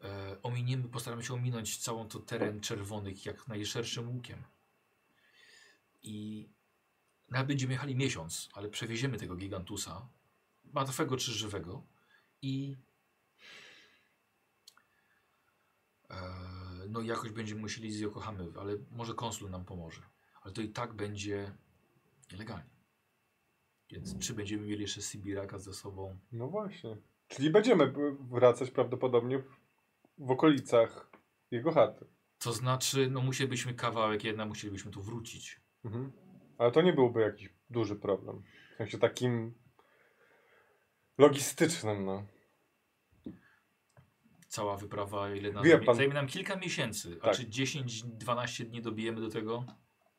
Speaker 1: E, ominiemy, postaramy się ominąć całą to teren czerwonych jak najszerszym łukiem. I nawet będziemy jechali miesiąc, ale przewieziemy tego gigantusa, martwego czy żywego, i e, no jakoś będziemy musieli z Yokohamy, ale może konsul nam pomoże. Ale to i tak będzie nielegalnie. Więc czy będziemy mieli jeszcze Sibiraka ze sobą?
Speaker 4: No właśnie. Czyli będziemy b- wracać prawdopodobnie w- w okolicach jego chaty.
Speaker 1: To znaczy, no musielibyśmy kawałek jedna, musielibyśmy tu wrócić.
Speaker 4: Mhm. Ale to nie byłby jakiś duży problem. W sensie takim logistycznym, no.
Speaker 1: Cała wyprawa, ile nam
Speaker 4: Wie
Speaker 1: zajmie,
Speaker 4: pan-
Speaker 1: zajmie nam kilka miesięcy. A
Speaker 4: Tak.
Speaker 1: czy 10-12 dni dobijemy do tego?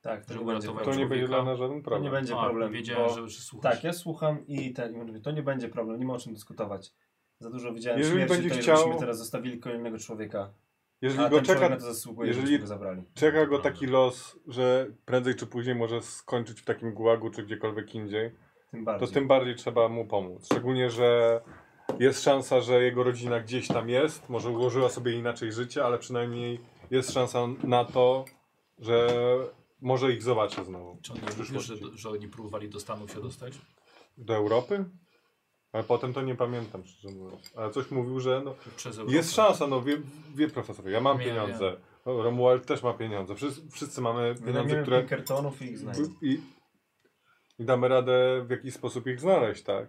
Speaker 6: Tak, to
Speaker 1: Żeby
Speaker 6: nie będzie
Speaker 1: uratować-
Speaker 4: To nie będzie
Speaker 1: człowieka.
Speaker 4: dla nas żaden
Speaker 2: To nie
Speaker 4: problem.
Speaker 2: będzie
Speaker 1: A,
Speaker 2: problem.
Speaker 1: Wiedziałem,
Speaker 2: Bo...
Speaker 1: że, że słuchasz.
Speaker 2: Tak, ja słucham i ten, i mówię, to nie będzie problem, nie ma o czym dyskutować. Za dużo widziałem
Speaker 4: Jeżeli
Speaker 2: śmierci,
Speaker 4: będzie
Speaker 2: to
Speaker 4: chciał-
Speaker 2: żebyśmy teraz zostawili kolejnego człowieka.
Speaker 4: Jeżeli
Speaker 2: A
Speaker 4: go
Speaker 2: ten człowiek
Speaker 4: czeka,
Speaker 2: na to zasługuje,
Speaker 4: jeżeli-
Speaker 2: żebyśmy go zabrali.
Speaker 4: czeka go taki los, że prędzej czy później może skończyć w takim gułagu czy gdziekolwiek indziej,
Speaker 2: Tym
Speaker 4: to
Speaker 2: bardziej.
Speaker 4: tym bardziej trzeba mu pomóc. Szczególnie, że jest szansa, że jego rodzina gdzieś tam jest, może ułożyła sobie inaczej życie, ale przynajmniej jest szansa na to, że może ich zobaczę znowu.
Speaker 1: Czy on nie mówił, że, że oni próbowali do Stanów się dostać?
Speaker 4: Do Europy? Ale potem to nie pamiętam, szczerze mówiąc. Ale coś mówił, że no,
Speaker 1: Przez Europę.
Speaker 4: jest szansa, no wie, wie profesor, ja mam
Speaker 1: Nie,
Speaker 4: pieniądze. Romuald też ma pieniądze. Wszyscy, wszyscy mamy pieniądze,
Speaker 2: Wynajmiemy
Speaker 4: które...
Speaker 2: Pinkertonów i ich znajdziemy.
Speaker 4: I, Mhm. I damy radę w jakiś sposób ich znaleźć, tak?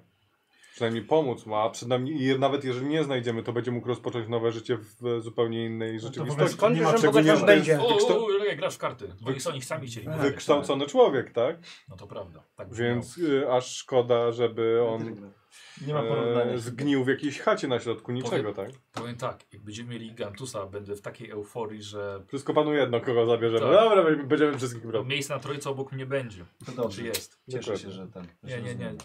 Speaker 4: Przynajmniej pomóc mu, a przynajmniej i nawet jeżeli nie znajdziemy, to będzie mógł rozpocząć nowe życie w zupełnie innej
Speaker 2: No to w
Speaker 4: rzeczywistości.
Speaker 2: ogóle
Speaker 3: Skąd
Speaker 2: nie ma
Speaker 3: wiesz, że
Speaker 2: czego
Speaker 4: Szczególnie,
Speaker 3: bogacz
Speaker 4: że
Speaker 2: nie
Speaker 4: to
Speaker 3: wejdzie?
Speaker 4: jest
Speaker 1: O, o,
Speaker 4: wykształ-
Speaker 1: o, jak grasz w karty. Bo oni, oni sami
Speaker 2: No
Speaker 1: chcieli.
Speaker 2: tak.
Speaker 1: grać.
Speaker 4: wykształcony człowiek, tak?
Speaker 1: No to prawda. Tak
Speaker 4: Więc y, aż szkoda, żeby on
Speaker 2: Nie ma porównania.
Speaker 4: e, zgnił w jakiejś chacie na środku niczego, tak?
Speaker 1: Powiem tak, jak będziemy mieli Gantusa, będę w takiej euforii, że
Speaker 4: Wszystko panu jedno, kogo zabierzemy. No
Speaker 1: Tak.
Speaker 4: Dobra, be- będziemy wszystkich brać.
Speaker 1: miejsce na trójce obok mnie będzie.
Speaker 2: To
Speaker 1: Czy
Speaker 2: dobrze.
Speaker 1: jest?
Speaker 2: Cieszę się, że ten. że
Speaker 1: Nie, nie, nie.
Speaker 2: rozumiem.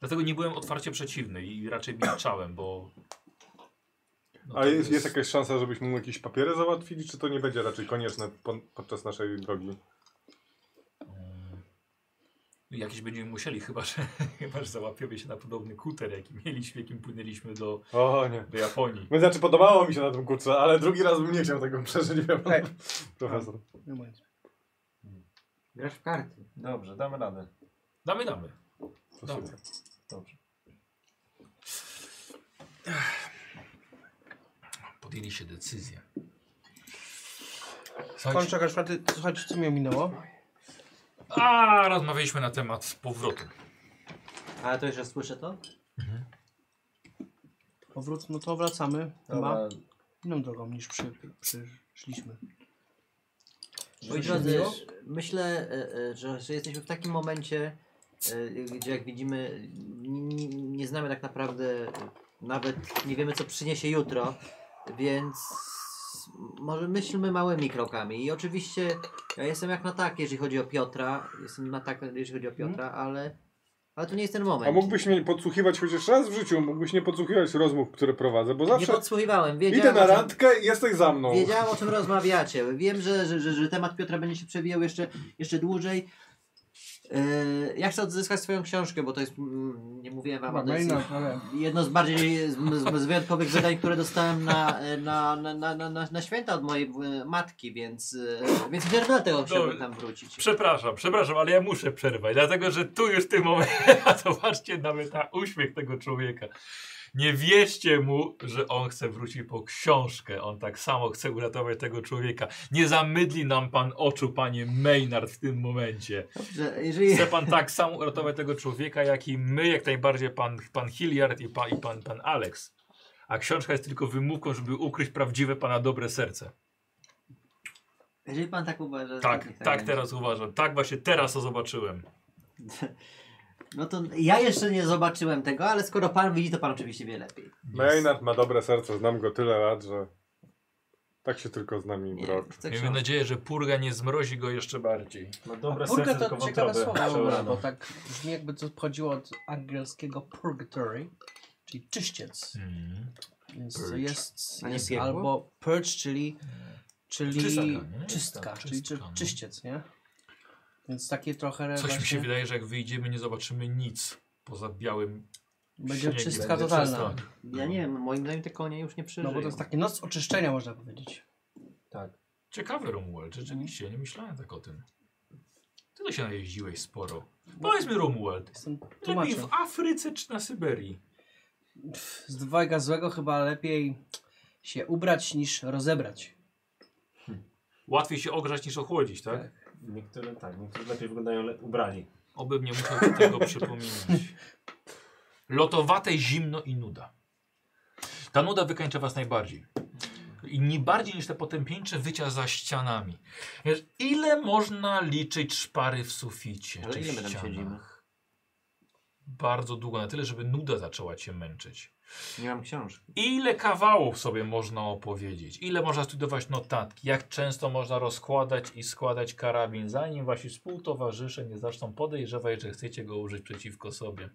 Speaker 1: Dlatego nie byłem otwarcie przeciwny i raczej milczałem, bo. No
Speaker 4: A
Speaker 1: to
Speaker 4: jest, jest jakaś szansa, żebyśmy mu jakieś papiery załatwili, czy to nie będzie raczej konieczne po, podczas naszej drogi?
Speaker 1: mm, E, Jakieś będziemy musieli, chyba że, chyba, że załapiemy się na podobny kuter, jaki mieliśmy, jakim płynęliśmy do,
Speaker 4: O nie.
Speaker 1: do Japonii.
Speaker 4: No, Znaczy podobało mi się na tym kurczę, ale drugi raz bym nie chciał tego przeżyć, wie pan.
Speaker 3: Ej.
Speaker 4: Profesor.
Speaker 3: Nie mówię.
Speaker 5: grasz w karty.
Speaker 2: Dobrze, damy radę.
Speaker 1: Damy, damy.
Speaker 4: To
Speaker 1: Dobra.
Speaker 4: super.
Speaker 2: Dobrze.
Speaker 1: Podjęli się decyzję.
Speaker 3: Kończę kaszlaty. Słuchajcie, co mi ominęło?
Speaker 1: A, rozmawialiśmy na temat powrotu.
Speaker 5: Ale to jeszcze słyszę to?
Speaker 3: Powrót, no to wracamy. Chyba
Speaker 2: Dobra.
Speaker 3: inną drogą niż przy, przyszliśmy.
Speaker 5: Moi drodzy, myślę, e, e, że, że jesteśmy w takim momencie, y, gdzie jak widzimy, n- n- nie znamy tak naprawdę, y, nawet nie wiemy co przyniesie jutro, więc może myślmy małymi krokami. I oczywiście ja jestem jak na tak, jeżeli chodzi o Piotra, jestem na tak, jeżeli chodzi o Piotra, ale, ale to nie jest ten moment.
Speaker 4: Mhm. A mógłbyś mnie podsłuchiwać chociaż raz w życiu, mógłbyś nie podsłuchiwać rozmów, które prowadzę, bo
Speaker 5: Nie
Speaker 4: zawsze
Speaker 5: podsłuchiwałem,
Speaker 4: idę
Speaker 5: wiedziałem,
Speaker 4: na
Speaker 5: o czym-
Speaker 4: randkę i jesteś za mną.
Speaker 5: Wiedziałem o czym rozmawiacie. Wiem, że, że, że, że temat Piotra będzie się przewijał jeszcze, jeszcze dłużej. Yy, ja chcę odzyskać swoją książkę, bo to jest, mm, nie mówiłem wam, ale
Speaker 3: no
Speaker 5: to jest jedno z bardziej z, z, z wyjątkowych zadań, które dostałem na, na, na, na, na, na, na święta od mojej e, matki, więc, e, więc wiem, dlatego chciałbym tam wrócić.
Speaker 1: Przepraszam, przepraszam, ale ja muszę przerwać, dlatego że tu już w tym momencie, zobaczcie nawet na uśmiech tego człowieka. Nie wierzcie mu, że on chce wrócić po książkę. On tak samo chce uratować tego człowieka. Nie zamydli nam pan oczu, panie Maynard, w tym momencie.
Speaker 5: Dobrze, jeżeli...
Speaker 1: Chce pan tak samo uratować tego człowieka, jak i my, jak najbardziej pan, pan Hilliard i, pa, i pan, pan Alex. A książka jest tylko wymówką, żeby ukryć prawdziwe pana dobre serce.
Speaker 5: Jeżeli pan tak uważa.
Speaker 1: Tak, tak teraz uważam. Tak właśnie teraz to zobaczyłem.
Speaker 5: No to ja jeszcze nie zobaczyłem tego, ale skoro pan widzi, to pan oczywiście wie lepiej.
Speaker 4: Maynard ma dobre serce, znam go tyle lat, że tak się tylko z nami
Speaker 5: Nie,
Speaker 4: brał.
Speaker 5: chcę
Speaker 1: Miejmy
Speaker 5: książkę.
Speaker 1: nadzieję, że purga nie zmrozi go jeszcze bardziej.
Speaker 2: Ma
Speaker 3: A
Speaker 2: dobre
Speaker 3: purga
Speaker 2: serce,
Speaker 3: to
Speaker 2: tylko
Speaker 3: ciekawe
Speaker 2: wątroby.
Speaker 3: słowo, dobra,
Speaker 2: przeorane.
Speaker 3: bo tak brzmi jakby to pochodziło od angielskiego purgatory, czyli czyściec. Mhm. Więc to
Speaker 1: Purge.
Speaker 3: jest,
Speaker 5: A nie
Speaker 3: jest
Speaker 5: piekło?
Speaker 3: albo purge, czyli, czyli
Speaker 1: Czystaka, nie?
Speaker 3: czystka,
Speaker 2: Tak,
Speaker 1: Czystka,
Speaker 3: czyli czy,
Speaker 1: czystka, no.
Speaker 3: czyściec, nie? Więc takie trochę
Speaker 1: Coś mi się
Speaker 3: właśnie
Speaker 1: wydaje, że jak wyjdziemy, nie zobaczymy nic poza białym.
Speaker 3: będzie
Speaker 1: śniegiem. Tak.
Speaker 3: czystka
Speaker 1: Będzie
Speaker 3: totalna.
Speaker 1: czysto.
Speaker 5: Ja nie wiem, moim zdaniem te konie już nie przeżyją.
Speaker 3: No bo to jest taki noc oczyszczenia można powiedzieć.
Speaker 1: Ciekawy Romuald, rzeczywiście, nie myślałem tak o tym. Ty to się najeździłeś sporo.
Speaker 3: No.
Speaker 1: Powiedzmy Romuald,
Speaker 3: Jestem
Speaker 1: lepiej
Speaker 3: tłumaczem.
Speaker 1: w Afryce czy na Syberii?
Speaker 3: Pff, Z dwojga złego chyba lepiej się ubrać niż rozebrać.
Speaker 1: Łatwiej się ogrzać niż ochłodzić, tak?
Speaker 3: Tak.
Speaker 2: Niektóre tak, niektórzy lepiej wyglądają le ubrani.
Speaker 1: Oby mnie musiał ci tego przypominać. Lotowate zimno i nuda. Ta nuda wykańcza was najbardziej. I nie bardziej niż te potępieńcze wycia za ścianami. Wiesz, ile można liczyć szpary w suficie?
Speaker 5: Ale
Speaker 1: czy
Speaker 5: ile
Speaker 1: w
Speaker 5: my tam
Speaker 1: ścianach?
Speaker 5: siedzimy?
Speaker 1: Bardzo długo, na tyle, żeby nuda zaczęła cię męczyć.
Speaker 5: Nie mam książki.
Speaker 1: Ile kawałów sobie można opowiedzieć? Ile można studiować notatki? Jak często można rozkładać i składać karabin, zanim wasi współtowarzysze nie zaczną podejrzewać, że chcecie go użyć przeciwko sobie?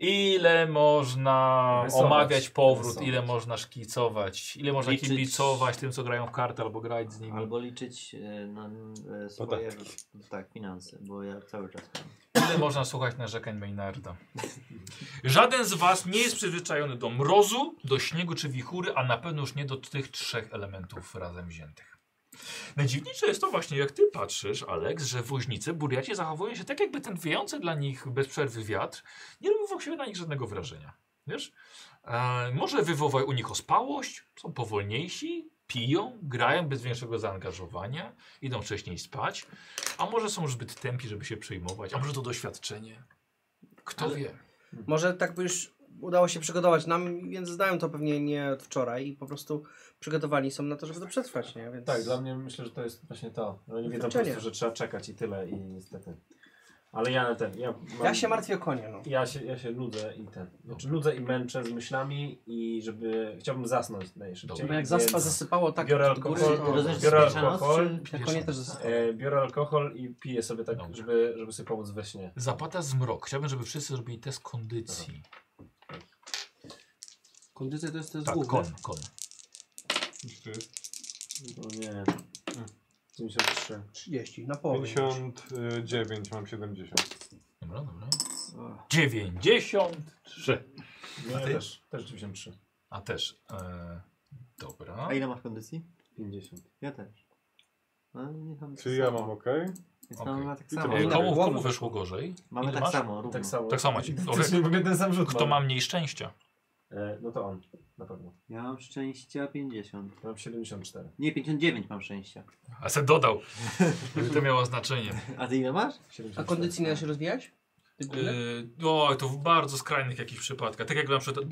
Speaker 1: Ile można
Speaker 2: Rysować.
Speaker 1: omawiać powrót,
Speaker 2: Rysować.
Speaker 1: ile można szkicować, ile można
Speaker 5: Liczyć.
Speaker 1: kibicować tym, co grają w karty albo grać z nimi.
Speaker 5: Albo liczyć e, na e, swoje tak, finanse, bo ja cały czas mam.
Speaker 1: Ile można słuchać narzekań Maynarda? Żaden z was nie jest przyzwyczajony do mrozu, do śniegu czy wichury, a na pewno już nie do tych trzech elementów razem wziętych. Najdziwniejsze jest to właśnie, jak ty patrzysz, Aleks, że woźnicy, buriaci zachowują się tak, jakby ten wiejący dla nich bez przerwy wiatr nie robił właściwie na nich żadnego wrażenia. Wiesz? E, może wywołać u nich ospałość, są powolniejsi, piją, grają bez większego zaangażowania, idą wcześniej spać. A może są zbyt tępi, żeby się przejmować? A może to doświadczenie? Kto wie?
Speaker 3: Może tak by już udało się przygotować nam, więc zdają to pewnie nie od wczoraj i po prostu przygotowani są na to, żeby to przetrwać, nie? Więc...
Speaker 2: Tak, dla mnie myślę, że to jest właśnie to. że Oni wiedzą po
Speaker 3: Wykluczenie.
Speaker 2: prostu, że trzeba czekać i tyle i niestety. Ale ja na ten. Ja, mam,
Speaker 3: Ja się martwię o konie, no.
Speaker 2: Ja się, ja się nudzę i ten. Znaczy nudzę i męczę z myślami i żeby. Chciałbym zasnąć najszybciej.
Speaker 1: Dobra,
Speaker 3: Bo jak
Speaker 2: Więc,
Speaker 3: zaspa zasypało tak
Speaker 2: biorę
Speaker 3: od góry,
Speaker 2: alkohol,
Speaker 3: to-
Speaker 2: biorę
Speaker 5: Rozumiesz,
Speaker 2: biorę
Speaker 5: spiesza noc,
Speaker 2: alkohol.
Speaker 3: Na konie też zasypało.
Speaker 2: E, biorę alkohol i piję sobie tak,
Speaker 1: Dobra.
Speaker 2: żeby, żeby sobie pomóc we śnie.
Speaker 1: Zapada zmrok. Chciałbym, żeby wszyscy zrobili test kondycji.
Speaker 6: Kondycja to jest ten
Speaker 1: Tak, kon, kon.
Speaker 2: No nie. 93.
Speaker 3: 30, na połowę.
Speaker 4: 59, mam 70.
Speaker 1: Dobra, dobra. 93.
Speaker 2: Nie,
Speaker 1: ty?
Speaker 2: też, też 93.
Speaker 1: A też. E, dobra. E,
Speaker 5: A ile masz kondycji?
Speaker 2: 50.
Speaker 5: Ja też. No, nie mam
Speaker 4: Czyli ja mam ok.
Speaker 5: Więc
Speaker 1: Okej.
Speaker 5: mamy tak
Speaker 4: I to
Speaker 5: samo.
Speaker 1: E,
Speaker 4: mamy-
Speaker 1: komu,
Speaker 3: Głowę
Speaker 1: komu
Speaker 3: masz.
Speaker 1: weszło gorzej?
Speaker 5: Mamy
Speaker 1: Ile
Speaker 5: tak
Speaker 1: masz?
Speaker 5: samo, równo.
Speaker 2: Tak samo.
Speaker 1: Tak samo macie.
Speaker 2: Dobra.
Speaker 1: Dobra.
Speaker 2: jeden sam rzut
Speaker 1: Kto
Speaker 2: mam.
Speaker 1: ma mniej szczęścia?
Speaker 2: E, no to on, na pewno.
Speaker 5: Ja mam szczęścia 50.
Speaker 2: Ja Mam 74.
Speaker 5: Nie, 59 mam szczęścia.
Speaker 1: A se dodał. Żeby to miało znaczenie.
Speaker 5: A ty ile masz?
Speaker 2: 74.
Speaker 3: A kondycyjnie da się rozwijać?
Speaker 1: E,
Speaker 3: Ty górne?
Speaker 1: o, to w bardzo skrajnych jakichś przypadkach. Tak jak na przykład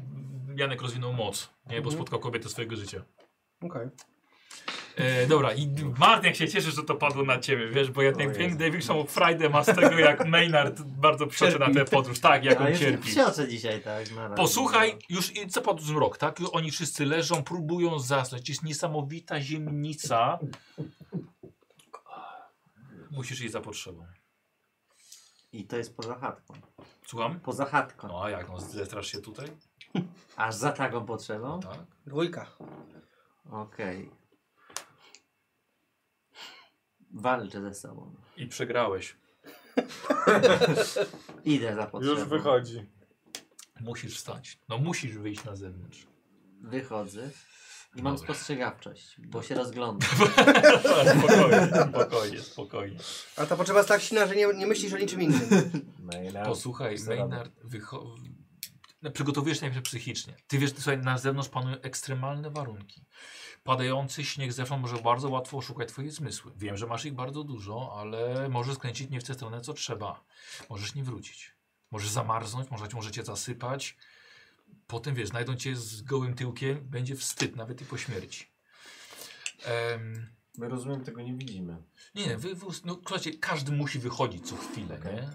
Speaker 1: Janek rozwinął moc, nie? bo
Speaker 3: Mhm.
Speaker 1: spotkał kobietę swojego życia.
Speaker 3: Okej.
Speaker 1: E, dobra, i Martin, jak się cieszysz, że to padło na ciebie, wiesz, bo ja ten
Speaker 4: Jezu.
Speaker 1: piękny Davidson Friday ma z tego, jak Maynard bardzo przeczy na tę podróż. Tak, jak
Speaker 5: A
Speaker 1: on
Speaker 5: już
Speaker 1: cierpi.
Speaker 5: Książę dzisiaj, tak. na razie.
Speaker 1: Posłuchaj, już i- co po zmrok, tak? Już Oni wszyscy leżą, próbują zasnąć. Jest niesamowita ziemnica. Musisz jej za potrzebą.
Speaker 5: I to jest poza chatką.
Speaker 1: Słucham?
Speaker 5: Poza chatką.
Speaker 1: No a jak, no zetrasz się tutaj?
Speaker 5: Aż za taką potrzebą?
Speaker 1: Tak.
Speaker 3: Dwójka.
Speaker 5: Okej. Walczę ze sobą.
Speaker 1: I przegrałeś.
Speaker 5: Idę za potrzebą.
Speaker 4: Już wychodzi.
Speaker 1: Musisz wstać. No musisz wyjść na zewnątrz.
Speaker 5: Wychodzę. I mam
Speaker 1: Dobra.
Speaker 5: spostrzegawczość,
Speaker 1: No.
Speaker 5: bo się rozglądam.
Speaker 1: spokojnie, spokojnie, spokojnie.
Speaker 3: Ale ta potrzeba jest tak silna, że nie, nie myślisz o niczym innym.
Speaker 2: Maila.
Speaker 1: Posłuchaj,
Speaker 2: Co
Speaker 1: Maynard, wycho... no, przygotowujesz się najpierw psychicznie. Ty wiesz, słuchaj, na zewnątrz panują ekstremalne warunki. Padający śnieg z zewnątrz może bardzo łatwo oszukać twoje zmysły. Wiem, że masz ich bardzo dużo, ale możesz skręcić nie w tę stronę, co trzeba. Możesz nie wrócić. Możesz zamarznąć, może, może cię zasypać. Potem, wiesz, znajdą cię z gołym tyłkiem, będzie wstyd, nawet i po śmierci. Em,
Speaker 2: My rozumiem, tego nie widzimy.
Speaker 1: nie, nie, wy, wy, no, słuchajcie, każdy musi wychodzić co chwilę, nie? Eee,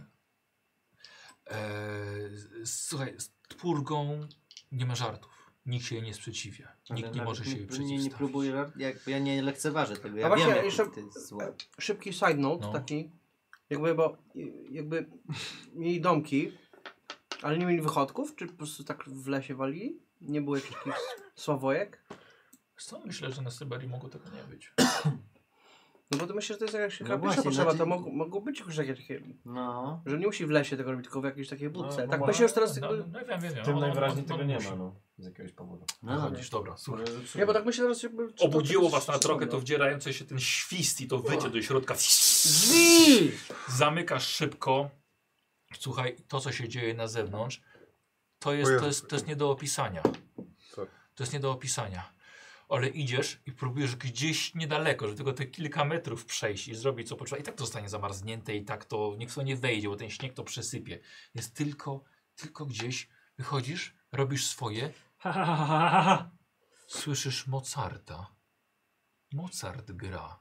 Speaker 1: z- słuchaj, z purgą nie ma żartów. Nikt się jej nie sprzeciwia.
Speaker 5: Ale
Speaker 1: Nikt nie
Speaker 5: nawet
Speaker 1: może się
Speaker 5: nie-
Speaker 1: jej
Speaker 5: nie,
Speaker 1: przeciwstawić.
Speaker 5: nie próbuję, żart- jak, ja nie lekceważę tego. Ja
Speaker 3: A No właśnie,
Speaker 5: wiem, jak
Speaker 3: jeszcze-
Speaker 5: to jest złe.
Speaker 3: Szybki side note
Speaker 1: No.
Speaker 3: taki. Jakby, bo y, jakby mieli domki, ale nie mieli wychodków, czy po prostu tak w lesie walili? Nie było jakichś takich sławojek?
Speaker 1: Wiesz Co? Myślę, że na Syberii mogło tego nie być.
Speaker 3: No bo to myślę, że to jest jakaś
Speaker 5: No
Speaker 3: no
Speaker 5: właśnie,
Speaker 3: pierwsza potrzeba,
Speaker 5: znaczy-
Speaker 3: to mogą, mogą być już jakieś takie,
Speaker 5: No.
Speaker 3: że nie musi w lesie tego robić, tylko w jakiejś takiej budce.
Speaker 2: no
Speaker 3: tak
Speaker 2: bo-
Speaker 3: myślę, że teraz
Speaker 1: No, no,
Speaker 3: jakby...
Speaker 1: no wiem, wiem,
Speaker 2: W
Speaker 1: wiem.
Speaker 2: tym
Speaker 1: On- on-
Speaker 2: najwyraźniej
Speaker 1: on-
Speaker 2: tego
Speaker 1: on
Speaker 2: nie
Speaker 1: musi.
Speaker 2: ma, no. Z jakiegoś powodu.
Speaker 5: no
Speaker 1: Chodzisz, dobra, słuchaj.
Speaker 2: Może zepsułem.
Speaker 3: Nie, bo tak myślę teraz jakby... czy to-
Speaker 1: Obudziło
Speaker 3: to-
Speaker 1: was na
Speaker 3: to-
Speaker 1: trochę to wdzierające się ten świst i to wycie do środka.
Speaker 3: Drzwi!
Speaker 1: Zamykasz szybko. Słuchaj, to co się dzieje na zewnątrz, to jest, to jest, to jest nie do opisania.
Speaker 4: Co?
Speaker 1: To jest nie do opisania. Ale idziesz i próbujesz gdzieś niedaleko, żeby tylko te kilka metrów przejść i zrobić co potrzeba. I tak to zostanie zamarznięte i tak to nikt w to nie wejdzie, bo ten śnieg to przesypie. Jest tylko, tylko gdzieś wychodzisz, robisz swoje,
Speaker 2: Ha, ha, ha, ha, ha, ha.
Speaker 1: słyszysz Mozarta. Mozart gra.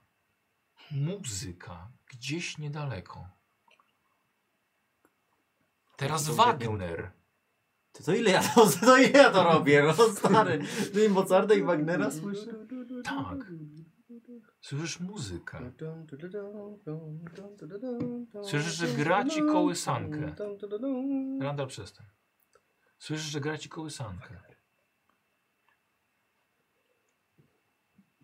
Speaker 1: Muzyka gdzieś niedaleko. Teraz Wagner.
Speaker 5: To, to, ile ja to, to ile ja to robię, no stary. No i Mozarta i Wagnera słyszę.
Speaker 1: Tak. Słyszysz muzykę. Słyszysz, że gra ci kołysankę. Randall przestań. Słyszysz, że gra ci kołysankę.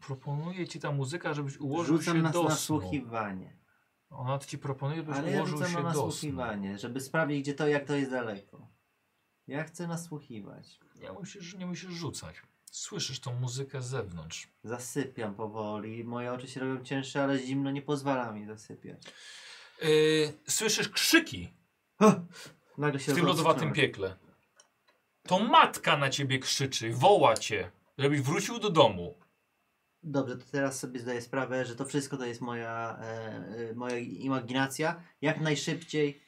Speaker 1: Proponuje ci ta muzyka, żebyś ułożył
Speaker 5: Rzucam
Speaker 1: się
Speaker 5: na
Speaker 1: do snu.
Speaker 5: nasłuchiwanie.
Speaker 1: Ona ci proponuje, byś
Speaker 5: Ale ja
Speaker 1: ułożył
Speaker 5: rzucam na
Speaker 1: się do snu.
Speaker 5: nasłuchiwanie, żeby sprawdzić, gdzie to, jak to jest daleko. Ja chcę nasłuchiwać.
Speaker 1: Nie musisz, nie musisz rzucać. Słyszysz tą muzykę z zewnątrz.
Speaker 5: Zasypiam powoli, moje oczy się robią cięższe, ale zimno nie pozwala mi zasypiać.
Speaker 1: Yy, słyszysz krzyki
Speaker 5: Nagle się
Speaker 1: w tym lodowatym
Speaker 5: rozłączyłem.
Speaker 1: piekle. To matka na ciebie krzyczy, woła cię, żebyś wrócił do domu.
Speaker 5: Dobrze, to teraz sobie zdaję sprawę, że to wszystko to jest moja, e, e, moja imaginacja. Jak najszybciej.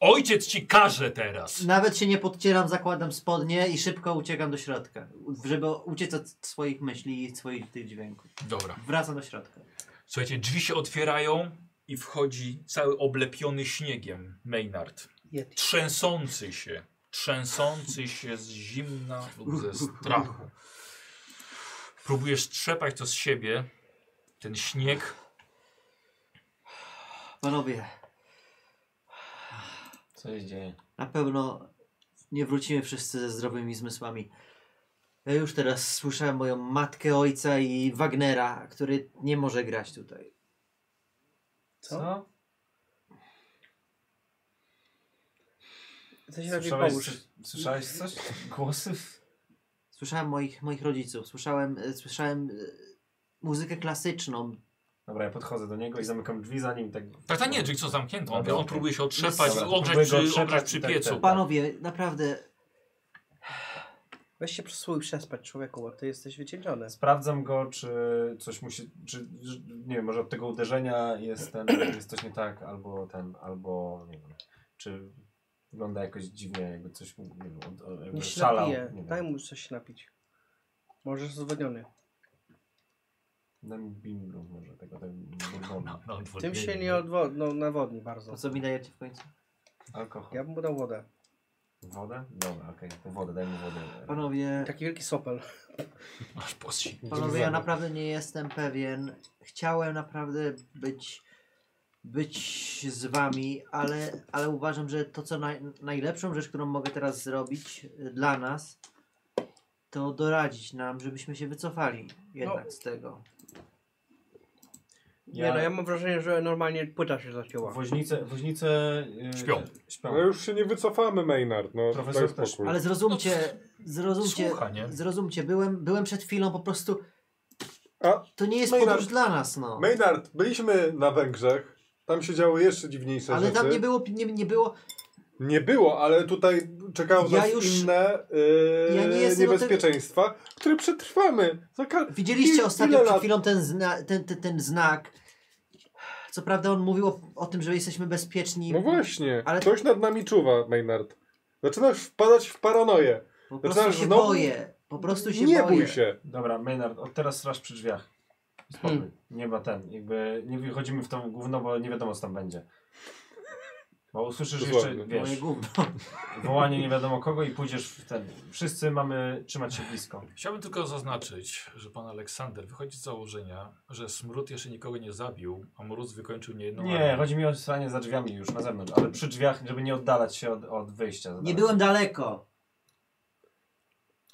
Speaker 1: Ojciec ci każe teraz.
Speaker 5: Nawet się nie podcieram, zakładam spodnie i szybko uciekam do środka, u- żeby uciec od swoich myśli i swoich tych dźwięków.
Speaker 1: Dobra.
Speaker 5: Wracam do środka.
Speaker 1: Słuchajcie, drzwi się otwierają i wchodzi cały oblepiony śniegiem Maynard.
Speaker 3: Yeti.
Speaker 1: Trzęsący się, trzęsący się z zimna lub ze strachu. Próbujesz trzepać to z siebie, ten śnieg.
Speaker 5: Panowie,
Speaker 2: Co się dzieje?
Speaker 5: na pewno nie wrócimy wszyscy ze zdrowymi zmysłami. Ja już teraz słyszałem moją matkę, ojca i Wagnera, który nie może grać tutaj.
Speaker 2: Co?
Speaker 3: To się raczej
Speaker 2: Słyszałeś,
Speaker 3: połóż.
Speaker 2: słyszałeś coś? Głosy?
Speaker 5: Słyszałem moich, moich rodziców, słyszałem, e, słyszałem e, muzykę klasyczną,
Speaker 2: Dobra, ja podchodzę do niego i zamykam drzwi za nim. Tak,
Speaker 1: Tak, tak, nie, czyli co zamknięto. On,
Speaker 2: Dobra,
Speaker 1: on
Speaker 2: okej.
Speaker 1: próbuje się otrzepać,
Speaker 2: Dobra,
Speaker 1: ogrzać
Speaker 2: próbuję go
Speaker 1: przy,
Speaker 2: otrzepać
Speaker 1: ogrzać
Speaker 2: i
Speaker 1: przy
Speaker 2: tak,
Speaker 1: piecu.
Speaker 2: tak.
Speaker 5: Panowie, naprawdę,
Speaker 3: Weź się przysłuj przespać człowieku, bo ty jesteś wycieńczony.
Speaker 2: Sprawdzam go, czy coś musi, czy, że- nie wiem, może od tego uderzenia jest, ten, jest coś nie tak, albo ten, albo nie wiem, czy wygląda jakoś dziwnie, jakby coś, mu- nie wiem, od, od, jakby
Speaker 3: Nie
Speaker 2: szalał.
Speaker 3: ślepije,
Speaker 2: nie wiem.
Speaker 3: daj mu coś się napić. Może jest zwodniony.
Speaker 2: Nambimbrą może tego, tego
Speaker 1: No,
Speaker 2: bourbonu.
Speaker 1: no,
Speaker 3: Tym się
Speaker 1: odwodnienie.
Speaker 3: nie odwo- no, nawodni bardzo.
Speaker 5: To co mi dajecie w końcu?
Speaker 2: Alkohol.
Speaker 3: Ja bym mu dał wodę.
Speaker 2: Wodę? Dobra, okej, to wodę, daj mi wodę.
Speaker 5: Panowie,
Speaker 3: Taki wielki sopel.
Speaker 1: Aż posi.
Speaker 5: panowie, ja naprawdę nie jestem pewien. Chciałem naprawdę być, być z wami, ale, ale uważam, że to co naj, najlepszą rzecz, którą mogę teraz zrobić y, dla nas, to doradzić nam, żebyśmy się wycofali jednak z tego.
Speaker 3: Nie no, ja mam wrażenie, że normalnie płyta się zacięła.
Speaker 2: Woźnice, woźnice... Yy,
Speaker 1: Śpią.
Speaker 4: No już się nie wycofamy, Maynard, no
Speaker 2: Profesor
Speaker 4: daj
Speaker 2: też.
Speaker 4: spokój.
Speaker 5: Ale zrozumcie, zrozumcie,
Speaker 1: Słucha, nie?
Speaker 5: zrozumcie, byłem, byłem przed chwilą po prostu...
Speaker 4: A,
Speaker 5: To nie jest
Speaker 4: Maynard-
Speaker 5: podróż dla nas, no.
Speaker 4: Maynard, byliśmy na Węgrzech, tam się działy jeszcze dziwniejsze
Speaker 5: Ale
Speaker 4: rzeczy.
Speaker 5: tam nie było, nie, nie było,
Speaker 4: Nie było, ale tutaj czekają
Speaker 5: Ja
Speaker 4: nas
Speaker 5: już-
Speaker 4: inne yy,
Speaker 5: Ja nie jestem do
Speaker 4: niebezpieczeństwa, które przetrwamy. Za ka-
Speaker 5: Widzieliście
Speaker 4: i-
Speaker 5: ostatnio
Speaker 4: ile
Speaker 5: przed
Speaker 4: lat?
Speaker 5: chwilą ten, zna, ten, ten, ten znak. Co prawda on mówił o, o tym, że jesteśmy bezpieczni.
Speaker 4: No właśnie,
Speaker 5: Ale-
Speaker 4: ktoś nad nami czuwa, Maynard. Zaczynasz wpadać w paranoję.
Speaker 5: Po prostu
Speaker 4: Zaczynasz
Speaker 5: się
Speaker 4: znowu-
Speaker 5: boję. Po prostu się
Speaker 4: nie
Speaker 5: boję.
Speaker 4: bój się.
Speaker 2: Dobra, Maynard, od teraz straż przy drzwiach. Spokój.
Speaker 3: Hmm.
Speaker 2: Nie ma ten, jakby nie wychodzimy w to gówno, bo nie wiadomo co tam będzie. Bo usłyszysz jeszcze,
Speaker 4: Dokładnie.
Speaker 5: Moje
Speaker 2: wiesz,
Speaker 5: gówno.
Speaker 2: wołanie nie wiadomo kogo i pójdziesz w ten. Wszyscy mamy trzymać się blisko.
Speaker 1: Chciałbym tylko zaznaczyć, że pan Aleksander wychodzi z założenia, że Smród jeszcze nikogo nie zabił, a Mróz wykończył
Speaker 3: No
Speaker 1: niejedną
Speaker 2: Nie,
Speaker 1: armię.
Speaker 2: chodzi mi o stanie za drzwiami już na zewnątrz, ale przy drzwiach, żeby nie oddalać się od, od wyjścia. za
Speaker 5: Nie
Speaker 2: daleko.
Speaker 5: byłem daleko.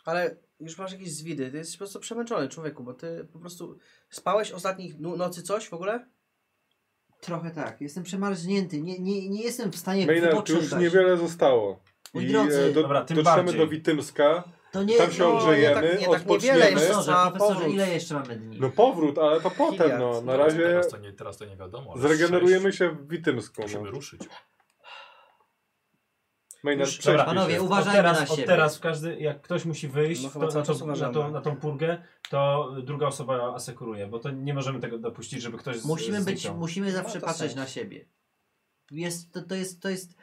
Speaker 3: Ale już masz jakieś zwidy, ty jesteś po prostu przemęczony człowieku, bo ty po prostu spałeś ostatnich nu- nocy coś w ogóle?
Speaker 5: Trochę tak. Jestem przemarznięty. Nie, nie, nie jestem w stanie
Speaker 4: Maynard, już
Speaker 5: wypoczywać.
Speaker 4: niewiele zostało.
Speaker 5: Moi
Speaker 4: I
Speaker 5: drodzy,
Speaker 4: e, do,
Speaker 2: Dobra, tym
Speaker 4: dotrzemy
Speaker 2: bardziej.
Speaker 4: do Witymska.
Speaker 5: To nie
Speaker 4: tam się
Speaker 5: no,
Speaker 4: ogrzejemy,
Speaker 3: nie tak- nie tak
Speaker 4: odpoczniemy.
Speaker 3: niewiele jeszcze.
Speaker 5: Profesorze,
Speaker 3: Za
Speaker 5: profesorze,
Speaker 3: powrót.
Speaker 5: ile jeszcze mamy dni?
Speaker 4: No powrót, ale to potem,
Speaker 3: Hilliard.
Speaker 4: no. Na
Speaker 1: Teraz-
Speaker 4: razie
Speaker 1: Teraz to nie, teraz to nie wiadomo. ale
Speaker 4: zregenerujemy
Speaker 1: sześć.
Speaker 4: się w Witymsku.
Speaker 1: Musimy
Speaker 4: No.
Speaker 1: ruszyć.
Speaker 4: Maynard,
Speaker 2: Już-
Speaker 4: prześpij
Speaker 2: dobra,
Speaker 4: się.
Speaker 5: panowie, uważajmy
Speaker 2: od teraz,
Speaker 5: na siebie.
Speaker 2: Od teraz w każdy, jak ktoś musi wyjść
Speaker 3: No
Speaker 2: to,
Speaker 3: chyba
Speaker 2: na,
Speaker 3: cały czas
Speaker 2: to, na, to,
Speaker 3: uważamy.
Speaker 2: na tą purgę, to druga osoba asekuruje, bo to nie możemy tego dopuścić, żeby ktoś z-
Speaker 5: Musimy być,
Speaker 2: zniknął.
Speaker 5: musimy zawsze
Speaker 3: No, to
Speaker 5: patrzeć
Speaker 3: sens.
Speaker 5: na siebie. Jest, to, to jest, to jest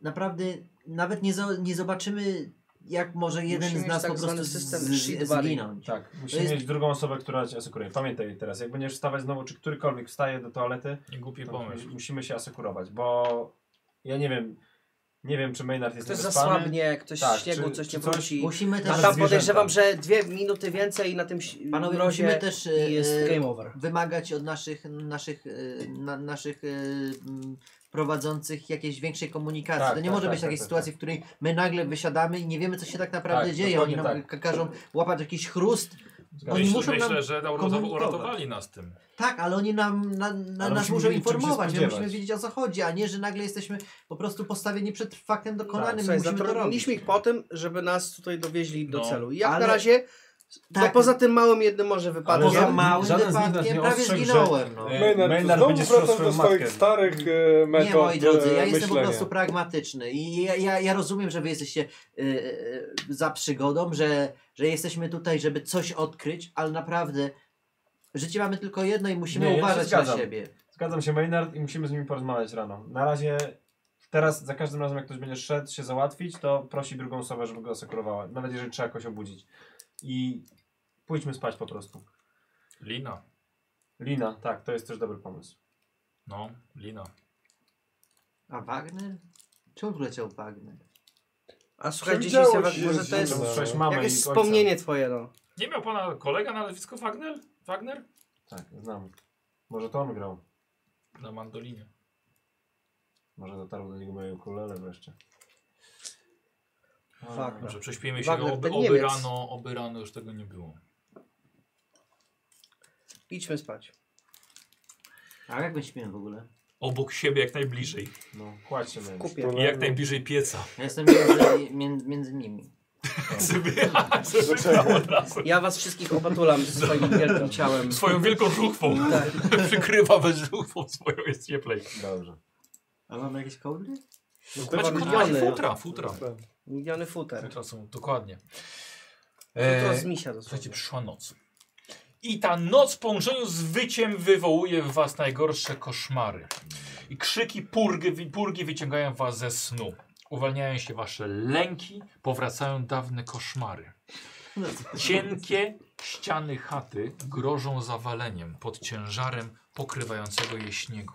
Speaker 5: naprawdę, nawet nie, zo, nie zobaczymy jak może jeden
Speaker 3: Musimy
Speaker 5: z
Speaker 3: mieć
Speaker 5: nas
Speaker 3: tak
Speaker 5: po prostu
Speaker 3: zwany
Speaker 5: z,
Speaker 3: system
Speaker 5: z,
Speaker 3: shit buddy.
Speaker 5: zginąć.
Speaker 2: Tak, musimy
Speaker 5: jest-
Speaker 2: mieć drugą osobę, która cię asekuruje. Pamiętaj teraz, jak będziesz wstawać znowu, czy którykolwiek wstaje do toalety,
Speaker 1: Nie głupi
Speaker 5: Tak,
Speaker 2: to
Speaker 1: pomysł.
Speaker 2: mu- musimy się asekurować, bo ja nie wiem, nie wiem, czy Maynard jest
Speaker 3: Ktoś
Speaker 2: niewyspany.
Speaker 3: zasłabnie, ktoś
Speaker 2: Tak,
Speaker 3: w śniegu,
Speaker 2: czy-
Speaker 3: coś
Speaker 2: czy
Speaker 3: nie
Speaker 2: coś-
Speaker 3: wróci.
Speaker 5: Musimy też,
Speaker 3: A
Speaker 2: Ale
Speaker 3: tam
Speaker 2: zwierzęta.
Speaker 3: podejrzewam, że dwie minuty więcej na tym ś-
Speaker 5: panowie,
Speaker 3: mrozie
Speaker 5: musimy też e,
Speaker 3: i jest
Speaker 5: e,
Speaker 3: game over.
Speaker 5: wymagać od naszych, naszych, e, na, naszych e, m, prowadzących jakiejś większej komunikacji.
Speaker 2: Tak,
Speaker 5: to nie
Speaker 2: tak,
Speaker 5: może
Speaker 2: tak,
Speaker 5: być
Speaker 2: tak,
Speaker 5: takiej
Speaker 2: tak,
Speaker 5: sytuacji, w której my nagle wysiadamy i nie wiemy co się tak naprawdę
Speaker 2: Tak,
Speaker 5: dzieje. Oni
Speaker 2: dokładnie
Speaker 5: nam
Speaker 2: tak.
Speaker 5: ka- każą łapać jakiś chrust.
Speaker 2: Zgadzam
Speaker 5: no, Oni
Speaker 2: się.
Speaker 1: Myślę,
Speaker 5: muszą nam
Speaker 1: myślę że Daurozowo
Speaker 5: komunikować.
Speaker 1: uratowali nas tym.
Speaker 5: Tak, ale oni nam, na, na,
Speaker 2: Ale
Speaker 5: nas
Speaker 2: musimy
Speaker 5: muszą
Speaker 2: wiedzieć, czym się
Speaker 5: informować, my
Speaker 2: spodziewać.
Speaker 5: musimy wiedzieć o co chodzi, a nie, że nagle jesteśmy po prostu postawieni przed faktem dokonanym
Speaker 3: Tak, Słuchaj,
Speaker 5: i musimy to robić.
Speaker 3: zatrudniliśmy ich po tym, żeby nas tutaj dowieźli do
Speaker 1: No,
Speaker 3: celu. I jak
Speaker 5: ale-
Speaker 3: na razie,
Speaker 5: Tak.
Speaker 3: no poza tym małym jednym może wypadkiem,
Speaker 5: Poza
Speaker 2: żaden-
Speaker 5: małym
Speaker 2: żaden z nich nas
Speaker 5: wypadkiem
Speaker 2: nie
Speaker 5: prawie
Speaker 2: ostrzegł, że-
Speaker 5: zginąłem. No.
Speaker 2: e,
Speaker 4: Maynard,
Speaker 2: Maynard
Speaker 4: znowu
Speaker 2: będzie szło
Speaker 4: wracasz
Speaker 2: swoją
Speaker 4: do swoich
Speaker 2: matkę.
Speaker 4: starych e, metod
Speaker 5: Nie, moi drodzy,
Speaker 4: e,
Speaker 5: ja jestem po
Speaker 4: myślenia.
Speaker 5: prostu pragmatyczny i ja, ja, ja rozumiem, że wy jesteście y, y, za przygodą, że, że jesteśmy tutaj, żeby coś odkryć, ale naprawdę życie mamy tylko jedno i musimy
Speaker 2: Nie, ja się
Speaker 5: uważać na
Speaker 2: zgadzam.
Speaker 5: siebie.
Speaker 2: Zgadzam się, Maynard, i musimy z nimi porozmawiać rano. Na razie, teraz za każdym razem, jak ktoś będzie szedł się załatwić, to prosi drugą osobę, żeby go asekurowała. Nawet jeżeli trzeba jakoś obudzić. I pójdźmy spać po prostu.
Speaker 1: Lina.
Speaker 2: Lina, tak, to jest też dobry pomysł.
Speaker 1: No, Lina.
Speaker 5: A Wagner? Czemu leciał Wagner?
Speaker 3: a słuchaj,
Speaker 4: Przewidziało
Speaker 3: dzieciństwo,
Speaker 4: się,
Speaker 3: może
Speaker 4: że
Speaker 3: to jest
Speaker 4: zimno.
Speaker 2: Słyszałeś
Speaker 4: no.
Speaker 2: mamę
Speaker 3: jakieś
Speaker 2: i ojca.
Speaker 3: wspomnienie twoje, no.
Speaker 1: Nie miał pana kolega na nazwisko Wagner? Wagner?
Speaker 2: Tak, znam. Może to on grał.
Speaker 1: Na mandolinie.
Speaker 2: Może dotarł do niego moje ukulele wreszcie.
Speaker 3: Fuck.
Speaker 1: Dobrze, prześpijmy się,
Speaker 3: Wagner,
Speaker 1: oby,
Speaker 3: ten
Speaker 1: oby
Speaker 3: Niemiec.
Speaker 1: rano, oby rano już tego nie było.
Speaker 3: Idźmy spać.
Speaker 5: A jak my śmiemy w ogóle?
Speaker 1: Obok siebie jak najbliżej.
Speaker 2: No, kładź się Maynard.
Speaker 3: Kupię.
Speaker 1: I
Speaker 4: no.
Speaker 1: jak najbliżej pieca.
Speaker 5: Ja jestem między, między, między nimi.
Speaker 1: Zaczynam od razu.
Speaker 3: Ja was wszystkich opatulam swoim wielkim ciałem.
Speaker 1: Swoją wielką żuchwą.
Speaker 3: Tak.
Speaker 1: Przykrywa bez żuchwą swoją, jest cieplej.
Speaker 2: Dobrze.
Speaker 5: A mamy jakieś kołdry?
Speaker 4: No,
Speaker 1: Patrz,
Speaker 3: Dobra,
Speaker 1: kurwa,
Speaker 3: widziany.
Speaker 1: futra, futra.
Speaker 3: Miliony futer.
Speaker 1: Futra są, dokładnie.
Speaker 3: To
Speaker 1: E,
Speaker 3: z misia
Speaker 1: Słuchajcie,
Speaker 3: dosłownie.
Speaker 1: przyszła noc. I ta noc w połączeniu z wyciem wywołuje w was najgorsze koszmary. I krzyki purgi, wi- purgi wyciągają was ze snu. Uwalniają się wasze lęki, powracają dawne koszmary. Cienkie ściany chaty grożą zawaleniem pod ciężarem pokrywającego je śniegu.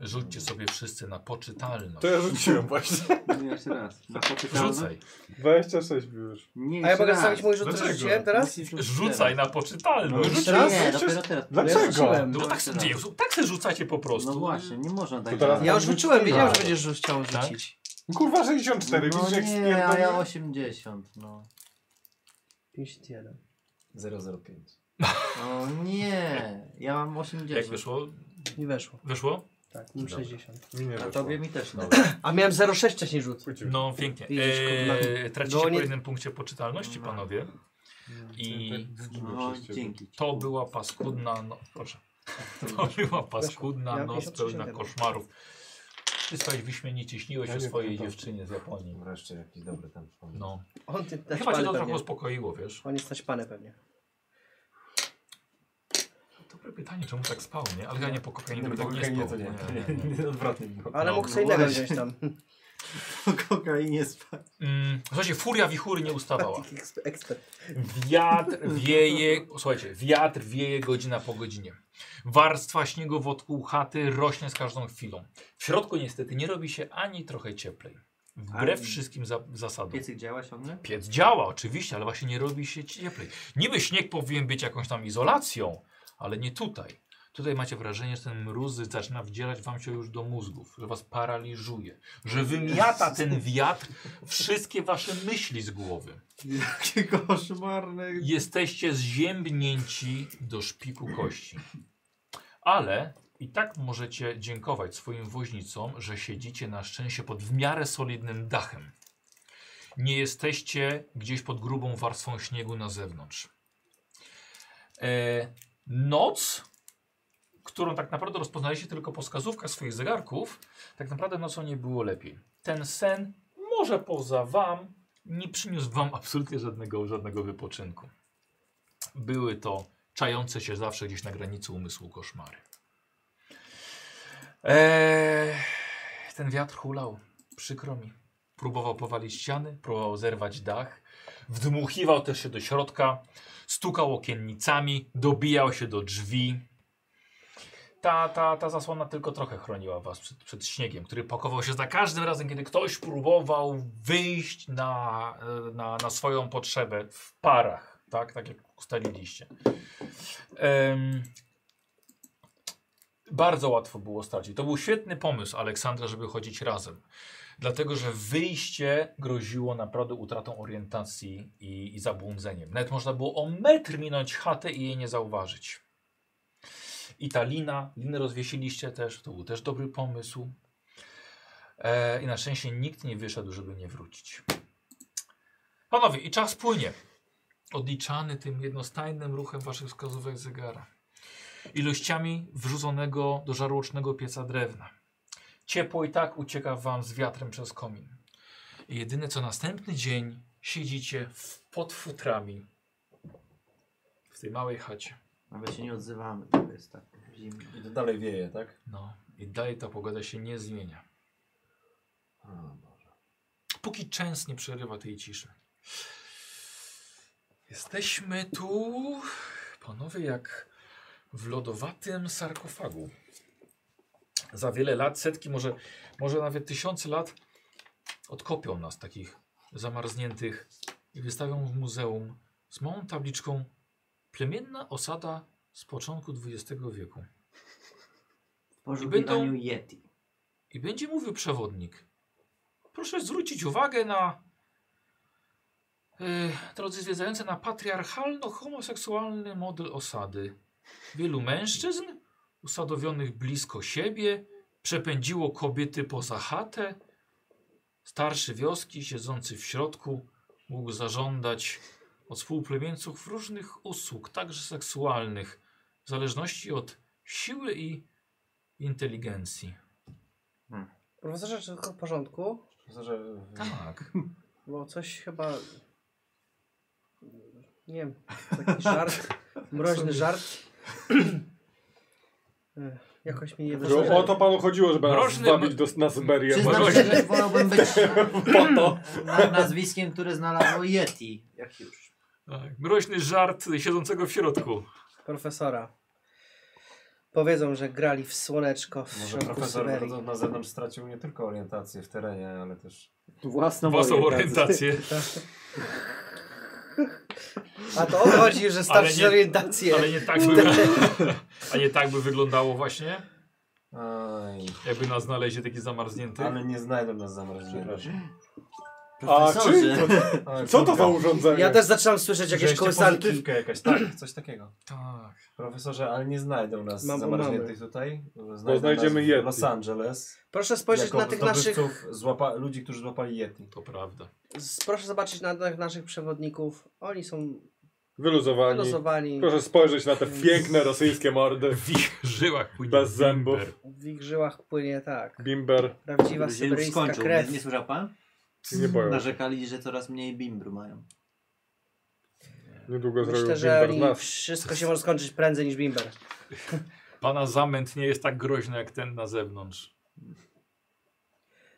Speaker 1: Rzućcie sobie wszyscy na poczytalność.
Speaker 4: To ja rzuciłem właśnie.
Speaker 5: Nie, jeszcze raz. Na poczytalność.
Speaker 1: Rzucaj.
Speaker 4: 26 był już.
Speaker 5: Nie,
Speaker 3: A ja
Speaker 5: jeszcze
Speaker 3: mogę
Speaker 5: raz.
Speaker 3: stawić mój rzut,
Speaker 4: Dlaczego?
Speaker 3: który rzuciłem teraz?
Speaker 5: Musisz rzucić
Speaker 1: Rzucaj
Speaker 5: teraz.
Speaker 1: na poczytalność.
Speaker 4: No,
Speaker 5: Jeszcze
Speaker 4: raz,
Speaker 5: Nie,
Speaker 4: jeszcze-
Speaker 5: dopiero teraz.
Speaker 3: Ja
Speaker 4: Dlaczego?
Speaker 3: rzuciłem.
Speaker 1: No bo tak, sobie, dzieje, tak sobie rzucacie po prostu.
Speaker 5: No właśnie, nie można tak.
Speaker 4: To teraz-
Speaker 3: Ja już rzuciłem, wiedziałem, że
Speaker 5: Tak.
Speaker 3: będziesz rzu- chciał
Speaker 1: Tak?
Speaker 3: rzucić.
Speaker 4: Kurwa 64,
Speaker 5: No
Speaker 4: widzisz jak
Speaker 5: nie, a ja
Speaker 4: spierdolę?
Speaker 5: 80, no.
Speaker 3: 51.
Speaker 2: 005.
Speaker 5: O No nie, ja mam 80.
Speaker 1: Jak wyszło?
Speaker 3: Nie weszło.
Speaker 1: Wyszło?
Speaker 3: Tak, mam
Speaker 1: Dobra.
Speaker 3: 60.
Speaker 4: Mi nie
Speaker 5: A
Speaker 4: weszło.
Speaker 5: tobie mi też nie.
Speaker 3: A miałem 0,6 wcześniej rzut.
Speaker 4: Chwycił.
Speaker 1: No pięknie.
Speaker 3: Widzisz,
Speaker 1: Eee,
Speaker 3: kurwa.
Speaker 1: tracicie
Speaker 3: No,
Speaker 1: po
Speaker 3: nie-
Speaker 1: jednym punkcie poczytalności, panowie. I
Speaker 5: No, dzięki. ci.
Speaker 1: to była paskudna no Proszę. To była paskudna
Speaker 3: Ja
Speaker 1: noc
Speaker 3: 53
Speaker 1: pełna
Speaker 3: siadam.
Speaker 1: koszmarów. Ty stałeś wyśmienicie, śniłeś
Speaker 4: Ja
Speaker 1: o
Speaker 4: nie
Speaker 1: swojej
Speaker 4: pamiętam.
Speaker 1: dziewczynie z Japonii.
Speaker 2: Wreszcie jakiś dobry tam przypomniał.
Speaker 1: No.
Speaker 3: On ty
Speaker 1: Chyba
Speaker 3: dać
Speaker 1: cię to
Speaker 3: pany
Speaker 1: trochę
Speaker 3: pewnie.
Speaker 1: uspokoiło, wiesz?
Speaker 3: On jest naćpany pewnie.
Speaker 1: Dobre pytanie, czemu tak spał, nie? Ale ja nie po kokainie bym tak nie
Speaker 2: nie,
Speaker 1: spał.
Speaker 2: to nie.
Speaker 1: nie, nie.
Speaker 2: Odwrotnie było.
Speaker 3: Ale
Speaker 1: No,
Speaker 3: mógł sobie innego
Speaker 5: właśnie.
Speaker 3: wziąć tam.
Speaker 5: Kokainie spać.
Speaker 1: Mm, słuchajcie, furia wichury nie ustawała.
Speaker 3: Eks- Ekspert.
Speaker 1: Wiatr wieje, słuchajcie, wiatr wieje godzina po godzinie. Warstwa śniegu wokół chaty rośnie z każdą chwilą. W środku niestety nie robi się ani trochę cieplej. Wbrew
Speaker 5: Ani-
Speaker 1: wszystkim za zasadom.
Speaker 5: Piecyk działa ciągle?
Speaker 1: Piec działa oczywiście, ale właśnie nie robi się cieplej. Niby śnieg powinien być jakąś tam izolacją, ale nie tutaj. Tutaj macie wrażenie, że ten mróz zaczyna wdzierać wam się już do mózgów, że was paraliżuje, że wymiata ten wiatr wszystkie wasze myśli z głowy.
Speaker 5: Jakie koszmarne.
Speaker 1: Jesteście zziębnięci do szpiku kości. Ale i tak możecie dziękować swoim woźnicom, że siedzicie na szczęście pod w miarę solidnym dachem. Nie jesteście gdzieś pod grubą warstwą śniegu na zewnątrz. E, noc, którą tak naprawdę rozpoznaliście tylko po wskazówkach swoich zegarków, tak naprawdę nocą nie było lepiej. Ten sen, może poza wam, nie przyniósł wam absolutnie żadnego, żadnego wypoczynku. Były to czające się zawsze gdzieś na granicy umysłu koszmary. Eee, ten wiatr hulał, przykro mi. Próbował powalić ściany, próbował zerwać dach, wdmuchiwał też się do środka, stukał okiennicami, dobijał się do drzwi. Ta, ta, ta zasłona tylko trochę chroniła was przed, przed śniegiem, który pakował się za każdym razem, kiedy ktoś próbował wyjść na, e, na, na swoją potrzebę w parach, tak, tak jak ustaliliście. Em, bardzo łatwo było stracić. To był świetny pomysł Aleksandra, żeby chodzić razem. Dlatego, że wyjście groziło naprawdę utratą orientacji i, i zabłądzeniem. Nawet można było o metr minąć chatę i jej nie zauważyć. I ta lina, linę rozwiesiliście też, to był też dobry pomysł. E, I na szczęście nikt nie wyszedł, żeby nie wrócić. Panowie, i czas płynie. Odliczany tym jednostajnym ruchem waszych wskazówek zegara. Ilościami wrzuconego do żarłocznego pieca drewna. Ciepło i tak ucieka wam z wiatrem przez komin. I jedyne co następny dzień siedzicie w, pod futrami w tej małej chacie.
Speaker 5: Nawet się nie odzywamy, to jest tak zimno.
Speaker 2: I to dalej wieje, tak?
Speaker 1: No i dalej ta pogoda się nie zmienia.
Speaker 2: no.
Speaker 1: Póki częst nie przerywa tej ciszy. Jesteśmy tu, panowie, jak w lodowatym sarkofagu. Za wiele lat, setki, może, może nawet tysiące lat odkopią nas takich zamarzniętych i wystawią w muzeum z małą tabliczką Plemienna osada z początku XX wieku.
Speaker 5: W
Speaker 1: I
Speaker 5: poszukiwaniu
Speaker 1: będą-
Speaker 5: Yeti.
Speaker 1: I będzie mówił przewodnik. Proszę zwrócić uwagę na. Yy, drodzy zwiedzający, na patriarchalno-homoseksualny model osady. Wielu mężczyzn, usadowionych blisko siebie, przepędziło kobiety poza chatę. Starszy wioski, siedzący w środku, mógł zażądać od współplemieńców różnych usług, także seksualnych, w zależności od siły i inteligencji.
Speaker 3: Profesorze, czy wszystko w porządku?
Speaker 2: Myślę, że
Speaker 1: Tak.
Speaker 3: Bo coś chyba... Nie wiem, taki żart, mroźny żart. Ech, E, Jakoś mi nie
Speaker 4: Że
Speaker 3: wyszło.
Speaker 4: o to panu chodziło, żeby nas
Speaker 1: Mroczny
Speaker 4: zwabić do, na Syberię.
Speaker 5: Przyznam się, że wolałbym być
Speaker 4: Po to.
Speaker 5: nad nazwiskiem, które znalazło Yeti. Jak już.
Speaker 1: Tak, mroźny żart siedzącego w środku.
Speaker 3: Profesora. Powiedzą, że grali w słoneczko w
Speaker 2: Może
Speaker 3: środku
Speaker 2: profesor
Speaker 3: Syberii.
Speaker 2: wychodząc na zewnątrz stracił nie tylko orientację w terenie, ale też...
Speaker 5: Własną,
Speaker 1: Własną orientację.
Speaker 3: A to o to chodzi, że starsi
Speaker 1: nie-
Speaker 3: orientację.
Speaker 1: Ale nie tak by, a nie tak by wyglądało właśnie,
Speaker 2: Aj,
Speaker 1: jakby nas znaleźli taki zamarznięty.
Speaker 2: ale nie znajdą nas zamrożonego.
Speaker 4: A czy,
Speaker 5: Profesorze.
Speaker 4: co to za urządzenie?
Speaker 3: Ja też zaczynam słyszeć jakieś
Speaker 2: Jakieś
Speaker 3: kołysanki.
Speaker 2: pozytywkę jakaś, tak, coś takiego.
Speaker 1: Tak.
Speaker 2: Profesorze, ale nie znajdą nas
Speaker 3: Mam
Speaker 2: zamarzniętych tutaj. Znajdą
Speaker 4: znajdziemy
Speaker 2: nas w
Speaker 4: Yeti.
Speaker 2: Los Angeles.
Speaker 3: Proszę spojrzeć
Speaker 2: jako
Speaker 3: na tych naszych...
Speaker 2: zdobywców Złapa, ludzi, którzy złapali Yeti.
Speaker 1: To prawda.
Speaker 3: z- Proszę zobaczyć na tych naszych przewodników. Oni są
Speaker 4: Wyluzowani.
Speaker 3: losowani.
Speaker 4: Proszę spojrzeć na te piękne rosyjskie mordy.
Speaker 1: W ich żyłach płynie
Speaker 4: Bez zębów.
Speaker 1: bimber.
Speaker 3: W ich żyłach płynie tak.
Speaker 4: Bimber.
Speaker 3: Prawdziwa
Speaker 5: Że już
Speaker 3: syberyjska
Speaker 5: skończył.
Speaker 3: krew.
Speaker 5: Nie, nie słyszał pan?
Speaker 4: Nie boją się.
Speaker 5: Narzekali, że coraz mniej bimbru mają.
Speaker 4: Niedługo zrobił
Speaker 3: Myślę, że
Speaker 4: Bimber z
Speaker 3: oni
Speaker 4: nas.
Speaker 3: wszystko się może skończyć prędzej niż Bimber.
Speaker 1: Pana zamęt nie jest tak groźny jak ten na zewnątrz.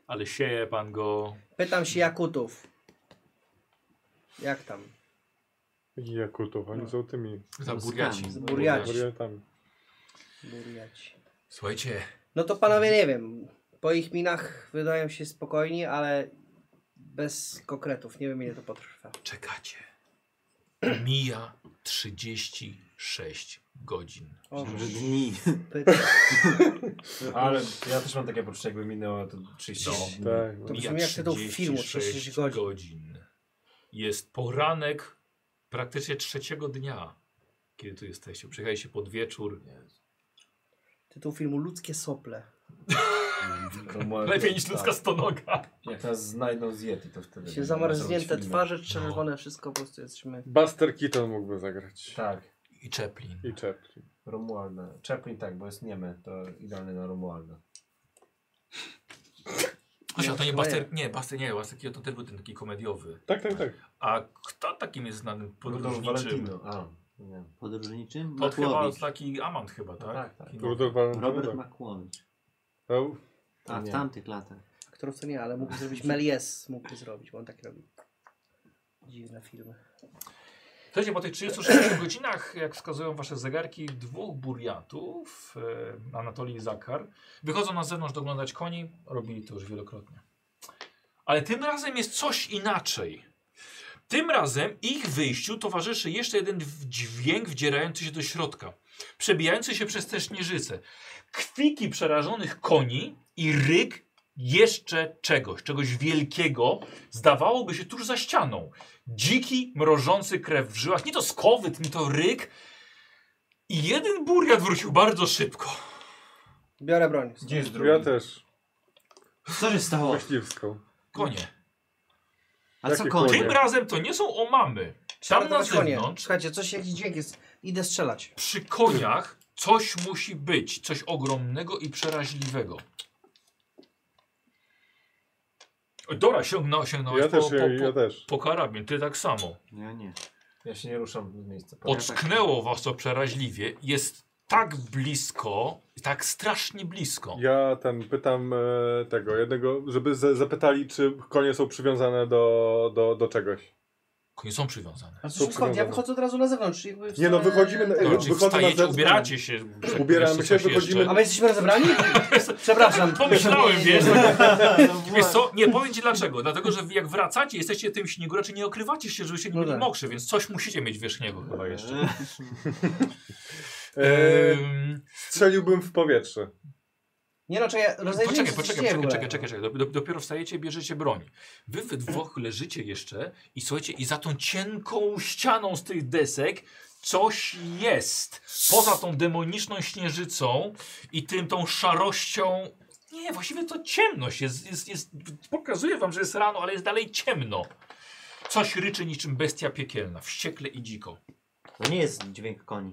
Speaker 1: Ale sieje pan go.
Speaker 3: Pytam się Jakutów. Jak tam?
Speaker 4: Jakutów, oni są tymi
Speaker 1: Za burjaci.
Speaker 3: Z burjaci.
Speaker 4: wariantami.
Speaker 3: Burjaci.
Speaker 1: Słuchajcie,
Speaker 3: No to panowie nie wiem. Po ich minach wydają się spokojni, ale bez konkretów. Nie wiem ile to potrwa.
Speaker 1: czekacie. Mija 36 godzin.
Speaker 3: O,
Speaker 5: Dni.
Speaker 3: pyta.
Speaker 1: Mhm.
Speaker 2: Ale ja też mam takie poczucie, jakby minęło to 30
Speaker 1: No.
Speaker 2: dni.
Speaker 4: Tak.
Speaker 3: To
Speaker 1: Mija
Speaker 3: brzmi jak tytuł filmu,
Speaker 1: 36
Speaker 3: 36 godzin.
Speaker 1: Jest poranek praktycznie trzeciego dnia, kiedy tu jesteście. Przyjechaliście pod wieczór.
Speaker 3: Tytuł filmu Ludzkie sople.
Speaker 2: To może-
Speaker 1: Lepiej niż
Speaker 2: tak.
Speaker 1: ludzka stonoga.
Speaker 2: Jak nas znajdą z Yeti, to wtedy...
Speaker 3: Się
Speaker 2: będziemy
Speaker 3: zamarznięte
Speaker 2: robić filmy.
Speaker 3: twarze, czerwone, wszystko po prostu jesteśmy.
Speaker 4: Buster Keaton mógłby zagrać.
Speaker 2: Tak,
Speaker 1: I Chaplin.
Speaker 4: I Chaplin.
Speaker 2: Romualda. Chaplin tak, bo jest niemy, to idealny na Romualda.
Speaker 1: Asia, to nie
Speaker 3: Nie,
Speaker 1: Buster, nie, Buster, nie, Buster Keaton też był ten taki komediowy.
Speaker 4: Tak, tak, tak.
Speaker 1: A kto takim jest znanym
Speaker 2: Rudolf
Speaker 1: podróżniczym?
Speaker 2: Valentino. A, nie.
Speaker 5: Podróżniczym?
Speaker 1: To chyba
Speaker 5: Makłowicz.
Speaker 1: taki Amant chyba, tak?
Speaker 2: Tak, tak.
Speaker 1: Kino.
Speaker 4: Rudolf Valentino.
Speaker 5: Robert
Speaker 4: tak.
Speaker 5: Makłowicz.
Speaker 4: No,
Speaker 5: A w
Speaker 2: Nie.
Speaker 5: tamtych latach.
Speaker 3: Aktorów to nie, ale mógłby zrobić Melies, mógłby zrobić, bo on tak robi. Dziwne filmy.
Speaker 1: Słuchajcie, po tych 36 godzinach, jak wskazują wasze zegarki, dwóch burjatów, e, Anatolii i Zakar, wychodzą na zewnątrz doglądać koni. Robili to już wielokrotnie. Ale tym razem jest coś inaczej. Tym razem ich wyjściu towarzyszy jeszcze jeden w- dźwięk wdzierający się do środka, przebijający się przez te śnieżyce. Kwiki przerażonych koni i ryk jeszcze czegoś, czegoś wielkiego, zdawałoby się tuż za ścianą. Dziki, mrożący krew w żyłach. Nie to skowyt, nie to ryk. I jeden burjat wrócił bardzo szybko.
Speaker 3: Biorę broń.
Speaker 2: Gdzie jest drugi?
Speaker 4: ja też.
Speaker 5: Co się stało?
Speaker 4: Myśliwską.
Speaker 1: Konie.
Speaker 5: A co
Speaker 4: Jakie
Speaker 5: konie?
Speaker 1: Tym
Speaker 4: Konie.
Speaker 1: razem to nie są omamy. Tam na
Speaker 3: Ratować konie.
Speaker 1: zewnątrz,
Speaker 3: Słuchajcie, coś jakiś dźwięk jest. Idę strzelać.
Speaker 1: przy koniach, coś musi być. Coś ogromnego i przeraźliwego. O, Dora sięgnęła, sięgnęłaś
Speaker 4: Ja
Speaker 1: po,
Speaker 4: też,
Speaker 1: No, po,
Speaker 4: ja, ja
Speaker 1: po,
Speaker 4: też.
Speaker 1: po karabin. Ty tak samo.
Speaker 5: No Ja nie.
Speaker 2: Ja się nie ruszam z miejsca.
Speaker 4: tak
Speaker 1: Ocknęło was to przeraźliwie. Jest tak blisko, tak strasznie blisko.
Speaker 4: Ja ten pytam e, tego jednego, żeby z, zapytali, czy konie są przywiązane do, do, do czegoś.
Speaker 1: Konie są przywiązane.
Speaker 3: A
Speaker 4: Super,
Speaker 3: co skąd? Ja
Speaker 4: dobra.
Speaker 3: wychodzę od razu na zewnątrz. Jakby w
Speaker 4: Nie no,
Speaker 3: stronę-
Speaker 4: wychodzimy na-
Speaker 1: No,
Speaker 4: Wy-
Speaker 1: czyli
Speaker 4: wychodzę na
Speaker 1: wstajecie,
Speaker 4: zewnątrz.
Speaker 1: ubieracie się.
Speaker 4: Ubieramy się,
Speaker 1: coś
Speaker 4: wychodzimy
Speaker 1: jeszcze.
Speaker 3: A my jesteśmy rozebrani? Przepraszam.
Speaker 1: Tak, Pomyślałem, wiesz.
Speaker 5: No
Speaker 1: Wiesz co, nie, powiem ci dlaczego. Dlatego, że jak wracacie, jesteście w tym śniegu, raczej nie okrywacie się, żeby się nie
Speaker 3: No
Speaker 1: byli
Speaker 3: tak.
Speaker 1: mokrzy, więc coś musicie mieć wierzchniego chyba jeszcze.
Speaker 5: właśnie.
Speaker 4: E,
Speaker 1: Ehm,
Speaker 4: strzeliłbym w powietrze.
Speaker 3: Nie no, czekaj, rozejrzyjmy
Speaker 1: Poczekaj,
Speaker 3: się, co się
Speaker 1: poczekaj,
Speaker 3: dzieje w
Speaker 1: poczekaj,
Speaker 3: ogóle.
Speaker 1: czekaj, czekaj, czekaj. Dop- Dopiero wstajecie, bierzecie broń. Wy we dwóch leżycie jeszcze i słuchajcie, i za tą cienką ścianą z tych desek coś jest. Poza tą demoniczną śnieżycą i tym tą szarością. Nie, właściwie to ciemność jest, jest, jest. Pokazuję wam, że jest rano, ale jest dalej ciemno. Coś ryczy niczym bestia piekielna, wściekle i dziko.
Speaker 5: To nie jest dźwięk koni.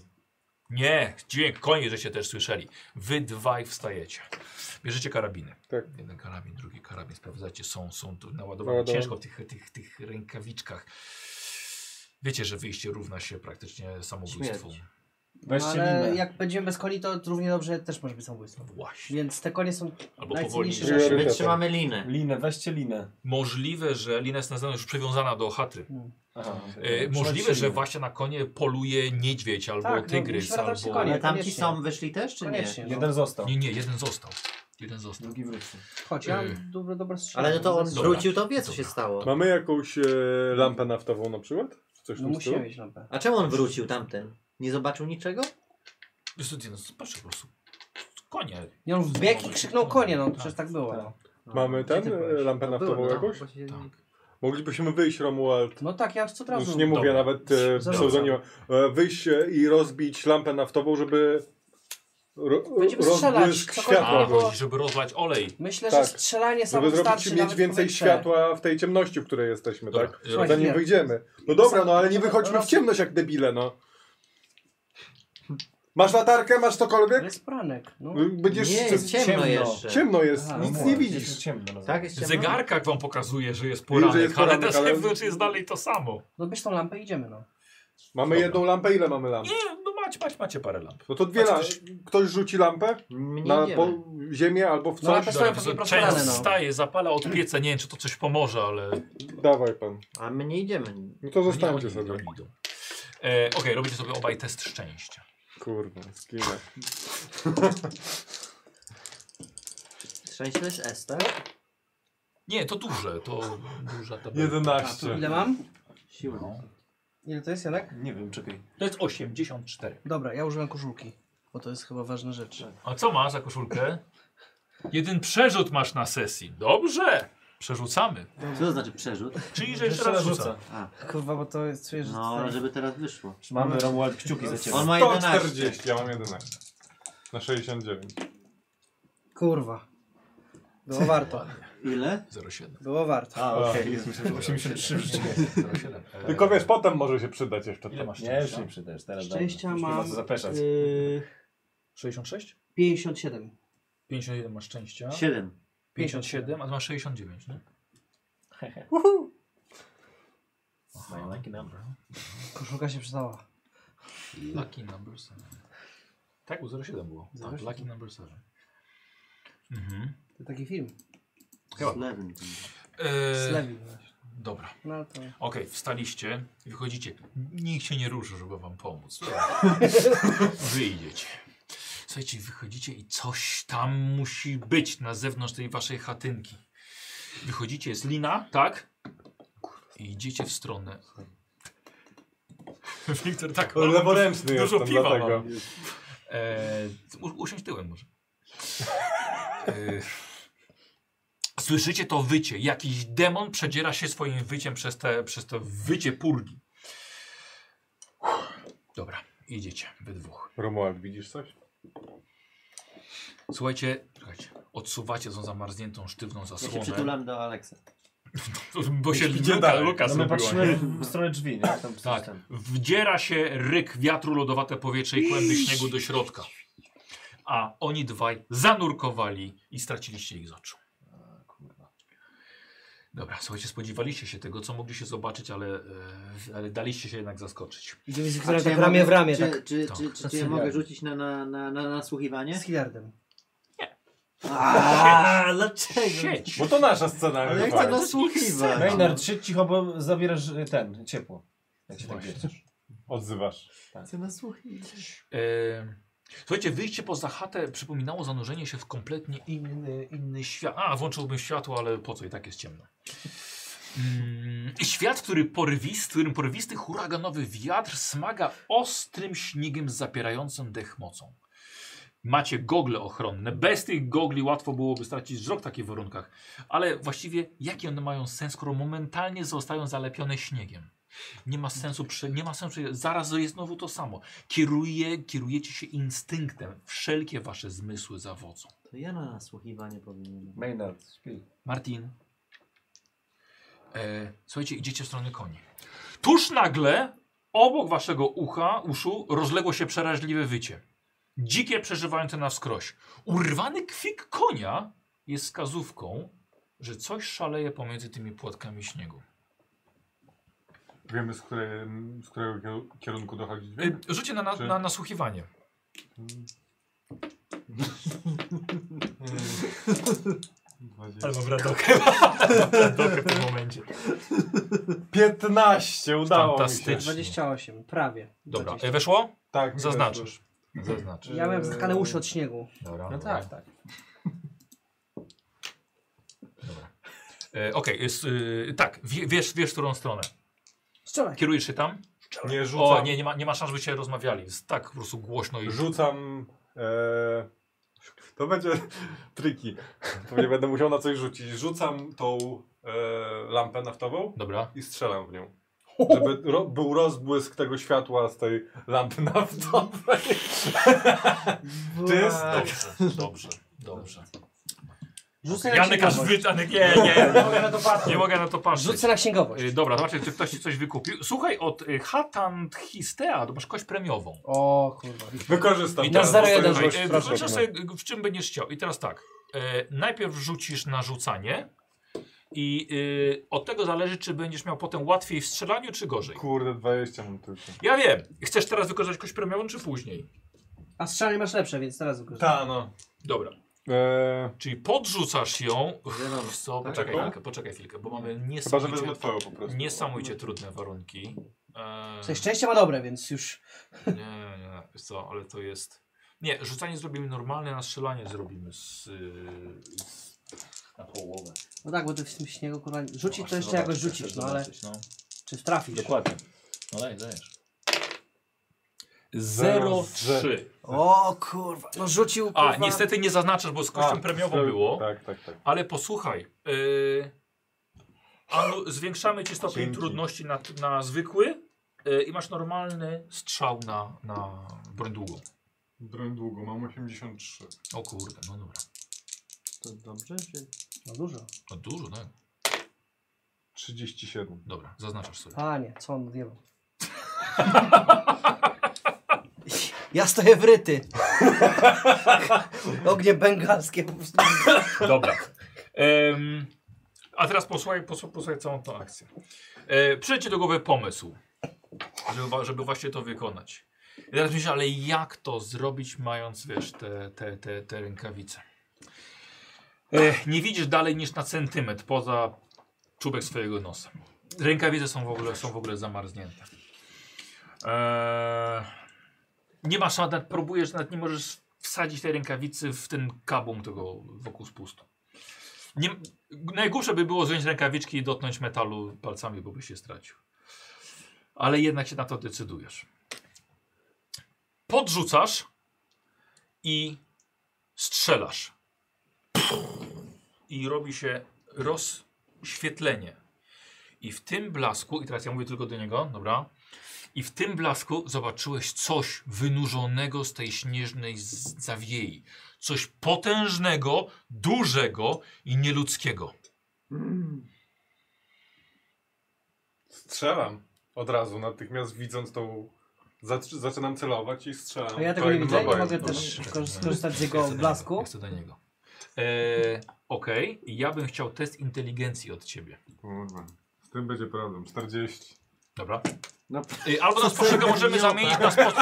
Speaker 1: Nie, dźwięk koni, żeście też słyszeli. Wy dwaj wstajecie. Bierzecie karabiny.
Speaker 4: Tak.
Speaker 1: Jeden karabin, drugi karabin. Sprawdzacie, są, są tu naładowane
Speaker 4: Naładowane.
Speaker 1: ciężko w tych, tych, tych rękawiczkach. Wiecie, że wyjście równa się praktycznie samobójstwu.
Speaker 5: Śmierć.
Speaker 2: Weźcie
Speaker 3: No, ale
Speaker 2: linę.
Speaker 3: jak będziemy bez koni, to równie dobrze też może być samobójstwo.
Speaker 1: No Właśnie.
Speaker 3: Więc te konie są
Speaker 1: Albo powoli.
Speaker 3: najcenniejsze rzeczy.
Speaker 5: My trzymamy linę.
Speaker 2: Linę, weźcie linę.
Speaker 1: Możliwe, że lina jest nazwana już przywiązana do chaty.
Speaker 3: No,
Speaker 2: Aha.
Speaker 1: E, możliwe, że właśnie na konie poluje niedźwiedź albo
Speaker 3: Tak, no,
Speaker 1: tygrys.
Speaker 3: musimy latać
Speaker 1: albo...
Speaker 3: konie.
Speaker 5: Ale tamci
Speaker 3: koniecznie.
Speaker 5: są wyszli też, czy nie?
Speaker 3: Koniecznie. No.
Speaker 2: Jeden został,
Speaker 1: Nie, nie, jeden został. Jeden został.
Speaker 2: drugi wrócił.
Speaker 3: Chodź, ja
Speaker 1: Yy.
Speaker 3: mam dobre, dobre strzelanie.
Speaker 5: Ale no to on
Speaker 1: Dobra.
Speaker 5: wrócił, to wie co się stało.
Speaker 4: Mamy jakąś e, lampę naftową na przykład? Coś
Speaker 3: No
Speaker 4: tam
Speaker 3: musimy
Speaker 4: musimy.
Speaker 3: mieć lampę.
Speaker 5: A czemu on wrócił tamten? Nie zobaczył niczego?
Speaker 1: Jest to jeden, patrz po prostu. Konie.
Speaker 3: Nie, on wbiegł i krzyknął konie, no to przecież tak było. No,
Speaker 4: Mamy
Speaker 5: Gdzie
Speaker 4: ten,
Speaker 5: ty
Speaker 4: e,
Speaker 5: byłeś?
Speaker 4: lampę naftową
Speaker 5: byłem, no.
Speaker 4: jakąś?
Speaker 5: Właśnie-
Speaker 1: Tak.
Speaker 4: Moglibyśmy wyjść, Romuald.
Speaker 3: no tak, ja już co teraz
Speaker 4: Już
Speaker 3: mówię.
Speaker 4: nie mówię
Speaker 1: Dobra.
Speaker 4: nawet e,
Speaker 3: Zarzucam.
Speaker 4: pseudonima. E, wyjść e, i rozbić lampę naftową, żeby ro, ro-
Speaker 3: Będziemy
Speaker 4: rozbłysk
Speaker 3: strzelać, cokolwiek
Speaker 1: A,
Speaker 4: światła
Speaker 3: by było.
Speaker 4: był.
Speaker 1: chodzi, żeby rozlać olej.
Speaker 3: Myślę,
Speaker 4: Tak.
Speaker 3: że strzelanie samo
Speaker 4: Żeby
Speaker 3: wystarczy
Speaker 4: zrobić, mieć
Speaker 3: nawet
Speaker 4: więcej
Speaker 3: powietrze.
Speaker 4: światła w tej ciemności, w której jesteśmy,
Speaker 1: Dobra.
Speaker 4: tak?
Speaker 3: Słuchaj,
Speaker 4: Zanim
Speaker 3: nie.
Speaker 4: wyjdziemy. No dobra, no ale nie wychodźmy w
Speaker 3: Roz-
Speaker 4: ciemność jak debile, no. Masz latarkę, masz cokolwiek?
Speaker 3: To jest pranek. No.
Speaker 4: Będziesz...
Speaker 5: Nie, jest ciemno,
Speaker 2: ciemno.
Speaker 5: jeszcze.
Speaker 4: Ciemno jest,
Speaker 3: Aha,
Speaker 4: nic
Speaker 2: No,
Speaker 4: nie
Speaker 2: mówię,
Speaker 4: widzisz.
Speaker 2: Jest ciemno. no.
Speaker 5: Tak, jest ciemno?
Speaker 1: Zegarkak wam pokazuje, że jest
Speaker 4: Mówi, że
Speaker 1: poranek,
Speaker 4: jest
Speaker 1: ale
Speaker 4: poranek,
Speaker 1: na
Speaker 4: ale-
Speaker 1: zewnątrz jest dalej to samo.
Speaker 3: no bierz tą lampę i idziemy, no.
Speaker 4: Mamy
Speaker 1: Dobra.
Speaker 4: jedną lampę, ile mamy lamp?
Speaker 1: Nie, no macie, macie, macie parę lamp.
Speaker 4: No to dwie
Speaker 3: Znaczy,
Speaker 1: Patrz,
Speaker 4: lampy. Ktoś rzuci lampę
Speaker 5: Nie
Speaker 4: na
Speaker 5: idziemy.
Speaker 4: po ziemię albo w
Speaker 3: No,
Speaker 4: coś.
Speaker 3: ale
Speaker 1: Dobra,
Speaker 3: pewnie
Speaker 1: to
Speaker 3: prosto rano,
Speaker 1: Część
Speaker 3: no.
Speaker 1: staje, zapala od pieca, nie wiem czy to coś pomoże, ale...
Speaker 4: Dawaj pan.
Speaker 5: A my nie idziemy.
Speaker 4: No to
Speaker 1: Oni-
Speaker 4: zostańcie
Speaker 1: oni
Speaker 4: sobie.
Speaker 1: idą. E, Okej, robicie sobie obaj test szczęścia.
Speaker 4: Kurwa, skinę.
Speaker 5: Szczęście to jest S, tak?
Speaker 1: Nie, to duże, to duża tabela.
Speaker 3: A tu ile mam?
Speaker 5: Siła.
Speaker 3: Ile to jest, Janek?
Speaker 2: Nie wiem, czekaj.
Speaker 1: To jest 84.
Speaker 3: Dobra, ja użyłem koszulki, bo to jest chyba ważna rzecz.
Speaker 1: A co masz za koszulkę? Jeden przerzut masz na sesji. Dobrze! Przerzucamy.
Speaker 5: Co to znaczy przerzut?
Speaker 1: Czyli, że jeszcze raz rzuca.
Speaker 5: A,
Speaker 3: Kurwa, bo to jest, czuję, że
Speaker 5: no,
Speaker 3: tutaj-
Speaker 5: ale żeby teraz wyszło.
Speaker 2: Trzymamy Romuald kciuki za ciebie.
Speaker 5: On ma 11.
Speaker 4: 140, ja mam 11. Na 69.
Speaker 3: Kurwa. Było warto,
Speaker 5: Ile?
Speaker 1: 07.
Speaker 3: było warto.
Speaker 2: A, okej, jest myślę, że 83 rzeczywiście.
Speaker 1: 07. E,
Speaker 4: Tylko wiesz, potem może się przydać jeszcze
Speaker 1: Ile
Speaker 4: to.
Speaker 1: masz
Speaker 2: Nie, już
Speaker 1: szczęścia?
Speaker 2: nie przydasz, teraz
Speaker 3: Szczęścia
Speaker 2: dawno. Już Nie no. ma y,
Speaker 3: mam,
Speaker 2: co zapeszać.
Speaker 3: Yy,
Speaker 1: 66?
Speaker 3: 57.
Speaker 1: 51 masz szczęścia.
Speaker 5: 7.
Speaker 1: 57, a ty masz 69, nie?
Speaker 2: Mają taki number.
Speaker 3: Koszulka się przydała.
Speaker 1: Lucky number 7. Tak, u 07 było. Tak,
Speaker 3: 07.
Speaker 1: lucky number 7. Mhm.
Speaker 3: To taki film.
Speaker 1: Chyba.
Speaker 5: Slevin.
Speaker 1: E,
Speaker 3: Slewi.
Speaker 1: Dobra.
Speaker 3: No ale to...
Speaker 1: Okej, wstaliście i wychodzicie. Nikt się nie ruszy, żeby wam pomóc. Wyjdziecie. Słuchajcie, wychodzicie i coś tam musi być na zewnątrz tej waszej chatynki. Wychodzicie, jest lina, tak? I idziecie w stronę. Wiktor, tak. mam
Speaker 4: Leworęczny
Speaker 1: dużo
Speaker 4: jestem,
Speaker 1: piwa
Speaker 4: dlatego.
Speaker 1: mam. E, u- usiądź tyłem może. E, słyszycie to wycie. Jakiś demon przedziera się swoim wyciem przez, te, przez to wycie purgi. Dobra, idziecie, wy dwóch.
Speaker 4: Romuald, widzisz coś?
Speaker 1: Słuchajcie, czekajcie, odsuwacie tą zamarzniętą, sztywną
Speaker 5: Ja się
Speaker 1: zasłonę.
Speaker 5: przytulam do Aleksa.
Speaker 1: Bo się
Speaker 2: Gdzie
Speaker 1: luka,
Speaker 2: dalej?
Speaker 1: luka
Speaker 2: No my
Speaker 1: zrobiła, nie?
Speaker 2: patrzymy w stronę drzwi, nie? Tam coś
Speaker 1: Tak.
Speaker 2: tam.
Speaker 1: Wdziera się ryk wiatru, lodowate powietrze i kłęby śniegu do środka. A oni dwaj zanurkowali i straciliście ich z oczu.
Speaker 2: A, kurwa.
Speaker 1: Dobra, słuchajcie, spodziewaliście się tego, co mogliście zobaczyć, ale, e, ale daliście się jednak zaskoczyć.
Speaker 3: Idziemy z
Speaker 5: A
Speaker 3: Wiktorem
Speaker 5: czy ja
Speaker 3: tak ramię
Speaker 5: mogę-
Speaker 3: w ramię,
Speaker 5: czy,
Speaker 3: tak.
Speaker 5: Czy,
Speaker 1: Tak.
Speaker 5: czy, czy, czy ja mogę rzucić na, na, na, na nasłuchiwanie?
Speaker 3: Z Hilliardem.
Speaker 5: Aaa, dlaczego?
Speaker 1: Sieć!
Speaker 4: Bo to nasza scena.
Speaker 5: Ale ja
Speaker 4: nie
Speaker 5: chcę
Speaker 4: twoja.
Speaker 5: nasłuchiwać.
Speaker 2: Maynard, siedź cicho, bo zabierasz y, ten, ciepło. Jak się tak
Speaker 1: Właśnie.
Speaker 2: bierzesz.
Speaker 4: Odzywasz.
Speaker 5: Chcę nasłuchiwać.
Speaker 1: E, słuchajcie, wyjście poza chatę przypominało zanurzenie się w kompletnie inny, inny świat. A, włączyłbym światło, ale po co, i tak jest ciemno. Mm, świat, który porwist, którym porwisty huraganowy wiatr smaga ostrym śniegiem zapierającym dech mocą. Macie gogle ochronne. Bez tych gogli łatwo byłoby stracić wzrok w takich warunkach. Ale właściwie jaki one mają sens, skoro momentalnie zostają zalepione śniegiem? Nie ma sensu, prze- nie ma sensu, zaraz jest znowu to samo. Kieruje, kierujecie się instynktem. Wszelkie wasze zmysły zawodzą.
Speaker 5: To ja na nasłuchiwanie powinienem.
Speaker 2: Maynard, śpi.
Speaker 1: Martin. E, słuchajcie, idziecie w stronę koni. Tuż nagle obok waszego ucha, uszu rozległo się przeraźliwe wycie. Dzikie przeżywające na wskroś. Urwany kwik konia jest wskazówką, że coś szaleje pomiędzy tymi płatkami śniegu.
Speaker 4: Wiemy, z, której, z którego kier- kierunku dochodzi
Speaker 1: Y,
Speaker 4: dźwięk?
Speaker 1: Rzućcie na, na,
Speaker 4: Czy-
Speaker 1: na nasłuchiwanie.
Speaker 4: Dwadzieścia.
Speaker 1: Ale mam radokę. radokę w tym momencie.
Speaker 4: 15, udało mi się.
Speaker 1: Fantastycznie.
Speaker 3: 28, prawie.
Speaker 1: Dobra,
Speaker 3: 20.
Speaker 1: y, weszło?
Speaker 4: Tak, mi
Speaker 1: Zaznaczysz. Zaznaczysz.
Speaker 3: Ja miałem zatkane uszy od śniegu.
Speaker 1: Dobra.
Speaker 2: No tak, tak.
Speaker 1: Dobra. E, Okej, jest, y, tak, wie- wiesz, wiesz, w którą stronę.
Speaker 3: Strzelaj.
Speaker 1: Kierujesz się tam?
Speaker 4: weszło. Nie rzucam.
Speaker 1: O, nie, nie ma, nie ma szans, by się rozmawiali. Jest tak po prostu głośno i...
Speaker 4: Rzucam. E, to będzie triki. To nie będę musiał na coś rzucić. Rzucam tą e, lampę naftową
Speaker 1: Dobra.
Speaker 4: i strzelam w nią. Żeby ro, był rozbłysk tego światła z tej lampy naftowej. To jest.
Speaker 1: Dobrze, dobrze, dobrze.
Speaker 3: Rzucaj na
Speaker 1: Janek aż
Speaker 3: księgowość.
Speaker 1: wy... Janek, nie, nie, nie,
Speaker 3: Mogę na to patrzeć.
Speaker 1: nie mogę na to patrzeć.
Speaker 3: Rzucę na księgowość.
Speaker 1: Y, Dobra, zobaczcie, czy ktoś ci coś wykupił. Słuchaj, od y, Hatan Histea, to masz kość premiową.
Speaker 3: O kurwa.
Speaker 4: Wykorzystam.
Speaker 1: I
Speaker 4: teraz
Speaker 1: teraz-
Speaker 4: dostaję
Speaker 1: Słuchaj,
Speaker 3: 0,1 rzuć,
Speaker 4: dość
Speaker 1: y,
Speaker 3: proszę.
Speaker 1: Wyczesz sobie, y, w czym będziesz chciał. I teraz tak. y, Najpierw rzucisz na rzucanie i y, od tego zależy, czy będziesz miał potem łatwiej w strzelaniu, czy gorzej.
Speaker 4: Kurde, 20 mam tylko.
Speaker 1: Ja wiem. Chcesz teraz wykorzystać kość premiową, czy później?
Speaker 3: A strzelanie masz lepsze, więc teraz wykorzystaj.
Speaker 4: Ta, no.
Speaker 1: Dobra.
Speaker 4: E,
Speaker 1: Czyli podrzucasz ją. Uff,
Speaker 5: Wiadomo.
Speaker 1: wiesz co,
Speaker 5: Tak?
Speaker 1: poczekaj
Speaker 4: Taką?
Speaker 1: chwilkę, poczekaj chwilkę, bo mamy
Speaker 4: no. chyba, że
Speaker 1: niesamowicie,
Speaker 4: wezmę twoją po prostu.
Speaker 1: niesamowicie trudne warunki. Eee,
Speaker 3: Tutaj szczęście ma dobre, więc już
Speaker 1: nie, nie, nie, wiesz co, ale to jest... Nie, rzucanie zrobimy normalne, a strzelanie zrobimy z, yy, z, na połowę.
Speaker 3: No tak, bo ty w tym śniegu kurwa rzucić
Speaker 6: No,
Speaker 3: to jeszcze
Speaker 6: właśnie,
Speaker 3: jakoś
Speaker 6: zobaczyć,
Speaker 3: rzucić,
Speaker 6: chcesz
Speaker 3: no ale
Speaker 6: zobaczyć, no.
Speaker 3: czy trafisz?
Speaker 6: Dokładnie. No daj, dajesz.
Speaker 4: Zero,
Speaker 1: 0,3.
Speaker 3: O kurwa, no rzucił kurwa.
Speaker 1: A, niestety nie zaznaczasz, bo z
Speaker 4: A,
Speaker 1: kością premiową było,
Speaker 4: Tak, tak, tak.
Speaker 1: ale posłuchaj. Yy, Alu, zwiększamy ci stopień
Speaker 4: Dzięki.
Speaker 1: trudności na, na zwykły yy, i masz normalny strzał na, na broń długą.
Speaker 4: Broń długo, mam 83.
Speaker 1: O kurde, no dobra.
Speaker 5: To dobrze? Czy...
Speaker 3: No dużo.
Speaker 1: No dużo, tak.
Speaker 4: 37.
Speaker 1: Dobra, zaznaczasz sobie.
Speaker 3: Panie, co on odjebał?
Speaker 5: Ja stoję wryty.
Speaker 3: Ognie bengalskie po prostu.
Speaker 1: Dobra. Em, a teraz posłuchaj, posłuchaj, posłuchaj całą tą akcję. E, przyjdzie ci do głowy pomysł, żeby, wa- żeby właśnie to wykonać. I teraz myślę, ale jak to zrobić, mając, wiesz, te, te, te, te rękawice? E, nie widzisz dalej niż na centymetr poza czubek swojego nosa. Rękawice są w ogóle, są w ogóle zamarznięte. Eee, nie masz nawet, próbujesz, nawet nie możesz wsadzić tej rękawicy w ten kabum tego wokół spustu. Nie, najgorsze by było zdjąć rękawiczki i dotknąć metalu palcami, bo byś się stracił. Ale jednak się na to decydujesz. Podrzucasz i strzelasz. I robi się rozświetlenie. I w tym blasku, i teraz ja mówię tylko do niego, dobra? I w tym blasku zobaczyłeś coś wynurzonego z tej śnieżnej z- zawiei. Coś potężnego, dużego i nieludzkiego.
Speaker 5: Mm,
Speaker 4: Strzelam od razu, natychmiast widząc tą. zac- Zaczynam celować i strzelam.
Speaker 3: A ja tego nie
Speaker 4: Kolejnym
Speaker 3: widzę i nie
Speaker 4: nabojem.
Speaker 3: mogę
Speaker 4: Dobra.
Speaker 3: też skor- skorzystać z jego blasku.
Speaker 1: Chcę do niego. Eee, Okej, ja bym chciał test inteligencji od ciebie.
Speaker 4: Kurwa. Z tym będzie problem. 40.
Speaker 1: Dobra.
Speaker 5: No,
Speaker 1: Ej, albo na spostrzega możemy zamienić na, spo...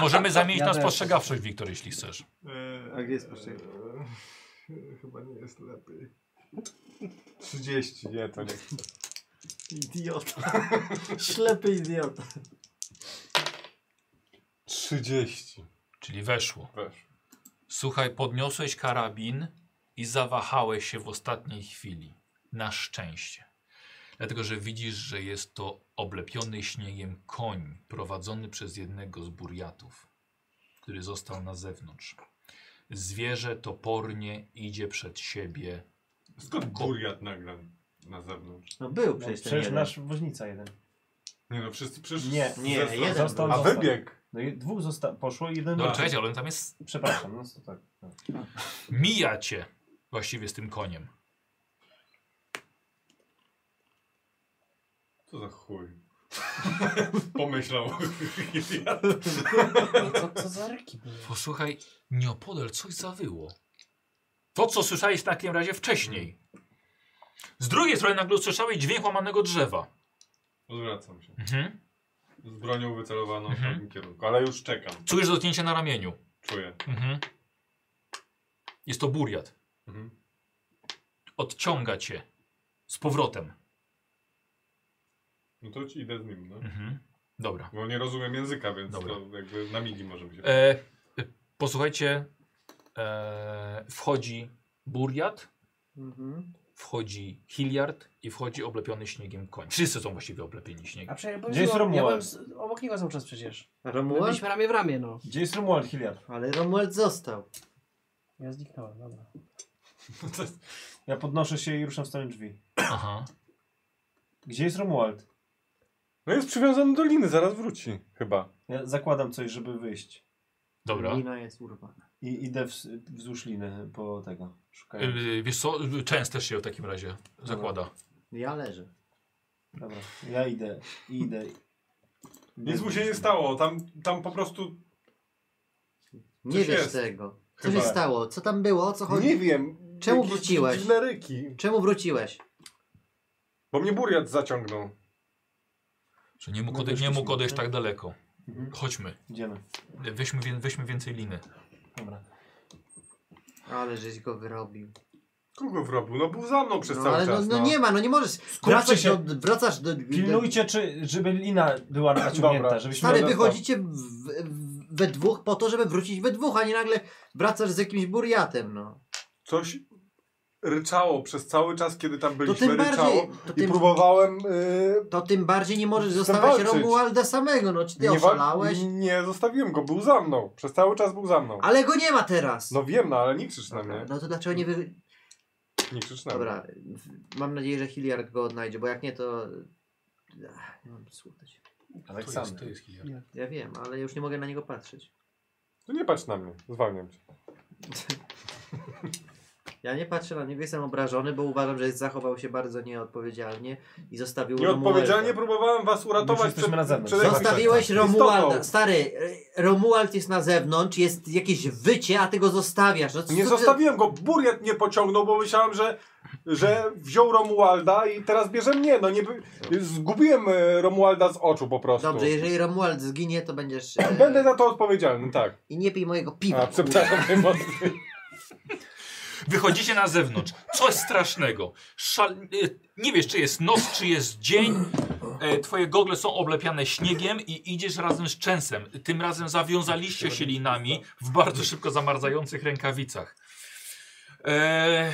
Speaker 1: możemy zamienić
Speaker 3: Ja
Speaker 1: na
Speaker 3: też.
Speaker 1: spostrzegawczość, Wiktor, jeśli chcesz.
Speaker 4: Eee,
Speaker 5: A gdzie jest poszczególny?
Speaker 4: eee, Chyba nie jest lepiej. 30, nie, to nie.
Speaker 5: Idiota. Ślepy idiota.
Speaker 4: 30.
Speaker 1: Czyli weszło.
Speaker 4: Wiesz.
Speaker 1: Słuchaj, podniosłeś karabin i zawahałeś się w ostatniej chwili. Na szczęście. Dlatego, że widzisz, że jest to oblepiony śniegiem koń prowadzony przez jednego z burjatów, który został na zewnątrz. Zwierzę topornie idzie przed siebie.
Speaker 4: Skąd buriat nagle na zewnątrz?
Speaker 5: No był przecież ten
Speaker 6: Przecież
Speaker 5: jeden.
Speaker 6: nasz woźnica jeden.
Speaker 4: Nie no, wszyscy przyszli.
Speaker 6: Nie,
Speaker 5: nie,
Speaker 4: zesra-
Speaker 5: jeden
Speaker 6: Został,
Speaker 5: był.
Speaker 4: A
Speaker 6: został.
Speaker 4: wybieg!
Speaker 6: No i dwóch zosta- poszło i jeden
Speaker 1: No
Speaker 6: był.
Speaker 1: czekajcie, ale on tam jest.
Speaker 6: Przepraszam, no to tak. No.
Speaker 1: Mija cię właściwie z tym koniem.
Speaker 4: Co za chuj. Pomyślał.
Speaker 3: No Co, co za ryki były?
Speaker 1: Posłuchaj, nieopodal coś zawyło. To, co słyszałeś w takim razie wcześniej. Z drugiej strony nagle usłyszałeś dźwięk łamanego drzewa.
Speaker 7: Odwracam się.
Speaker 1: Mhm.
Speaker 7: Z bronią wycelowaną w
Speaker 1: Mhm.
Speaker 7: tamtym kierunku, ale już czekam.
Speaker 1: Czujesz dotknięcie na ramieniu.
Speaker 7: Czuję.
Speaker 1: Mhm. Jest to buriat.
Speaker 7: Mhm.
Speaker 1: Odciąga cię z powrotem.
Speaker 7: No to ci idę z nim, no.
Speaker 1: Mhm. Dobra.
Speaker 7: Bo nie rozumiem języka, więc
Speaker 1: Dobra.
Speaker 7: to jakby na migi możemy się...
Speaker 1: E, posłuchajcie, e, wchodzi buriat,
Speaker 5: Mhm.
Speaker 1: wchodzi hiliard i wchodzi oblepiony śniegiem koń. Wszyscy są właściwie oblepieni
Speaker 3: A
Speaker 1: śniegiem.
Speaker 3: przecież
Speaker 2: Gdzie jest
Speaker 3: ja byłem, ja
Speaker 2: Romuald?
Speaker 3: byłem z, obok niego cały czas przecież. My
Speaker 5: Romuald?
Speaker 3: byliśmy ramię w ramię, no.
Speaker 2: Gdzie jest Romuald Hilliard?
Speaker 5: Ale Romuald został.
Speaker 3: Ja zniknąłem, dobra.
Speaker 2: Ja podnoszę się i ruszam w stronę drzwi.
Speaker 1: Aha.
Speaker 2: Gdzie jest Romuald?
Speaker 4: No jest przywiązany do liny, zaraz wróci. Chyba.
Speaker 2: Ja zakładam coś, żeby wyjść.
Speaker 1: Dobra.
Speaker 5: Lina jest urwana.
Speaker 2: I idę w, wzdłuż liny po tego. Szukając.
Speaker 1: Y, Wiesz co, częst też się w takim razie zakłada.
Speaker 5: Ja leżę.
Speaker 2: Dobra, ja idę, idę.
Speaker 7: Nic mu się nie stało, tam, tam po prostu...
Speaker 5: Nie
Speaker 7: Coś
Speaker 5: wiesz
Speaker 7: jest.
Speaker 5: tego. Co
Speaker 7: Chyba.
Speaker 5: się stało? Co tam było? O co chodzi?
Speaker 4: Nie wiem.
Speaker 5: Czemu
Speaker 4: jakieś
Speaker 5: wróciłeś?
Speaker 4: Dziwne ryki.
Speaker 5: Czemu wróciłeś?
Speaker 4: Bo mnie buriat zaciągnął.
Speaker 1: Że nie mógł,
Speaker 2: No
Speaker 1: ode- nie
Speaker 2: weszliśmy,
Speaker 1: mógł odejść
Speaker 2: tak?
Speaker 1: tak daleko.
Speaker 2: Mhm.
Speaker 1: Chodźmy.
Speaker 2: Idziemy.
Speaker 1: Weźmy, wię- weźmy więcej liny.
Speaker 2: Dobra.
Speaker 5: Ale żeś go wyrobił.
Speaker 4: Kogo wrobił? No był za mną przez
Speaker 5: No,
Speaker 4: cały
Speaker 5: ale
Speaker 4: czas.
Speaker 5: no, no nie ma, no nie możesz. Wracasz
Speaker 2: się.
Speaker 5: do, wracasz do, do,
Speaker 2: Pilnujcie, czy, żeby lina była naciągnięta,
Speaker 4: Dobra.
Speaker 2: żebyśmy...
Speaker 5: Stary,
Speaker 4: Dobra.
Speaker 5: wychodzicie w, w, we dwóch po to, żeby wrócić we dwóch, a nie nagle wracasz z jakimś burjatem, no.
Speaker 4: Coś ryczało przez cały czas, kiedy tam
Speaker 5: To
Speaker 4: byliśmy.
Speaker 5: tym bardziej,
Speaker 4: Ryczało.
Speaker 5: to
Speaker 4: I
Speaker 5: tym,
Speaker 4: próbowałem... y,
Speaker 5: to tym bardziej nie możesz
Speaker 4: z tym
Speaker 5: zostawiać
Speaker 4: walczyć.
Speaker 5: Romualda samego, no. Czy ty
Speaker 4: wa-
Speaker 5: oszalałeś?
Speaker 4: nie zostawiłem go, był za mną. Przez cały czas był za mną.
Speaker 5: Ale go nie ma teraz.
Speaker 4: No wiem, no ale nie krzycz na mnie.
Speaker 5: No to dlaczego nie wy...
Speaker 4: Nie krzycz na mnie.
Speaker 5: Dobra, mam nadzieję, że Hilliard go odnajdzie, bo jak nie, to... Ach, nie mam słuchać.
Speaker 2: tak
Speaker 1: To jest, to jest hiliard.
Speaker 5: Ja wiem, ale już nie mogę na niego patrzeć.
Speaker 4: To No nie patrz na mnie, zwalniam cię.
Speaker 5: Ja nie patrzę na niego, jestem obrażony, bo uważam, że zachował się bardzo nieodpowiedzialnie i zostawił
Speaker 4: Nieodpowiedzialnie
Speaker 5: Romualda.
Speaker 4: próbowałem was
Speaker 2: Już
Speaker 4: uratować
Speaker 2: jesteśmy na zewnątrz.
Speaker 4: jakimś- Tak.
Speaker 5: Zostawiłeś
Speaker 4: istotą.
Speaker 5: Romualda. Stary, e, Romuald jest na zewnątrz, jest jakieś wycie, a ty go zostawiasz. No, co
Speaker 4: Nie
Speaker 5: ty-
Speaker 4: zostawiłem go, buriat nie pociągnął, bo myślałem, że, że wziął Romualda i teraz bierze mnie. No nie, by- zgubiłem e, Romualda z oczu po prostu.
Speaker 5: Dobrze, jeżeli Romuald zginie, to będziesz... e,
Speaker 4: Będę za to odpowiedzialny, tak.
Speaker 5: I nie pij mojego
Speaker 4: A,
Speaker 5: piwa.
Speaker 4: przepraszam najmocniej.
Speaker 1: Wychodzicie na zewnątrz. Coś strasznego. Szal... e, Nie wiesz, czy jest noc, czy jest dzień. E, Twoje gogle są oblepiane śniegiem i idziesz razem z częsem. Tym razem zawiązaliście się linami w bardzo szybko zamarzających rękawicach. E,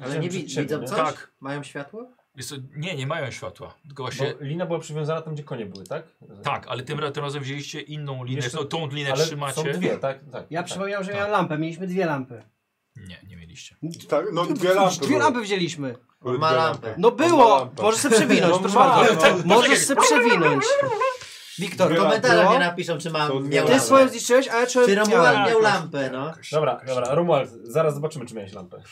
Speaker 5: Ale nie
Speaker 2: Przed
Speaker 5: wi-
Speaker 2: siebie,
Speaker 5: widzą
Speaker 2: nie?
Speaker 5: coś?
Speaker 1: Tak.
Speaker 5: Mają światło?
Speaker 1: wiesz co, nie, nie mają światła. Tylko właśnie.
Speaker 2: Bo lina była przywiązana tam, gdzie konie były, tak?
Speaker 1: Tak, ale tym, ra- tym razem wzięliście inną linę.
Speaker 2: Jeszcze-
Speaker 1: No, tą linę
Speaker 2: Ale
Speaker 1: trzymacie.
Speaker 2: są dwie, tak? tak
Speaker 3: Ja
Speaker 2: tak.
Speaker 3: przypomniałem, że
Speaker 1: tak.
Speaker 3: miałem lampę, mieliśmy dwie lampy.
Speaker 1: Nie, nie mieliście.
Speaker 4: tak. No dwie lampy.
Speaker 3: Dwie lampy wzięliśmy.
Speaker 4: były.
Speaker 5: Ma
Speaker 4: Dwie
Speaker 5: lampę.
Speaker 3: No
Speaker 4: Ma
Speaker 3: było!
Speaker 4: lampę.
Speaker 3: Możesz się przewinąć,
Speaker 4: No
Speaker 3: proszę
Speaker 4: ma,
Speaker 3: bardzo.
Speaker 2: Tak,
Speaker 4: no.
Speaker 3: Możesz się przewinąć.
Speaker 5: Wiktor,
Speaker 4: Była-
Speaker 5: komentarze
Speaker 3: była?
Speaker 5: nie napiszą, czy
Speaker 4: Są
Speaker 5: mam
Speaker 4: dwie
Speaker 5: miał
Speaker 4: lampy.
Speaker 3: Ty
Speaker 5: lampę.
Speaker 3: swoją Tak, zniszczyłeś, a ja
Speaker 5: Czy
Speaker 3: czułem
Speaker 5: Romuald miał lampę, no.
Speaker 2: Dobra, dobra, Romuald, zaraz zobaczymy, czy miałeś lampę.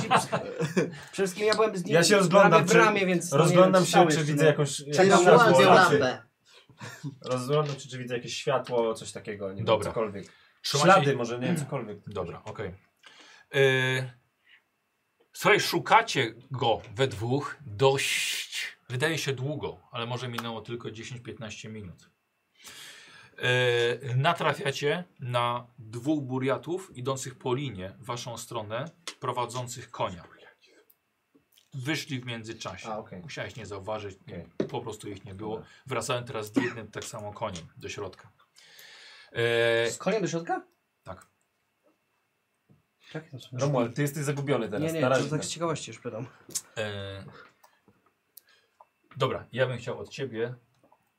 Speaker 3: Przede wszystkim ja byłem z nim
Speaker 2: Ja się rozglądam,
Speaker 3: ramię w
Speaker 2: czy-
Speaker 3: ramię, więc... no nie
Speaker 2: Rozglądam
Speaker 3: wiem,
Speaker 2: się,
Speaker 3: stałeś,
Speaker 2: czy
Speaker 3: no.
Speaker 2: widzę jakąś...
Speaker 5: Czy
Speaker 2: jakieś
Speaker 5: Romuald miał
Speaker 2: światło,
Speaker 5: lampę?
Speaker 2: Rozglądam się, czy widzę jakieś światło, coś takiego, nie
Speaker 1: Dobra.
Speaker 2: wiem, cokolwiek.
Speaker 1: Trzymacie-
Speaker 2: Ślady może, nie wiem, cokolwiek.
Speaker 1: Dobra, okej. Y, Słuchaj, szukacie go we dwóch dość, wydaje się długo, ale może minęło tylko 10-15 minut. Y, Natrafiacie na dwóch buriatów idących po linie w waszą stronę, prowadzących konia. Wyszli w międzyczasie.
Speaker 2: A, okej.
Speaker 1: Musiałeś nie zauważyć, nie, po prostu ich nie było.
Speaker 5: No.
Speaker 2: Dobra.
Speaker 1: Wracałem teraz z jednym tak samo koniem do środka. E,
Speaker 3: Z koniem do środka?
Speaker 1: tak.
Speaker 3: Tak, to są-
Speaker 2: Romuald, ty jesteś zagubiony teraz.
Speaker 3: Nie, nie,
Speaker 2: na
Speaker 3: to
Speaker 2: razie.
Speaker 3: tak z ciekawości już pytam.
Speaker 1: E, dobra, ja bym chciał od ciebie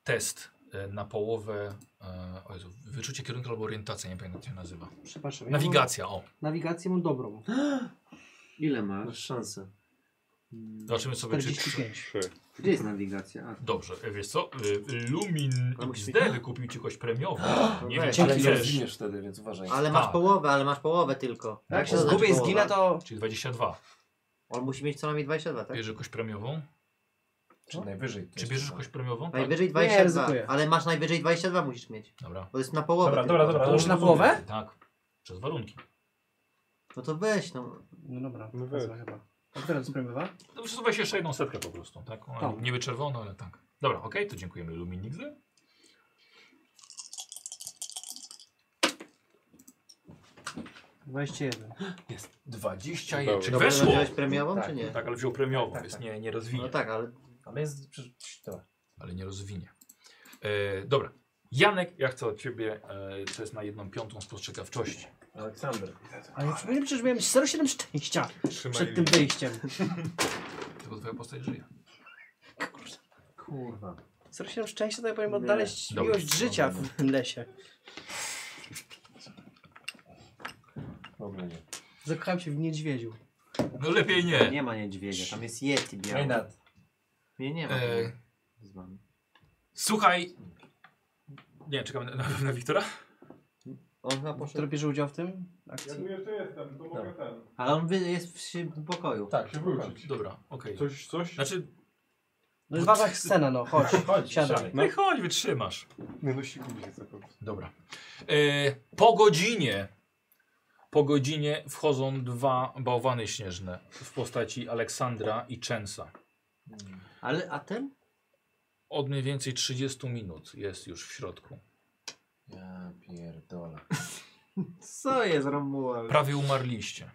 Speaker 1: test e, na połowę. E, o Jezu, wyczucie kierunku albo orientacja, nie pamiętam jak to się nazywa.
Speaker 3: Przepraszam. ja
Speaker 1: Nawigacja, o.
Speaker 3: mam- Nawigację mam dobrą.
Speaker 5: Ile masz?
Speaker 2: Masz szansę.
Speaker 1: Zobaczymy sobie, czy. czy
Speaker 3: 45.
Speaker 5: Gdzie jest nawigacja? A,
Speaker 1: dobrze, e, wiesz co? E, Lumin
Speaker 5: Ale musi
Speaker 1: XD
Speaker 5: być-
Speaker 1: wykupił ci kogoś premiową. Nie wiem,
Speaker 5: weź.
Speaker 1: czy
Speaker 2: Ale nie
Speaker 1: wiesz.
Speaker 2: zginiesz wtedy, więc uważaj.
Speaker 5: Ale
Speaker 1: Tak.
Speaker 5: masz połowę, ale masz połowę tylko.
Speaker 2: Tak,
Speaker 5: Jak się
Speaker 2: bo
Speaker 5: zaznaczy
Speaker 3: Zgubię i
Speaker 5: połowa?
Speaker 3: zginę, to...
Speaker 1: Czyli 22.
Speaker 5: On musi mieć co najmniej 22, tak?
Speaker 1: Bierzesz jakąś premiową?
Speaker 2: Czy najwyżej. to
Speaker 1: Czy
Speaker 2: jest
Speaker 1: bierzesz
Speaker 2: chyba.
Speaker 1: jakąś premiową? Tak.
Speaker 5: Najwyżej
Speaker 3: Nie,
Speaker 5: 22,
Speaker 3: ryzykuję.
Speaker 5: ale masz najwyżej 22 musisz mieć.
Speaker 1: Dobra.
Speaker 5: Bo jest na połowę.
Speaker 2: Dobra,
Speaker 5: tylko.
Speaker 2: dobra, dobra.
Speaker 1: To
Speaker 3: już na
Speaker 2: rozumiem.
Speaker 3: połowę?
Speaker 1: Tak. Przez warunki.
Speaker 5: No to weź, no.
Speaker 3: No dobra,
Speaker 4: No
Speaker 3: wezmę chyba. A która to spremywa?
Speaker 1: No przesuwa się jeszcze jedną setkę po prostu, tak? Ona
Speaker 3: Tak.
Speaker 1: niby czerwona, ale tak. Dobra, okej, to dziękujemy Luminigzy.
Speaker 3: Weźcie jeden.
Speaker 1: 20
Speaker 4: Dobra.
Speaker 1: Czy
Speaker 5: Dobra,
Speaker 1: weszło?
Speaker 5: wziąłeś premiową,
Speaker 2: Tak,
Speaker 5: czy nie?
Speaker 1: Tak, ale wziął premiową,
Speaker 2: Tak,
Speaker 1: więc
Speaker 2: tak.
Speaker 1: nie, nie rozwinie.
Speaker 5: No tak, ale
Speaker 2: Ale jest... przecież- Dobra.
Speaker 1: Ale nie rozwinie. E, dobra. Janek, ja chcę od ciebie, e, co jest na jedną piątą spostrzegawczości.
Speaker 2: Aleksander.
Speaker 3: Ale ja przypominam, że miałem 0,7 szczęścia przed tym wyjściem.
Speaker 1: Tylko twoja postać żyje.
Speaker 2: Kurwa.
Speaker 3: 0,7 szczęścia to ja powinien odnaleźć
Speaker 1: Dobra.
Speaker 3: miłość życia w tym lesie.
Speaker 2: W ogóle nie.
Speaker 3: Zakochałem się w niedźwiedziu.
Speaker 1: No lepiej nie.
Speaker 5: nie ma niedźwiedzia, tam jest Yeti biały.
Speaker 2: Maynard.
Speaker 5: Nie, nie ma.
Speaker 1: E,
Speaker 5: Z wami.
Speaker 1: słuchaj. Nie, czekamy na, na, na Wiktora.
Speaker 5: On chyba
Speaker 3: Który
Speaker 5: poszedł.
Speaker 3: bierze udział w tym akcji?
Speaker 7: Ja tu jeszcze jestem, to mogę ten.
Speaker 5: Ale on wy- jest w, si- w pokoju.
Speaker 2: Tak,
Speaker 7: Się wrócić.
Speaker 1: Dobra, okej.
Speaker 4: Coś, coś?
Speaker 1: Znaczy,
Speaker 3: No jest ważna scena, no chodź,
Speaker 2: Chodź,
Speaker 3: siadaj.
Speaker 2: siadaj.
Speaker 1: no. chodź, wytrzymasz.
Speaker 4: Nie no, siku nie chcę po prostu.
Speaker 1: Dobra. E, po godzinie. Po godzinie wchodzą dwa bałwany śnieżne w postaci Aleksandra i Czensa.
Speaker 5: Ale a ten?
Speaker 1: Od mniej więcej 30 minut jest już w środku.
Speaker 2: Ja pierdolę.
Speaker 5: Co jest Romuald?
Speaker 1: Prawie umarliście.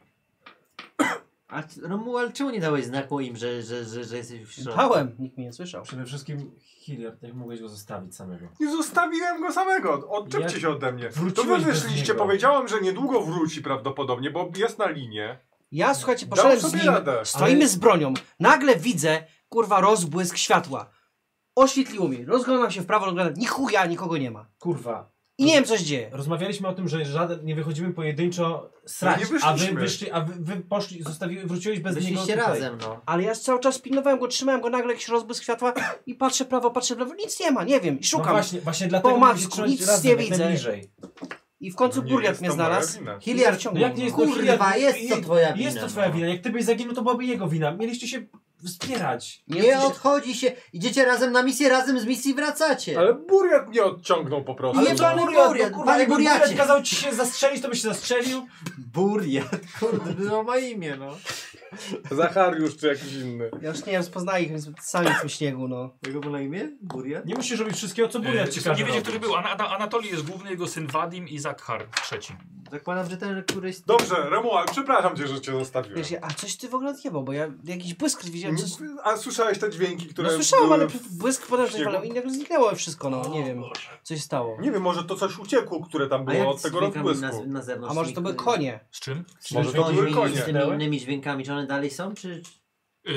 Speaker 5: A c- Romuald, czemu nie dałeś znaku im, że, że, że, że jesteś w środku?
Speaker 3: Dałem, nikt mnie nie słyszał.
Speaker 2: Przede wszystkim Hilliard, jak mogłeś go zostawić samego?
Speaker 4: Nie zostawiłem go samego. Odczepcie
Speaker 2: Ja-
Speaker 4: się ode mnie. To
Speaker 2: Wróciłeś
Speaker 4: wy
Speaker 2: bez
Speaker 4: wyszliście,
Speaker 2: niego.
Speaker 4: powiedziałem, że niedługo wróci prawdopodobnie, bo jest na linie.
Speaker 3: Ja słuchajcie,
Speaker 4: Dał
Speaker 3: poszedłem z
Speaker 4: sobie
Speaker 3: nim,
Speaker 4: radę,
Speaker 3: stoimy
Speaker 2: ale-
Speaker 3: z bronią, nagle widzę, kurwa, rozbłysk światła. Oświetliło mi, rozglądam się w prawo, rozglądam, ni chuja, nikogo nie ma.
Speaker 2: Kurwa.
Speaker 3: I nie wiem, co się dzieje.
Speaker 2: Rozmawialiśmy o tym, że żaden, nie wychodzimy pojedynczo srać,
Speaker 4: No nie
Speaker 2: a wy
Speaker 4: wyszliśmy.
Speaker 2: wyszli, a wy, wy poszli, zostawiłeś, wróciłeś bez niego
Speaker 5: Wyszliście
Speaker 2: tutaj.
Speaker 5: razem, no.
Speaker 3: Ale ja cały czas pilnowałem go, trzymałem go, nagle jakiś rozbłysk światła i patrzę w prawo, patrzę w lewo, nic nie ma, nie wiem, i
Speaker 2: No
Speaker 3: szukam.
Speaker 2: właśnie, właśnie dlatego
Speaker 3: macku,
Speaker 2: musisz trzymać
Speaker 3: nic
Speaker 2: razem,
Speaker 3: nie
Speaker 2: jak
Speaker 3: widzę.
Speaker 2: najbliżej.
Speaker 3: I w końcu
Speaker 4: No Nie
Speaker 3: Burliat
Speaker 4: jest
Speaker 3: mnie
Speaker 4: to moja
Speaker 3: znalazł.
Speaker 4: wina.
Speaker 5: Hiliard,
Speaker 3: Zaciągnął
Speaker 2: No jak nie
Speaker 3: mnie.
Speaker 2: jest
Speaker 5: Kurwa,
Speaker 2: Hilliard,
Speaker 5: jest to twoja
Speaker 2: Jest to
Speaker 5: wina,
Speaker 2: twoja
Speaker 5: no.
Speaker 2: wina. Jak ty byś zaginął, to byłaby jego wina. Mieliście się wspierać.
Speaker 5: Nie odchodzi się, idziecie razem na misję, razem z misji wracacie.
Speaker 4: Ale Buriat mnie odciągnął po prostu.
Speaker 5: Ale
Speaker 4: no.
Speaker 5: Jebany Buriat, panie
Speaker 2: jakby Buriat
Speaker 5: Buriacie.
Speaker 2: kazał ci się zastrzelić, to byś się zastrzelił.
Speaker 5: Buriat, kurde, było ma imię, no.
Speaker 4: Zachariusz czy jakiś inny.
Speaker 3: Ja już nie rozpoznaję ich, więc sami w tym śniegu, no.
Speaker 5: Jego było na imię? Buriat?
Speaker 2: Nie musisz robić wszystkiego, co Buriat ci
Speaker 1: E,
Speaker 2: każe
Speaker 1: nie wiecie,
Speaker 2: robić.
Speaker 1: który był. Ana- Ana- Anatolii jest główny, jego syn Wadim i Zakhar trzeci.
Speaker 5: Zakładam, że ten, że któryś...
Speaker 4: Dobrze, Romuald, przepraszam cię, że cię zostawiłem.
Speaker 3: Wiesz, ja- a coś ty w ogóle odjebał, bo ja jakiś błysk widziałem, coś...
Speaker 4: A słyszałeś te dźwięki, które...
Speaker 3: No słyszałem,
Speaker 4: były
Speaker 3: ale
Speaker 4: w-
Speaker 3: błysk potem coś
Speaker 4: śniegu?
Speaker 3: walał i nagle zniknęło wszystko, no, nie wiem. Coś stało.
Speaker 4: Nie wiem, może to coś uciekło, które tam
Speaker 5: A
Speaker 4: było
Speaker 5: jak
Speaker 4: od
Speaker 5: z
Speaker 4: tego
Speaker 5: dźwiękami
Speaker 4: rozbłysku.
Speaker 5: na, na zewnątrz?
Speaker 3: A może to były konie?
Speaker 1: Z czym?
Speaker 5: Z
Speaker 4: Może to
Speaker 5: dźwiękami,
Speaker 4: były konie.
Speaker 5: Z tymi innymi dźwiękami, czy one dalej są, czy... czy-
Speaker 1: E,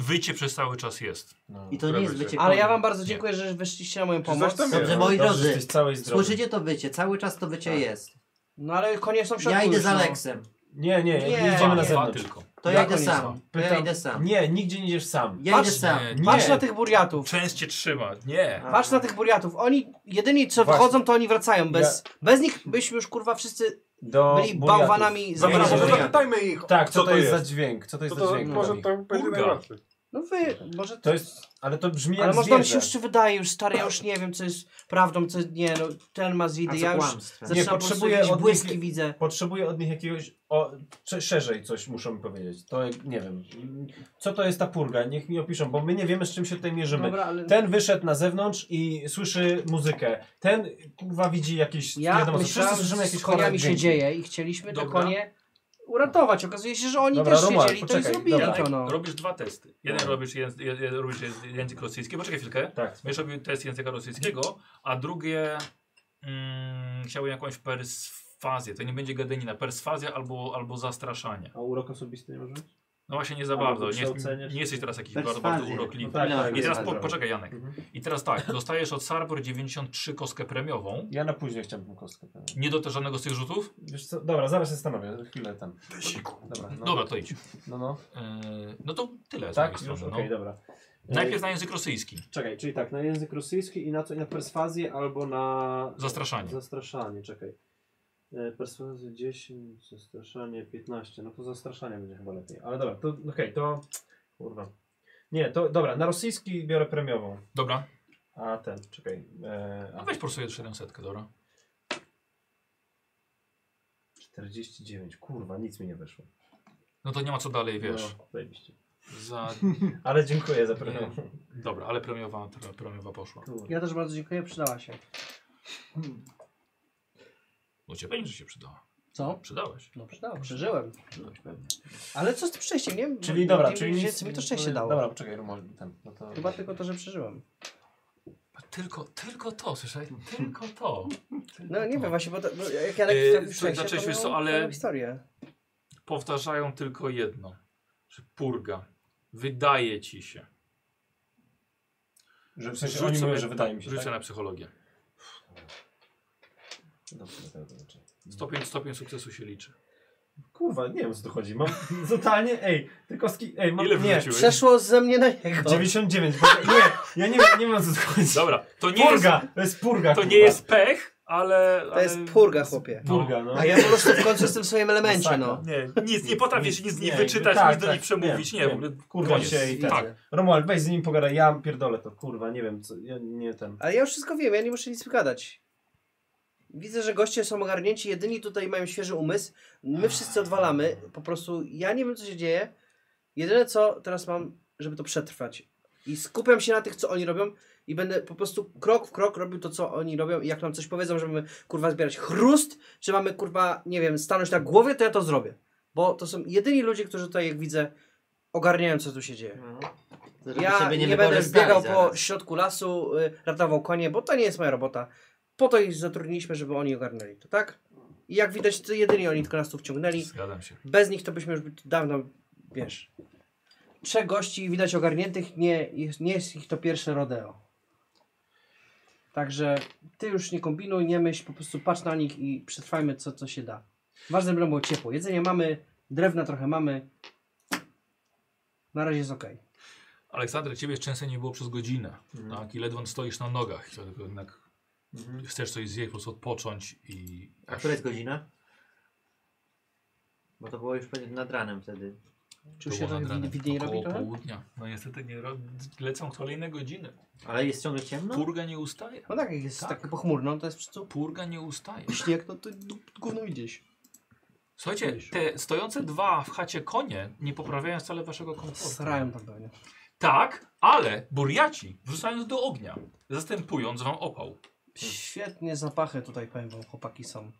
Speaker 1: wycie przez cały czas jest.
Speaker 2: No.
Speaker 5: I to nie jest
Speaker 4: Dobrze.
Speaker 5: bycie
Speaker 3: Ale
Speaker 5: konie.
Speaker 3: ja wam bardzo dziękuję, że wyszliście na moją
Speaker 4: Czy coś
Speaker 3: pomoc.
Speaker 4: tam
Speaker 5: Dobrze,
Speaker 4: jest?
Speaker 5: moi
Speaker 2: no, Dobrze, że
Speaker 5: drodzy,
Speaker 2: jesteś cały i zdrowy.
Speaker 5: słyszycie to wycie, cały czas to wycie
Speaker 2: Tak.
Speaker 5: jest.
Speaker 3: No ale konie są w środku
Speaker 5: Ja idę
Speaker 3: już,
Speaker 5: z
Speaker 3: no.
Speaker 5: Aleksem,
Speaker 2: Nie, nie, nie,
Speaker 3: Nie,
Speaker 2: nie
Speaker 1: Dwa,
Speaker 2: idziemy na
Speaker 1: dwa
Speaker 2: zewnątrz.
Speaker 1: tylko.
Speaker 5: to ja
Speaker 3: Jak
Speaker 5: idę
Speaker 3: oni
Speaker 5: sam,
Speaker 3: są?
Speaker 5: to ja
Speaker 2: Pytam-
Speaker 5: idę sam.
Speaker 2: Nie, nigdzie nie idziesz sam.
Speaker 5: Ja
Speaker 3: Patrz-
Speaker 5: idę sam.
Speaker 1: E,
Speaker 3: Patrz
Speaker 2: Nie.
Speaker 3: na tych burjatów.
Speaker 1: Część cię trzyma. Nie.
Speaker 5: A.
Speaker 3: Patrz na tych burjatów. Oni jedyni co
Speaker 2: Właśnie.
Speaker 3: wchodzą, to oni wracają. Bez, bez nich byśmy już kurwa wszyscy
Speaker 2: Do
Speaker 3: byli
Speaker 2: Buriatów.
Speaker 3: bałwanami
Speaker 4: Dobra,
Speaker 1: Nie,
Speaker 4: może
Speaker 1: nie,
Speaker 3: zamrożeni.
Speaker 1: nie.
Speaker 4: zapytajmy ich,
Speaker 2: Tak, co, to, jest za dźwięk? Co to jest
Speaker 4: to,
Speaker 2: za
Speaker 4: to,
Speaker 2: dźwięk?
Speaker 4: może
Speaker 2: Kamil?
Speaker 4: to będzie
Speaker 1: Kurwa.
Speaker 4: najłatwiej.
Speaker 3: No wy, może.
Speaker 2: To jest, ale to brzmi jak
Speaker 3: Ale może nam się
Speaker 2: zwierzę.
Speaker 3: już wydaje, już stary, ja już nie wiem co jest prawdą, co nie, no ten ma
Speaker 5: A
Speaker 3: zidy,
Speaker 5: co
Speaker 3: ja już
Speaker 5: kłamstwa?
Speaker 3: zaczynam po prostu
Speaker 2: potrzebuję
Speaker 3: jakieś
Speaker 2: od nich-
Speaker 3: błyski widzę.
Speaker 2: Potrzebuję od nich jakiegoś, o, cze- szerzej coś muszą mi powiedzieć. To jak- nie wiem. Co to jest ta purga? Niech mi opiszą, bo my nie wiemy z czym się tutaj mierzymy.
Speaker 3: Dobra, ale
Speaker 2: Ten wyszedł na zewnątrz i słyszy muzykę. Ten kurwa widzi jakieś, nie
Speaker 3: ja
Speaker 2: wiadomo, co. wszyscy
Speaker 3: myślałem,
Speaker 2: słyszymy
Speaker 3: że
Speaker 2: jakieś
Speaker 3: z
Speaker 2: chore
Speaker 3: koniami się
Speaker 2: dźwięki.
Speaker 3: dzieje i chcieliśmy te
Speaker 1: Dobra.
Speaker 3: konie uratować. Okazuje się, że oni
Speaker 2: Dobra,
Speaker 3: też
Speaker 2: Romuald,
Speaker 3: siedzieli i to i
Speaker 2: poczekaj,
Speaker 3: zrobili
Speaker 2: dobra.
Speaker 3: to no.
Speaker 1: Robisz dwa testy. Jeden robisz język, jeden, robisz język rosyjski. Poczekaj chwilkę.
Speaker 2: Tak.
Speaker 1: Będziesz robił test języka rosyjskiego, a drugie mm, chciałbym jakąś perswazję. To nie będzie gadanina, perswazja albo, albo zastraszanie.
Speaker 7: A urok osobisty nie może być?
Speaker 1: No właśnie nie za
Speaker 7: Albo
Speaker 1: bardzo. Nie,
Speaker 7: wykształcenie, czy-
Speaker 1: nie jesteś teraz jakiś bardzo,
Speaker 5: Perswazję.
Speaker 1: bardzo urokliwy.
Speaker 5: No tak, tak,
Speaker 1: I teraz
Speaker 5: tak,
Speaker 1: po,
Speaker 5: tak.
Speaker 1: poczekaj Janek.
Speaker 2: Mhm.
Speaker 1: I teraz tak, dostajesz od Sarbor 93 kostkę premiową.
Speaker 2: Ja na później chciałbym kostkę. tę.
Speaker 1: Nie do żadnego z tych rzutów?
Speaker 2: Wiesz co? Dobra, zaraz się zastanowię. Chwilę tam. Dobra, no.
Speaker 1: Dobra, to idź.
Speaker 2: No, no.
Speaker 1: Yy, no to tyle z
Speaker 2: Tak,
Speaker 1: mojej
Speaker 2: już?
Speaker 1: strony.
Speaker 2: Okej,
Speaker 1: No.
Speaker 7: dobra.
Speaker 1: Najpierw na język rosyjski.
Speaker 7: Czekaj, czyli tak, na język rosyjski i na co? I na perswazję albo na...
Speaker 1: Zastraszanie.
Speaker 7: Zastraszanie, czekaj. E, Perswazja 10, zastraszanie 15. No to zastraszanie będzie chyba lepiej. Ale dobra, to okej, to... Kurwa.
Speaker 2: Nie, to dobra, na rosyjski biorę premiową.
Speaker 1: Dobra,
Speaker 2: A ten, czekaj. E,
Speaker 1: no
Speaker 2: a,
Speaker 1: weź po prostu jeszcze tę setkę, dobra.
Speaker 2: 49, kurwa, nic mi nie wyszło.
Speaker 1: No to nie ma co dalej, wiesz.
Speaker 7: No, zajebiście.
Speaker 1: Za...
Speaker 7: Ale dziękuję za premium.
Speaker 1: Dobra, ale premiowa, premiowa poszła.
Speaker 3: Ja też bardzo dziękuję, przydała się.
Speaker 1: No cię pewnie, że się przydała.
Speaker 3: Co?
Speaker 1: Przydałeś.
Speaker 3: No przydała, przeżyłem.
Speaker 1: Przydałeś pewnie.
Speaker 3: Ale co z tym szczęściem, nie?
Speaker 7: Czyli dobra,
Speaker 3: Nie
Speaker 7: czyli
Speaker 3: wiem,
Speaker 7: nic- no,
Speaker 3: co mi to szczęście dało.
Speaker 7: Dobra, poczekaj, może ten. No to...
Speaker 3: Chyba tylko to, że przeżyłem.
Speaker 1: Tylko, tylko to, słyszałeś? Tylko to.
Speaker 3: No nie
Speaker 1: to.
Speaker 3: wiem właśnie, bo, to, bo jak ja
Speaker 1: Yy, słuchaj,
Speaker 3: napisałem szczęście,
Speaker 1: zacząłeś,
Speaker 3: to
Speaker 1: wiesz co,
Speaker 3: miał
Speaker 1: ale-
Speaker 3: całą historię.
Speaker 1: Powtarzają tylko jedno. Że purga. Wydaje ci się.
Speaker 2: Że w sensie
Speaker 1: Rzuć
Speaker 2: oni mówią,
Speaker 1: sobie-
Speaker 2: że wydaje mi się,
Speaker 1: Rzucę
Speaker 2: tak?
Speaker 1: na psychologię.
Speaker 2: Dobrze, to znaczy.
Speaker 1: Stopień, stopień sukcesu się liczy.
Speaker 7: Kurwa, nie wiem co tu chodzi. Mam totalnie, ej, te kostki, ej, mam,
Speaker 1: Ile
Speaker 7: nie,
Speaker 1: wrzuciłeś?
Speaker 3: Przeszło ze mnie na niego.
Speaker 7: 99, bo, nie, ja nie, wiem- nie wiem o co tu chodzi.
Speaker 1: Dobra, to nie jest,
Speaker 7: Purga, to jest purga,
Speaker 1: to
Speaker 7: kurwa.
Speaker 1: nie jest pech, ale...
Speaker 3: To
Speaker 1: ale-
Speaker 3: jest purga, chłopie.
Speaker 1: No.
Speaker 7: Purga, no.
Speaker 3: A ja po prostu w końcu jestem w swoim elemencie,
Speaker 7: Masakra.
Speaker 1: Nie,
Speaker 3: no.
Speaker 1: nic nie potrafisz, nic nie
Speaker 7: nie,
Speaker 1: wyczytać,
Speaker 7: tak,
Speaker 1: nic do
Speaker 7: tak,
Speaker 1: nich przemówić,
Speaker 7: nie,
Speaker 1: nie,
Speaker 7: nie.
Speaker 1: w ogóle
Speaker 7: Kurwa
Speaker 1: koniec.
Speaker 7: się i tak.
Speaker 1: tak.
Speaker 7: Romuald, weź z nim pogadaj, ja pierdolę to, kurwa, nie wiem co, ja nie ten.
Speaker 3: Ale ja już wszystko wiem, ja nie muszę nic gadać. Widzę, że goście są ogarnięci, jedyni tutaj mają świeży umysł. My wszyscy odwalamy. Po prostu ja nie wiem, co się dzieje. Jedyne co teraz mam, żeby to przetrwać. I skupiam się na tych, co oni robią i będę po prostu krok w krok robił to, co oni robią i jak nam coś powiedzą, że mamy kurwa zbierać chrust, czy mamy kurwa, nie wiem, stanąć na głowie, to ja to zrobię. Bo to są jedyni ludzie, którzy tutaj, jak widzę, ogarniają, co tu się dzieje.
Speaker 5: Żeby
Speaker 3: Ja
Speaker 5: ciebie
Speaker 3: nie, będę
Speaker 5: wykorzystali
Speaker 3: biegał
Speaker 5: zaraz.
Speaker 3: po środku lasu, y, ratował konie, bo to nie jest moja robota. Po to ich zatrudniliśmy, żeby oni ogarnęli to, tak? I jak widać, to jedynie oni tylko nas tu wciągnęli.
Speaker 1: Zgadzam się.
Speaker 3: Bez nich to byśmy już by- dawno, wiesz... Trzech gości widać ogarniętych, nie, jest- nie jest ich to pierwsze rodeo. Także ty już nie kombinuj, nie myśl, po prostu patrz na nich i przetrwajmy co, co się da. Ważne, żeby nam było ciepło. Jedzenie mamy, drewna trochę mamy. Na razie jest okej.
Speaker 1: Aleksander, ciebie szczęścia nie było przez godzinę. Tak? I ledwo stoisz na nogach. I to tylko jednak
Speaker 7: Mhm.
Speaker 1: chcesz coś zjeść, po prostu odpocząć i...
Speaker 5: A która jest godzina? Bo to było już pewnie nad ranem wtedy.
Speaker 3: Czy już się
Speaker 1: było
Speaker 3: to
Speaker 1: nad ranem,
Speaker 3: wi- widniej robi
Speaker 1: około
Speaker 3: trochę?
Speaker 1: południa. No niestety nie ro... lecą kolejne godziny.
Speaker 5: Ale jest ciągle ciemno?
Speaker 1: Purga nie ustaje.
Speaker 3: No tak, jak jest
Speaker 1: Tak.
Speaker 3: tak. pochmurno, to jest po prostu
Speaker 1: Purga nie ustaje.
Speaker 3: śnieg, no to d- gówno idzieś.
Speaker 1: Słuchajcie, te stojące dwa w chacie konie nie poprawiają wcale waszego komfortu.
Speaker 3: Srają tam pewnie.
Speaker 1: Tak, ale burjaci wrzucając do ognia, zastępując wam opał.
Speaker 3: Świetnie zapachy tutaj, powiem wam, chłopaki są.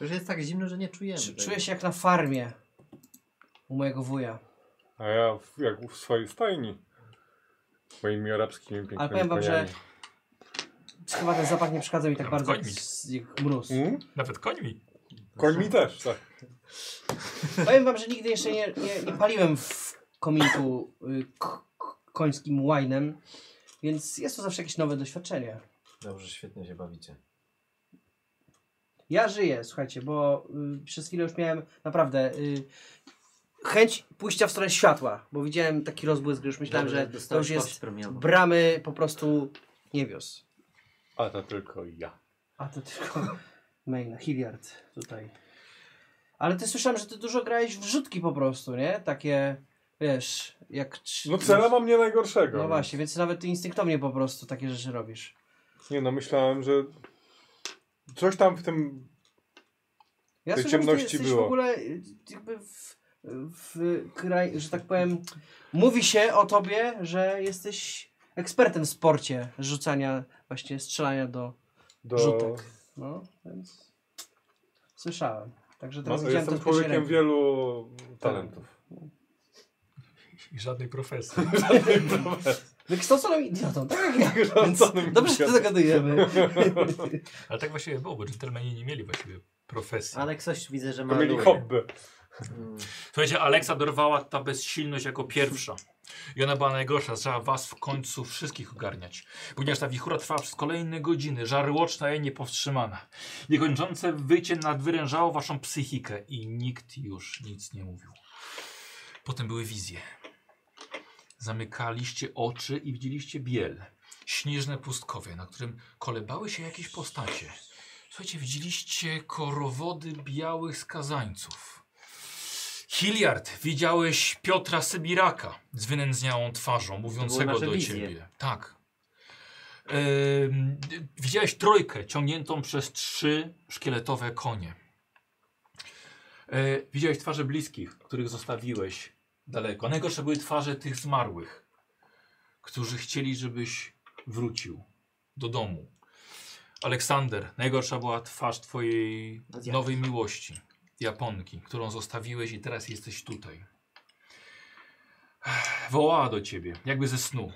Speaker 5: Już jest tak zimno, że nie czujemy.
Speaker 3: Czu-
Speaker 5: tego.
Speaker 3: Czuję się jak na farmie u mojego wuja.
Speaker 4: A ja w, jak w swojej stajni. Moimi arabskimi pięknymi
Speaker 3: Ale powiem wam, że
Speaker 4: koniami.
Speaker 3: chyba ten zapach nie przeszkadza mi tak
Speaker 1: No,
Speaker 3: bardzo jak,
Speaker 1: końmi.
Speaker 3: s- jak mróz.
Speaker 4: Mm?
Speaker 1: Nawet końmi.
Speaker 4: Koń mi też, tak.
Speaker 3: Powiem wam, że nigdy jeszcze nie, nie, nie paliłem w kominku y, k- k- końskim łajnem, więc jest to zawsze jakieś nowe doświadczenie.
Speaker 2: Dobrze, świetnie się bawicie.
Speaker 3: Ja żyję, słuchajcie, bo y, przez chwilę już miałem naprawdę y, chęć pójścia w stronę światła, bo widziałem taki rozbłysk, że już myślałem,
Speaker 5: Dobrze,
Speaker 3: że to
Speaker 5: dostałeś
Speaker 3: już jest
Speaker 5: kość premiową.
Speaker 3: bramy po prostu niebios.
Speaker 4: A to tylko ja.
Speaker 3: A to tylko main, Hilliard tutaj. Ale ty słyszałem, że ty dużo grałeś w rzutki po prostu, nie? Takie, wiesz, jak... trzy-
Speaker 4: No cela mam nie najgorszego.
Speaker 3: No
Speaker 4: więc-
Speaker 3: właśnie, więc nawet ty instynktownie po prostu takie rzeczy robisz.
Speaker 4: Nie no, myślałem, że coś tam w tym...
Speaker 3: Ja
Speaker 4: Tej
Speaker 3: słyszałem, że ty
Speaker 4: ciemności
Speaker 3: jesteś
Speaker 4: było.
Speaker 3: w ogóle y, jakby w, w kraj, że tak powiem, mówi się o tobie, że jesteś ekspertem w sporcie rzucania, właśnie strzelania do,
Speaker 4: Do...
Speaker 3: rzutek. No, więc słyszałem. Także
Speaker 4: No,
Speaker 3: teraz
Speaker 4: ja
Speaker 3: widziałem to
Speaker 4: jestem
Speaker 3: w pierwszej
Speaker 4: człowiekiem
Speaker 3: ręki.
Speaker 4: wielu Tak. talentów.
Speaker 1: I żadnej profesji.
Speaker 3: Wykształconym idiotą, tak jak ja. Więc
Speaker 4: Wykształconym
Speaker 3: dobrze się
Speaker 4: idiotą.
Speaker 3: dogadujemy.
Speaker 1: Ale tak właściwie było, bo dżentelmeni nie mieli właściwie profesji.
Speaker 5: Ale ktoś widzę, że ma.
Speaker 4: To mieli
Speaker 5: luje.
Speaker 4: hobby.
Speaker 1: Tak.
Speaker 7: Mm.
Speaker 1: Słuchajcie, Aleksa dorwała ta bezsilność jako pierwsza. I ona była najgorsza. Trzeba was w końcu wszystkich ogarniać. Ponieważ ta wichura trwała przez kolejne godziny, żarłoczna i niepowstrzymana. Niekończące wycie nadwyrężało waszą psychikę i nikt już nic nie mówił. Potem były wizje. Zamykaliście oczy i widzieliście biel. Śnieżne pustkowie, na którym kolebały się jakieś postacie. Słuchajcie, widzieliście korowody białych skazańców. Hilliard, widziałeś Piotra Sybiraka z wynędzniałą twarzą, mówiącego
Speaker 5: nasze
Speaker 1: do
Speaker 5: wizje.
Speaker 1: ciebie. Tak. Ym, y, widziałeś trójkę ciągniętą przez trzy szkieletowe konie. E, widziałeś twarze bliskich, których zostawiłeś daleko. Najgorsze były twarze tych zmarłych, którzy chcieli, żebyś wrócił do domu. Aleksander, najgorsza była twarz twojej
Speaker 5: Azjatek.
Speaker 1: nowej miłości, Japonki, którą zostawiłeś i teraz jesteś tutaj. Ech, Wołała do ciebie, jakby ze snu.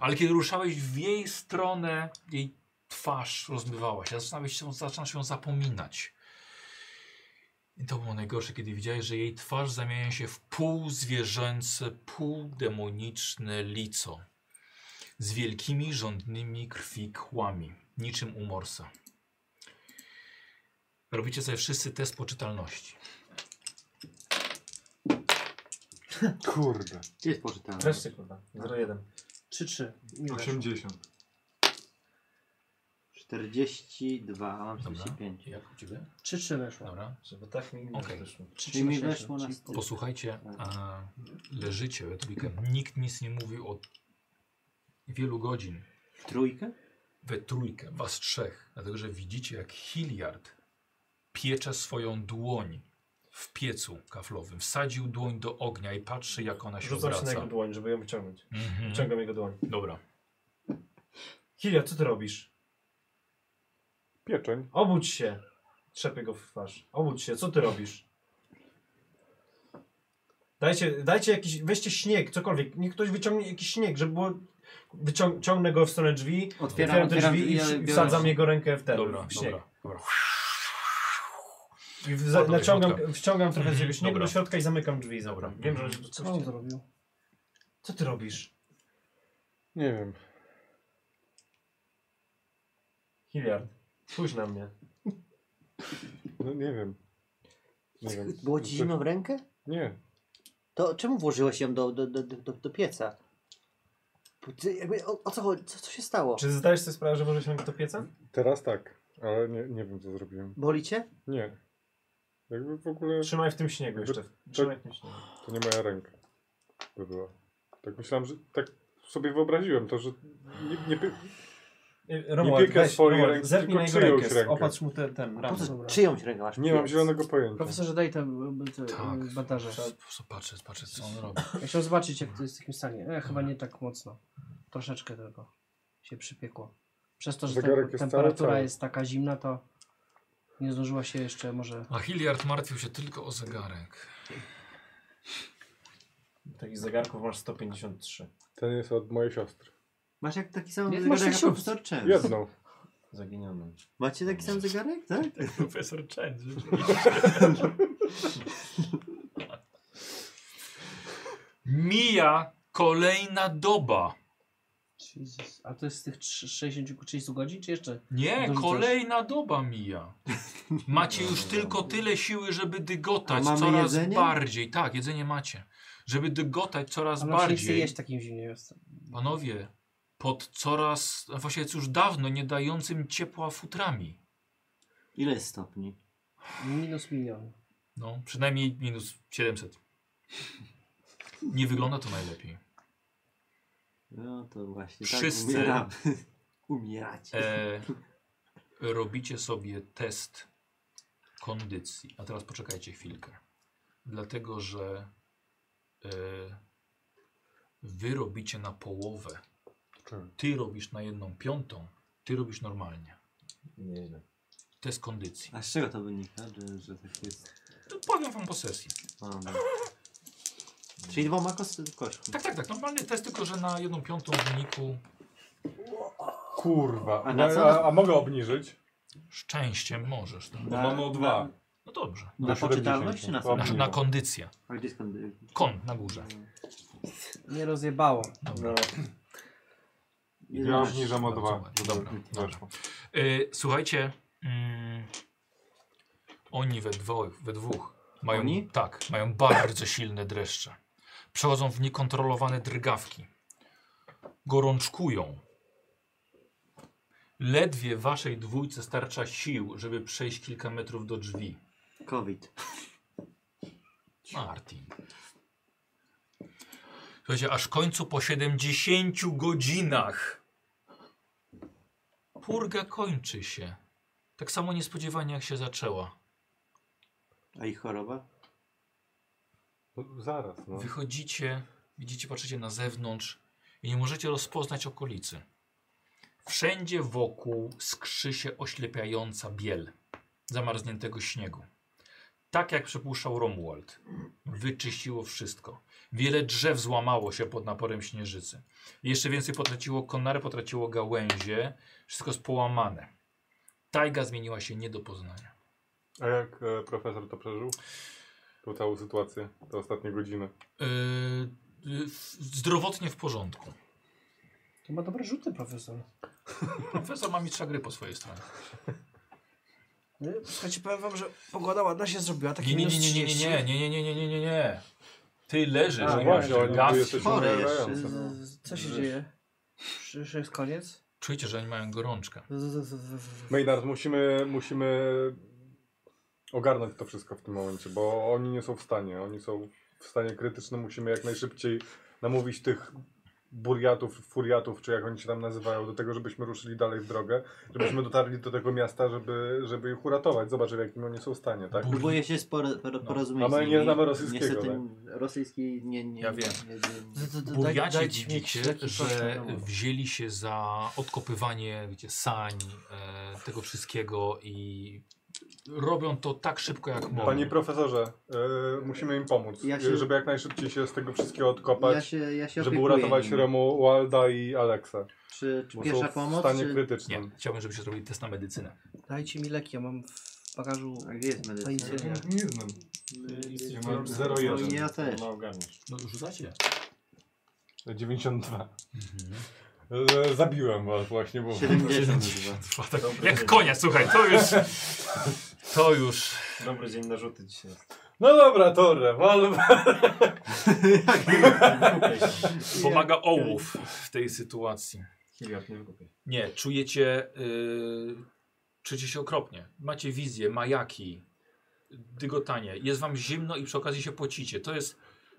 Speaker 1: Ale kiedy ruszałeś w jej stronę, jej twarz rozmywała się, zaczynałeś się, zaczynasz ją zapominać. I to było najgorsze, kiedy widziałeś, że jej twarz zamienia się w półzwierzęce, półdemoniczne lico z wielkimi, żądnymi krwi kłami, niczym u Morsa. Robicie sobie wszyscy test poczytalności.
Speaker 4: Kurde.
Speaker 5: Gdzie jest poczytane?
Speaker 2: Wreszcie kurwa. 0,1.
Speaker 3: 3-3.
Speaker 4: 80.
Speaker 5: 42, a mam
Speaker 1: Dobra.
Speaker 5: 45.
Speaker 1: Jak u ciebie?
Speaker 3: 3-3 weszło.
Speaker 1: Dobra.
Speaker 2: Żeby tak mi nie
Speaker 1: Okej.
Speaker 2: wyszło.
Speaker 5: Czyli mi weszło na styl.
Speaker 1: Posłuchajcie, a, leżycie we trójkę. Nikt nic nie mówił od wielu godzin.
Speaker 5: Trójkę?
Speaker 1: we trójkę, was trzech, dlatego że widzicie, jak Hilliard piecze swoją dłoń w piecu kaflowym. Wsadził dłoń do ognia i patrzy, jak ona się
Speaker 2: Rzucam się na
Speaker 1: obraca.
Speaker 2: jego dłoń, żeby ją wyciągnąć.
Speaker 1: Mhm.
Speaker 2: Wyciągam jego dłoń.
Speaker 1: Dobra.
Speaker 2: Hilia, co ty robisz?
Speaker 4: Pieczeń.
Speaker 2: Obudź się. Trzepię go w twarz. Obudź się, co ty robisz? Dajcie, dajcie jakiś, weźcie śnieg, cokolwiek. Niech ktoś wyciągnie jakiś śnieg, żeby było... Wycią- ciągnę go w stronę drzwi,
Speaker 5: Otwieram,
Speaker 2: otwieram te
Speaker 5: otwieram
Speaker 2: drzwi i
Speaker 5: ale
Speaker 2: wsi- i
Speaker 5: biorę-
Speaker 2: wsadzam jego rękę w ten,
Speaker 1: Dobra,
Speaker 2: w śnieg.
Speaker 1: dobra, dobra.
Speaker 2: I w,
Speaker 1: Dobra,
Speaker 2: naciągam,
Speaker 1: dobra.
Speaker 2: wciągam trochę z
Speaker 1: Mhm,
Speaker 2: jego śniegu
Speaker 1: dobra.
Speaker 2: do środka i zamykam drzwi. Dobra.
Speaker 1: Dobra.
Speaker 2: Wiem, że on się tu
Speaker 3: Co on zrobił?
Speaker 2: Co ty robisz?
Speaker 4: Nie wiem.
Speaker 2: Hilliard, spójrz na mnie.
Speaker 4: No nie wiem. Nie wiem.
Speaker 5: Było ci zimno w rękę?
Speaker 4: Nie.
Speaker 5: To czemu włożyłeś ją do, do, do, do, do pieca? Ty, jakby, o, o co chodzi? Co, co się stało?
Speaker 2: Czy zdajesz sobie sprawę, że może się do pieca?
Speaker 4: Teraz tak. Ale nie, nie wiem co zrobiłem.
Speaker 5: Boli cię?
Speaker 4: Nie. Jakby w ogóle...
Speaker 2: Trzymaj w tym śniegu jeszcze. Trzymaj w tym śniegu.
Speaker 4: To nie moja ręka. To była. Tak myślałem, że... Tak sobie wyobraziłem to, że... Nie, nie, pie-
Speaker 2: Romuald,
Speaker 4: piekę
Speaker 2: weź,
Speaker 4: swojej
Speaker 2: Romuald,
Speaker 4: ręki,
Speaker 2: zerknij na
Speaker 4: tylko
Speaker 2: jego
Speaker 4: czyjąś
Speaker 2: rękę.
Speaker 4: rękę.
Speaker 2: Opatrz mu ten, ten
Speaker 5: Po
Speaker 2: ramię.
Speaker 5: co,
Speaker 3: Dobra.
Speaker 5: czyjąś rękę masz?
Speaker 4: nie mam
Speaker 5: piec?
Speaker 4: zielonego pojęcia.
Speaker 3: Profesorze, daj te, te
Speaker 1: Tak.
Speaker 3: tak. bandaże.
Speaker 1: Patrzę, patrzę, co on robi.
Speaker 3: Ja chciałem zobaczyć, jak to jest w takim stanie. E, chyba nie tak mocno. Troszeczkę tylko się przypiekło. Przez to, że
Speaker 4: Zegarek
Speaker 3: tem-
Speaker 4: jest cały,
Speaker 3: temperatura
Speaker 4: cały.
Speaker 3: jest taka zimna, to nie zdążyła się jeszcze może...
Speaker 1: A Hilliard martwił się tylko o zegarek.
Speaker 2: Takich zegarków masz 153.
Speaker 4: Ten jest od mojej siostry.
Speaker 5: Masz jak taki sam
Speaker 3: Nie, masz
Speaker 5: zegarek jak
Speaker 3: sióstr.
Speaker 5: profesor Częs.
Speaker 4: Jedną.
Speaker 2: Zaginiony.
Speaker 5: Macie taki sam zegarek? Tak?
Speaker 1: Profesor Chen, Mija kolejna doba.
Speaker 3: Jezus. A to jest z tych trz- 60 ku 30 godzin, czy jeszcze?
Speaker 1: Nie,
Speaker 3: Dorzucasz.
Speaker 1: kolejna doba mija. Macie już tylko tyle siły, żeby dygotać
Speaker 5: A mamy
Speaker 1: coraz
Speaker 5: jedzenie?
Speaker 1: bardziej. Tak, jedzenie macie. Żeby dygotać coraz
Speaker 3: Ale się nie chce
Speaker 1: bardziej.
Speaker 3: no jeść w takim zimnie. Jest.
Speaker 1: Panowie, pod coraz, a właściwie już dawno nie dającym ciepła futrami.
Speaker 5: Ile jest stopni?
Speaker 3: Minus milion.
Speaker 1: No, przynajmniej minus 700. Nie wygląda to najlepiej.
Speaker 5: No to właśnie. Tak
Speaker 1: Wszyscy.
Speaker 5: umieramy. Umieracie.
Speaker 1: E, robicie sobie test kondycji. A teraz poczekajcie chwilkę. Dlatego, że e, wy robicie na połowę.
Speaker 4: Czemu?
Speaker 1: Ty robisz na jedną piątą, ty robisz normalnie.
Speaker 2: Nieźle.
Speaker 1: Test kondycji.
Speaker 5: A z czego to wynika, że, że tak jest?
Speaker 1: To powiem wam po sesji.
Speaker 5: A, no. Czyli dwoma kost- kośćmi.
Speaker 1: Tak, tak, tak. Normalny test, tylko że na jedną piątą wyniku
Speaker 4: Kurwa.
Speaker 5: A
Speaker 4: A,
Speaker 5: na co?
Speaker 4: a, a mogę obniżyć?
Speaker 1: szczęściem możesz. Tak?
Speaker 4: Bo mamy o dwa.
Speaker 1: No dobrze.
Speaker 5: Na
Speaker 4: Do
Speaker 5: poczytalność
Speaker 4: 70.
Speaker 5: czy na
Speaker 1: Na,
Speaker 5: sam?
Speaker 1: na kondycję.
Speaker 5: A gdzie skąd?
Speaker 1: Kon na górze.
Speaker 3: Nie rozjebało.
Speaker 2: No,
Speaker 4: Ja obniżam o
Speaker 1: Bardzo
Speaker 4: dwa.
Speaker 1: ładnie. Dobra, dobra.
Speaker 4: Weszło.
Speaker 1: Y, słuchajcie, mm, oni we dwóch, we dwóch mają,
Speaker 5: Oni?
Speaker 1: Tak, mają bardzo silne dreszcze. Przechodzą w niekontrolowane drgawki. Gorączkują. Ledwie waszej dwójce starcza sił, żeby przejść kilka metrów do drzwi.
Speaker 5: COVID.
Speaker 1: Martin. Słuchajcie, aż w końcu po 70 godzinach purga kończy się. Tak samo niespodziewanie jak się zaczęła.
Speaker 5: A ich choroba?
Speaker 4: No, zaraz, no.
Speaker 1: Wychodzicie, widzicie, patrzycie na zewnątrz i nie możecie rozpoznać okolicy. Wszędzie wokół skrzy się oślepiająca biel zamarzniętego śniegu. Tak jak przypuszczał Romuald, wyczyściło wszystko. Wiele drzew złamało się pod naporem śnieżycy. Jeszcze więcej potraciło konary, potraciło gałęzie. Wszystko jest połamane. Tajga zmieniła się nie do poznania.
Speaker 4: A jak e, profesor to przeżył? Tą całą sytuację, te ostatnie godziny.
Speaker 1: Yy, yy, f- zdrowotnie w porządku.
Speaker 6: To ma dobre rzuty, profesor.
Speaker 1: Profesor ma mistrza gry po swojej stronie.
Speaker 6: Nie? Słuchajcie, powiem wam, że pogoda ładna się zrobiła. Takie
Speaker 1: Nie, nie,
Speaker 6: minus
Speaker 1: nie, nie, nie, nie,
Speaker 6: 30.
Speaker 1: nie, nie, nie, nie, nie, nie, nie. Ty leżysz,
Speaker 4: A,
Speaker 1: nie
Speaker 4: właśnie,
Speaker 1: masz
Speaker 4: oni
Speaker 1: gaci.
Speaker 4: tu jesteśmy
Speaker 5: Chory
Speaker 4: umierający,
Speaker 5: jeszcze.
Speaker 4: no.
Speaker 3: Z- Co się dzieje? Czy- Czy jest koniec?
Speaker 1: Czujecie, że oni mają gorączkę.
Speaker 3: Z- z- z- z- z-
Speaker 4: Maynard, musimy, musimy ogarnąć to wszystko w tym momencie, bo oni nie są w stanie. Oni są w stanie krytycznym. Musimy jak najszybciej namówić tych burjatów, furiatów, czy jak oni się tam nazywają, do tego, żebyśmy ruszyli dalej w drogę, żebyśmy dotarli do tego miasta, żeby, żeby ich uratować. Zobacz, w jakim oni są stanie, tak?
Speaker 1: Bur-
Speaker 5: Próbuję się sporo,
Speaker 1: No.
Speaker 5: poro, porozumieć
Speaker 4: A my
Speaker 5: z nimi.
Speaker 4: nie znamy rosyjskiego, tak?
Speaker 5: Niestety rosyjski nie... nie
Speaker 1: Ja wiem.
Speaker 5: Nie, nie,
Speaker 3: z- z- No daj-
Speaker 1: Burjaci
Speaker 3: dajcie mi jakiś
Speaker 1: widzicie,
Speaker 3: taki proszę,
Speaker 1: że
Speaker 3: no bo-
Speaker 1: wzięli się za odkopywanie wiecie, sań, e, tego wszystkiego i robią to tak szybko jak mogą.
Speaker 4: Panie profesorze, y, musimy im pomóc,
Speaker 5: Ja się-
Speaker 4: żeby jak najszybciej się z tego wszystkiego
Speaker 5: Ja
Speaker 4: odkopać,
Speaker 5: się, ja się
Speaker 4: żeby
Speaker 5: opiekuję
Speaker 4: uratować
Speaker 5: nimi.
Speaker 4: Romualda i Aleksa.
Speaker 5: Czy, czy
Speaker 4: Bo
Speaker 5: pierwsza
Speaker 4: są w
Speaker 5: pomoc,
Speaker 4: stanie
Speaker 5: czy...
Speaker 1: Nie,
Speaker 4: krytycznym.
Speaker 1: chciałbym, żebyście zrobili test na medycynę.
Speaker 3: Dajcie mi leki, ja mam w bagażu
Speaker 5: A gdzie jest
Speaker 3: to
Speaker 5: medycyna?
Speaker 3: insylia.
Speaker 2: Nie znam. Ja mam 0,1.
Speaker 5: Ja też.
Speaker 2: No, ogarniesz.
Speaker 1: No rzucacie.
Speaker 4: 92.
Speaker 1: Mhm.
Speaker 4: E, Zabiłem was właśnie, bo...
Speaker 5: 70 chyba.
Speaker 1: Trwa tak,
Speaker 2: Dobry
Speaker 1: jak
Speaker 2: dzień.
Speaker 1: konia, słuchaj, to już... To już...
Speaker 2: Dobry dzień na rzuty dzisiaj.
Speaker 4: No dobra, Torre, walwa.
Speaker 2: Wykupię się.
Speaker 1: Pomaga ołów w tej sytuacji.
Speaker 2: Hiliard nie wykupię.
Speaker 1: Nie, czujecie, y, czujecie się okropnie. Macie wizje, majaki, dygotanie. Jest wam zimno i przy okazji się pocicie. To jest,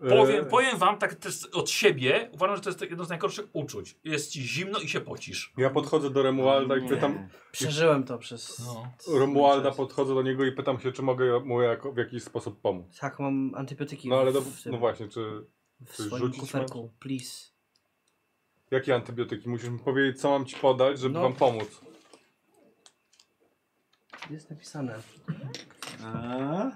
Speaker 1: powiem, powiem wam tak też od siebie, uważam, że to jest jedno z najgorszych uczuć. Jest ci zimno i się pocisz.
Speaker 4: Ja podchodzę do Romualda i
Speaker 5: Nie.
Speaker 4: pytam...
Speaker 3: Przeżyłem to przez...
Speaker 1: No.
Speaker 4: Romualda podchodzę do niego i pytam się, czy mogę mu jako, w jakiś sposób pomóc.
Speaker 3: Tak, mam antybiotyki
Speaker 4: No ale do,
Speaker 3: w, tym,
Speaker 4: no właśnie, czy...
Speaker 3: w
Speaker 4: czy
Speaker 3: swoim
Speaker 4: rzucić
Speaker 3: kuferku, please.
Speaker 4: Jakie antybiotyki? Musisz mi powiedzieć, co mam ci podać, żeby
Speaker 3: No.
Speaker 4: wam pomóc.
Speaker 3: Jest napisane.
Speaker 5: A?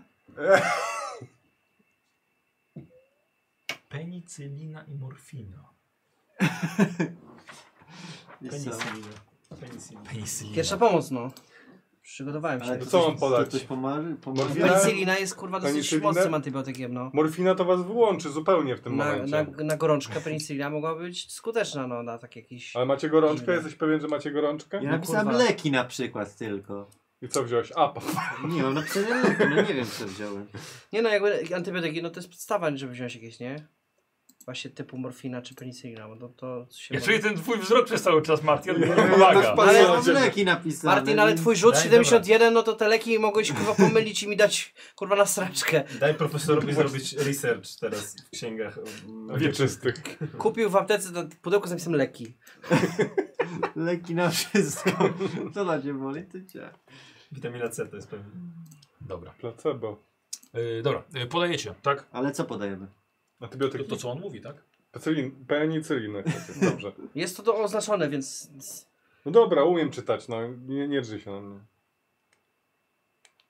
Speaker 1: Penicylina i morfina.
Speaker 5: Jest co?
Speaker 2: Penicillina. Penicillina.
Speaker 1: Penicylina.
Speaker 3: Pierwsza pomoc, no. Przygotowałem się.
Speaker 5: Ale
Speaker 4: to
Speaker 5: to
Speaker 4: co
Speaker 5: coś-
Speaker 4: mam podać?
Speaker 5: To coś pomaga?
Speaker 4: Morfina?
Speaker 3: Penicillina jest kurwa dosyć
Speaker 4: Penicillinę?
Speaker 3: mocnym antybiotykiem, no.
Speaker 4: Morfina to was wyłączy zupełnie w tym
Speaker 3: Na,
Speaker 4: momencie.
Speaker 3: na, na gorączkę penicillina mogła być skuteczna, no, na tak jakiś...
Speaker 4: Ale macie gorączkę?
Speaker 3: Inne.
Speaker 4: Jesteś pewien, że macie gorączkę?
Speaker 5: Ja
Speaker 3: No
Speaker 5: napisałem
Speaker 3: kurwa.
Speaker 5: leki na przykład tylko.
Speaker 4: I co wziąłeś? A, po-
Speaker 5: Nie mam napisane leki, no nie wiem co wziąłem.
Speaker 3: Nie no, jakby antybiotyki, no to jest podstawa, żeby wziąć jakieś, nie? Właśnie typu morfina czy penicillina, bo to, to się...
Speaker 1: Ja
Speaker 3: może-
Speaker 1: czuję ten twój wzrok przez cały czas, Martin. ale
Speaker 4: też
Speaker 1: Uwaga.
Speaker 4: patrzę
Speaker 5: Ale
Speaker 3: Ale-
Speaker 4: na
Speaker 5: mam
Speaker 4: ciebie.
Speaker 5: leki napisane.
Speaker 3: Martin, ale
Speaker 5: więc-
Speaker 3: twój rzut
Speaker 2: Daj,
Speaker 3: 71, no to te leki mogłeś kurwa pomylić i mi dać kurwa na straczkę.
Speaker 2: Daj profesorowi zrobić research teraz w księgach.
Speaker 1: No,
Speaker 2: mm,
Speaker 4: Wieczystych.
Speaker 3: Kupił w aptece to pudełko z napisem leki.
Speaker 5: Leki na wszystko. Co na cię boli? Ty cię.
Speaker 2: Witamina C to jest pewnie.
Speaker 1: Dobra.
Speaker 4: Placebo.
Speaker 1: Y, dobra, y, podajecie, tak?
Speaker 5: Ale co podajemy?
Speaker 1: To,
Speaker 4: Antybiotyki.
Speaker 1: to co on mówi, tak?
Speaker 4: Penicylin, penicyliny. tak jest, Dobrze.
Speaker 3: Jest to, to oznaczone, więc...
Speaker 4: No dobra, umiem czytać, no nie, nie drży się na mnie.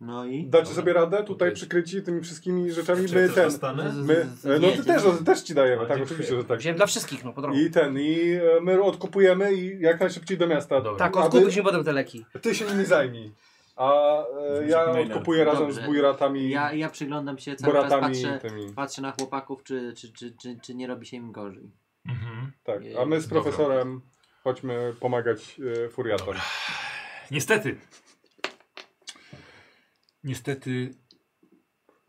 Speaker 5: No i?
Speaker 4: Dacie
Speaker 1: Dobra.
Speaker 4: sobie radę tutaj
Speaker 1: Okej.
Speaker 4: przykryci tymi wszystkimi rzeczami?
Speaker 2: Czy
Speaker 4: My
Speaker 2: też
Speaker 4: ten.
Speaker 2: dostanę?
Speaker 4: My,
Speaker 5: Nie,
Speaker 4: no ty
Speaker 5: dziękuję.
Speaker 4: też, też ci dajemy,
Speaker 2: No,
Speaker 4: tak,
Speaker 2: dziękuję.
Speaker 4: oczywiście, że tak.
Speaker 3: Wziąłem dla wszystkich, no po drodze.
Speaker 4: I ten, i e, my odkupujemy i jak najszybciej do miasta.
Speaker 1: Dobra.
Speaker 3: Tak,
Speaker 4: A
Speaker 3: odkupić mi potem te leki.
Speaker 4: ty, ty się nimi zajmij. A e, ja
Speaker 2: Maynard.
Speaker 4: odkupuję razem z
Speaker 5: Dobrze.
Speaker 4: bujratami,
Speaker 5: Ja, ja przyglądam się cały czas,
Speaker 4: boratami
Speaker 5: patrzę,
Speaker 4: tymi.
Speaker 5: patrzę na chłopaków, czy, czy, czy, czy, czy nie robi się im gorzej.
Speaker 1: Mhm.
Speaker 4: Tak, a my z
Speaker 1: Dobra.
Speaker 4: profesorem chodźmy pomagać e, furiatom.
Speaker 1: Niestety. Niestety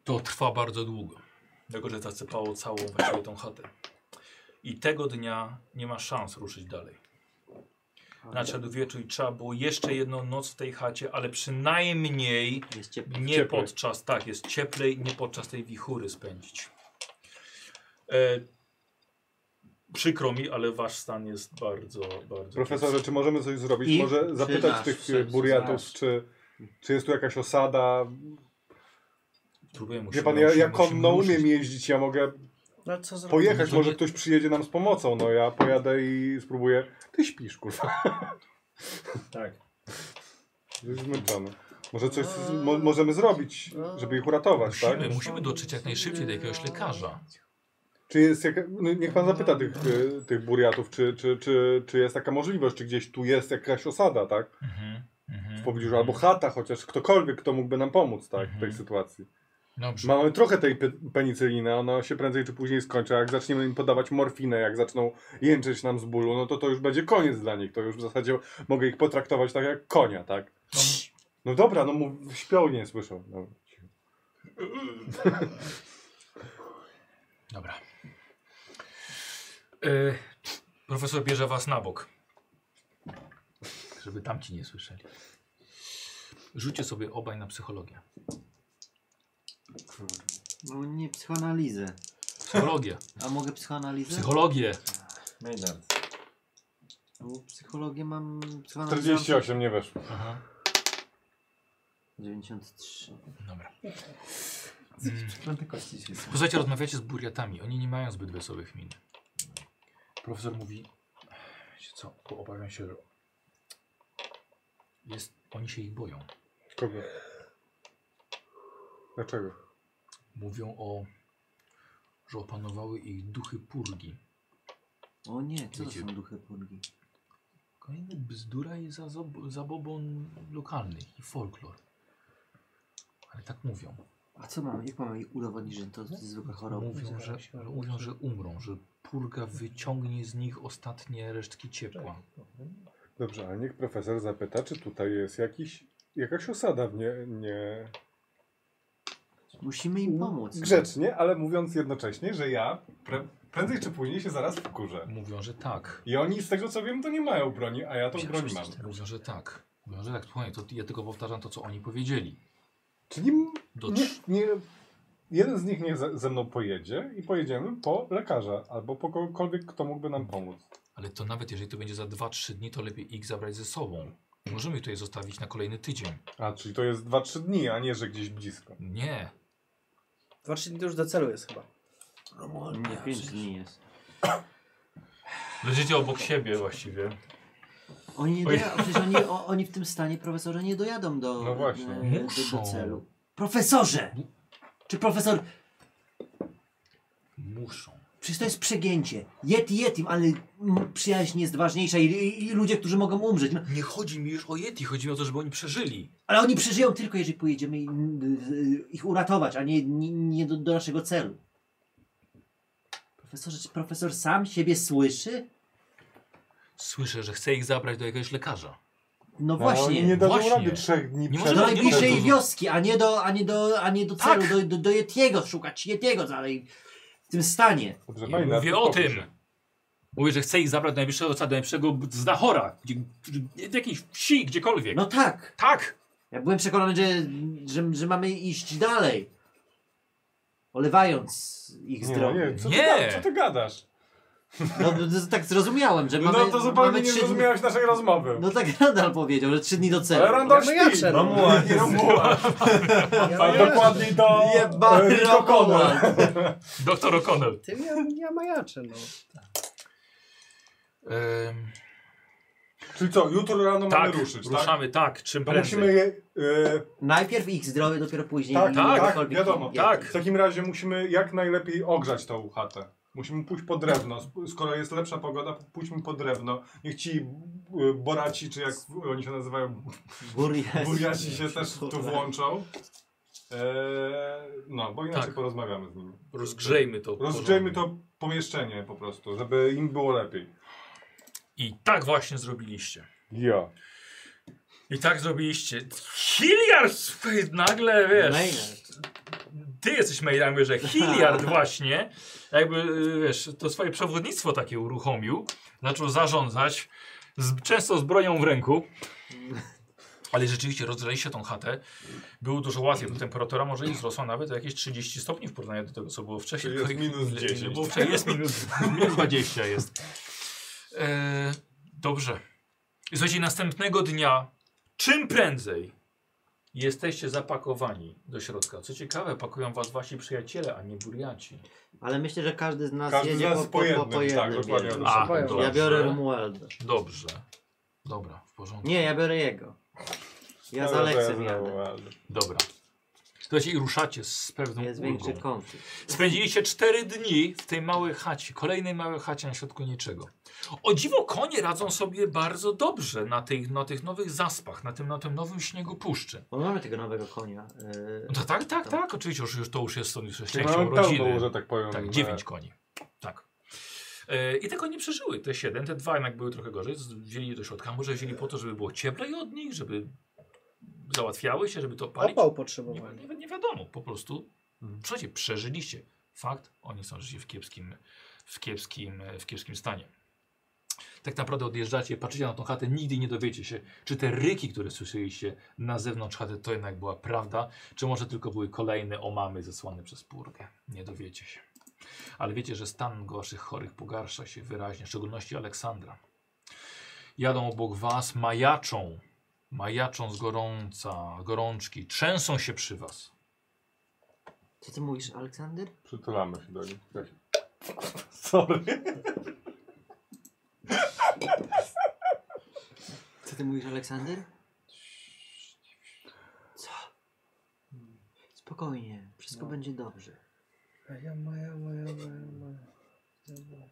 Speaker 1: to trwa bardzo długo. Dlatego, że zasypało całą właściwie tą chatę. I tego dnia nie ma szans ruszyć dalej. Nadszedł wieczór i trzeba było jeszcze jedną noc w tej chacie, ale przynajmniej
Speaker 5: Jest ciepło.
Speaker 1: nie
Speaker 4: Cieplej.
Speaker 1: podczas, tak jest cieplej, nie podczas tej wichury spędzić. E, przykro mi, ale wasz stan jest bardzo, bardzo...
Speaker 4: Profesorze, czy możemy coś zrobić?
Speaker 5: I
Speaker 4: Może zapytać
Speaker 5: nasz
Speaker 4: tych
Speaker 5: sens
Speaker 4: e, burjatów,
Speaker 5: nasz.
Speaker 4: czy, czy jest tu jakaś osada?
Speaker 1: Próbuję mu
Speaker 4: Wie
Speaker 1: się
Speaker 4: pan, ja,
Speaker 1: ruszyć,
Speaker 4: ja
Speaker 1: mu się
Speaker 4: konno
Speaker 1: ruszyć.
Speaker 4: umiem jeździć, ja mogę
Speaker 3: No ale co zrobić?
Speaker 4: pojechać,
Speaker 1: to
Speaker 4: może
Speaker 1: nie-
Speaker 4: ktoś przyjedzie nam z pomocą, no ja pojadę i spróbuję. Ty śpisz, kurwa.
Speaker 7: Tak.
Speaker 4: Jesteś zmęczony. Może coś z, mo, możemy zrobić, żeby ich uratować, tak?
Speaker 1: Musimy, musimy dotrzeć jak najszybciej do jakiegoś lekarza.
Speaker 4: Czy jest jaka, no niech pan zapyta tych, y, tych buriatów, czy, czy, czy, czy jest taka możliwość, czy gdzieś tu jest jakaś osada, tak?
Speaker 1: Mhm, mhm.
Speaker 4: W pobliżu, albo chata chociaż, ktokolwiek, kto mógłby nam pomóc, tak, w tej
Speaker 1: Mhm.
Speaker 4: sytuacji.
Speaker 1: Dobrze.
Speaker 4: Mamy trochę tej pe- penicyliny, ona się prędzej czy później skończy. a Jak zaczniemy im podawać morfinę, jak zaczną jęczeć nam z bólu, no to to już będzie koniec dla nich. To już w zasadzie mogę ich potraktować tak jak konia, tak? No, no dobra, no mów, śpią, nie słyszą. No.
Speaker 1: Dobra. E, profesor bierze was na bok. Żeby tamci nie słyszeli. Rzućcie sobie obaj na psychologię.
Speaker 5: No nie, psychoanalizę.
Speaker 1: Psychologię.
Speaker 5: A mogę psychoanalizę?
Speaker 1: Psychologię.
Speaker 2: No Maynard.
Speaker 5: Bo psychologię mam...
Speaker 4: no,
Speaker 5: psychoanalizę mam
Speaker 4: 48 nie weszło.
Speaker 1: Aha.
Speaker 5: 93.
Speaker 1: Dobra.
Speaker 2: Przeklęte kości dzisiaj są.
Speaker 1: Posłuchajcie, rozmawiacie z buriatami. Oni nie mają zbyt wesołych min. Profesor mówi, wiecie co, bo obawiam się, że jest, oni się ich boją.
Speaker 4: Kogo? Dlaczego?
Speaker 1: Mówią o, że opanowały ich duchy purgi.
Speaker 5: O nie, co to
Speaker 1: Wiecie-
Speaker 5: są duchy purgi?
Speaker 1: Kolejny bzdura i zazob- zabobon lokalnych i folklor. Ale tak mówią.
Speaker 5: A co mam, jak mam jej udowodnić, że to jest zwykła choroba?
Speaker 1: Mówią że, że mówią, że umrą, że purga wyciągnie z nich ostatnie resztki ciepła.
Speaker 4: Dobrze, a niech profesor zapyta, czy tutaj jest jakiś, jakaś osada w nie, nie...
Speaker 5: Musimy im pomóc. no.
Speaker 4: Grzecznie, ale mówiąc jednocześnie, że ja pre, prędzej czy później się zaraz wkurzę.
Speaker 1: Mówią, że tak.
Speaker 4: I oni z tego co wiem, to nie mają broni, a ja tą
Speaker 5: Ja
Speaker 4: broń
Speaker 5: przecież
Speaker 4: mam.
Speaker 5: też-
Speaker 1: Mówią, że tak. Mówią, że tak. Słuchaj, to ja tylko powtarzam to, co oni powiedzieli.
Speaker 4: Czyli m- nie,
Speaker 1: Dotrz.
Speaker 4: nie, jeden z nich niech ze, ze mną pojedzie i pojedziemy po lekarza albo po kogokolwiek, kto mógłby nam pomóc.
Speaker 1: Ale to nawet jeżeli to będzie za 2-3 dni, to lepiej ich zabrać ze sobą. Nie Możemy ich tutaj zostawić na kolejny tydzień.
Speaker 4: A, czyli to jest 2-3 dni, a nie, że gdzieś blisko.
Speaker 1: Nie.
Speaker 3: Dwa, trzy dni to już do celu jest chyba.
Speaker 5: Nie, 5 dni jest.
Speaker 1: Leżycie obok siebie właściwie.
Speaker 5: Oni nie
Speaker 1: Oj.
Speaker 5: dojadą, przecież oni, o, oni w tym stanie, profesorze, nie dojadą do,
Speaker 4: No właśnie.
Speaker 5: e, do,
Speaker 1: Muszą.
Speaker 5: do celu. Profesorze! Czy profesor...
Speaker 1: Muszą.
Speaker 5: Przecież to jest przegięcie. Yeti Yetim, ale mm, przyjaźń jest ważniejsza i, i, i ludzie, którzy mogą umrzeć. No,
Speaker 1: Nie chodzi mi już o Yeti, chodzi mi o to, żeby oni przeżyli.
Speaker 5: ale oni przeżyją tylko, jeżeli pojedziemy i, y, ich uratować, a nie, nie, nie do, do naszego celu. Profesorze, czy profesor sam siebie słyszy?
Speaker 1: Słyszę, że chce ich zabrać do jakiegoś lekarza.
Speaker 5: No
Speaker 4: No,
Speaker 5: właśnie.
Speaker 4: oni nie dadzą
Speaker 1: właśnie.
Speaker 4: rady 3 dni
Speaker 1: Nie
Speaker 5: Do
Speaker 1: możemy-
Speaker 4: przed...
Speaker 5: najbliższej
Speaker 1: tego-
Speaker 5: wioski, a nie do, a nie do, a nie do
Speaker 1: Tak.
Speaker 5: celu, do, do, do Yetiego, szukać Yetiego dalej w tym stanie.
Speaker 4: Dobrze,
Speaker 1: Nie
Speaker 4: Maynard,
Speaker 1: mówię o
Speaker 4: uspokój
Speaker 1: tym.
Speaker 4: się.
Speaker 1: Mówię, że chce ich zabrać do najbliższego sadu, do najbliższego znachora. Gdzie, w jakiejś wsi, gdziekolwiek.
Speaker 5: No tak,
Speaker 1: Tak!
Speaker 5: ja byłem przekonany, że, że, że mamy iść dalej. Olewając ich
Speaker 4: Nie, no
Speaker 5: zdrowie.
Speaker 4: nie, co, Ty,
Speaker 1: Nie.
Speaker 4: gada- co ty gadasz?
Speaker 5: No, no, no, tak zrozumiałem, że
Speaker 4: No
Speaker 5: mamy
Speaker 4: to zupełnie
Speaker 5: mamy
Speaker 4: nie
Speaker 5: trzy dni-
Speaker 4: zrozumiałeś naszej rozmowy.
Speaker 5: No tak Randall powiedział, że trzy dni do celu.
Speaker 4: Ale Randall
Speaker 3: Ja no ja
Speaker 4: śpi.
Speaker 3: czerwam.
Speaker 4: Romuald jest-
Speaker 3: Ja
Speaker 4: A dokładniej Tak, do
Speaker 5: Jeba,
Speaker 4: e, Rico Connell.
Speaker 1: Doktor O'Connell.
Speaker 3: Ty ja, ja majaczę, no.
Speaker 4: Czyli co, jutro rano mamy
Speaker 1: tak,
Speaker 4: ruszyć, tak?
Speaker 1: ruszamy, tak, czym
Speaker 4: To
Speaker 1: prędzej.
Speaker 4: musimy je... e,
Speaker 5: Najpierw ich zdrowie, dopiero później.
Speaker 4: Tak,
Speaker 1: tak,
Speaker 5: jakiekolwiek-
Speaker 4: wiadomo,
Speaker 5: jak-
Speaker 1: tak.
Speaker 4: w takim razie musimy jak najlepiej ogrzać tą chatę. Musimy pójść po drewno. Sp- Skoro jest lepsza pogoda, pójdźmy po drewno. Niech ci y, boraci, czy jak oni się nazywają,
Speaker 5: Burias.
Speaker 4: buriaci się też tu włączą. E, no, bo inaczej
Speaker 1: Tak.
Speaker 4: porozmawiamy z nimi.
Speaker 1: Rozgrzejmy to.
Speaker 4: Rozgrzejmy
Speaker 1: porządnie.
Speaker 4: to pomieszczenie po prostu, żeby im było lepiej.
Speaker 1: I tak właśnie zrobiliście.
Speaker 4: Ja.
Speaker 1: I tak zrobiliście. Hilliard słuchaj, nagle, wiesz...
Speaker 5: Maynard.
Speaker 1: Ty jesteś mailem, mówię, że Hilliard właśnie, jakby, y, wiesz, to swoje przewodnictwo takie uruchomił, zaczął zarządzać, z, często z bronią w ręku. Ale rzeczywiście rozgrzeliście tą chatę. Było dużo łatwiej, bo temperatura może i wzrosła nawet o jakieś 30 stopni w porównaniu do tego, co było wcześniej.
Speaker 4: Czyli jest
Speaker 1: Ile-
Speaker 4: minus
Speaker 1: ile
Speaker 4: 10.
Speaker 1: Było wcześniej jest minus, minus 20 jest. E, dobrze. I Słuchajcie, następnego dnia, czym prędzej, Jesteście zapakowani do środka. Co ciekawe, pakują was wasi przyjaciele, a nie buriaci.
Speaker 5: Ale myślę, że każdy z nas
Speaker 4: Każdy z
Speaker 5: jedzie
Speaker 4: nas
Speaker 5: po, po, po, po jednym.
Speaker 4: tak, dokładnie.
Speaker 5: bierze.
Speaker 1: A,
Speaker 3: powiem.
Speaker 5: ja biorę
Speaker 1: dobrze.
Speaker 5: Romualda.
Speaker 1: Dobrze. Dobra, w porządku.
Speaker 5: Nie, ja biorę jego. Ja
Speaker 4: No,
Speaker 5: z Aleksem jadę.
Speaker 1: Dobra. Słuchajcie, i ruszacie z
Speaker 4: No,
Speaker 1: pewną
Speaker 5: Jest
Speaker 1: ulgą.
Speaker 5: większy konflikt.
Speaker 1: Spędziliście cztery dni w tej małej chacie, kolejnej małej chacie na środku niczego. O dziwo konie radzą sobie bardzo dobrze na tych, na tych nowych zaspach, na tym, na tym nowym śniegu puszczy.
Speaker 5: Bo mamy tego nowego konia. Yy,
Speaker 1: No to tak, tak, tak, oczywiście już, już to już jest, to już jest częścią
Speaker 4: Mamy pełną,
Speaker 1: rodziny.
Speaker 4: że tak powiem.
Speaker 1: Tak,
Speaker 4: e,
Speaker 1: dziewięć koni. Tak. E, I te konie przeżyły, te siedem, te dwa jednak były trochę gorzej, z- wzięli je do środka, może wzięli po to, żeby było cieplej od nich, żeby załatwiały się, żeby to palić.
Speaker 3: Opał
Speaker 1: Nie,
Speaker 3: potrzebowali.
Speaker 1: nie, nie wiadomo, po prostu przecież przeżyliście. Fakt, oni są życie w kiepskim, w kiepskim, w kiepskim stanie. Tak naprawdę odjeżdżacie, patrzycie na tą chatę, nigdy nie dowiecie się, czy te ryki, które słyszeliście na zewnątrz chaty, to jednak była prawda, czy może tylko były kolejne omamy zesłane przez purgę. Nie dowiecie się. Ale wiecie, że stan gorszych chorych pogarsza się wyraźnie, w szczególności Aleksandra. Jadą obok was, majaczą majaczą z gorąca, gorączki, trzęsą się przy was.
Speaker 5: co ty mówisz, Aleksander?
Speaker 4: Przytulamy się do nich. Tak. Sorry.
Speaker 5: Co ty mówisz, Aleksander? Co? Spokojnie, wszystko będzie dobrze.
Speaker 3: Ja moja, moja, moja, moja.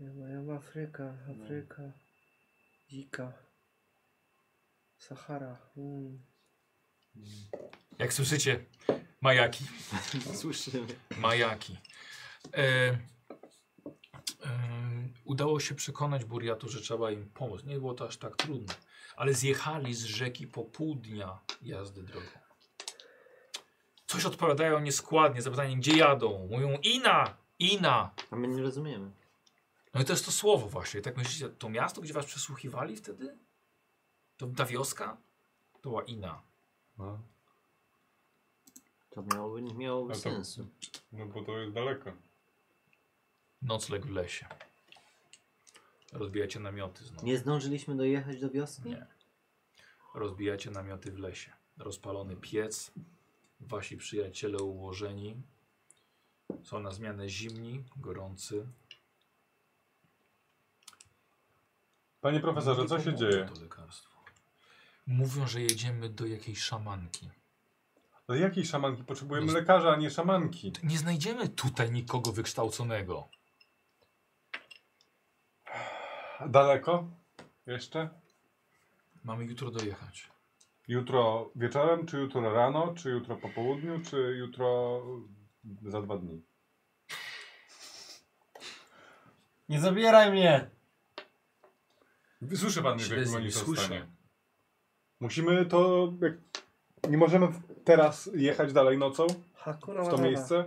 Speaker 3: Ja moja Afryka, Afryka. Dzika. Sahara. Mm.
Speaker 1: Jak słyszycie, majaki,
Speaker 5: Słyszymy.
Speaker 1: majaki. E, e, udało się przekonać Buriatu, że trzeba im pomóc. Nie było to aż tak trudne, ale zjechali z rzeki po pół dnia jazdy drogą. Coś odpowiadają nieskładnie, zapytanie gdzie jadą. Mówią Ina, Ina.
Speaker 5: A my nie rozumiemy.
Speaker 1: No i to jest to słowo właśnie. Tak myślicie, to miasto, gdzie was przesłuchiwali wtedy? To ta wioska? To była Ina.
Speaker 4: No,
Speaker 5: To miałoby, nie miałoby
Speaker 4: Ale to-
Speaker 5: sensu.
Speaker 4: no bo to jest daleko.
Speaker 1: Nocleg w lesie. Rozbijacie namioty znowu.
Speaker 5: Nie zdążyliśmy dojechać do wioski?
Speaker 1: Nie. Rozbijacie namioty w lesie. Rozpalony piec. Wasi przyjaciele ułożeni. Są na zmianę zimni, gorący.
Speaker 4: Panie profesorze,
Speaker 1: Nie
Speaker 4: co się
Speaker 1: pomogło
Speaker 4: dzieje?
Speaker 1: To lekarstwo. Mówią, że jedziemy do jakiejś szamanki.
Speaker 4: Ale jakiej No, szamanki? Potrzebujemy
Speaker 1: Nie-
Speaker 4: lekarza, a nie szamanki.
Speaker 1: Nie znajdziemy tutaj nikogo wykształconego.
Speaker 4: Daleko? Jeszcze?
Speaker 1: Mamy jutro dojechać.
Speaker 4: Jutro wieczorem, czy jutro rano, czy jutro po południu, czy jutro za dwa dni?
Speaker 2: Nie zabieraj mnie!
Speaker 4: Słyszy pan mnie, w jakim
Speaker 1: Śledzi-
Speaker 4: oni są
Speaker 1: słyszę.
Speaker 4: stanie. Musimy to... Jak... Nie możemy w- teraz jechać dalej nocą
Speaker 3: Hakuna
Speaker 4: w to
Speaker 3: Matata.
Speaker 4: miejsce?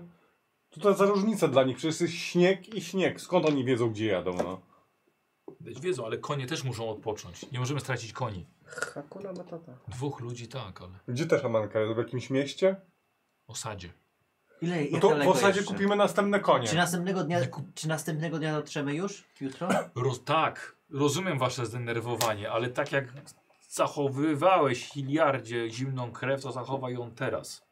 Speaker 4: Co to za różnica dla nich? Przecież jest śnieg i śnieg. Skąd oni wiedzą, gdzie jadą, no?
Speaker 1: Wiedzą, ale konie też muszą odpocząć. Nie możemy stracić koni.
Speaker 3: Hakuna Matata.
Speaker 1: Dwóch ludzi tak, ale
Speaker 4: Gdzie ta szamanka? Jest w jakimś mieście?
Speaker 1: osadzie.
Speaker 5: Ile, jak
Speaker 4: No to w
Speaker 5: daleko
Speaker 4: osadzie
Speaker 5: jeszcze?
Speaker 4: kupimy następne
Speaker 5: Czy
Speaker 4: konie.
Speaker 5: następnego dnia, czy następnego dnia dotrzemy już? Jutro?
Speaker 1: Roz, tak, rozumiem wasze zdenerwowanie, ale tak jak zachowywałeś Hiliardzie zimną krew, to zachowaj ją teraz.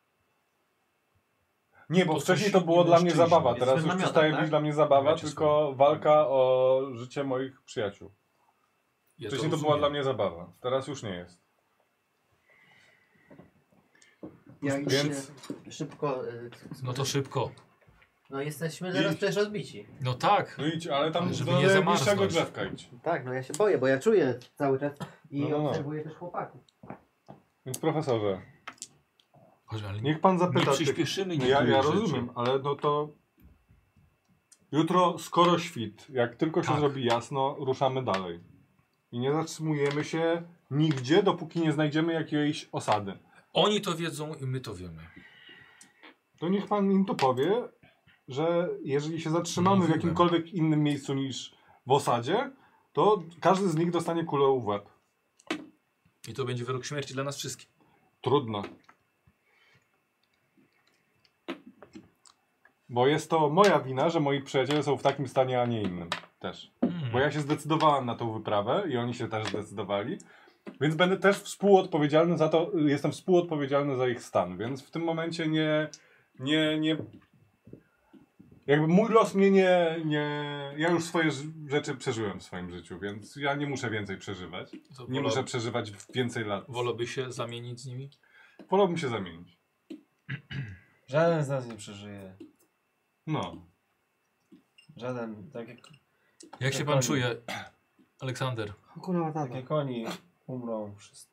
Speaker 4: Nie,
Speaker 1: to są
Speaker 4: bo wcześniej to
Speaker 1: silni
Speaker 4: było dla mnie
Speaker 1: mężczyźni.
Speaker 4: zabawa.
Speaker 5: Jest
Speaker 4: Teraz
Speaker 5: w
Speaker 4: już
Speaker 5: namiotach,
Speaker 4: przestaje
Speaker 5: tak?
Speaker 4: być dla mnie zabawa,
Speaker 1: Macie
Speaker 4: tylko
Speaker 1: swoje.
Speaker 4: walka o życie moich przyjaciół.
Speaker 1: Ja
Speaker 4: Wcześniej to, była
Speaker 1: rozumiem.
Speaker 4: dla mnie zabawa. Teraz już nie jest.
Speaker 5: Ja
Speaker 4: Więc-
Speaker 5: Szybko. y,
Speaker 1: No to szybko.
Speaker 5: No jesteśmy
Speaker 4: I-
Speaker 5: teraz też rozbici.
Speaker 1: No tak,
Speaker 4: No idź, ale tam
Speaker 1: Żeby
Speaker 4: do
Speaker 1: nie
Speaker 4: najbliższego
Speaker 1: zamarznąć.
Speaker 4: drzewka idź.
Speaker 5: Tak, no ja się boję, bo ja czuję cały czas i
Speaker 4: No, no, no.
Speaker 5: obserwuję też chłopaków.
Speaker 4: Więc profesorze,
Speaker 1: Chodź, ale nie,
Speaker 4: niech pan
Speaker 1: nie
Speaker 4: zapyta. tych-
Speaker 1: przyspieszymy
Speaker 4: No ja,
Speaker 1: niektórych
Speaker 4: ja
Speaker 1: rzeczy.
Speaker 4: rozumiem, ale no to jutro skoro świt, jak tylko się
Speaker 1: Tak.
Speaker 4: zrobi jasno, ruszamy dalej. I nie zatrzymujemy się nigdzie, dopóki nie znajdziemy jakiejś osady.
Speaker 1: Oni to wiedzą i my to wiemy.
Speaker 4: To niech pan im to powie, że jeżeli się zatrzymamy w
Speaker 1: Mówiłem.
Speaker 4: jakimkolwiek innym miejscu niż w osadzie, to każdy z nich dostanie kulę w łeb.
Speaker 1: I to będzie wyrok śmierci dla nas wszystkich.
Speaker 4: Trudno. Bo jest to moja wina, że moi przyjaciele są w takim stanie, a nie innym. Też.
Speaker 1: Hmm.
Speaker 4: Bo ja się zdecydowałem na tą wyprawę i oni się też zdecydowali. Więc będę też współodpowiedzialny za to, y, jestem współodpowiedzialny za ich stan, więc w tym momencie nie, nie, nie, jakby mój los mnie nie, nie, ja już swoje ż- rzeczy przeżyłem w swoim życiu, więc ja nie muszę więcej przeżywać,
Speaker 1: To
Speaker 4: nie
Speaker 1: wola-
Speaker 4: muszę przeżywać więcej lat.
Speaker 1: Wolałby się zamienić z nimi?
Speaker 4: Wolałbym się zamienić.
Speaker 2: Żaden z nas nie przeżyje.
Speaker 4: No,
Speaker 2: Żaden, tak jak,
Speaker 1: Jak się pan czuje, Aleksander?
Speaker 5: Kurwa,
Speaker 2: tak jak oni umrą wszyscy.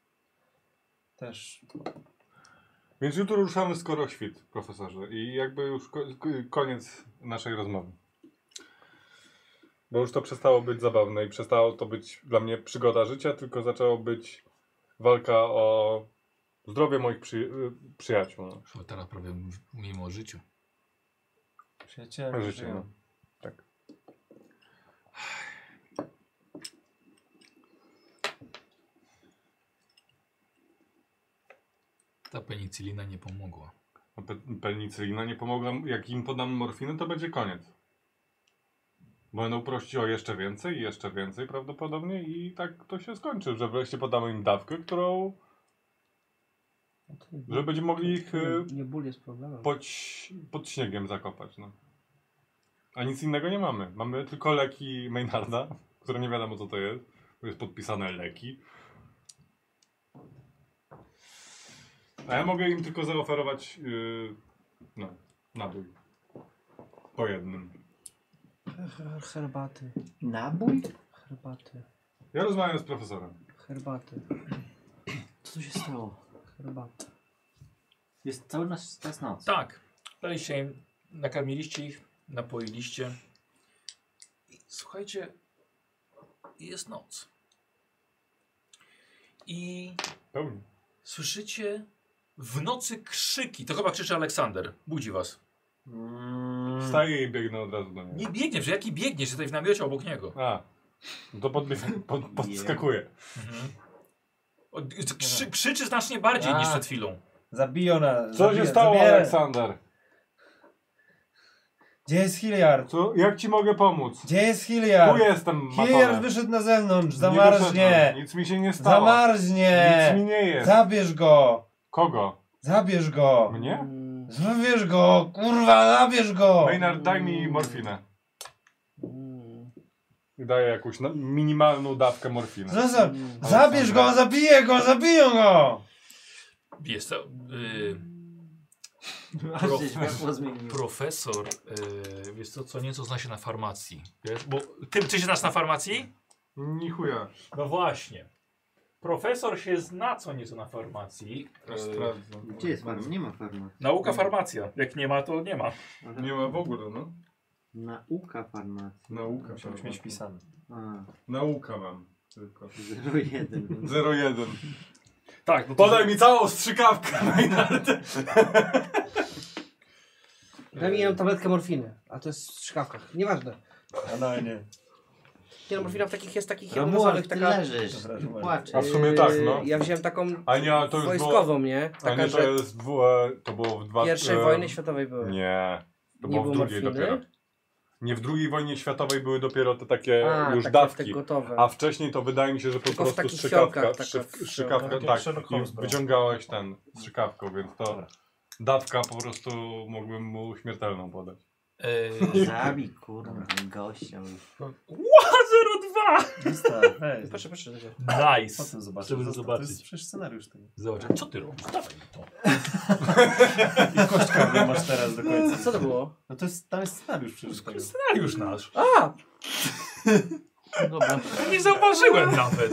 Speaker 2: Też.
Speaker 4: więc jutro ruszamy skoro świt, profesorze, i jakby już ko- ko- koniec naszej rozmowy. Bo już to przestało być zabawne i przestało to być dla mnie przygoda życia, tylko zaczęło być walka o zdrowie moich przy, y, przyjaciół.
Speaker 1: Bo teraz prawie mówimy o życiu.
Speaker 2: Przyjaciele
Speaker 4: Życie,
Speaker 2: żyją.
Speaker 4: no. Tak.
Speaker 1: Ta penicylina nie pomogła.
Speaker 4: No, pe- Penicylina nie pomogła. Jak im podam morfinę, to będzie koniec. Będą prosić o jeszcze więcej i jeszcze więcej prawdopodobnie i tak to się skończy, że wreszcie podamy im dawkę, którą... Że będziemy mogli ich y,
Speaker 3: Nie, nie ból jest problemem.
Speaker 4: pod, ś- pod śniegiem zakopać. No. A nic innego nie mamy. Mamy tylko leki Maynarda, które nie wiadomo co to jest. To jest podpisane leki. A ja mogę im tylko zaoferować yy, no, nabój. Po jednym.
Speaker 3: Herbaty,
Speaker 5: Nabój?
Speaker 3: herbaty,
Speaker 4: Ja rozmawiam z profesorem.
Speaker 3: herbaty,
Speaker 5: Co tu się stało?
Speaker 3: herbaty.
Speaker 5: Jest cały nasz czas noc.
Speaker 1: Tak. Daliście im, nakarmiliście ich, napoiliście. I słuchajcie, jest noc. I
Speaker 4: Pełni.
Speaker 1: słyszycie w nocy krzyki. To chyba krzyczy Aleksander. Budzi was.
Speaker 4: no.
Speaker 2: Mm.
Speaker 4: Wstaję i biegnę od razu do niego.
Speaker 1: Nie biegniesz, jaki biegniesz? Jesteś w namiocie obok niego.
Speaker 4: A, no to podbie- pod, podskakuję.
Speaker 1: Mhm. O, d- Krzy, krzyczy znacznie bardziej niż przed chwilą.
Speaker 2: Zabiją nas.
Speaker 4: Co
Speaker 2: zabiją-
Speaker 4: się stało,
Speaker 2: zabierę.
Speaker 4: Aleksander?
Speaker 2: Gdzie jest Hilliard?
Speaker 4: Co, jak ci mogę pomóc?
Speaker 2: Gdzie jest
Speaker 4: Tu
Speaker 2: Hilliard?
Speaker 4: jestem,
Speaker 2: Hilliard
Speaker 4: Matone.
Speaker 2: wyszedł na zewnątrz,
Speaker 4: Nie
Speaker 2: zamarznie!
Speaker 4: wyszedłem, Nic mi się nie stało.
Speaker 2: Zamarznie!
Speaker 4: Nic mi nie jest.
Speaker 2: Zabierz go!
Speaker 4: Kogo?
Speaker 2: Zabierz go!
Speaker 4: Mnie?
Speaker 3: Mm,
Speaker 2: Zabierz go! Kurwa, zabierz go!
Speaker 4: Maynard, daj mi morfinę.
Speaker 3: mm.
Speaker 4: Daję jakąś na- minimalną dawkę morfiny.
Speaker 2: Zostaw- Zabierz go, zabiję go, zabiją go!
Speaker 1: Jest to. y,
Speaker 5: Aż się światło zmieniło.
Speaker 1: profesor, y, jest to co nieco zna się na farmacji. Wiesz? Bo ty, ty się znasz na farmacji?
Speaker 4: Ni chuja.
Speaker 1: No właśnie. Profesor się zna co nieco na farmacji. E,
Speaker 4: Aż sprawdzę.
Speaker 5: Gdzie jest farma? Nie ma farma.
Speaker 1: Nauka farmacja. Jak nie ma, to nie ma.
Speaker 4: Nie ma w ogóle, no.
Speaker 5: Nauka farmacji.
Speaker 4: Nauka.
Speaker 2: Musiałbyś mieć pisane.
Speaker 5: A,
Speaker 4: Nauka mam. Tylko.
Speaker 5: 01.
Speaker 4: 01.
Speaker 1: Tak, no to
Speaker 4: Podaj mi całą strzykawkę, Maynard.
Speaker 3: Daj mi jedną tabletkę morfiny, a to jest w szkawkach. Nieważne.
Speaker 2: Ale nie.
Speaker 3: Nie, no, morfina w takich jest takich
Speaker 5: Romuald,
Speaker 3: jednorazowych,
Speaker 5: ty
Speaker 3: taka... Yy,
Speaker 5: leżysz
Speaker 2: Dobra,
Speaker 5: i
Speaker 2: dobra.
Speaker 4: A
Speaker 5: płaczesz.
Speaker 4: w sumie tak, no.
Speaker 3: Ja wziąłem taką
Speaker 4: Ania, to już
Speaker 3: wojskową,
Speaker 4: było...
Speaker 3: nie? Taka,
Speaker 4: Ania, to
Speaker 3: że
Speaker 4: jest... W, e, to było w dwa...
Speaker 3: pierwszej
Speaker 4: e,
Speaker 3: wojny światowej były.
Speaker 4: Nie. To
Speaker 3: Nie
Speaker 4: było w
Speaker 3: było
Speaker 4: drugiej
Speaker 3: morfiny?
Speaker 4: dopiero. Nie, w drugiej wojnie światowej były dopiero te takie
Speaker 3: A, tak,
Speaker 4: już
Speaker 3: takie
Speaker 4: dawki.
Speaker 3: te gotowe.
Speaker 4: A wcześniej to wydaje mi się, że po
Speaker 3: Tylko w
Speaker 4: prostu
Speaker 3: takich tak,
Speaker 4: strzykawka,
Speaker 3: fiolkach,
Speaker 4: szyk-
Speaker 3: taka
Speaker 4: strzykawka,
Speaker 2: fiolka.
Speaker 4: tak,
Speaker 2: Sherlock Holmes
Speaker 4: i
Speaker 2: brał.
Speaker 4: wyciągałeś ten strzykawką, więc to
Speaker 1: Tak.
Speaker 2: Dobra.
Speaker 4: dawka po prostu mógłbym mu śmiertelną podać.
Speaker 1: E,
Speaker 5: Zabij kurwa gościa.
Speaker 1: Ła,
Speaker 2: Zostaw, hej.
Speaker 3: Proszę, proszę. proszę.
Speaker 1: 02! Nice!
Speaker 2: Potem zobaczysz.
Speaker 1: Żeby
Speaker 2: Zostaw,
Speaker 1: zobaczyć.
Speaker 2: To jest przecież scenariusz tego.
Speaker 1: Zobacz, co ty robisz? Dawaj mi to.
Speaker 2: I kośćka nie masz teraz do końca.
Speaker 3: Co to było?
Speaker 2: No to jest, tam jest scenariusz przecież tego.
Speaker 1: Scenariusz nasz.
Speaker 3: A!
Speaker 5: Dobra.
Speaker 1: Nie zauważyłem nawet.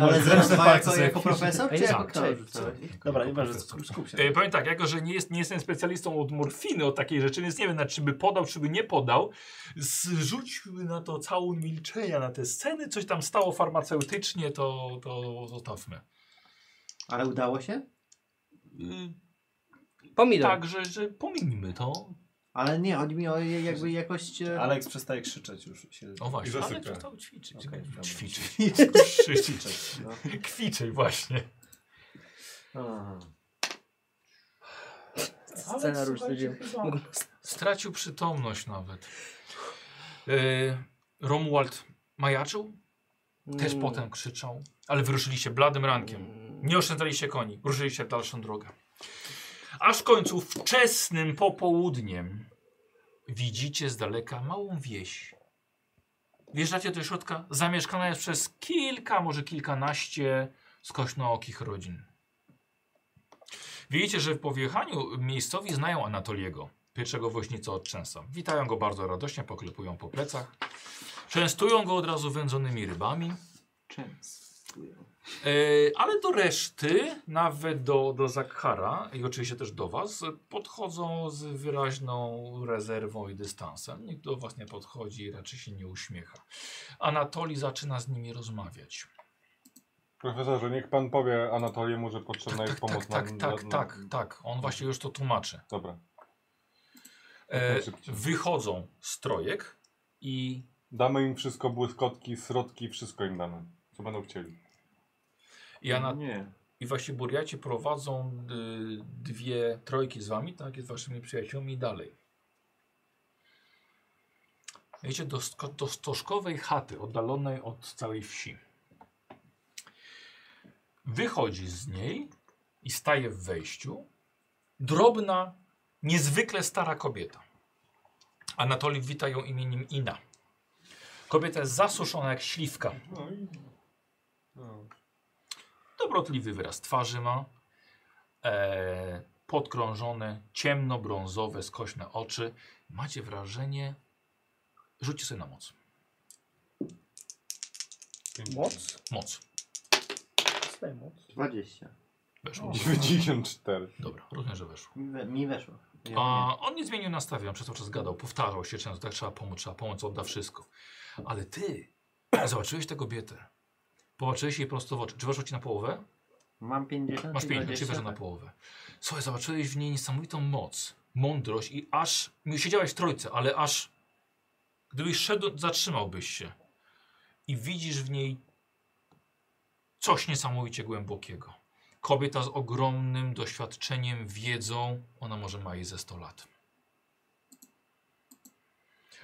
Speaker 5: Ale zresztą
Speaker 2: palce
Speaker 5: jako,
Speaker 2: sobie
Speaker 5: jako
Speaker 2: kwiczy.
Speaker 5: profesor, czy
Speaker 3: Ej,
Speaker 5: jako
Speaker 3: tak,
Speaker 5: kto?
Speaker 3: cześć,
Speaker 5: rzucałeś?
Speaker 2: Dobra, nieważne, skup się.
Speaker 1: E, powiem tak, jako że nie, jest, nie jestem specjalistą od morfiny, od takiej rzeczy, więc nie wiem, na czy by podał, czy by nie podał. Zrzućmy na to całą milczenia, na te sceny, coś tam stało farmaceutycznie, to, to zostawmy.
Speaker 5: Ale udało się?
Speaker 1: Y,
Speaker 3: Pomidor.
Speaker 1: tak, że, że pominijmy to.
Speaker 5: Ale nie, chodzi mi o je- jakby jakość... e,
Speaker 2: Aleks przestaje krzyczeć już. Się...
Speaker 1: O właśnie,
Speaker 4: I
Speaker 1: ale
Speaker 4: zasypia.
Speaker 1: przestał ćwiczyć.
Speaker 2: Okej, dobra.
Speaker 1: ćwiczyć.
Speaker 2: Krzyczeć,
Speaker 1: Krzyczeć.
Speaker 2: no.
Speaker 1: Kwiczej właśnie.
Speaker 2: A.
Speaker 3: Scenariusz tydzień.
Speaker 1: Stracił przytomność nawet. E, Romuald majaczył? Też
Speaker 3: Mm.
Speaker 1: potem krzyczą, ale wyruszyliście bladym rankiem. Nie oszczędzaliście koni, ruszyliście w dalszą drogę. Aż w końcu wczesnym popołudniem widzicie z daleka małą wieś. Wjeżdżacie do środka, zamieszkana jest przez kilka, może kilkanaście skośnookich rodzin. Widzicie, że po wjechaniu miejscowi znają Anatoliego, pierwszego woźnicę od Częsa. Witają go bardzo radośnie, poklepują po plecach. Częstują go od razu wędzonymi rybami.
Speaker 5: Częstują.
Speaker 1: E, ale do reszty, nawet do, do Zakhara i oczywiście też do Was, podchodzą z wyraźną rezerwą i dystansem. Nikt do Was nie podchodzi i raczej się nie uśmiecha. Anatoli zaczyna z nimi rozmawiać.
Speaker 4: Profesorze, niech pan powie Anatoliemu, że potrzebna
Speaker 1: Tak,
Speaker 4: jest
Speaker 1: tak,
Speaker 4: pomoc
Speaker 1: tak, tak,
Speaker 4: na,
Speaker 1: tak,
Speaker 4: na,
Speaker 1: tak,
Speaker 4: na...
Speaker 1: tak. On właśnie już to tłumaczy.
Speaker 4: Dobra.
Speaker 1: E,
Speaker 4: Szybciej.
Speaker 1: wychodzą z trojek i
Speaker 4: Damy im wszystko, błyskotki, srodki, wszystko im damy. Co będą chcieli.
Speaker 1: I, Ana,
Speaker 7: Nie.
Speaker 1: I właśnie Buriaci prowadzą y, dwie trojki z wami, tak, i z waszymi przyjaciółmi i dalej. Jedziecie do, sto- do stożkowej chaty, oddalonej od całej wsi. Wychodzi z niej i staje w wejściu drobna, niezwykle stara kobieta. Anatoli wita ją imieniem Ina. Kobieta jest zasuszona jak śliwka.
Speaker 4: No i... No.
Speaker 1: Dobrotliwy wyraz twarzy ma. E, podkrążone, ciemnobrązowe, skośne oczy. Macie wrażenie. Rzućcie sobie na moc.
Speaker 3: Moc?
Speaker 1: Moc.
Speaker 3: Staj moc.
Speaker 5: 20.
Speaker 1: Weszło.
Speaker 4: 94.
Speaker 1: Dobra, rozumiem, że weszło.
Speaker 5: Mi, we, mi weszło. Ja
Speaker 1: A on nie zmienił nastawienia, przez cały czas gadał, powtarzał się często, tak trzeba pomóc, trzeba pomóc, odda wszystko. Ale ty zobaczyłeś tę kobietę. Popatrzyłeś jej prosto w oczy. Czy weszło ci na połowę?
Speaker 5: nie. Mam 50.
Speaker 1: Masz
Speaker 5: i
Speaker 1: pięć,
Speaker 5: 20,
Speaker 1: czyli weszło na
Speaker 5: tak.
Speaker 1: połowę. Słuchaj, zobaczyłeś w niej niesamowitą moc, mądrość i aż... Siedziałeś w trójce, ale aż... Gdybyś szedł, zatrzymałbyś się. I widzisz w niej coś niesamowicie głębokiego. Kobieta z ogromnym doświadczeniem, wiedzą. Ona może ma jej ze 100 lat.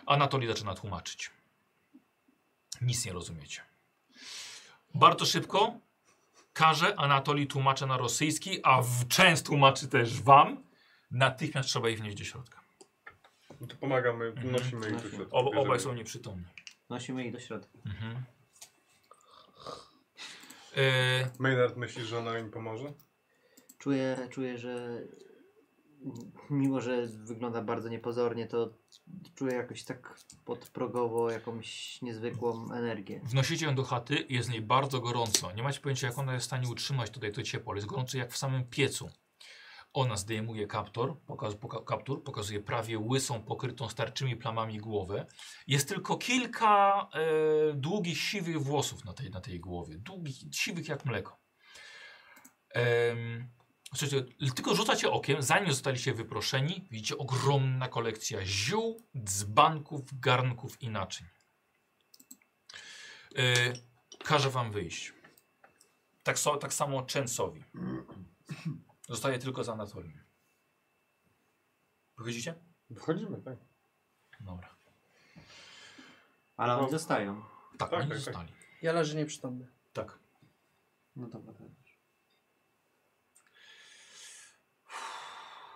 Speaker 1: Anatolii zaczyna tłumaczyć. Nic nie rozumiecie. Bardzo szybko każe, Anatolii tłumaczy na rosyjski, a w część tłumaczy też wam. Natychmiast trzeba ich wnieść do środka.
Speaker 4: No to pomagamy, wnosimy ich do środka.
Speaker 1: Ob, obaj
Speaker 4: bierzemy.
Speaker 1: są nieprzytomni.
Speaker 5: Nosimy ich do środka.
Speaker 1: Mhm. E,
Speaker 4: Maynard myślisz, że ona im pomoże?
Speaker 5: Czuję, czuję, że mimo, że wygląda bardzo niepozornie, to czuję jakoś tak podprogowo jakąś niezwykłą energię.
Speaker 1: wnosicie ją do chaty i jest w niej bardzo gorąco. Nie macie pojęcia, jak ona jest w stanie utrzymać tutaj to ciepło, ale jest gorąco jak w samym piecu. Ona zdejmuje kaptur, pokaz, poka, kaptur pokazuje prawie łysą, pokrytą starczymi plamami głowę. Jest tylko kilka e, długich, siwych włosów na tej, na tej głowie. Długich, siwych jak mleko. Em, Słuchajcie, tylko rzucacie okiem, zanim zostaliście wyproszeni, widzicie ogromna kolekcja ziół, dzbanków, garnków i naczyń. E, każe wam wyjść. Tak, so, tak samo Częsowi. Zostaje tylko za Anatolią. Wychodzicie?
Speaker 4: Wchodzimy, tak.
Speaker 1: Dobra.
Speaker 5: Ale oni
Speaker 4: No.
Speaker 5: zostają.
Speaker 1: Tak,
Speaker 4: Tak,
Speaker 1: oni
Speaker 4: tak,
Speaker 1: zostali.
Speaker 3: Ja leżę nieprzytomny.
Speaker 1: Tak.
Speaker 5: No dobra, tak.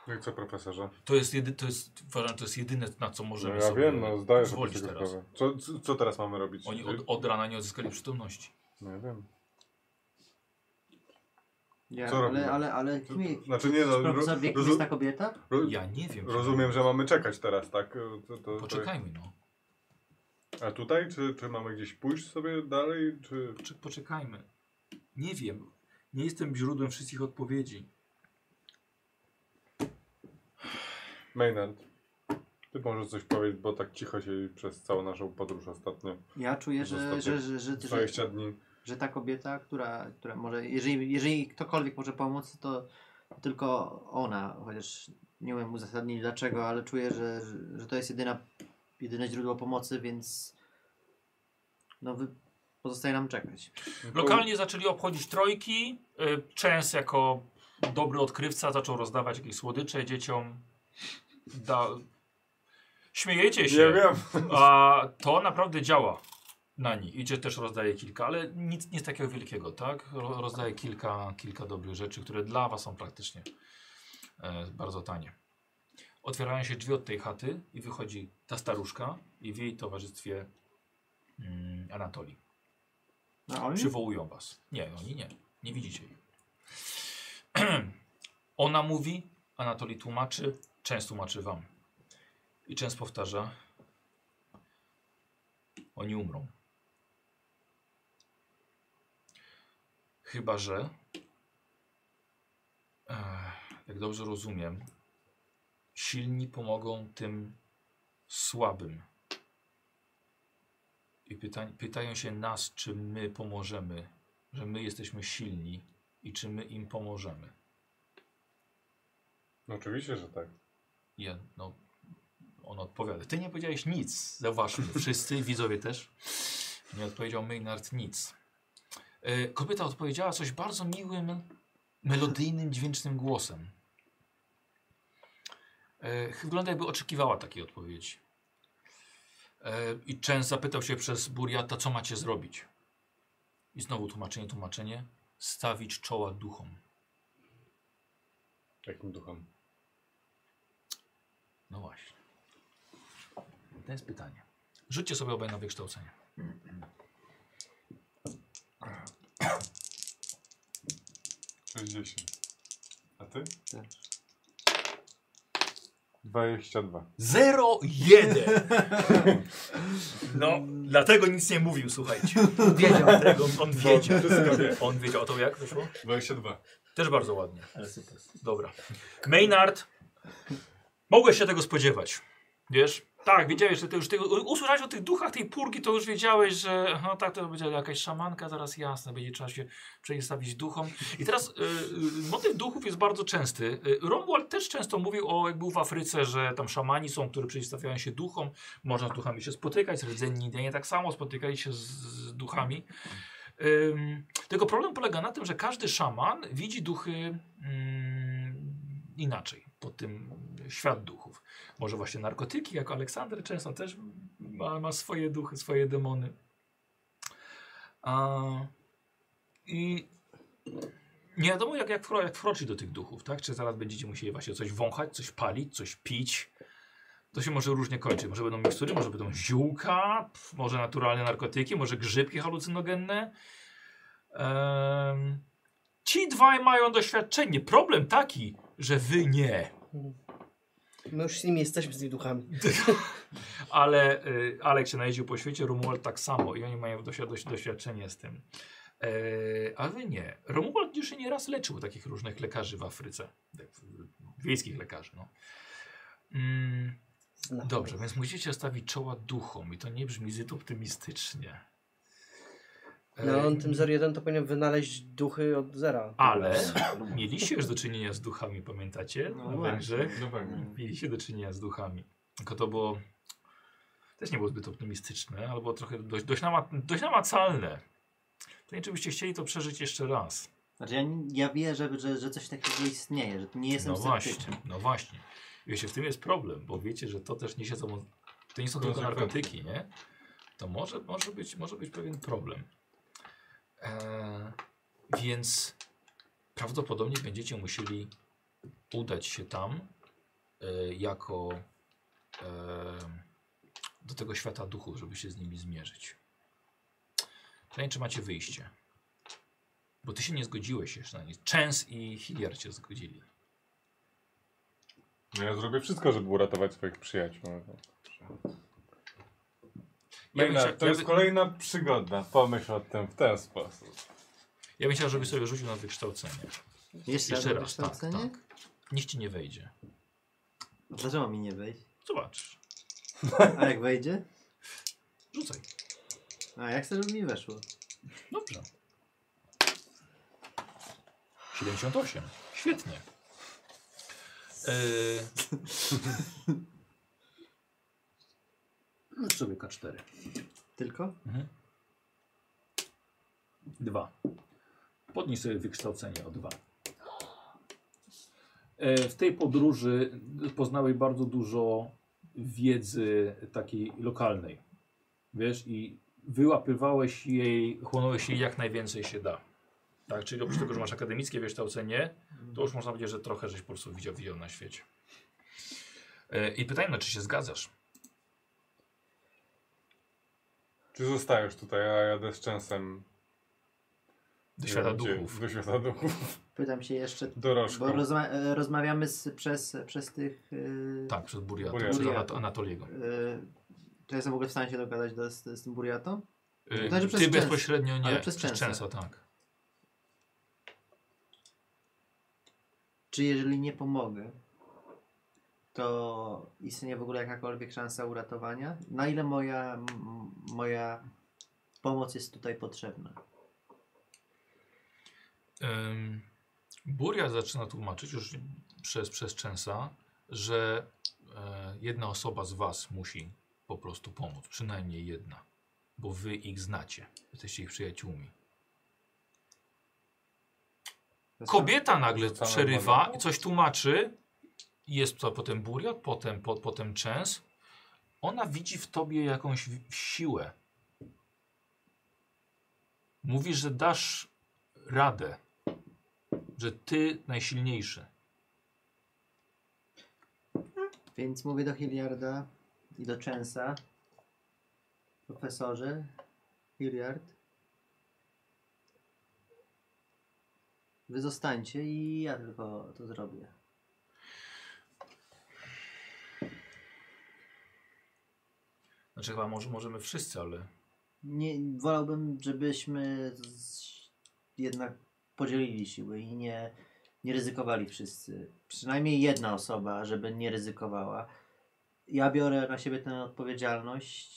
Speaker 4: No i co, profesorze?
Speaker 1: To jest, jedy, to jest, uważam, to jest jedyne, na co możemy
Speaker 4: No ja
Speaker 1: sobie
Speaker 4: wiem, no zdaję sobie
Speaker 1: pozwolić
Speaker 4: z tego
Speaker 1: teraz.
Speaker 4: sprawę. Co, co, co teraz mamy robić?
Speaker 1: Oni od, od rana nie odzyskali przytomności.
Speaker 4: No ja wiem.
Speaker 5: Ja,
Speaker 4: Co robimy?
Speaker 5: ale, ale, ale kim je,
Speaker 4: Znaczy nie no, ro,
Speaker 5: profesor wie, kim jest ta
Speaker 4: rozu,
Speaker 5: kobieta?
Speaker 4: ro,
Speaker 1: Ja nie wiem. czy-
Speaker 4: rozumiem, że mamy czekać teraz, tak? To, to,
Speaker 1: Poczekajmy no.
Speaker 4: To, a tutaj, czy, czy mamy gdzieś pójść sobie dalej, czy...
Speaker 1: Poczek- poczekajmy. Nie wiem. Nie jestem źródłem wszystkich odpowiedzi.
Speaker 4: Maynard, ty możesz coś powiedzieć, bo tak cicho się przez całą naszą podróż ostatnio,
Speaker 5: Ja czuję, że,
Speaker 4: Zostawię
Speaker 5: że, że, że, że,
Speaker 4: 20 dni.
Speaker 5: że ta kobieta, która, która może, jeżeli, jeżeli ktokolwiek może pomóc, to tylko ona, chociaż nie umiem uzasadnić dlaczego, ale czuję, że, że to jest jedyna, jedyne źródło pomocy, więc no wy, pozostaje nam czekać.
Speaker 1: Lokalnie zaczęli obchodzić trojki. Y, Częs jako dobry odkrywca zaczął rozdawać jakieś słodycze dzieciom. Da... Śmiejecie
Speaker 4: Nie
Speaker 1: się,
Speaker 4: wiem.
Speaker 1: a to naprawdę działa. na nich. Idzie też rozdaje kilka, ale nic nie z takiego wielkiego, tak? Ro- Rozdaje kilka, kilka dobrych rzeczy, które dla was są praktycznie e, bardzo tanie. Otwierają się drzwi od tej chaty i wychodzi ta staruszka i w jej towarzystwie mm, Anatolii.
Speaker 5: A oni?
Speaker 1: Przywołują was. Nie, oni nie. Nie widzicie ich. Ona mówi, Anatolii tłumaczy, często tłumaczy wam. I często powtarza. Oni umrą. Chyba, że. Ech, Jak dobrze rozumiem, silni pomogą tym słabym. I pytań, pytają się nas, czy my pomożemy, że my jesteśmy silni i czy my im pomożemy.
Speaker 4: No oczywiście, że tak.
Speaker 1: I Ja, no, on odpowiada. Ty nie powiedziałeś nic. Zauważmy. Wszyscy widzowie też. Nie odpowiedział Maynard nic. E, kobieta odpowiedziała coś bardzo miłym, melodyjnym, dźwięcznym głosem. E, wygląda jakby oczekiwała takiej odpowiedzi. E, I Chen zapytał się przez Buriata, co macie zrobić. I znowu tłumaczenie, tłumaczenie. Stawić czoła duchom.
Speaker 4: Jakim duchem?
Speaker 1: No właśnie. To jest pytanie. Rzućcie sobie obaj na wykształcenie.
Speaker 4: Sześćdziesiąt. A ty?
Speaker 5: Też.
Speaker 4: 22.
Speaker 1: 0,1. No, dlatego nic nie mówił, słuchajcie.
Speaker 5: Wiedział.
Speaker 1: Dlatego on wiedział. On wiedział. A to jak wyszło?
Speaker 4: 22.
Speaker 1: Też bardzo ładnie.
Speaker 7: Ale super.
Speaker 1: Dobra. Maynard, mogłeś się tego spodziewać. Wiesz? Tak, wiedziałeś, że ty już tego, usłyszałeś o tych duchach tej purgi, to już wiedziałeś, że no tak, to będzie jakaś szamanka, zaraz jasne, będzie trzeba się przeciwstawić duchom. I teraz y, y, motyw duchów jest bardzo częsty. Y, Romuald też często mówił o, jak był w Afryce, że tam szamani są, które przeciwstawiają się duchom, można z duchami się spotykać, rdzenni Indianie tak samo spotykali się z, z duchami. Ym, tylko problem polega na tym, że każdy szaman widzi duchy mm, inaczej, pod tym świat duchów. Może właśnie narkotyki, jako Aleksander często też ma, ma swoje duchy, swoje demony. A, I nie wiadomo jak, jak, wkro, jak wkroczyć do tych duchów, tak? Czy zaraz będziecie musieli właśnie coś wąchać, coś palić, coś pić. To się może różnie kończyć. Może będą mikstury, może będą ziółka, pf, może naturalne narkotyki, może grzybki halucynogenne. Em, ci dwaj mają doświadczenie. Problem taki, że wy nie.
Speaker 3: My już z nimi jesteśmy, z tymi duchami.
Speaker 1: Ale y, Alek się najeździł po świecie, Romuald tak samo i oni mają dosi- dosi- doświadczenie z tym. E, a wy nie. Romuald już się nieraz leczył takich różnych lekarzy w Afryce. Tak, y, Wiejskich lekarzy, no. Mm,
Speaker 3: Znam.
Speaker 1: dobrze, więc musicie stawić czoła duchom i to nie brzmi zbyt optymistycznie. E,
Speaker 3: No on tym 01 to powinien wynaleźć duchy od zera.
Speaker 1: Ale mieliście już do czynienia z duchami, pamiętacie?
Speaker 2: No
Speaker 1: Na
Speaker 2: właśnie.
Speaker 1: Węgrzech.
Speaker 2: No pewnie.
Speaker 1: Mieliście do czynienia z duchami. Tylko to było. Też nie było zbyt optymistyczne, ale było trochę dość, dość, nama, dość namacalne. To nie, czy byście chcieli to przeżyć jeszcze raz.
Speaker 5: Znaczy ja, ja wierzę, że, że coś takiego istnieje, że nie jestem
Speaker 1: no
Speaker 5: sceptyczny.
Speaker 1: właśnie, no właśnie. I wiecie, w tym jest problem, bo wiecie, że to też niesie sobą. To nie są tylko
Speaker 4: Konsekwencje.
Speaker 1: narkotyki, nie? To może, może, być, może być pewien problem. Eee, więc prawdopodobnie będziecie musieli udać się tam e, jako e, do tego świata duchów, żeby się z nimi zmierzyć. Pytanie, czy macie wyjście? Bo ty się nie zgodziłeś jeszcze na nie. Częs i Hilliard się zgodzili.
Speaker 4: No ja zrobię wszystko, żeby uratować swoich przyjaciół.
Speaker 1: Ja bym,
Speaker 4: Maynard,
Speaker 1: chciał,
Speaker 4: to
Speaker 1: ja,
Speaker 4: jest
Speaker 1: by,
Speaker 4: kolejna przygoda. Pomyśl o tym w ten sposób.
Speaker 1: ja bym chciał, żebyś sobie rzucił na wykształcenie.
Speaker 5: Jeszcze,
Speaker 1: Jeszcze
Speaker 5: raz
Speaker 1: raz, tak,
Speaker 5: wykształcenie?
Speaker 1: tak. Nikt ci nie wejdzie.
Speaker 5: Dlaczego mi nie wejść?
Speaker 1: Zobaczysz.
Speaker 5: A jak wejdzie?
Speaker 1: Rzucaj.
Speaker 5: A jak chcę, żeby mi weszło?
Speaker 1: Dobrze. 78. Świetnie. Yy... Rzuć sobie K4.
Speaker 5: Tylko?
Speaker 1: Dwa. Podnieś sobie wykształcenie o dwa. E, W tej podróży poznałeś bardzo dużo wiedzy takiej lokalnej. Wiesz, i wyłapywałeś jej, chłonąłeś jej jak najwięcej się da. Tak, czyli oprócz tego, że masz akademickie wykształcenie, to już można powiedzieć, że trochę żeś po prostu widział, widział na świecie. E, I pytanie, no, czy się zgadzasz?
Speaker 4: Czy zostajesz tutaj, a jadę z częsem
Speaker 1: Do świata
Speaker 4: gdzie-
Speaker 1: duchów.
Speaker 4: Do świata duchów.
Speaker 5: Pytam się jeszcze,
Speaker 4: Dorożką.
Speaker 5: bo rozma e, rozmawiamy z, przez, przez tych... y,
Speaker 1: Tak, przez Buriata,
Speaker 4: Buriata.
Speaker 1: przez
Speaker 5: Buriata.
Speaker 1: Anat- Anatoliego.
Speaker 5: y, Czy ja jestem w ogóle w stanie się dogadać do, z, z tym Buriatą?
Speaker 1: E,
Speaker 5: Znaczy
Speaker 1: Ty
Speaker 5: przez Częs-
Speaker 1: bezpośrednio nie,
Speaker 5: ale przez
Speaker 1: przez
Speaker 5: Częsa.
Speaker 1: Częsa, tak.
Speaker 5: Czy jeżeli nie pomogę, to istnieje w ogóle jakakolwiek szansa uratowania? Na ile moja, m- moja pomoc jest tutaj potrzebna?
Speaker 1: Ym, Buria zaczyna tłumaczyć już przez, przez Częsa, że e, jedna osoba z was musi po prostu pomóc. Przynajmniej jedna. Bo wy ich znacie. Jesteście ich przyjaciółmi.
Speaker 5: Znaczy,
Speaker 1: Kobieta nagle
Speaker 4: Rzucamy
Speaker 1: przerywa
Speaker 4: wodą.
Speaker 1: i coś tłumaczy. Jest to potem Buria, potem, po, potem Częs. Ona widzi w tobie jakąś w- siłę. Mówisz, że dasz radę. Że ty najsilniejszy.
Speaker 5: Więc mówię do Hilliarda i do Częsa. Profesorze Hilliard. Wy zostańcie i ja tylko to zrobię.
Speaker 1: Znaczy chyba może, możemy wszyscy, ale
Speaker 5: Nie, wolałbym, żebyśmy z, jednak podzielili siły i nie, nie ryzykowali wszyscy. Przynajmniej jedna osoba, żeby nie ryzykowała. Ja biorę na siebie tę odpowiedzialność,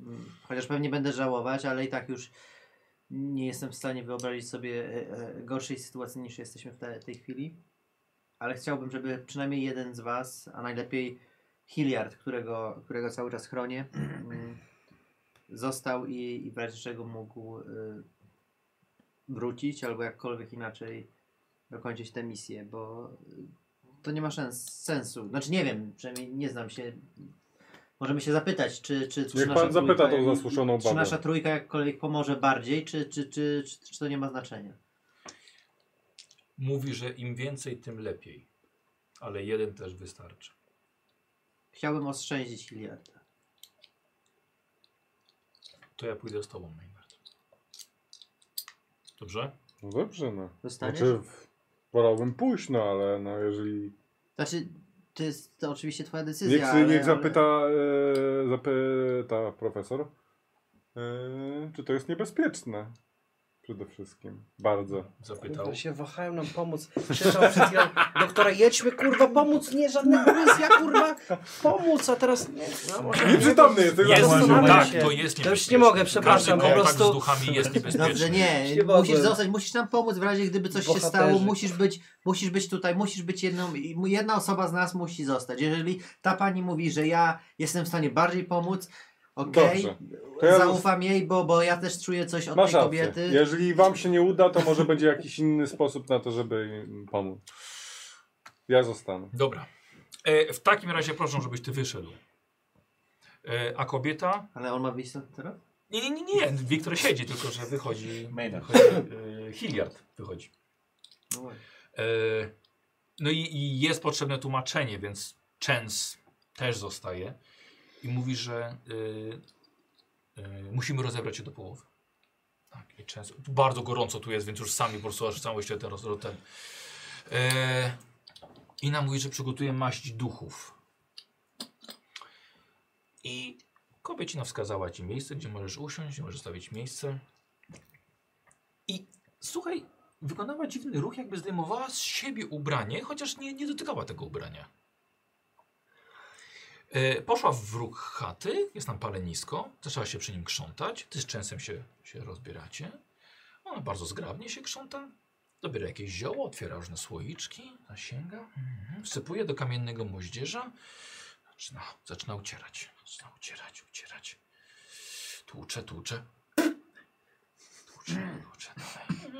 Speaker 5: mm, chociaż pewnie będę żałować, ale i tak już nie jestem w stanie wyobrazić sobie e, e, gorszej sytuacji niż jesteśmy w te, tej chwili. Ale chciałbym, żeby przynajmniej jeden z Was, a najlepiej Hilliard, którego, którego cały czas chronię, mm, został i, i w razie czego mógł y, wrócić albo jakkolwiek inaczej dokończyć tę misję, bo y, to nie ma szans, sensu. Znaczy nie wiem, przynajmniej nie znam się. Możemy się zapytać, czy, czy, czy
Speaker 4: Niech
Speaker 5: nasza
Speaker 4: pan zapyta
Speaker 5: trójka-
Speaker 4: tą zasłuszoną
Speaker 5: czy
Speaker 4: babę.
Speaker 5: nasza trójka jakkolwiek pomoże bardziej, czy, czy, czy, czy, czy to nie ma znaczenia?
Speaker 1: mówi, że im więcej, tym lepiej. Ale jeden też wystarczy.
Speaker 5: Chciałbym oszczędzić Hiliarda.
Speaker 1: To ja pójdę z tobą, Maynard. Dobrze?
Speaker 4: No dobrze, no.
Speaker 5: Zostaniesz?
Speaker 4: Znaczy, w- wolałbym pójść, no ale no jeżeli...
Speaker 5: Znaczy, to jest to oczywiście twoja decyzja,
Speaker 4: Niech,
Speaker 5: ale,
Speaker 4: niech zapyta,
Speaker 5: ale
Speaker 4: e, zapyta profesor, e, czy to jest niebezpieczne. Przede wszystkim. Bardzo.
Speaker 1: Zapytał.
Speaker 3: Kurwa, się wahałem nam pomóc. Krzyczał przed chwilą, doktora, jedźmy, kurwa, pomóc, nie, żadnego ryzyka, kurwa, pomóc, a teraz nie. No, może-
Speaker 4: Nieprzytomny jest,
Speaker 3: Ja
Speaker 1: Jest,
Speaker 3: zastanawiam
Speaker 1: tak,
Speaker 3: się.
Speaker 1: to jest niebezpieczne.
Speaker 3: To już nie mogę, przepraszam,
Speaker 1: Każdy
Speaker 3: po
Speaker 1: kontakt
Speaker 3: prostu-
Speaker 1: tak z duchami jest niebezpieczny.
Speaker 5: Dobrze, nie.
Speaker 3: Się
Speaker 5: Musisz
Speaker 3: bałem.
Speaker 5: zostać, musisz nam pomóc w razie gdyby coś się
Speaker 3: Bohaterzy.
Speaker 5: stało, musisz być, musisz być tutaj, musisz być jedną, i mu- jedna osoba z nas musi zostać. Jeżeli ta pani mówi, że ja jestem w stanie bardziej pomóc, okej,
Speaker 4: Dobrze. To ja-
Speaker 5: zaufam jej, bo, bo ja też czuję coś od
Speaker 4: Masz
Speaker 5: tej
Speaker 4: rację.
Speaker 5: kobiety.
Speaker 4: Jeżeli wam się nie uda, to może będzie jakiś inny sposób na to, żeby im pomóc. Ja zostanę.
Speaker 1: Dobra. E, w takim razie proszę, żebyś ty wyszedł. E, a kobieta?
Speaker 5: Ale on ma wyjść stąd teraz?
Speaker 1: Nie, nie, nie, nie. Wiktor siedzi, tylko że wychodzi.
Speaker 2: Maynard.
Speaker 1: wychodzi e, Hilliard wychodzi.
Speaker 5: No właśnie.
Speaker 1: E, no i, i jest potrzebne tłumaczenie, więc Chance też zostaje i mówi, że e, e, musimy rozebrać się do połowy. Tak, i Chance, bardzo gorąco tu jest, więc już sami po prostu aż cały świat ten. roz- ten. E, I nam mówi, że przygotuje maść duchów. I kobiecina wskazała ci miejsce, gdzie możesz usiąść, gdzie możesz stawić miejsce. I słuchaj, wykonała dziwny ruch, jakby zdejmowała z siebie ubranie, chociaż nie, nie dotykała tego ubrania. E, poszła w róg chaty, jest tam palenisko, zaczęła się przy nim krzątać, ty z częsem się, się rozbieracie. Ona bardzo zgrabnie się krząta, dobiera jakieś zioło, otwiera różne słoiczki, zasięga, mhm. wsypuje do kamiennego moździerza, zaczyna, zaczyna ucierać, zaczyna ucierać, ucierać. Tłucze, tłucze, Tłucze, tłucze, dalej.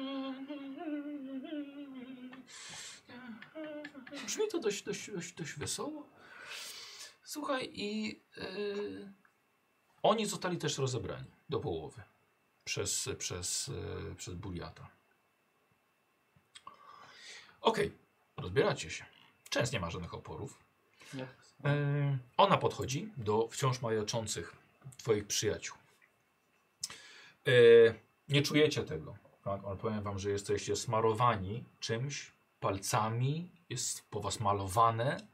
Speaker 1: Brzmi to dość, dość, dość, dość wesoło. Słuchaj, i yy, e, Oni zostali też rozebrani do połowy przez, przez, e, przez Buriata. Okej, rozbieracie się. Często nie ma żadnych oporów. E, ona podchodzi do wciąż majaczących twoich przyjaciół. E, nie czujecie tego. Tak? Ale Powiem wam, że jesteście smarowani czymś, palcami, jest po was malowane.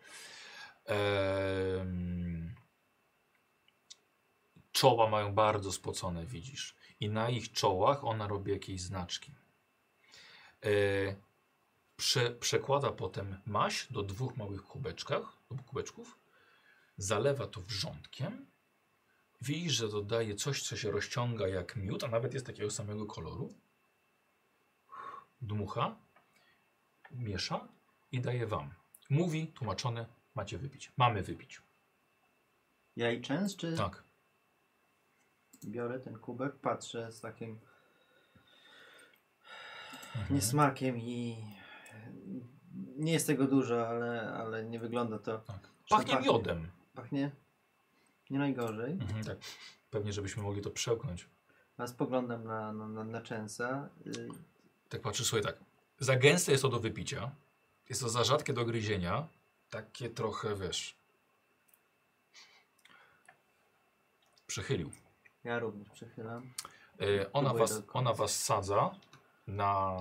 Speaker 1: Em, czoła mają bardzo spocone, widzisz. I na ich czołach ona robi jakieś znaczki. E, prze, przekłada potem maś do dwóch małych kubeczkach, lub kubeczków, zalewa to wrzątkiem. Widzisz, że dodaje coś, co się rozciąga jak miód, a nawet jest takiego samego koloru. Dmucha, miesza i daje wam. Mówi, tłumaczone, macie wypić. Mamy wypić.
Speaker 5: Ja i częst, czy
Speaker 1: Tak.
Speaker 5: biorę ten kubek, patrzę z takim
Speaker 1: Mhm.
Speaker 5: niesmakiem i nie jest tego dużo, ale, ale nie wygląda to.
Speaker 1: Tak. Pachnie
Speaker 5: Pachnie.
Speaker 1: miodem.
Speaker 5: Pachnie nie najgorzej.
Speaker 1: Mhm, tak. Pewnie, żebyśmy mogli to przełknąć.
Speaker 5: A spoglądam na, na, na, na częsa. y,
Speaker 1: Tak patrzysz, słuchaj, tak. Za gęste jest to do wypicia. Jest to za rzadkie do gryzienia. Takie trochę, wiesz... Przechylił.
Speaker 5: Ja również przychylam.
Speaker 1: E, ona,
Speaker 5: Próbuję
Speaker 1: was,
Speaker 5: do końca.
Speaker 1: ona was sadza na,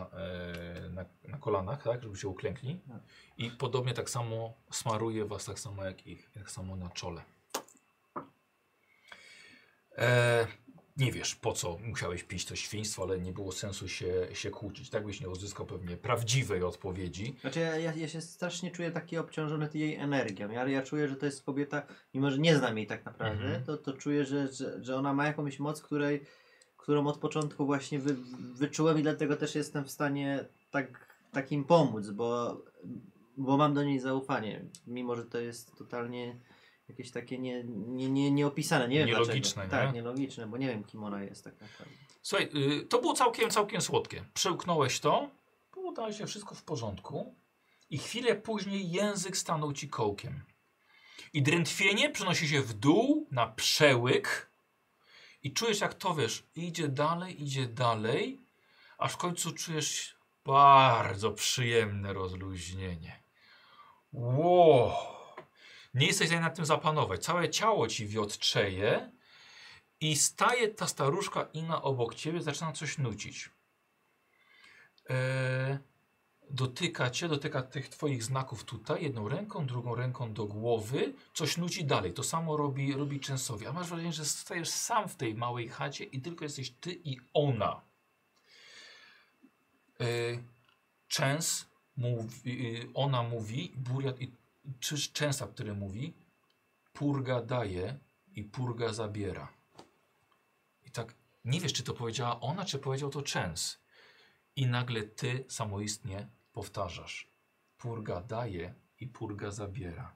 Speaker 1: e, na, na kolanach, tak, żeby się uklękli.
Speaker 5: Tak.
Speaker 1: I podobnie tak samo smaruje was tak samo jak ich, tak samo na czole. E, nie wiesz po co musiałeś pić to świństwo, ale nie było sensu się, się kłócić. Tak byś nie uzyskał pewnie prawdziwej odpowiedzi.
Speaker 5: Znaczy ja, ja, ja się strasznie czuję taki obciążony ty- jej energią. Ja, ja czuję, że to jest kobieta, mimo że nie znam jej tak naprawdę,
Speaker 1: Mhm.
Speaker 5: to, to czuję, że, że, że ona ma jakąś moc, której, którą od początku właśnie wy, wyczułem i dlatego też jestem w stanie tak, tak im pomóc, bo, bo mam do niej zaufanie. Mimo, że to jest totalnie jakieś takie nie, nie, nie, nieopisane, nie wiem
Speaker 1: Nielogiczne, nie?
Speaker 5: dlaczego. Tak, nielogiczne, bo nie wiem kim ona jest tak naprawdę.
Speaker 1: Słuchaj, y, to było całkiem, całkiem słodkie. Przełknąłeś to, udało się wszystko w porządku i chwilę później język stanął ci kołkiem. I drętwienie przenosi się w dół na przełyk i czujesz jak to, wiesz, idzie dalej, idzie dalej, aż w końcu czujesz bardzo przyjemne rozluźnienie. Wow. Nie jesteś w stanie nad tym zapanować. Całe ciało ci wiotczeje, i staje ta staruszka Ina obok ciebie, zaczyna coś nucić. E, dotyka cię, dotyka tych twoich znaków tutaj, jedną ręką, drugą ręką do głowy, coś nuci dalej. To samo robi, robi Częsowi. A masz wrażenie, że stajesz sam w tej małej chacie i tylko jesteś ty i ona. E, Częs mówi, y, ona mówi, Buriat i czy Częsa, który mówi, purga daje i purga zabiera. I tak nie wiesz, czy to powiedziała ona, czy powiedział to Częs. I nagle ty samoistnie powtarzasz. Purga daje i purga zabiera.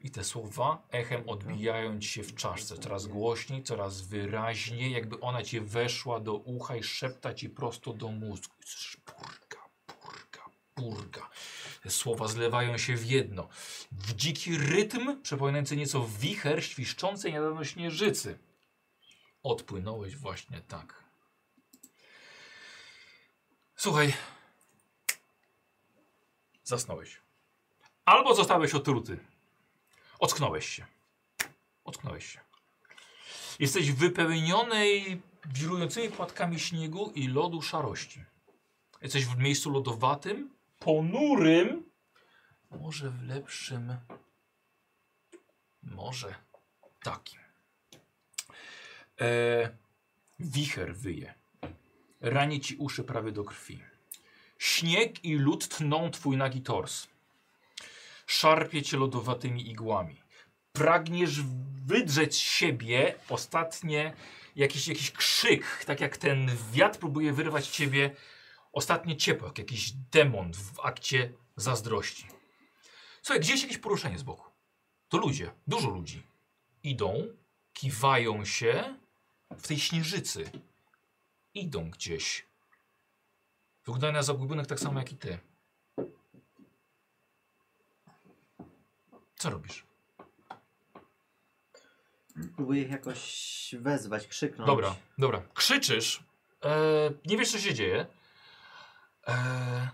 Speaker 1: I te słowa echem odbijają ci się w czaszce, coraz głośniej, coraz wyraźniej, jakby ona cię weszła do ucha i szepta ci prosto do mózgu. I słyszysz purga, purga, purga. Te słowa zlewają się w jedno. W dziki rytm, przypominający nieco wicher świszczącej niedawno śnieżycy. Odpłynąłeś właśnie tak. Słuchaj. Zasnąłeś. Albo zostałeś otruty. Ocknąłeś się. Ocknąłeś się. Jesteś wypełnionej wirującymi płatkami śniegu i lodu szarości. Jesteś w miejscu lodowatym, ponurym, może w lepszym, może takim. E, wicher wyje. Rani ci uszy prawie do krwi. Śnieg i lód tną twój nagi tors. Szarpie cię lodowatymi igłami. Pragniesz wydrzeć z siebie ostatnie jakiś, jakiś krzyk, tak jak ten wiatr próbuje wyrwać z ciebie ostatnie ciepło, jak jakiś demon w akcie zazdrości. Słuchaj, gdzieś jakieś poruszenie z boku. To ludzie, dużo ludzi. Idą, kiwają się w tej śnieżycy. Idą gdzieś. Wyglądają na zagubiony tak samo jak i ty. Co robisz?
Speaker 5: Próbuję ich jakoś wezwać, krzyknąć.
Speaker 1: Dobra, dobra. Krzyczysz. E, nie wiesz, co się dzieje. E,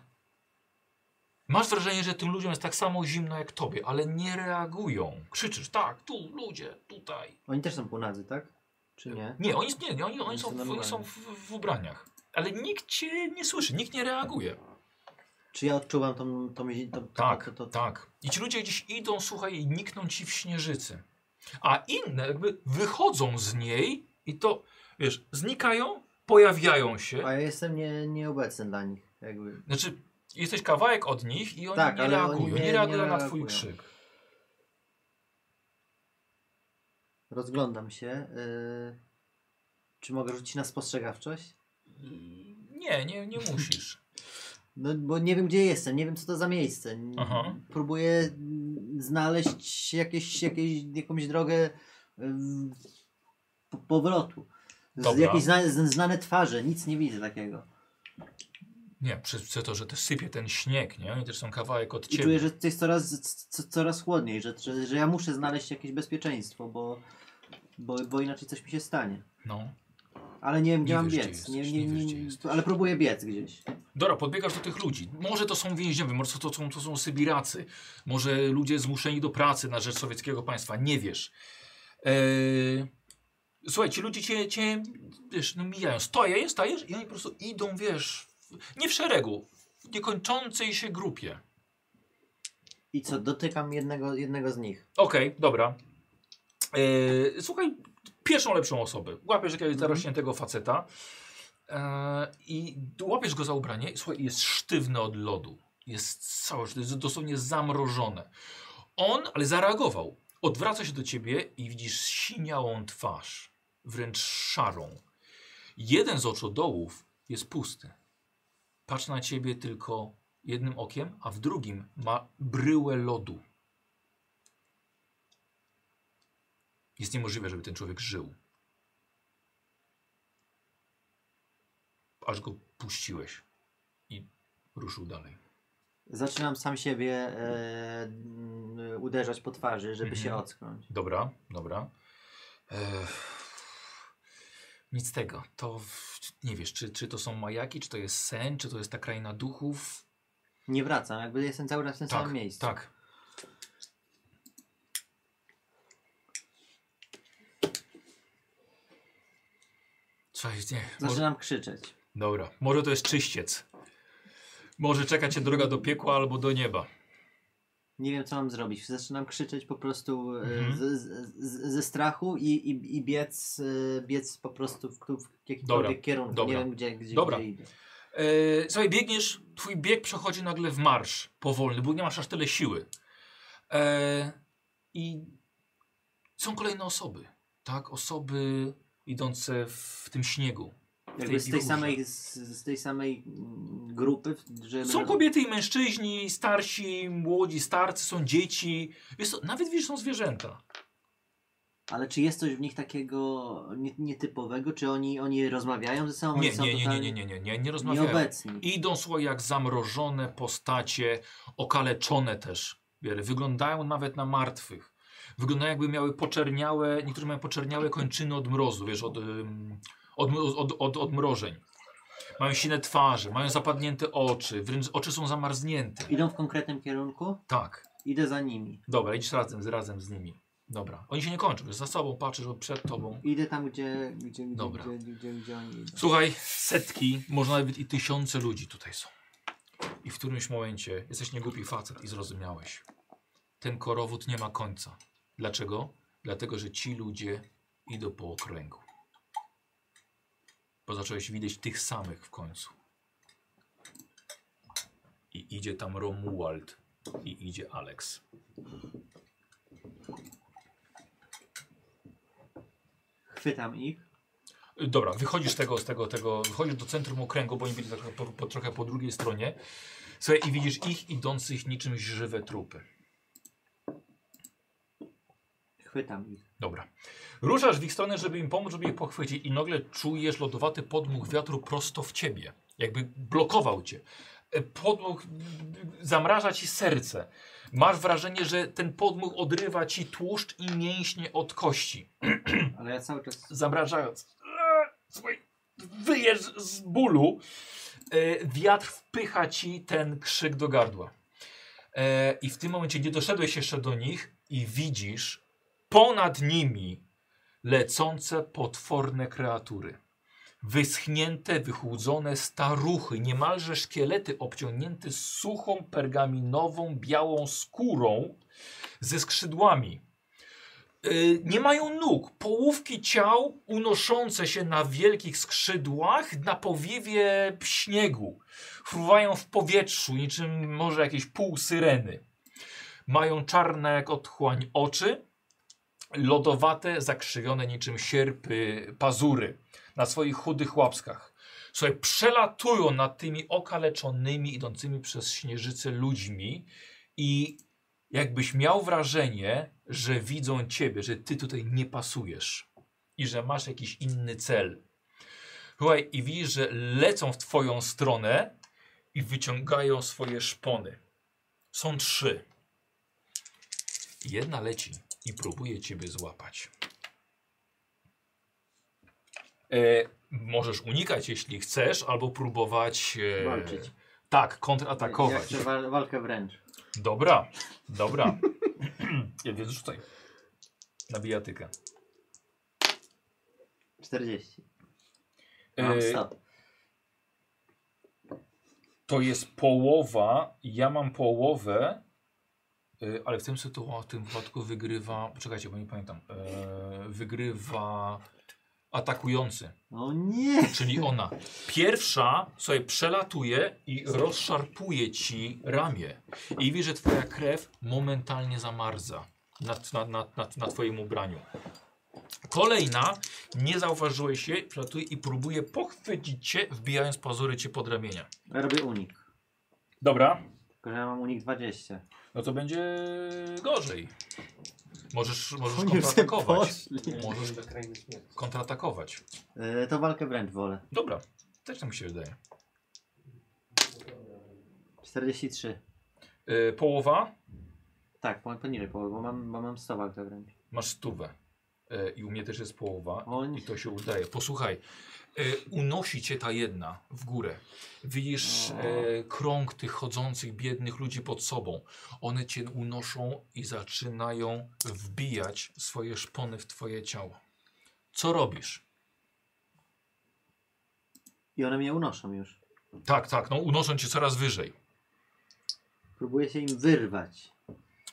Speaker 1: masz wrażenie, że tym ludziom jest tak samo zimno jak tobie, ale nie reagują. Krzyczysz, tak, tu, ludzie, tutaj.
Speaker 5: Oni też są półnadzy, tak? Czy nie?
Speaker 1: Nie, oni, nie, nie, oni, oni
Speaker 5: Oni
Speaker 1: są,
Speaker 5: są
Speaker 1: w, oni są w, w ubraniach. Ale nikt cię nie słyszy, nikt nie reaguje.
Speaker 5: Czy ja odczuwam tą... tą, tą, tą
Speaker 1: Tak,
Speaker 5: to, to,
Speaker 1: tak. I ci ludzie gdzieś idą, słuchaj, i nikną ci w śnieżycy. A inne jakby wychodzą z niej i to, wiesz, znikają, pojawiają się.
Speaker 5: A ja jestem nie, nieobecny dla nich. Jakby.
Speaker 1: Znaczy, jesteś kawałek od nich i oni
Speaker 5: Tak,
Speaker 1: nie
Speaker 5: ale oni
Speaker 1: reagują.
Speaker 5: nie-
Speaker 1: nie,
Speaker 5: nie
Speaker 1: reagują na
Speaker 5: reagują.
Speaker 1: twój krzyk.
Speaker 5: Rozglądam się. y, Czy mogę rzucić na spostrzegawczość?
Speaker 1: Nie, nie, nie musisz.
Speaker 5: No, bo nie wiem, gdzie jestem, nie wiem, co to za miejsce. N-
Speaker 1: Aha.
Speaker 5: Próbuję mm, znaleźć jakieś, jakieś, jakąś drogę mm, po- powrotu. Z,
Speaker 1: Dobra.
Speaker 5: jakieś znane, z- znane twarze, nic nie widzę takiego.
Speaker 1: Nie, przez przez to, że też sypie ten śnieg, nie? Oni też są kawałek od
Speaker 5: I
Speaker 1: ciebie.
Speaker 5: czuję, że to jest coraz, co, coraz chłodniej, że, że, że ja muszę znaleźć jakieś bezpieczeństwo, bo, bo, bo inaczej coś mi się stanie.
Speaker 1: No.
Speaker 5: Ale nie wiem, gdzie
Speaker 1: Nie
Speaker 5: mam
Speaker 1: wiesz, gdzie
Speaker 5: biec.
Speaker 1: jesteś,
Speaker 5: nie, nie,
Speaker 1: nie wiesz,
Speaker 5: nie,
Speaker 1: gdzie jesteś.
Speaker 5: ale próbuję biec gdzieś.
Speaker 1: Dobra, podbiegasz do tych ludzi. Może to są więźniowie, może to są, to są Sybiracy. Może ludzie zmuszeni do pracy na rzecz sowieckiego państwa. Nie wiesz. Eee... Słuchaj, ci ludzie cię, cię wiesz, no mijają. Stoję, stajesz i oni po prostu idą, wiesz, w- nie w szeregu, w niekończącej się grupie.
Speaker 5: I co, dotykam jednego, jednego z nich.
Speaker 1: Okej, dobra. Yy, słuchaj, pierwszą lepszą osobę. Łapiesz jakiegoś zarośniętego faceta yy, i łapiesz go za ubranie. Słuchaj, jest sztywne od lodu. Jest całe, to jest dosłownie zamrożone. On, ale zareagował. Odwraca się do ciebie i widzisz siniałą twarz, wręcz szarą. Jeden z oczodołów jest pusty. Patrz na ciebie tylko jednym okiem, a w drugim ma bryłę lodu. Jest niemożliwe, żeby ten człowiek żył. Aż go puściłeś i ruszył dalej.
Speaker 5: Zaczynam sam siebie e, mm, uderzać po twarzy, żeby
Speaker 1: Mhm.
Speaker 5: się ocknąć.
Speaker 1: Dobra, dobra. Eee, nic z tego. To w- nie wiesz, czy, czy to są majaki, czy to jest sen, czy to jest ta kraina duchów.
Speaker 5: Nie wracam, jakby jestem cały czas w tym samym miejscu.
Speaker 1: tak. Coś, nie. może-
Speaker 5: Zaczynam krzyczeć.
Speaker 1: Dobra, może to jest czyściec. Może czeka cię droga do piekła albo do nieba.
Speaker 5: Nie wiem, co mam zrobić. Zaczynam krzyczeć po prostu e,
Speaker 1: Mhm.
Speaker 5: z, z, z, ze strachu i, i, i biec, e, biec po prostu w, w jakimkolwiek
Speaker 1: Dobra,
Speaker 5: kierunku.
Speaker 1: dobra.
Speaker 5: Nie wiem, gdzie, gdzie,
Speaker 1: Dobra.
Speaker 5: gdzie idę.
Speaker 1: Yy, słuchaj, biegniesz, twój bieg przechodzi nagle w marsz powolny, bo nie masz aż tyle siły. E, I są kolejne osoby, tak? Osoby idące w tym śniegu. w
Speaker 5: Jakby z tej
Speaker 1: wichurze.
Speaker 5: samej, z, z tej samej mm, grupy, że
Speaker 1: Są kobiety i mężczyźni, starsi, młodzi, starcy, są dzieci. Wiesz co, nawet wiesz, są zwierzęta.
Speaker 5: Ale czy jest coś w nich takiego nie- nietypowego? Czy oni, oni rozmawiają ze sobą?
Speaker 1: Nie,
Speaker 5: Oni są
Speaker 1: nie, nie, nie, nie,
Speaker 5: totalnie
Speaker 1: nie, nie, nie, nie rozmawiają.
Speaker 5: Nieobecni.
Speaker 1: Idą słuchaj jak zamrożone postacie, okaleczone też. wiele. Wyglądają nawet na martwych. Wyglądają jakby miały poczerniałe, niektórzy mają poczerniałe kończyny od mrozu, wiesz, od, ym, od, od, od, od, od mrożeń. Mają silne twarze, mają zapadnięte oczy, wręcz oczy są zamarznięte.
Speaker 5: Idą w konkretnym kierunku?
Speaker 1: Tak,
Speaker 5: Idę za nimi.
Speaker 1: dobra, idź razem, z- razem z nimi. Dobra, oni się nie kończą, wiesz, za sobą patrzysz, przed tobą.
Speaker 5: Idę tam, gdzie, gdzie, gdzie,
Speaker 1: Dobra.
Speaker 5: gdzie, gdzie, gdzie oni idą.
Speaker 1: Słuchaj, setki, może nawet i tysiące ludzi tutaj są. I w którymś momencie jesteś niegłupi facet i zrozumiałeś. Ten korowód nie ma końca. Dlaczego? Dlatego, że ci ludzie idą po okręgu. Bo zacząłeś widzieć tych samych w końcu. I idzie tam Romuald i idzie Alex.
Speaker 5: Chwytam ich.
Speaker 1: Y, Dobra, wychodzisz z tego, z tego, tego, wychodzisz do centrum okręgu, bo oni byli trochę po, po, trochę po drugiej stronie. Słuchaj, i widzisz ich idących niczym żywe trupy.
Speaker 5: Chwytam ich.
Speaker 1: Dobra. Ruszasz w ich stronę, żeby im pomóc, żeby ich pochwycić i nagle czujesz lodowaty podmuch wiatru prosto w ciebie. Jakby blokował cię. E, Podmuch m, zamraża ci serce. Masz wrażenie, że ten podmuch odrywa ci tłuszcz i mięśnie od kości.
Speaker 5: Ale ja cały czas...
Speaker 1: zamrażając. Słuchaj, wyjesz z bólu. E, Wiatr wpycha ci ten krzyk do gardła. E, I w tym momencie nie doszedłeś jeszcze do nich i widzisz ponad nimi lecące potworne kreatury. Wyschnięte, wychłudzone staruchy, niemalże szkielety obciągnięte suchą, pergaminową, białą skórą ze skrzydłami. Y, nie mają nóg. Połówki ciał unoszące się na wielkich skrzydłach na powiewie śniegu. Fruwają w powietrzu, niczym może jakieś półsyreny. Mają czarne jak otchłań oczy, lodowate, zakrzywione niczym sierpy pazury na swoich chudych łapskach. Słuchaj, przelatują nad tymi okaleczonymi, idącymi przez śnieżycę ludźmi i jakbyś miał wrażenie, że widzą ciebie, że ty tutaj nie pasujesz i że masz jakiś inny cel. Słuchaj, i widzisz, że lecą w twoją stronę i wyciągają swoje szpony. Są trzy. Jedna leci i próbuje ciebie złapać. E, możesz unikać, jeśli chcesz, albo próbować. E,
Speaker 5: Walczyć.
Speaker 1: Tak,
Speaker 5: Ja
Speaker 1: kontratakować.
Speaker 5: chcę wal, walkę wręcz.
Speaker 1: Dobra, dobra. ja wiedzę, rzucaj. Na bijatykę.
Speaker 5: 40. Mam
Speaker 1: E,
Speaker 5: stat.
Speaker 1: to jest połowa, ja mam połowę, e, ale w tym, sytu- w tym wypadku wygrywa, poczekajcie, bo nie pamiętam, e, wygrywa atakujący,
Speaker 5: O No nie!
Speaker 1: czyli ona. Pierwsza sobie przelatuje i rozszarpuje ci ramię i widzisz, że twoja krew momentalnie zamarza na, na, na, na, na twoim ubraniu. Kolejna, nie zauważyłeś jej, przelatuje i próbuje pochwycić cię, wbijając pazury cię pod ramienia.
Speaker 5: Ja robię unik.
Speaker 1: Dobra,
Speaker 5: Tylko, że ja mam unik 20.
Speaker 1: No to będzie gorzej. Możesz, możesz
Speaker 5: Oni już się
Speaker 1: kontratakować.
Speaker 5: poszli.
Speaker 1: Możesz kontratakować.
Speaker 5: E, to walkę wręcz wolę.
Speaker 1: Dobra, też tak mi się wydaje.
Speaker 5: 43.
Speaker 1: Yy, połowa,
Speaker 5: Tak, po- poniżej połowy, bo mam, bo mam 100 walkę wręcz.
Speaker 1: masz stówę. Yy, I u mnie też jest połowa.
Speaker 5: O nie.
Speaker 1: I to się udaje. Posłuchaj, yy, unosi cię ta jedna w górę. Widzisz yy, krąg tych chodzących, biednych ludzi pod sobą. One cię unoszą i zaczynają wbijać swoje szpony w twoje ciało. Co robisz?
Speaker 5: I one mnie unoszą już.
Speaker 1: Tak, tak, no unoszą cię coraz wyżej.
Speaker 5: Próbuję się im wyrwać.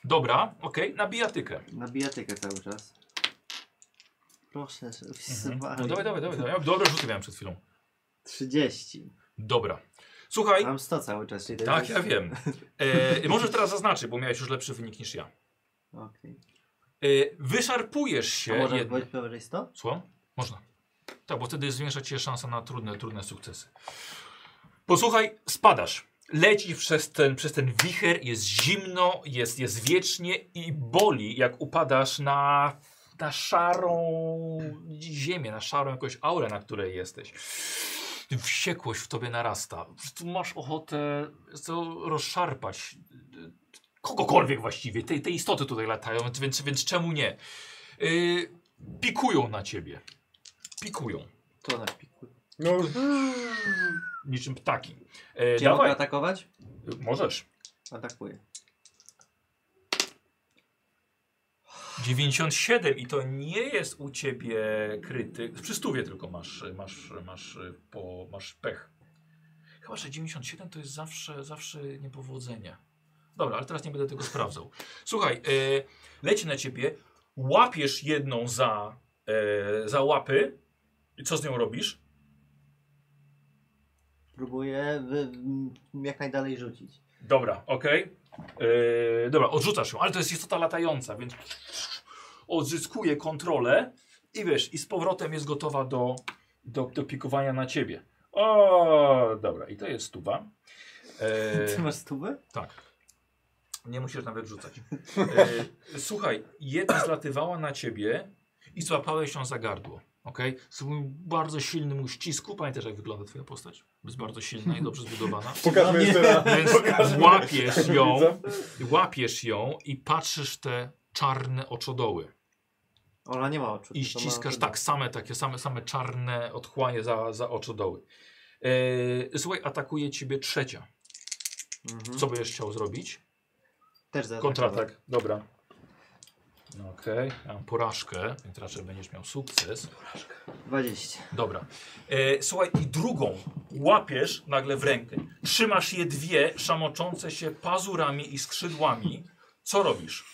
Speaker 1: Dobra, okej, na bijatykę.
Speaker 5: Na bijatykę cały czas. Proszę, żeby
Speaker 1: Mhm.
Speaker 5: wsywali.
Speaker 1: No dawaj, dawaj, dawaj. dawaj. Dobre rzuty miałem przed chwilą.
Speaker 5: 30.
Speaker 1: Dobra. Słuchaj,
Speaker 5: Mam 100 cały czas. czyli to
Speaker 1: tak,
Speaker 5: jest-
Speaker 1: ja wiem. E, możesz teraz zaznaczyć, bo miałeś już lepszy wynik niż ja.
Speaker 5: Okej.
Speaker 1: E, wyszarpujesz
Speaker 5: A
Speaker 1: się
Speaker 5: może
Speaker 1: jednym.
Speaker 5: wejść powyżej 100?
Speaker 1: Słucham? Można. Tak, bo wtedy zwiększa ci się szansa na trudne, trudne sukcesy. Posłuchaj, spadasz. Lecisz przez ten, przez ten wicher, jest zimno, jest, jest wiecznie i boli, jak upadasz na, na szarą ziemię, na szarą jakąś aurę, na której jesteś. Wściekłość w tobie narasta. Tu masz ochotę co, rozszarpać kogokolwiek właściwie. Te, te istoty tutaj latają, więc, więc czemu nie? Yy, pikują na ciebie. Pikują.
Speaker 5: To na piku.
Speaker 4: No,
Speaker 1: Niczym ptaki. E,
Speaker 5: Czy ja mogę
Speaker 1: dawaj.
Speaker 5: atakować?
Speaker 1: Możesz.
Speaker 5: Atakuję.
Speaker 1: 97 i to nie jest u ciebie kryty. Przy stówie tylko masz, masz, masz, e, po, masz pech. Chyba, że 97 to jest zawsze, zawsze niepowodzenie. Dobra, ale teraz nie będę tego sprawdzał. Słuchaj, e, leci na ciebie, łapiesz jedną za, e, za łapy. I co z nią robisz?
Speaker 5: Próbuję wy, m, jak najdalej rzucić.
Speaker 1: Dobra, okej. Yy, dobra, odrzucasz ją, ale to jest istota latająca, więc odzyskuje kontrolę i wiesz, i z powrotem jest gotowa do, do, do pikowania na ciebie. O, dobra, i to jest stuwa.
Speaker 5: Ty
Speaker 1: Yy,
Speaker 5: masz stówę?
Speaker 1: tak. Nie musisz nawet rzucać. Yy, słuchaj, jedna zlatywała na ciebie i złapałeś ją za gardło. Okej? Z moim bardzo silnym uścisku. Pamiętasz, jak wygląda twoja postać? Jest bardzo silna i dobrze zbudowana.
Speaker 2: No
Speaker 4: Pokażmy jeszcze raz.
Speaker 1: Więc
Speaker 4: Pokażmy
Speaker 1: łapiesz
Speaker 4: jeszcze
Speaker 1: ją,
Speaker 4: widzę.
Speaker 1: łapiesz ją i patrzysz w te czarne oczodoły.
Speaker 5: Ola nie ma oczu.
Speaker 1: I
Speaker 5: tylko ma-
Speaker 1: ściskasz tak, same takie, same, same czarne odchłanie za, za oczodoły. Yy, słuchaj, atakuje ciebie trzecia.
Speaker 5: Mhm.
Speaker 1: Co byś chciał zrobić?
Speaker 5: Też zaatakował.
Speaker 1: Kontratak, dobra. No Okej, ja mam porażkę, więc raczej będziesz miał sukces.
Speaker 5: 20.
Speaker 1: Dobra. E, słuchaj, i drugą łapiesz nagle w rękę. Trzymasz je dwie szamoczące się pazurami i skrzydłami. Co robisz?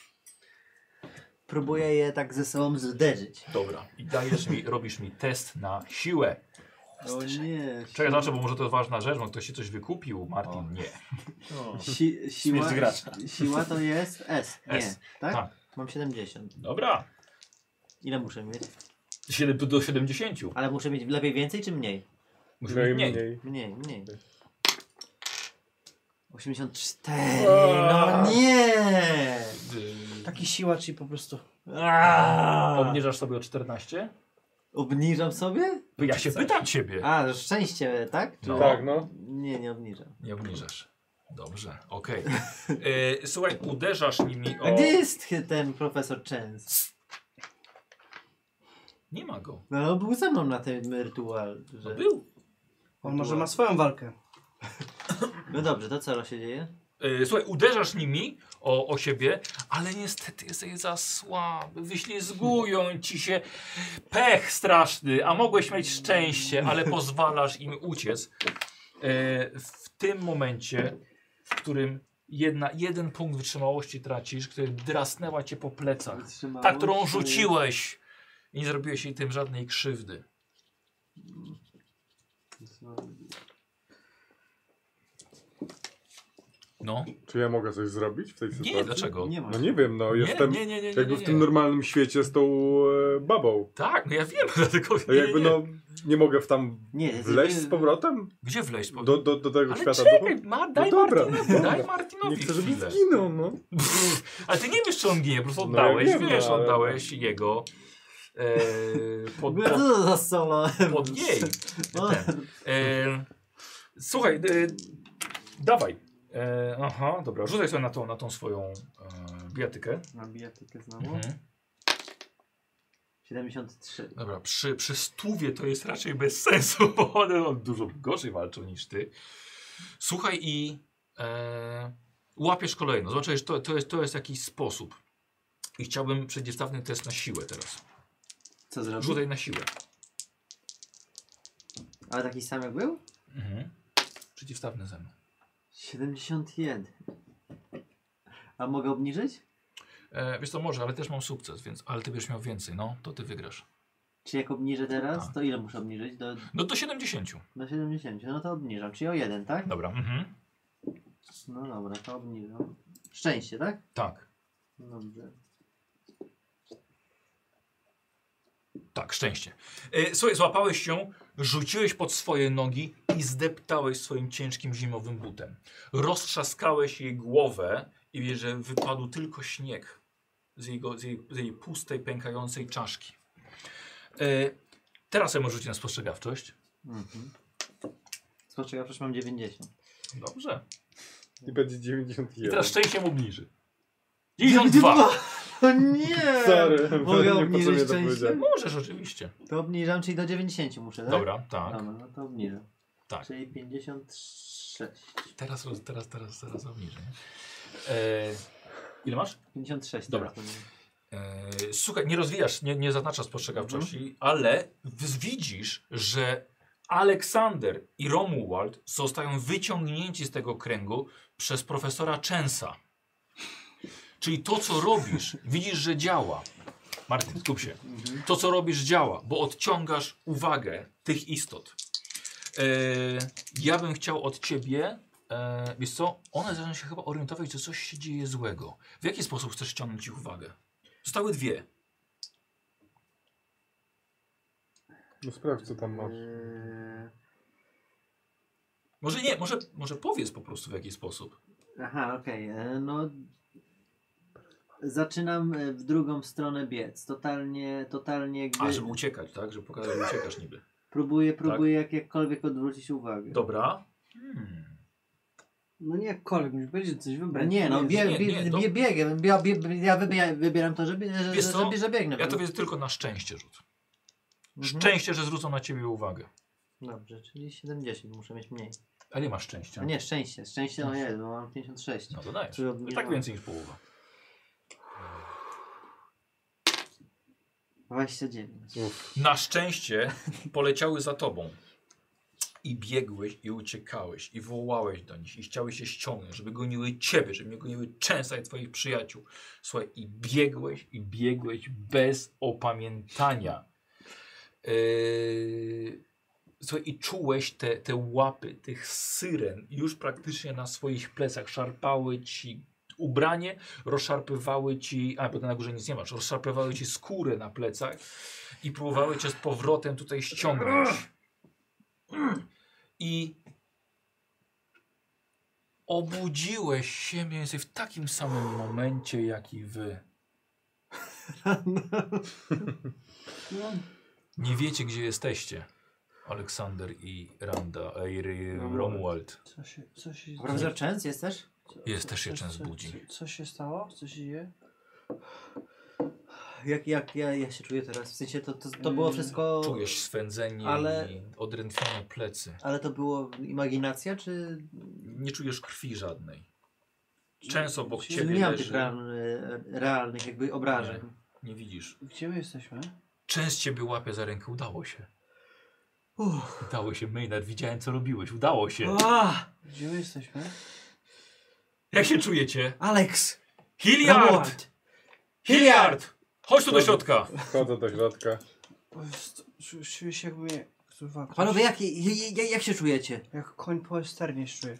Speaker 5: Próbuję je tak ze sobą zderzyć.
Speaker 1: Dobra. I dajesz mi, robisz mi test na siłę.
Speaker 5: O nie.
Speaker 1: Czekaj, znaczy, bo może to ważna rzecz, bo ktoś ci coś wykupił, Martin. Nie.
Speaker 5: Si siła,
Speaker 7: Śmierć gracza.
Speaker 5: siła to jest S. Nie,
Speaker 1: S.
Speaker 5: Tak?
Speaker 1: Tak.
Speaker 5: Mam 70.
Speaker 1: Dobra.
Speaker 5: Ile muszę mieć?
Speaker 1: Siedem- do 70.
Speaker 5: Ale muszę mieć lepiej więcej czy mniej?
Speaker 1: Musi
Speaker 4: No i
Speaker 1: być mniej.
Speaker 4: mniej.
Speaker 5: Mniej, mniej. 84. No nie!
Speaker 1: Y,
Speaker 3: Taki siłacz i po prostu.
Speaker 5: Aaaa!
Speaker 1: Obniżasz sobie o 14?
Speaker 5: Obniżam sobie?
Speaker 1: Ja się pytam ciebie.
Speaker 5: A, że szczęście, tak? Czy-
Speaker 1: No.
Speaker 4: Tak, no.
Speaker 5: Nie, nie obniżam.
Speaker 1: Nie obniżasz. Dobrze, okej. E, Słuchaj, uderzasz nimi
Speaker 5: A
Speaker 1: o...
Speaker 5: gdzie jest ten profesor Chance?
Speaker 1: Nie ma go.
Speaker 5: No był ze mną na tym rytual.
Speaker 1: No
Speaker 5: Że...
Speaker 1: był.
Speaker 3: On może ma swoją walkę.
Speaker 5: No dobrze, to co się dzieje?
Speaker 1: E, Słuchaj, uderzasz nimi o, o siebie, ale niestety jesteś za słaby. Wyślizgują ci się. Pech straszny, a mogłeś mieć szczęście, ale pozwalasz im uciec. E, W tym momencie, w którym jedna, jeden punkt wytrzymałości tracisz, który drasnęła cię po plecach. Ta, którą rzuciłeś. I nie zrobiłeś jej tym żadnej krzywdy. No.
Speaker 4: Czy ja mogę coś zrobić w tej sytuacji?
Speaker 1: Nie, dlaczego?
Speaker 5: Nie ma.
Speaker 4: No nie wiem, no
Speaker 1: Nie,
Speaker 4: jestem
Speaker 1: nie, nie, nie, nie,
Speaker 4: jakby
Speaker 1: nie,
Speaker 4: w tym
Speaker 1: nie.
Speaker 4: normalnym świecie z tą e, babą.
Speaker 1: Tak, no ja wiem, dlatego
Speaker 4: No
Speaker 1: nie,
Speaker 4: jakby
Speaker 1: nie.
Speaker 4: no, nie mogę w tam
Speaker 5: Nie,
Speaker 4: wleźć
Speaker 5: jest-
Speaker 4: z powrotem?
Speaker 1: Gdzie wleźć? Po...
Speaker 4: Do, do, do tego
Speaker 1: Ale
Speaker 4: świata
Speaker 1: czekaj,
Speaker 4: duchów?
Speaker 1: ma, daj
Speaker 4: No dobra,
Speaker 1: Martinowi,
Speaker 4: dobra.
Speaker 1: daj Martinowi
Speaker 4: Nie chcę, żeby
Speaker 1: chwilę.
Speaker 4: zginął, no.
Speaker 1: Pff, Ale ty nie wiesz, czy on ginie, po prostu
Speaker 4: No ja
Speaker 1: oddałeś,
Speaker 4: wiem, no,
Speaker 1: wiesz,
Speaker 4: ale-
Speaker 1: oddałeś jego e, pod,
Speaker 5: Co
Speaker 1: pod,
Speaker 5: to za solo?
Speaker 1: pod jej.
Speaker 5: O,
Speaker 1: Ten. E, słuchaj, e, dawaj. E, aha, dobra, rzucaj sobie na tą, na tą swoją e, biatykę.
Speaker 5: Na bijatykę znowu.
Speaker 1: Mhm.
Speaker 5: 73.
Speaker 1: Dobra, przy, przy stówie to jest raczej bez sensu, bo one on dużo gorzej walczą niż ty. Słuchaj i e, łapiesz kolejno. Zobaczysz, to, to, jest, to jest jakiś sposób. I chciałbym przeciwstawny test na siłę teraz.
Speaker 5: Co zrobił?
Speaker 1: Rzucaj na siłę.
Speaker 5: Ale taki sam jak był?
Speaker 1: Mhm. Przeciwstawny ze mną.
Speaker 5: 71. A mogę obniżyć?
Speaker 1: E, wiesz co, może, ale też mam sukces, więc, ale ty będziesz miał więcej, no, to ty wygrasz.
Speaker 5: Czy jak obniżę teraz,
Speaker 1: Tak.
Speaker 5: to ile muszę obniżyć? Do,
Speaker 1: No do 70.
Speaker 5: do 70. No to obniżam, czyli o jeden, tak?
Speaker 1: Dobra. Mhm.
Speaker 5: No dobra, to obniżam. Szczęście, tak?
Speaker 1: Tak,
Speaker 5: Dobrze.
Speaker 1: tak, szczęście. E, słuchaj, złapałeś ją, rzuciłeś pod swoje nogi i zdeptałeś swoim ciężkim zimowym butem. Roztrzaskałeś jej głowę i wiesz, że wypadł tylko śnieg z, jego, z, jej, z jej pustej, pękającej czaszki. E, teraz sobie możesz rzucić na spostrzegawczość.
Speaker 5: Mhm. Spostrzegawczość mam 90.
Speaker 1: Dobrze.
Speaker 4: I będzie
Speaker 1: I
Speaker 4: 91.
Speaker 1: teraz szczęście mu obniży. 92!
Speaker 5: O nie!
Speaker 4: Sorry,
Speaker 5: Mogę
Speaker 4: nie
Speaker 5: obniżyć
Speaker 4: potrzebuję to
Speaker 5: część?
Speaker 4: powiedzieć.
Speaker 1: Możesz oczywiście.
Speaker 5: To obniżam, czyli do 90 muszę, tak?
Speaker 1: Dobra, tak.
Speaker 5: Dobra, no to obniżam.
Speaker 1: Tak.
Speaker 5: Czyli 56.
Speaker 1: Teraz, roz- teraz, teraz, teraz obniżę. nie? E, ile masz?
Speaker 5: 56.
Speaker 1: Dobra.
Speaker 5: teraz będzie.
Speaker 1: E, słuchaj, nie rozwijasz, nie, nie zaznaczasz spostrzegawczości, ale w- widzisz, że Aleksander i Romuald zostają wyciągnięci z tego kręgu przez profesora Częsa. Czyli to, co robisz, widzisz, że działa. Martin, skup się. To, co robisz, działa, bo odciągasz uwagę tych istot. E, ja bym chciał od ciebie, e, wiesz co, one zaczynają się chyba orientować, że coś się dzieje złego. W jaki sposób chcesz ściągnąć ich uwagę? Zostały dwie.
Speaker 4: No sprawdź co tam masz.
Speaker 5: Eee,
Speaker 1: Może nie, może, może powiedz po prostu w jaki sposób.
Speaker 5: Aha, okej. e, No. zaczynam e, w drugą stronę biec. Totalnie, totalnie jakby...
Speaker 1: A, żeby Tak. uciekać, tak? Żeby pokazać, że uciekasz niby.
Speaker 5: Próbuję, próbuję jak, jakkolwiek odwrócić uwagę.
Speaker 1: Dobra. Hmm.
Speaker 8: No nie jakkolwiek, musi będzie coś
Speaker 5: No
Speaker 8: wybrać.
Speaker 5: nie, no bie,
Speaker 1: nie,
Speaker 5: bie,
Speaker 1: nie, to-
Speaker 5: bie, biegiem. Ja, bie, ja wybieram, wybieram to, że, bie, że,
Speaker 1: Wiesz
Speaker 5: że,
Speaker 1: co?
Speaker 5: że, że biegnę.
Speaker 1: Ja to wiedzę tylko na szczęście rzut.
Speaker 5: Mhm.
Speaker 1: Szczęście, że zwrócą na ciebie uwagę.
Speaker 5: Dobrze, czyli 70, muszę mieć mniej.
Speaker 1: A nie masz szczęścia.
Speaker 5: A nie, szczęście, szczęście no jest, bo mam 56.
Speaker 1: No to dajesz.
Speaker 5: Czyli od-
Speaker 1: No
Speaker 5: nie
Speaker 1: tak
Speaker 5: mam.
Speaker 1: więcej niż połowa.
Speaker 5: 29.
Speaker 1: Na szczęście poleciały za tobą. I biegłeś, i uciekałeś, i wołałeś do nich, i chciałeś się ściągnąć, żeby goniły ciebie, żeby nie goniły częsta i twoich przyjaciół. Słuchaj, i biegłeś, i biegłeś bez opamiętania. Yy... Słuchaj, i czułeś te, te łapy tych syren już praktycznie na swoich plecach. Szarpały ci ubranie, rozszarpywały ci, a bo ty na górze nic nie masz, rozszarpywały ci skórę na plecach i próbowały cię z powrotem tutaj ściągnąć. I obudziłeś się mniej więcej w takim samym momencie, jak i wy. Nie wiecie, gdzie jesteście. Aleksander i Randa, e, i Ry- Romuald.
Speaker 3: Co się, co się...
Speaker 5: Profesor Częs jesteś?
Speaker 3: co-
Speaker 1: Jest, też się
Speaker 3: co-
Speaker 1: często
Speaker 3: co-
Speaker 1: budzi.
Speaker 3: co- Co się stało? Co się dzieje?
Speaker 5: Jak, jak ja, ja się czuję teraz? W sensie to, to, to było
Speaker 3: Mm.
Speaker 5: wszystko...
Speaker 1: Czujesz swędzenie
Speaker 5: Ale-
Speaker 1: i odrętwione plecy.
Speaker 5: Ale to było imaginacja, czy...
Speaker 1: Nie czujesz krwi żadnej. Często obok
Speaker 5: Czy
Speaker 1: ciebie
Speaker 5: nie miałem tych
Speaker 1: leży.
Speaker 5: real, e, realnych jakby obrażeń?
Speaker 1: Nie widzisz.
Speaker 3: Gdzie my jesteśmy?
Speaker 1: Częst ciebie łapie za rękę. Udało się. Udało się, Maynard. Widziałem, co robiłeś. Udało się.
Speaker 5: A,
Speaker 3: Gdzie my jesteśmy?
Speaker 1: Jak się czujecie?
Speaker 5: Alex!
Speaker 1: Hilliard!
Speaker 5: Robot!
Speaker 1: Hilliard! Chodź tu do środka.
Speaker 4: Wchodzę do środka.
Speaker 3: Bo jest- czu- Czuję się jakby mnie... Kurwa, ktoś-
Speaker 5: Panowie, jak, jak, jak, jak się czujecie?
Speaker 3: Jak koń po westernie się czuję.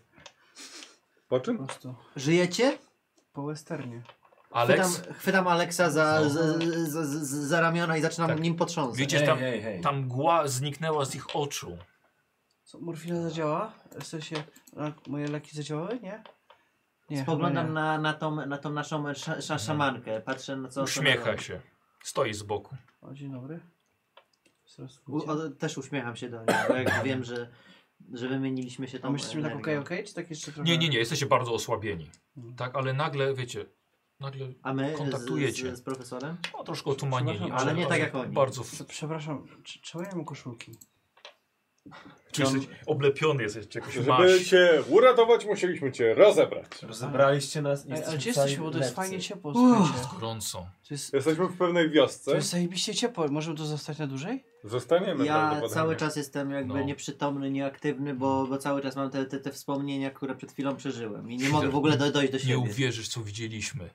Speaker 3: Po
Speaker 4: Po czym?
Speaker 3: prostu.
Speaker 5: Żyjecie?
Speaker 3: Po westernie.
Speaker 1: Alex,
Speaker 5: Chwytam, chwytam Alexa za,
Speaker 1: No.
Speaker 5: za, za, za, za ramiona i zaczynam
Speaker 1: Tak.
Speaker 5: nim potrząsać.
Speaker 1: Wiecie- Gdzieś tam-
Speaker 2: hej, hej.
Speaker 1: ta mgła zniknęła z ich oczu.
Speaker 3: Co, morfina zadziała? W sensie, le- moje leki zadziałały? Nie? Nie, chyba
Speaker 5: Spoglądam
Speaker 3: nie.
Speaker 5: na, na, tą, na tą naszą sz, sz, szamankę, patrzę na co... co ona
Speaker 1: Uśmiecha
Speaker 5: robi.
Speaker 1: Mhm. się. Stoi z boku.
Speaker 3: O, dzień dobry. Zaraz
Speaker 5: U,
Speaker 3: pójdzie.
Speaker 5: o, też uśmiecham się do niej, bo jak wiem, że, że wymieniliśmy się
Speaker 3: A
Speaker 5: tą
Speaker 3: my jesteśmy tak
Speaker 5: energią.
Speaker 3: okej, okej? Czy tak jeszcze trochę?
Speaker 1: Nie, nie, nie. Jesteście bardzo osłabieni.
Speaker 3: Mhm.
Speaker 1: Tak, ale nagle, wiecie, nagle
Speaker 5: A my
Speaker 1: Kontaktujecie.
Speaker 5: z, z, z profesorem?
Speaker 1: no, troszkę otumanieni.
Speaker 3: Przepraszam, ale
Speaker 5: nie tak jak oni.
Speaker 1: Bardzo
Speaker 3: Co, Przepraszam, czy, czemu ja mam koszulki?
Speaker 1: Czy jesteś oblepiony jesteś czy jakoś
Speaker 4: Żeby
Speaker 1: masz.
Speaker 4: cię uratować, musieliśmy cię rozebrać.
Speaker 9: Rozebraliście nas i
Speaker 3: Ej, ale
Speaker 9: jesteśmy
Speaker 3: gdzie jesteśmy? Bo to jest
Speaker 9: cali
Speaker 3: fajnie
Speaker 9: lepcy.
Speaker 3: ciepło,
Speaker 5: Uff.
Speaker 3: słuchajcie.
Speaker 1: Gorąco.
Speaker 3: To jest,
Speaker 4: Jesteśmy w pewnej
Speaker 3: to
Speaker 4: wiosce.
Speaker 3: jest zajebiście ciepło. Możemy tu zostać na dłużej?
Speaker 4: Zostaniemy
Speaker 5: Ja
Speaker 4: prawdopodobnie.
Speaker 5: cały czas jestem jakby
Speaker 1: No.
Speaker 5: nieprzytomny, nieaktywny, bo, bo cały czas mam te, te, te wspomnienia, które przed chwilą przeżyłem i nie mogę w ogóle do, dojść do
Speaker 1: Nie
Speaker 5: siebie.
Speaker 1: uwierzysz, co widzieliśmy.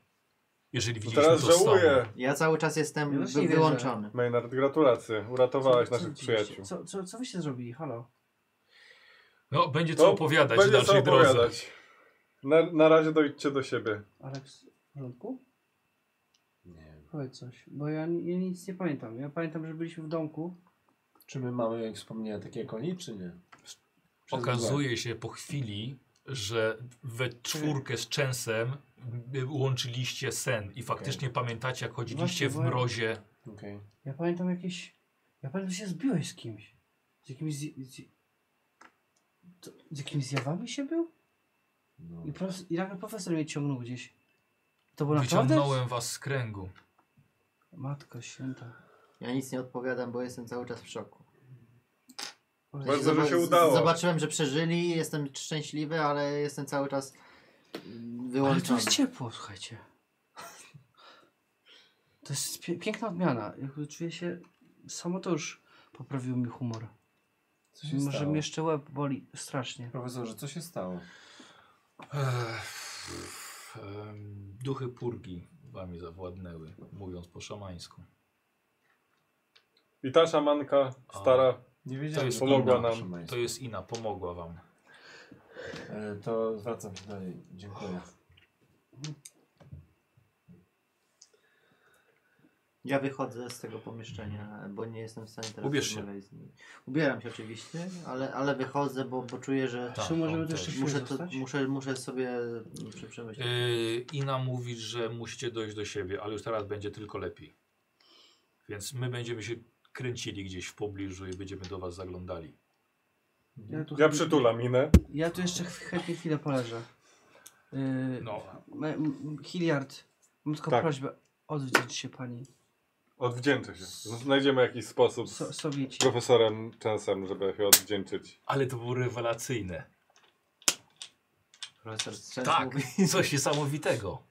Speaker 1: Jeżeli
Speaker 4: To
Speaker 1: widzieliśmy
Speaker 4: teraz
Speaker 1: to samo.
Speaker 4: żałuję.
Speaker 5: Ja cały czas
Speaker 3: Ja
Speaker 5: jestem
Speaker 3: też
Speaker 5: wy-
Speaker 3: nie wierzę.
Speaker 5: wyłączony.
Speaker 4: Maynard, gratulacje. Uratowałeś
Speaker 3: Co- co
Speaker 4: naszych
Speaker 3: widzieliście?
Speaker 4: przyjaciół.
Speaker 3: Co, co, co wyście zrobili? Halo?
Speaker 1: No, będzie
Speaker 4: To
Speaker 1: co opowiadać w
Speaker 4: Będzie co
Speaker 1: dalszej drodze.
Speaker 4: opowiadać. Na, na razie dojdźcie do siebie.
Speaker 3: Aleks, w porządku?
Speaker 2: Nie.
Speaker 3: Powiedz coś, bo ja, ni- ja nic nie pamiętam. Ja pamiętam, że byliśmy w domku.
Speaker 2: Czy my mamy, jak wspomniałem, takie koni, czy nie? Przez
Speaker 1: Okazuje się po chwili, że we czwórkę z Częsem y, łączyliście sen i faktycznie pamiętacie, jak chodziliście
Speaker 3: Właśnie,
Speaker 1: w
Speaker 3: bo ja-
Speaker 1: mrozie.
Speaker 2: dwa. Okej.
Speaker 3: Ja pamiętam jakieś... Ja pamiętam, że się zbiłeś z kimś. Z jakimiś... Z, z, to- z jakimiś zjawami się był?
Speaker 2: No.
Speaker 3: I, prof, I nagle profesor mnie ciągnął gdzieś. To było naprawdę?
Speaker 1: Wyciągnąłem was z kręgu.
Speaker 3: Matko święta.
Speaker 5: Ja nic nie odpowiadam, bo jestem cały czas w szoku.
Speaker 3: Powiedz-
Speaker 4: Bardzo, że
Speaker 5: Zoba-
Speaker 4: się
Speaker 5: z-
Speaker 4: udało.
Speaker 5: Zobaczyłem, że przeżyli, jestem szczęśliwy, ale jestem cały czas mm,
Speaker 3: Ale tu
Speaker 5: wyłączony.
Speaker 3: jest ciepło, słuchajcie. To jest pie piękna odmiana. Jakby czuję się... Samo to już poprawiło mi humor.
Speaker 2: Co się
Speaker 3: Może
Speaker 2: stało?
Speaker 3: mi jeszcze łeb boli strasznie.
Speaker 2: Profesorze, co się stało?
Speaker 1: Ech, em, Duchy purgi wami zawładnęły, mówiąc po szamańsku.
Speaker 4: I ta szamanka stara.
Speaker 2: Nie wiedziałem.
Speaker 1: To jest
Speaker 2: że
Speaker 4: pomogła
Speaker 2: to-
Speaker 1: inna,
Speaker 4: nam.
Speaker 2: proszę
Speaker 1: to
Speaker 2: państwa.
Speaker 1: jest Ina, pomogła wam.
Speaker 2: E, To zwracam się dalej. Dziękuję.
Speaker 5: Ja wychodzę z tego pomieszczenia, bo nie jestem w stanie teraz
Speaker 1: Ubierz się.
Speaker 5: rozmawiać z nimi. Ubieram się oczywiście, ale, ale wychodzę, bo, bo czuję, że
Speaker 1: Tak,
Speaker 6: Czy możemy
Speaker 1: on
Speaker 6: też
Speaker 1: też.
Speaker 6: się-
Speaker 5: muszę,
Speaker 6: Musimy
Speaker 5: to,
Speaker 6: zostać?
Speaker 5: muszę, muszę sobie mm, prze- przemyśleć.
Speaker 1: Yy, Ina mówi, że musicie dojść do siebie, ale już teraz będzie tylko lepiej. Więc my będziemy się kręcili gdzieś w pobliżu i będziemy do was zaglądali.
Speaker 6: Ja tu,
Speaker 4: Ja przytulam minę.
Speaker 3: Ja tu jeszcze ch- chętnie chwilę poleżę. Yy,
Speaker 1: No,
Speaker 3: me- m- Hilliard, mam tylko
Speaker 4: Tak.
Speaker 3: prośbę. Odwdzięcz się pani.
Speaker 4: Odwdzięczę się. Znajdziemy jakiś sposób
Speaker 3: So,
Speaker 4: z
Speaker 3: Sowieci.
Speaker 4: profesorem Czensem, żeby się odwdzięczyć.
Speaker 1: ale to było rewelacyjne.
Speaker 5: Profesor Strzęs
Speaker 1: Tak,
Speaker 5: mówi.
Speaker 1: coś niesamowitego.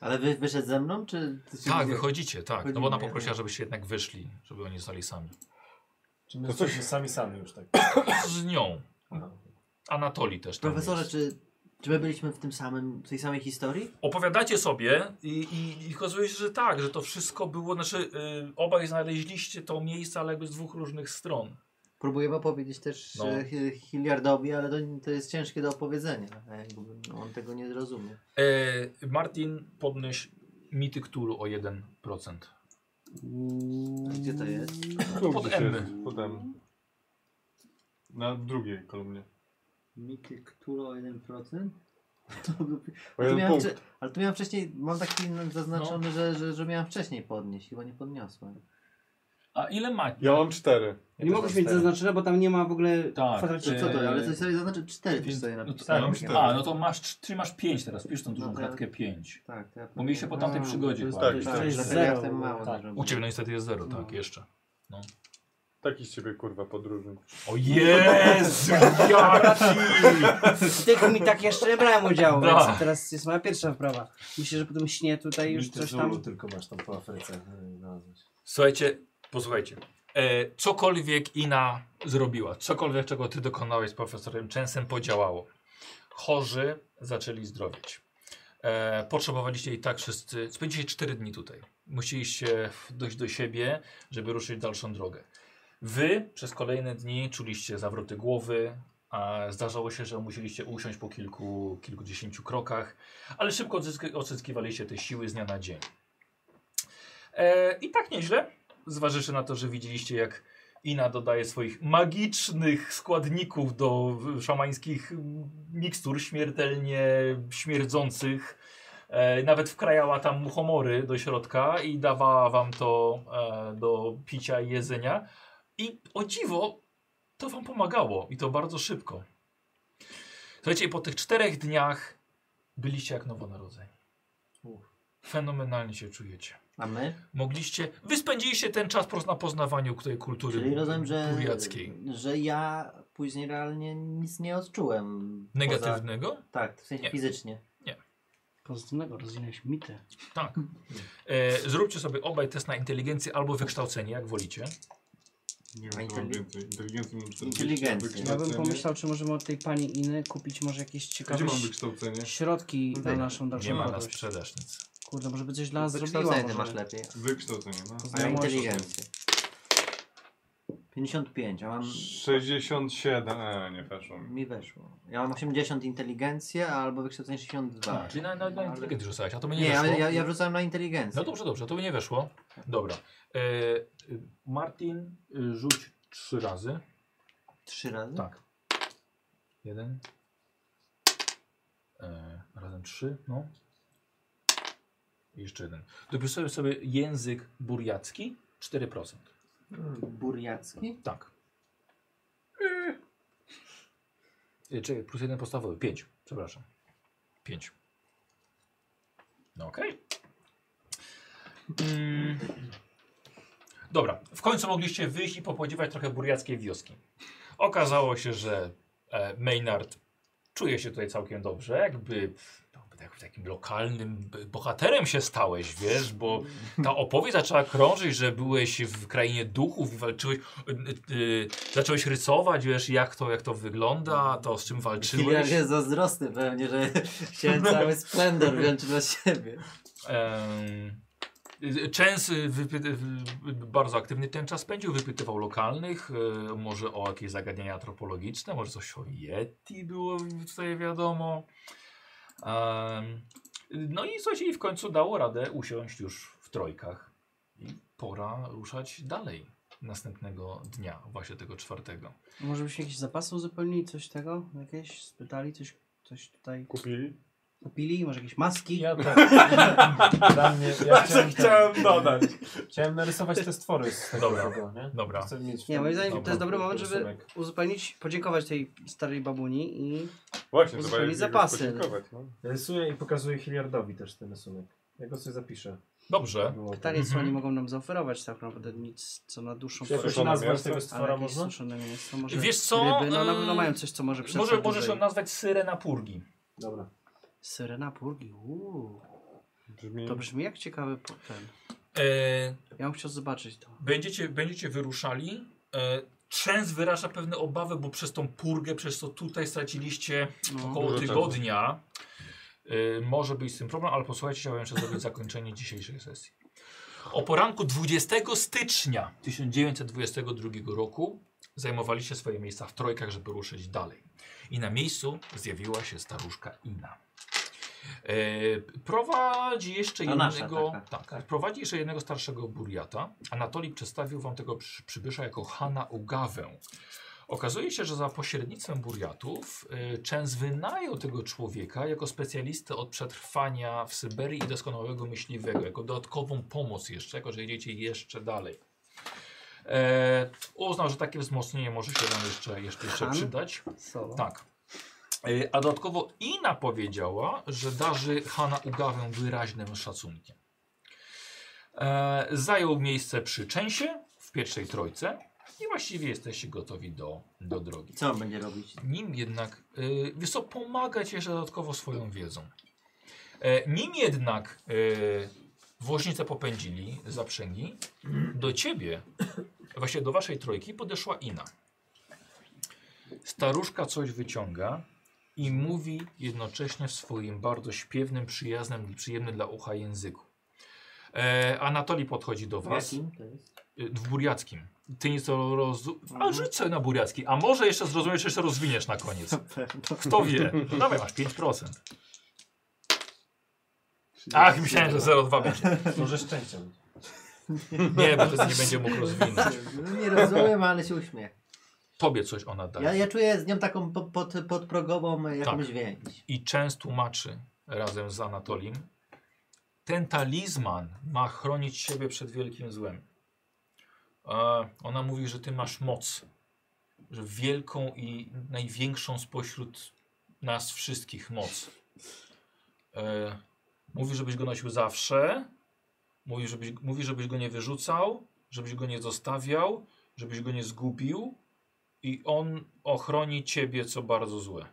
Speaker 5: Ale wy, wyszedł ze mną, czy... ty się
Speaker 1: Tak,
Speaker 5: nie-
Speaker 1: wychodzicie, tak. No bo
Speaker 5: Chodzimy,
Speaker 1: ona
Speaker 5: nie?
Speaker 1: poprosiła, żebyście jednak wyszli, żeby oni zostali sami.
Speaker 2: Czy my
Speaker 4: To coś-
Speaker 2: jesteśmy sami sami już tak.
Speaker 1: Z nią.
Speaker 2: Aha.
Speaker 1: Anatoli też tam
Speaker 5: Profesorze,
Speaker 1: jest.
Speaker 5: czy, czy my byliśmy w tym samym, w tej samej historii?
Speaker 1: Opowiadacie sobie i, i, i okazuje się, że tak, że to wszystko było, znaczy y, obaj znaleźliście to miejsce, ale jakby z dwóch różnych stron.
Speaker 5: Próbujemy opowiedzieć też
Speaker 1: No.
Speaker 5: e, Hi- Hilliardowi, ale to, to jest ciężkie do opowiedzenia. E, Jakby on tego nie zrozumie.
Speaker 1: E, Martin, podnieś mity Cthulhu o 1%.
Speaker 5: A gdzie to jest?
Speaker 4: Tu
Speaker 1: Pod
Speaker 4: gdzieś
Speaker 1: M.
Speaker 4: jest, Pod M. Na drugiej kolumnie.
Speaker 5: Mity Cthulhu o 1%? To był...
Speaker 4: O
Speaker 5: Ale tu
Speaker 4: jeden
Speaker 5: miałem
Speaker 4: punkt.
Speaker 5: wcze- Ale tu miałem wcześniej, mam taki no, zaznaczony, że, że, że miałem wcześniej podnieść, chyba nie podniosłem.
Speaker 1: A ile macie?
Speaker 4: Ja mam cztery.
Speaker 5: Ja
Speaker 6: nie
Speaker 5: też
Speaker 6: mogłeś
Speaker 5: mam
Speaker 6: mieć
Speaker 5: cztery.
Speaker 6: zaznaczone, bo tam nie ma w ogóle
Speaker 1: Tak,
Speaker 6: kwadraciku.
Speaker 5: To No co to, ale
Speaker 6: Eee,
Speaker 5: coś sobie zaznaczy cztery też sobie
Speaker 1: no to,
Speaker 5: napisałem.
Speaker 4: mam
Speaker 5: Ja-
Speaker 4: cztery.
Speaker 1: a, no to masz, cz- czyli masz 5 teraz, pisz tą dużą
Speaker 5: No to ja-
Speaker 1: kratkę 5.
Speaker 5: Tak, to ja
Speaker 1: Bo mieliście po tamtej
Speaker 6: A,
Speaker 1: przygodzie.
Speaker 6: to jest
Speaker 1: chyba.
Speaker 4: tak,
Speaker 5: Tak,
Speaker 4: to
Speaker 5: tak,
Speaker 4: jest
Speaker 5: dlatego ja
Speaker 6: zero.
Speaker 5: w tym mało
Speaker 6: Tak.
Speaker 5: zrobiłem.
Speaker 1: U Ciebie no niestety jest 0, tak,
Speaker 6: No.
Speaker 1: jeszcze.
Speaker 4: Taki z ciebie kurwa podróżnik.
Speaker 1: O Jezu, jaki!
Speaker 3: Tylko mi tak jeszcze nie brałem udziału,
Speaker 1: Da.
Speaker 3: więc teraz jest moja pierwsza wprawa. Myślę, że po tym śnie tutaj już
Speaker 2: Mity
Speaker 3: coś
Speaker 2: Zulu
Speaker 3: tam...
Speaker 2: tylko masz tam po Afryce y, nazwać.
Speaker 1: Słuchajcie, posłuchajcie. E, cokolwiek Ina zrobiła, cokolwiek czego ty dokonałeś z profesorem Częsem podziałało. Chorzy zaczęli zdrowieć. E, potrzebowaliście i tak wszyscy. Spędziliście 4 dni tutaj. Musieliście dojść do siebie, żeby ruszyć dalszą drogę. Wy przez kolejne dni czuliście zawroty głowy, a zdarzało się, że musieliście usiąść po kilku, kilkudziesięciu krokach, ale szybko odzysk- odzyskiwaliście te siły z dnia na dzień. E, I tak nieźle, zważywszy na to, że widzieliście jak Ina dodaje swoich magicznych składników do w- szamańskich mm, mikstur śmiertelnie śmierdzących. E, nawet wkrajała tam muchomory do środka i dawała wam to e, do picia i jedzenia. I o dziwo, to wam pomagało i to bardzo szybko. Słuchajcie, i po tych czterech dniach byliście jak nowonarodzeni. Fenomenalnie się czujecie.
Speaker 5: A my?
Speaker 1: Mogliście, wy spędziliście ten czas po- na poznawaniu tej kultury
Speaker 5: Czyli rozumiem, że,
Speaker 1: buriackiej.
Speaker 5: że ja później realnie nic nie odczułem.
Speaker 1: Negatywnego?
Speaker 5: Poza, tak, w sensie
Speaker 1: Nie.
Speaker 5: fizycznie.
Speaker 3: Pozytywnego, rozwinąłeś mitę.
Speaker 1: Tak. E, zróbcie sobie obaj test na inteligencję albo wykształcenie, jak wolicie.
Speaker 4: Nie
Speaker 5: A
Speaker 4: wiem, co mam
Speaker 5: inteli-
Speaker 4: więcej. Inteligencji mam 40,
Speaker 5: Inteligencja.
Speaker 3: Ja bym
Speaker 4: wykształcenie.
Speaker 3: pomyślał, czy możemy od tej pani Iny kupić może jakieś
Speaker 4: Gdzie
Speaker 3: ciekawe
Speaker 4: mam
Speaker 3: ś-
Speaker 4: wykształcenie?
Speaker 3: środki na
Speaker 5: Nie
Speaker 3: naszą
Speaker 1: Nie
Speaker 3: dalszą
Speaker 5: no,
Speaker 1: ma na
Speaker 3: podróż.
Speaker 1: sprzedaż nic.
Speaker 3: Kurde, może by coś dla nas zrobiła.
Speaker 5: Wykształcenie
Speaker 3: Może.
Speaker 5: tak masz lepiej.
Speaker 4: Wykształcenie, no.
Speaker 5: A ja
Speaker 3: Znajomości.
Speaker 5: inteligencję. 55, a mam...
Speaker 4: 67. E, nie weszło mi.
Speaker 5: Mi weszło. Ja mam 80 inteligencję, albo wykształcenie 62.
Speaker 1: Czyli na, na, na inteligencję rzucałeś, a to by nie,
Speaker 5: Tak. Nie,
Speaker 1: weszło.
Speaker 5: ale ja, ja wrzucałem na inteligencję.
Speaker 1: No dobrze, dobrze, to by nie weszło. Dobra. E, y, Martin, y, rzuć trzy razy.
Speaker 5: Trzy razy?
Speaker 1: Tak. Jeden. E, razem trzy, no. I jeszcze jeden. Dopisałem sobie język burjacki 4%.
Speaker 5: Burjacki?
Speaker 1: Tak. E, Czekaj, plus jeden podstawowy. 5, przepraszam. 5. No okej. Mm. Dobra, w końcu mogliście wyjść i popodziewać trochę burjackiej wioski. Okazało się, że e, Maynard czuje się tutaj całkiem dobrze, jakby no, tak- takim lokalnym b- bohaterem się stałeś, wiesz, bo ta opowieść zaczęła krążyć, że byłeś w krainie duchów i walczyłeś, y, y, zacząłeś rysować, wiesz, jak to, jak to wygląda, to z czym
Speaker 5: Kilian
Speaker 1: walczyłeś.
Speaker 5: jest zazdrosny pewnie, że
Speaker 1: No.
Speaker 5: chciałem cały splendor wziąć dla siebie.
Speaker 1: Em, y, Częs y, wypy- y, bardzo aktywny ten czas spędził, wypytywał lokalnych, y, może o jakieś zagadnienia antropologiczne, może coś o Yeti było tutaj wiadomo. Em, No i coś jej w końcu dało radę usiąść już w trojkach I pora ruszać dalej następnego dnia, właśnie tego czwartego.
Speaker 3: Może byśmy jakieś zapasy uzupełnili, coś tego? Jakieś? Spytali, coś, coś tutaj
Speaker 4: Kupili?
Speaker 3: kupili? Może jakieś maski?
Speaker 7: Ja tak. Dla mnie, ja chciałem,
Speaker 4: Chciałem dodać.
Speaker 7: chciałem narysować te stwory z tego,
Speaker 1: Dobra.
Speaker 7: tego, nie?
Speaker 1: Dobra.
Speaker 2: Chcę mieć
Speaker 3: Nie, moim zdaniem
Speaker 1: Dobra.
Speaker 3: to jest dobry moment, żeby
Speaker 2: rysunek.
Speaker 3: uzupełnić, podziękować tej starej babuni i
Speaker 4: Właśnie,
Speaker 3: Uzupełnić
Speaker 4: trzeba jej
Speaker 3: zapasy.
Speaker 4: podziękować. No.
Speaker 7: Rysuję i pokazuję Hilliardowi też ten rysunek. Ja go sobie zapiszę.
Speaker 1: Dobrze.
Speaker 7: Było
Speaker 3: pytanie jest, co
Speaker 1: Mhm.
Speaker 3: oni mogą nam zaoferować tak naprawdę, nic co na dłuższą
Speaker 7: Czy jakoś
Speaker 4: Suszone
Speaker 7: nazwać
Speaker 4: mięso?
Speaker 7: tego
Speaker 3: ale
Speaker 7: stwora
Speaker 3: jakieś
Speaker 7: można?
Speaker 3: suszone mięso, może
Speaker 1: Wiesz co,
Speaker 3: ryby, no na pewno
Speaker 1: em,
Speaker 3: mają coś, co może przetrwać
Speaker 1: Może, możesz ją
Speaker 3: dłużej.
Speaker 1: nazwać Syrena Purgi.
Speaker 7: Dobra.
Speaker 3: Syrena purgi, uuu.
Speaker 4: Brzmi...
Speaker 7: Mhm.
Speaker 3: To brzmi jak ciekawy po- ten.
Speaker 1: E,
Speaker 3: Ja bym chciał zobaczyć to.
Speaker 1: będziecie, będziecie wyruszali. E, Trzęs wyraża pewne obawy, bo przez tą purgę, przez to tutaj straciliście
Speaker 3: No.
Speaker 1: około
Speaker 4: Dużo
Speaker 1: tygodnia. Y, może być z tym problem, ale posłuchajcie, chciałbym jeszcze zrobić zakończenie dzisiejszej sesji. O poranku 20 stycznia 1922 roku zajmowaliście swoje miejsca w trojkach, żeby ruszyć dalej. I na miejscu zjawiła się staruszka Ina. Y, prowadzi jeszcze
Speaker 5: Ta nasza
Speaker 1: jednego.
Speaker 5: taka.
Speaker 1: tak, prowadzi jeszcze jednego starszego burjata. Anatolij przedstawił wam tego przy, przybysza jako Hana Ugawę. Okazuje się, że za pośrednictwem burjatów y, Częs wynajął tego człowieka jako specjalistę od przetrwania w Syberii i doskonałego myśliwego, jako dodatkową pomoc jeszcze, jako że idziecie jeszcze dalej. E, uznał, że takie wzmocnienie może się nam jeszcze, jeszcze, jeszcze
Speaker 3: Han?
Speaker 1: przydać.
Speaker 3: Solo.
Speaker 1: Tak. E, a dodatkowo Ina powiedziała, że darzy Hana Ugawę wyraźnym szacunkiem. E, zajął miejsce przy Częsie w pierwszej trójce i właściwie jesteście gotowi do, do drogi.
Speaker 5: Co on będzie robić?
Speaker 1: Nim jednak, y, wiesz co, pomagać jeszcze dodatkowo swoją wiedzą. E, nim jednak y, woźnicę popędzili zaprzęgi, do ciebie, właśnie do waszej trójki podeszła Ina. Staruszka coś wyciąga i mówi jednocześnie w swoim bardzo śpiewnym, przyjaznym, przyjemnym dla ucha języku. E, Anatoli podchodzi do was
Speaker 5: Jakim to jest?
Speaker 1: y, w buriackim. Ty nic to rozu... A
Speaker 5: Mhm.
Speaker 1: rzucę na buriacki, a może jeszcze zrozumiesz, jeszcze rozwiniesz na koniec. Kto wie? No dawaj, masz 5%. Ach, myślałem, że 0,2 będzie.
Speaker 7: Może szczęściem.
Speaker 1: Nie, bo to nie będzie mógł rozwinąć.
Speaker 5: No, nie rozumiem, ale się uśmiech.
Speaker 1: Tobie coś ona daje.
Speaker 5: Ja, ja czuję z nią taką po, pod, podprogową jakąś
Speaker 1: Tak.
Speaker 5: więź.
Speaker 1: I Częs tłumaczy razem z Anatolim. Ten talizman ma chronić siebie przed wielkim złem. E, ona mówi, że ty masz moc. Że wielką i największą spośród nas wszystkich moc. E, mówi, żebyś go nosił zawsze. Mówi żebyś, mówi, żebyś go nie wyrzucał, żebyś go nie zostawiał, żebyś go nie zgubił. I on ochroni ciebie, co bardzo złe.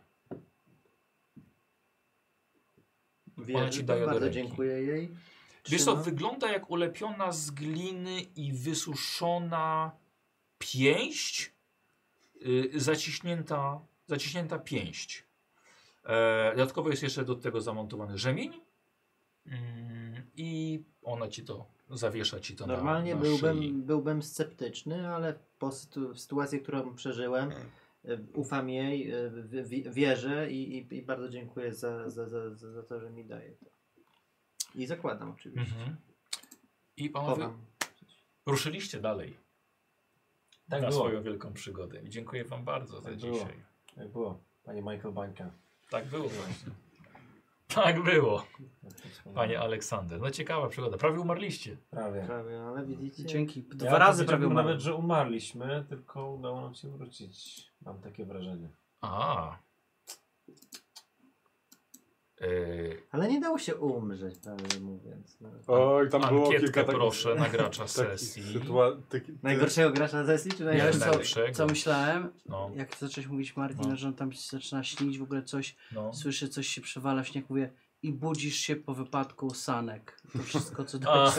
Speaker 5: Wierzę,
Speaker 1: ci daje do
Speaker 5: Bardzo
Speaker 1: ręki.
Speaker 5: dziękuję jej.
Speaker 1: Wiesz co,
Speaker 5: Trzymam.
Speaker 1: wygląda jak ulepiona z gliny i wysuszona pięść, y, zaciśnięta, zaciśnięta pięść. E, dodatkowo jest jeszcze do tego zamontowany rzemień Mm, i ona ci to, zawiesza ci to
Speaker 5: Normalnie
Speaker 1: na, na szyi.
Speaker 5: byłbym, byłbym sceptyczny, ale po sytu, w sytuacji, którą przeżyłem, y, ufam jej, y, w- w- wierzę i, i, i bardzo dziękuję za, za, za, za za to, że mi daje to. I zakładam oczywiście.
Speaker 1: Mhm. I panowie
Speaker 5: Chowam.
Speaker 1: ruszyliście dalej
Speaker 7: Tak
Speaker 1: na
Speaker 7: było.
Speaker 1: swoją wielką przygodę. I dziękuję wam bardzo za
Speaker 7: Tak było.
Speaker 1: dzisiaj.
Speaker 7: Jak było. Panie Michael Bańka.
Speaker 1: Tak było właśnie. Tak było, panie Aleksander. No ciekawa przygoda. Prawie umarliście.
Speaker 7: Prawie.
Speaker 5: Prawie, ale widzicie.
Speaker 3: Dzięki. Dwa
Speaker 7: Ja
Speaker 3: razy prawie
Speaker 7: powiedziałbym
Speaker 3: umarłem.
Speaker 7: nawet, że umarliśmy, tylko udało nam się wrócić. Mam takie wrażenie.
Speaker 1: A. Yy,
Speaker 5: Ale nie dało się umrzeć, prawdę mówiąc. No.
Speaker 4: Oj, tam było kilka
Speaker 1: ankietkę
Speaker 4: takich...
Speaker 1: proszę na gracza
Speaker 4: takich
Speaker 1: sesji.
Speaker 4: sytua- taki-
Speaker 5: Najgorszego gracza na sesji, czy
Speaker 1: Nie,
Speaker 5: najlepszego?
Speaker 1: najlepszego.
Speaker 3: Co myślałem,
Speaker 1: No,
Speaker 3: jak zacząłeś mówić Martina,
Speaker 1: No.
Speaker 3: że on tam się zaczyna śnić, w ogóle coś,
Speaker 1: no.
Speaker 3: słyszy coś się przewala w śnieg, mówię i budzisz się po wypadku sanek. To wszystko, co
Speaker 1: A.
Speaker 3: dałeś.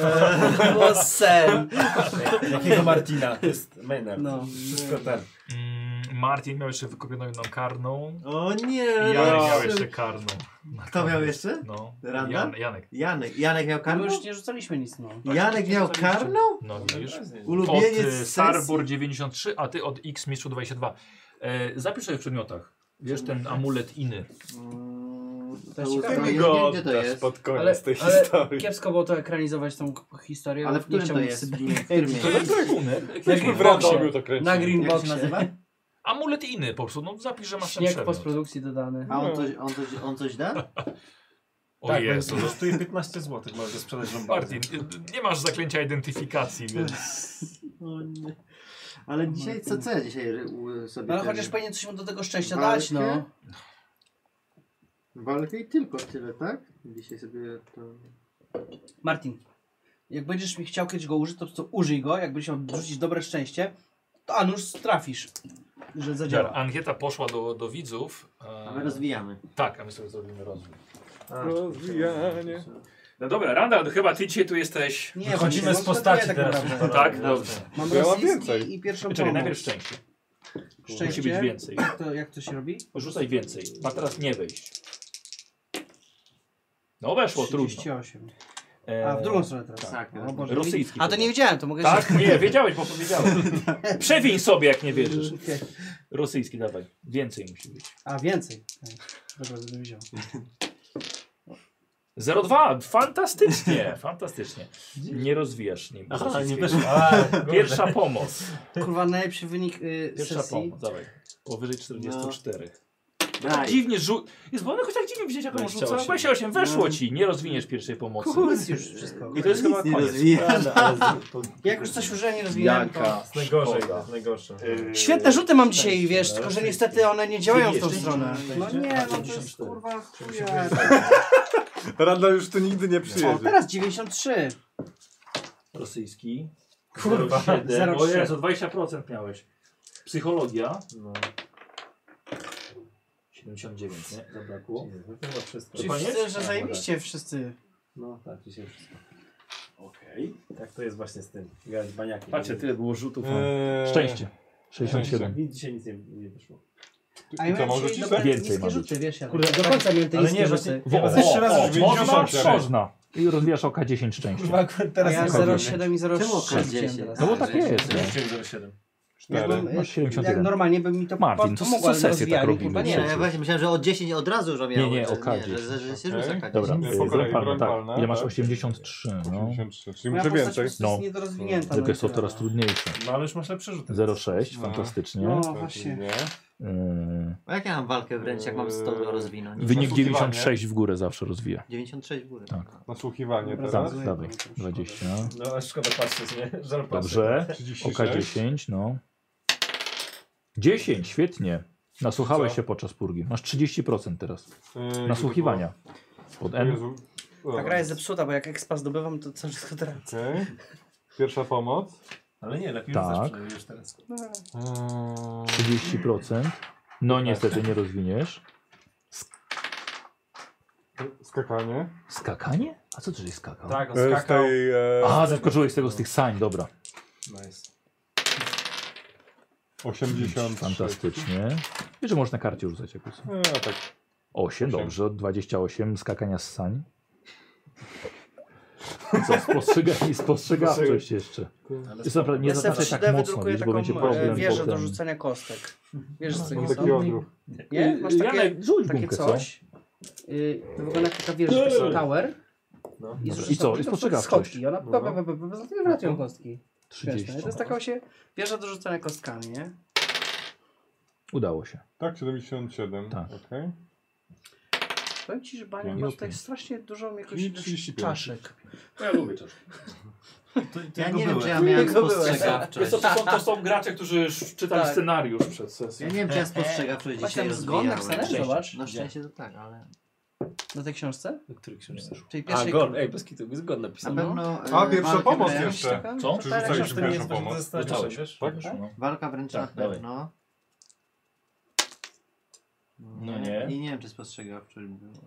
Speaker 3: To było sen.
Speaker 7: Jakiego Martina? To jest Maynard.
Speaker 3: No.
Speaker 7: Wszystko ten.
Speaker 1: Mm, Martin miał jeszcze wykupioną jedną karną.
Speaker 5: O nie!
Speaker 1: Janek miał
Speaker 5: Janek,
Speaker 1: jeszcze karną. Na
Speaker 5: Kto
Speaker 1: koniec.
Speaker 5: miał jeszcze?
Speaker 1: No.
Speaker 5: Randa?
Speaker 1: Jan, Janek.
Speaker 5: Janek, Janek miał
Speaker 3: No, my
Speaker 5: karną?
Speaker 3: już nie rzucaliśmy nic, no.
Speaker 5: Janek miał karną?
Speaker 1: No widzisz. Od
Speaker 5: Ulubieniec
Speaker 1: y,
Speaker 5: sesji.
Speaker 1: Sarbur 93, a ty od X Mistrzu 22. E, zapisz sobie w przedmiotach. Wiesz ten amulet inny.
Speaker 5: Mm,
Speaker 3: To jest
Speaker 5: to-
Speaker 3: ciekawe.
Speaker 5: to-
Speaker 4: Ty mi
Speaker 5: gdzie-
Speaker 4: go
Speaker 5: gdzie to
Speaker 4: oddasz
Speaker 5: jest?
Speaker 4: pod koniec
Speaker 3: Ale-
Speaker 4: tej
Speaker 3: ale-
Speaker 4: historii.
Speaker 3: Kiepsko było to ekranizować tą k- historię.
Speaker 5: Ale w
Speaker 3: nie
Speaker 5: którym to
Speaker 3: chciałbym
Speaker 5: jest?
Speaker 3: sobie-
Speaker 5: W którym
Speaker 1: To
Speaker 5: jest?
Speaker 1: jest ekwipunek.
Speaker 4: Myśmy w
Speaker 1: Ekwipunek.
Speaker 3: Greenboxie.
Speaker 4: Radomiu to kręcili.
Speaker 3: Na
Speaker 5: Jak się
Speaker 3: Greenboxie.
Speaker 5: nazywa?
Speaker 1: Amulet i inny po prostu, no zapisz, że masz ten
Speaker 3: Śnieg w
Speaker 1: przedmiot.
Speaker 3: postprodukcji dodany.
Speaker 5: A
Speaker 1: No.
Speaker 5: on coś, on coś, on coś da?
Speaker 1: O
Speaker 7: Tak,
Speaker 1: Jezu,
Speaker 7: Jezu. kosztuje 15 zł, możesz go sprzedać Lombardzie.
Speaker 1: Martin, y, nie masz zaklęcia identyfikacji, więc...
Speaker 5: No nie. Ale dzisiaj, co, co ja dzisiaj u, sobie...
Speaker 3: No ale
Speaker 5: ten-
Speaker 3: chociaż powinien coś mu do tego szczęścia
Speaker 5: Walkę?
Speaker 3: dać, no.
Speaker 5: Walkę i tylko tyle, tak? Dzisiaj sobie to...
Speaker 3: Martin, jak będziesz mi chciał kiedyś go użyć, to, to użyj go. Jak będziesz miał rzucić dobre szczęście, to Anusz trafisz, że zadziała.
Speaker 1: Ankieta poszła do, do widzów. e,
Speaker 5: A my rozwijamy.
Speaker 1: Tak, a my sobie zrobimy rozwój.
Speaker 4: Rozwijanie.
Speaker 1: No dobra, Randall, chyba ty dzisiaj tu jesteś...
Speaker 3: Nie,
Speaker 7: Wychodzimy
Speaker 3: właśnie,
Speaker 7: z
Speaker 3: no,
Speaker 7: postaci
Speaker 3: to ja
Speaker 7: teraz.
Speaker 3: naprawdę.
Speaker 1: Tak, dobrze.
Speaker 3: Mam
Speaker 4: Ja mam
Speaker 3: rosyjski
Speaker 4: więcej.
Speaker 3: i pierwszą
Speaker 1: Czekaj,
Speaker 3: pomoc.
Speaker 1: najpierw szczęście. Musi być
Speaker 3: szczęście.
Speaker 1: więcej.
Speaker 3: To, jak to się robi?
Speaker 1: Rzucaj więcej. Ma teraz nie wejść. No weszło, trudno.
Speaker 3: 38. A, w
Speaker 1: E,
Speaker 3: drugą stronę teraz.
Speaker 5: Tak,
Speaker 3: O Boże,
Speaker 1: Rosyjski.
Speaker 3: A to nie wiedziałem, to mogę
Speaker 1: Tak? Nie, wiedziałeś, bo powiedziałeś. Przewiń sobie, jak nie wierzysz.
Speaker 3: Okej.
Speaker 1: Rosyjski, dawaj. Więcej musi być.
Speaker 3: A, więcej. Tak. Dobra, będę wziął.
Speaker 1: 0,2. Fantastycznie, fantastycznie. Nie rozwijasz nim.
Speaker 7: Aha, nie
Speaker 1: rosyjskiego.
Speaker 7: weszło. A,
Speaker 1: Pierwsza pomoc.
Speaker 3: Kurwa, najlepszy wynik y,
Speaker 1: Pierwsza
Speaker 3: sesji.
Speaker 1: pomoc, dawaj. Powyżej 44.
Speaker 5: Daj.
Speaker 1: No. Tak. Dziwnie rzu... Jest, bo one chociaż tak dziwnie widzieć, jak on rzuca.
Speaker 7: 28.
Speaker 1: 28, weszło ci. Nie rozwiniesz pierwszej pomocy.
Speaker 3: Kurs już wszystko.
Speaker 1: I to jest
Speaker 5: Nic
Speaker 1: chyba
Speaker 5: nie
Speaker 1: koniec.
Speaker 5: rozwija.
Speaker 7: ale, ale z- to,
Speaker 3: Jak już coś użyłem, nie rozwijałem to...
Speaker 2: To jest najgorsze,
Speaker 7: Szkoda. Y,
Speaker 2: to jest najgorsze.
Speaker 3: Świetne rzuty mam dzisiaj,
Speaker 4: no,
Speaker 3: wiesz, tylko że niestety one nie działają w tą
Speaker 1: Szczęście.
Speaker 3: stronę. No nie, no to jest
Speaker 7: 54.
Speaker 3: kurwa chuja.
Speaker 4: Rada już tu nigdy nie
Speaker 3: O,
Speaker 4: przyjedzie.
Speaker 3: teraz 93.
Speaker 1: Rosyjski.
Speaker 3: Kurwa,
Speaker 1: 07.
Speaker 3: 0,3.
Speaker 1: O Jezu, 20% miałeś. Psychologia.
Speaker 2: No,
Speaker 1: 79, nie? Zabrakło.
Speaker 2: Jezu, to chyba wszystko.
Speaker 3: Czyli
Speaker 1: To koniec?
Speaker 3: wszyscy, że zajebiście wszyscy.
Speaker 7: no tak, dzisiaj wszystko.
Speaker 2: Okej. Tak to jest właśnie z tym. Grać baniaki.
Speaker 1: Patrzcie, tyle było rzutów.
Speaker 4: Eee,
Speaker 1: Szczęście.
Speaker 4: 67.
Speaker 2: Nic dzisiaj nic nie, nie wyszło.
Speaker 3: A ja
Speaker 4: I co,
Speaker 3: miałem
Speaker 4: mam
Speaker 3: dzisiaj
Speaker 4: rzucić?
Speaker 3: dobre
Speaker 1: Więcej
Speaker 3: niskie
Speaker 1: mam
Speaker 3: rzuty, wiesz, ja
Speaker 7: Kurde,
Speaker 3: do końca miałem te
Speaker 7: ale
Speaker 3: niskie
Speaker 7: nie,
Speaker 3: rzuty.
Speaker 1: Wo-
Speaker 4: Teraz jeszcze
Speaker 1: o,
Speaker 4: raz
Speaker 1: o,
Speaker 4: już
Speaker 1: Można,
Speaker 4: 94.
Speaker 1: można. I rozwijasz oka 10 szczęścia.
Speaker 3: A ja 0,7 i
Speaker 5: Czemu
Speaker 3: 0,6
Speaker 5: okadziecie?
Speaker 3: wziąłem teraz.
Speaker 1: No bo tak jest. nie?
Speaker 2: 07.
Speaker 3: Ja
Speaker 4: Cztery.
Speaker 3: bym, y,
Speaker 1: Masz 71.
Speaker 3: jak normalnie by mi to
Speaker 1: Martin,
Speaker 3: po-
Speaker 1: to
Speaker 3: pomogło,
Speaker 1: co
Speaker 3: ale
Speaker 1: sesję
Speaker 3: rozwijali,
Speaker 1: tak robimy?
Speaker 3: kurwa,
Speaker 5: Nie,
Speaker 3: Nie,
Speaker 5: ja No właśnie myślałem, że od 10 od razu już miałem.
Speaker 1: Nie, nie, o K10.
Speaker 5: że, że, że się
Speaker 4: Okej.
Speaker 5: rzuca
Speaker 1: Dobra,
Speaker 4: Nie,
Speaker 1: y,
Speaker 4: po
Speaker 1: broń
Speaker 4: kolei broń
Speaker 1: palna.
Speaker 4: palna.
Speaker 1: Ile masz?
Speaker 4: Tak.
Speaker 1: 83. No.
Speaker 4: 83, czyli
Speaker 3: Moja postać
Speaker 4: muszę
Speaker 3: po
Speaker 4: więcej.
Speaker 3: prostu jest
Speaker 1: No.
Speaker 3: niedorozwinięta.
Speaker 1: Tylko
Speaker 3: no i
Speaker 1: jest to
Speaker 3: tyle.
Speaker 1: coraz trudniejsze.
Speaker 7: No ale już masz lepsze rzuty.
Speaker 1: 0,6,
Speaker 4: No.
Speaker 1: fantastycznie.
Speaker 3: No
Speaker 4: Tak,
Speaker 3: właśnie.
Speaker 4: nie.
Speaker 1: Yy,
Speaker 5: A jak ja mam walkę wręcz, jak mam 100 do rozwinąć?
Speaker 1: Wynik
Speaker 4: Posłuchiwanie.
Speaker 1: 96 w górę zawsze rozwija.
Speaker 5: 96 w górę.
Speaker 1: Tak.
Speaker 4: Nasłuchiwanie
Speaker 3: Dobra,
Speaker 4: teraz.
Speaker 1: Tak,
Speaker 3: Rozumiem,
Speaker 1: dawaj.
Speaker 3: to już
Speaker 1: 20.
Speaker 2: No aż szkoda patrzeć, nie? Żal patrzeć.
Speaker 1: Dobrze.
Speaker 4: 36.
Speaker 1: Oka 10, no. 10, świetnie. Nasłuchałeś
Speaker 4: Co?
Speaker 1: się podczas purgi. Masz 30% teraz.
Speaker 4: Yy, gdzie to
Speaker 1: Nasłuchiwania. Pod
Speaker 4: było?
Speaker 1: N.
Speaker 4: Jezu. O,
Speaker 3: Ta gra jest zepsuta, bo jak expa zdobywam, to co wszystko teraz.
Speaker 4: okej. Pierwsza pomoc.
Speaker 7: Ale nie, lepiej
Speaker 1: Tak.
Speaker 7: rzucasz przynajmniej już teraz.
Speaker 2: No
Speaker 4: Eee,
Speaker 1: 30%. No niestety nie rozwiniesz.
Speaker 4: skakanie.
Speaker 1: Skakanie? A co to żeś skakał?
Speaker 7: Tak, on
Speaker 4: E, Z
Speaker 7: skakał.
Speaker 4: tej, e,
Speaker 1: A, zaskoczyłeś z tego, z tych sań, dobra.
Speaker 2: Nice.
Speaker 4: 83.
Speaker 1: Fantastycznie. Wiesz, że można karcie rzucać jakoś.
Speaker 4: E, tak.
Speaker 1: 8,
Speaker 4: Osiem.
Speaker 1: dobrze, 28 skakania z sań. Co, spostrzega, i spostrzegawczość jeszcze.
Speaker 2: Ale
Speaker 1: Jest naprawdę, nie
Speaker 3: ja sobie w
Speaker 1: zaznaczaj
Speaker 3: 3D
Speaker 1: tak mocno,
Speaker 3: wydrukuję
Speaker 1: wiesz, bo
Speaker 3: taką
Speaker 1: będzie
Speaker 3: e,
Speaker 1: problem
Speaker 3: wieżę do
Speaker 1: potem.
Speaker 3: rzucania kostek. Wiesz co
Speaker 4: Mam
Speaker 3: nie
Speaker 4: taki
Speaker 3: są?
Speaker 4: odruch.
Speaker 3: Nie? Masz takie,
Speaker 1: Y, Janek, rzuć
Speaker 3: takie
Speaker 1: gumkę, co?
Speaker 3: coś? Y, to wygląda jak taka wieża, taki tower.
Speaker 2: No.
Speaker 1: Dobra,
Speaker 3: zrzucasz
Speaker 1: i co?
Speaker 3: tam
Speaker 1: I
Speaker 3: tylko
Speaker 1: spostrzegawczość.
Speaker 3: Schodki. i Ona
Speaker 4: No.
Speaker 3: pa, pa, pa, pa, pa, pa, wracają kostki. Wiesz,
Speaker 1: 30.
Speaker 3: no, i to jest taka się wieża do rzucania kostkami, nie?
Speaker 1: Udało się.
Speaker 4: Tak, 77.
Speaker 1: Tak.
Speaker 4: Okej.
Speaker 3: Powiem ci, że Bania
Speaker 1: Pięć.
Speaker 3: ma tutaj strasznie dużo jakoś
Speaker 4: I 35.
Speaker 3: czaszek.
Speaker 1: ja lubię też.
Speaker 5: Ja nie wiem, czy ja
Speaker 3: byłem.
Speaker 5: miałem
Speaker 3: Tylko byłem.
Speaker 5: spostrzegawczość.
Speaker 1: To, są, to są gracze, którzy sz- czytali
Speaker 3: Tak.
Speaker 1: scenariusz przed sesją.
Speaker 5: Ja nie wiem, czy ja spostrzegawczość
Speaker 3: Masz
Speaker 5: dzisiaj
Speaker 3: tam zgon
Speaker 5: rozwijałem.
Speaker 3: napisane? Zobacz.
Speaker 5: No szczęście to tak, ale...
Speaker 3: Na tej książce?
Speaker 2: Do której książki?
Speaker 3: Czyli
Speaker 2: A,
Speaker 3: pierwszej...
Speaker 2: Gon, ej, tak. bez kitu, jest Gon
Speaker 5: Na
Speaker 2: napisany.
Speaker 5: pewno... e,
Speaker 4: A, pierwsza
Speaker 5: walkę
Speaker 4: pomoc
Speaker 5: wręcz-
Speaker 4: jeszcze.
Speaker 3: Tak,
Speaker 1: Co?
Speaker 4: Czy rzucaliśmy pierwszą pomoc?
Speaker 1: Rzucałeś,
Speaker 2: wiesz?
Speaker 4: Tak?
Speaker 1: Weszło, no.
Speaker 5: Walka wręcz
Speaker 1: Tak,
Speaker 5: na
Speaker 1: dawaj.
Speaker 5: pewno.
Speaker 1: No nie.
Speaker 5: I nie wiem, czy spostrzegawczość była.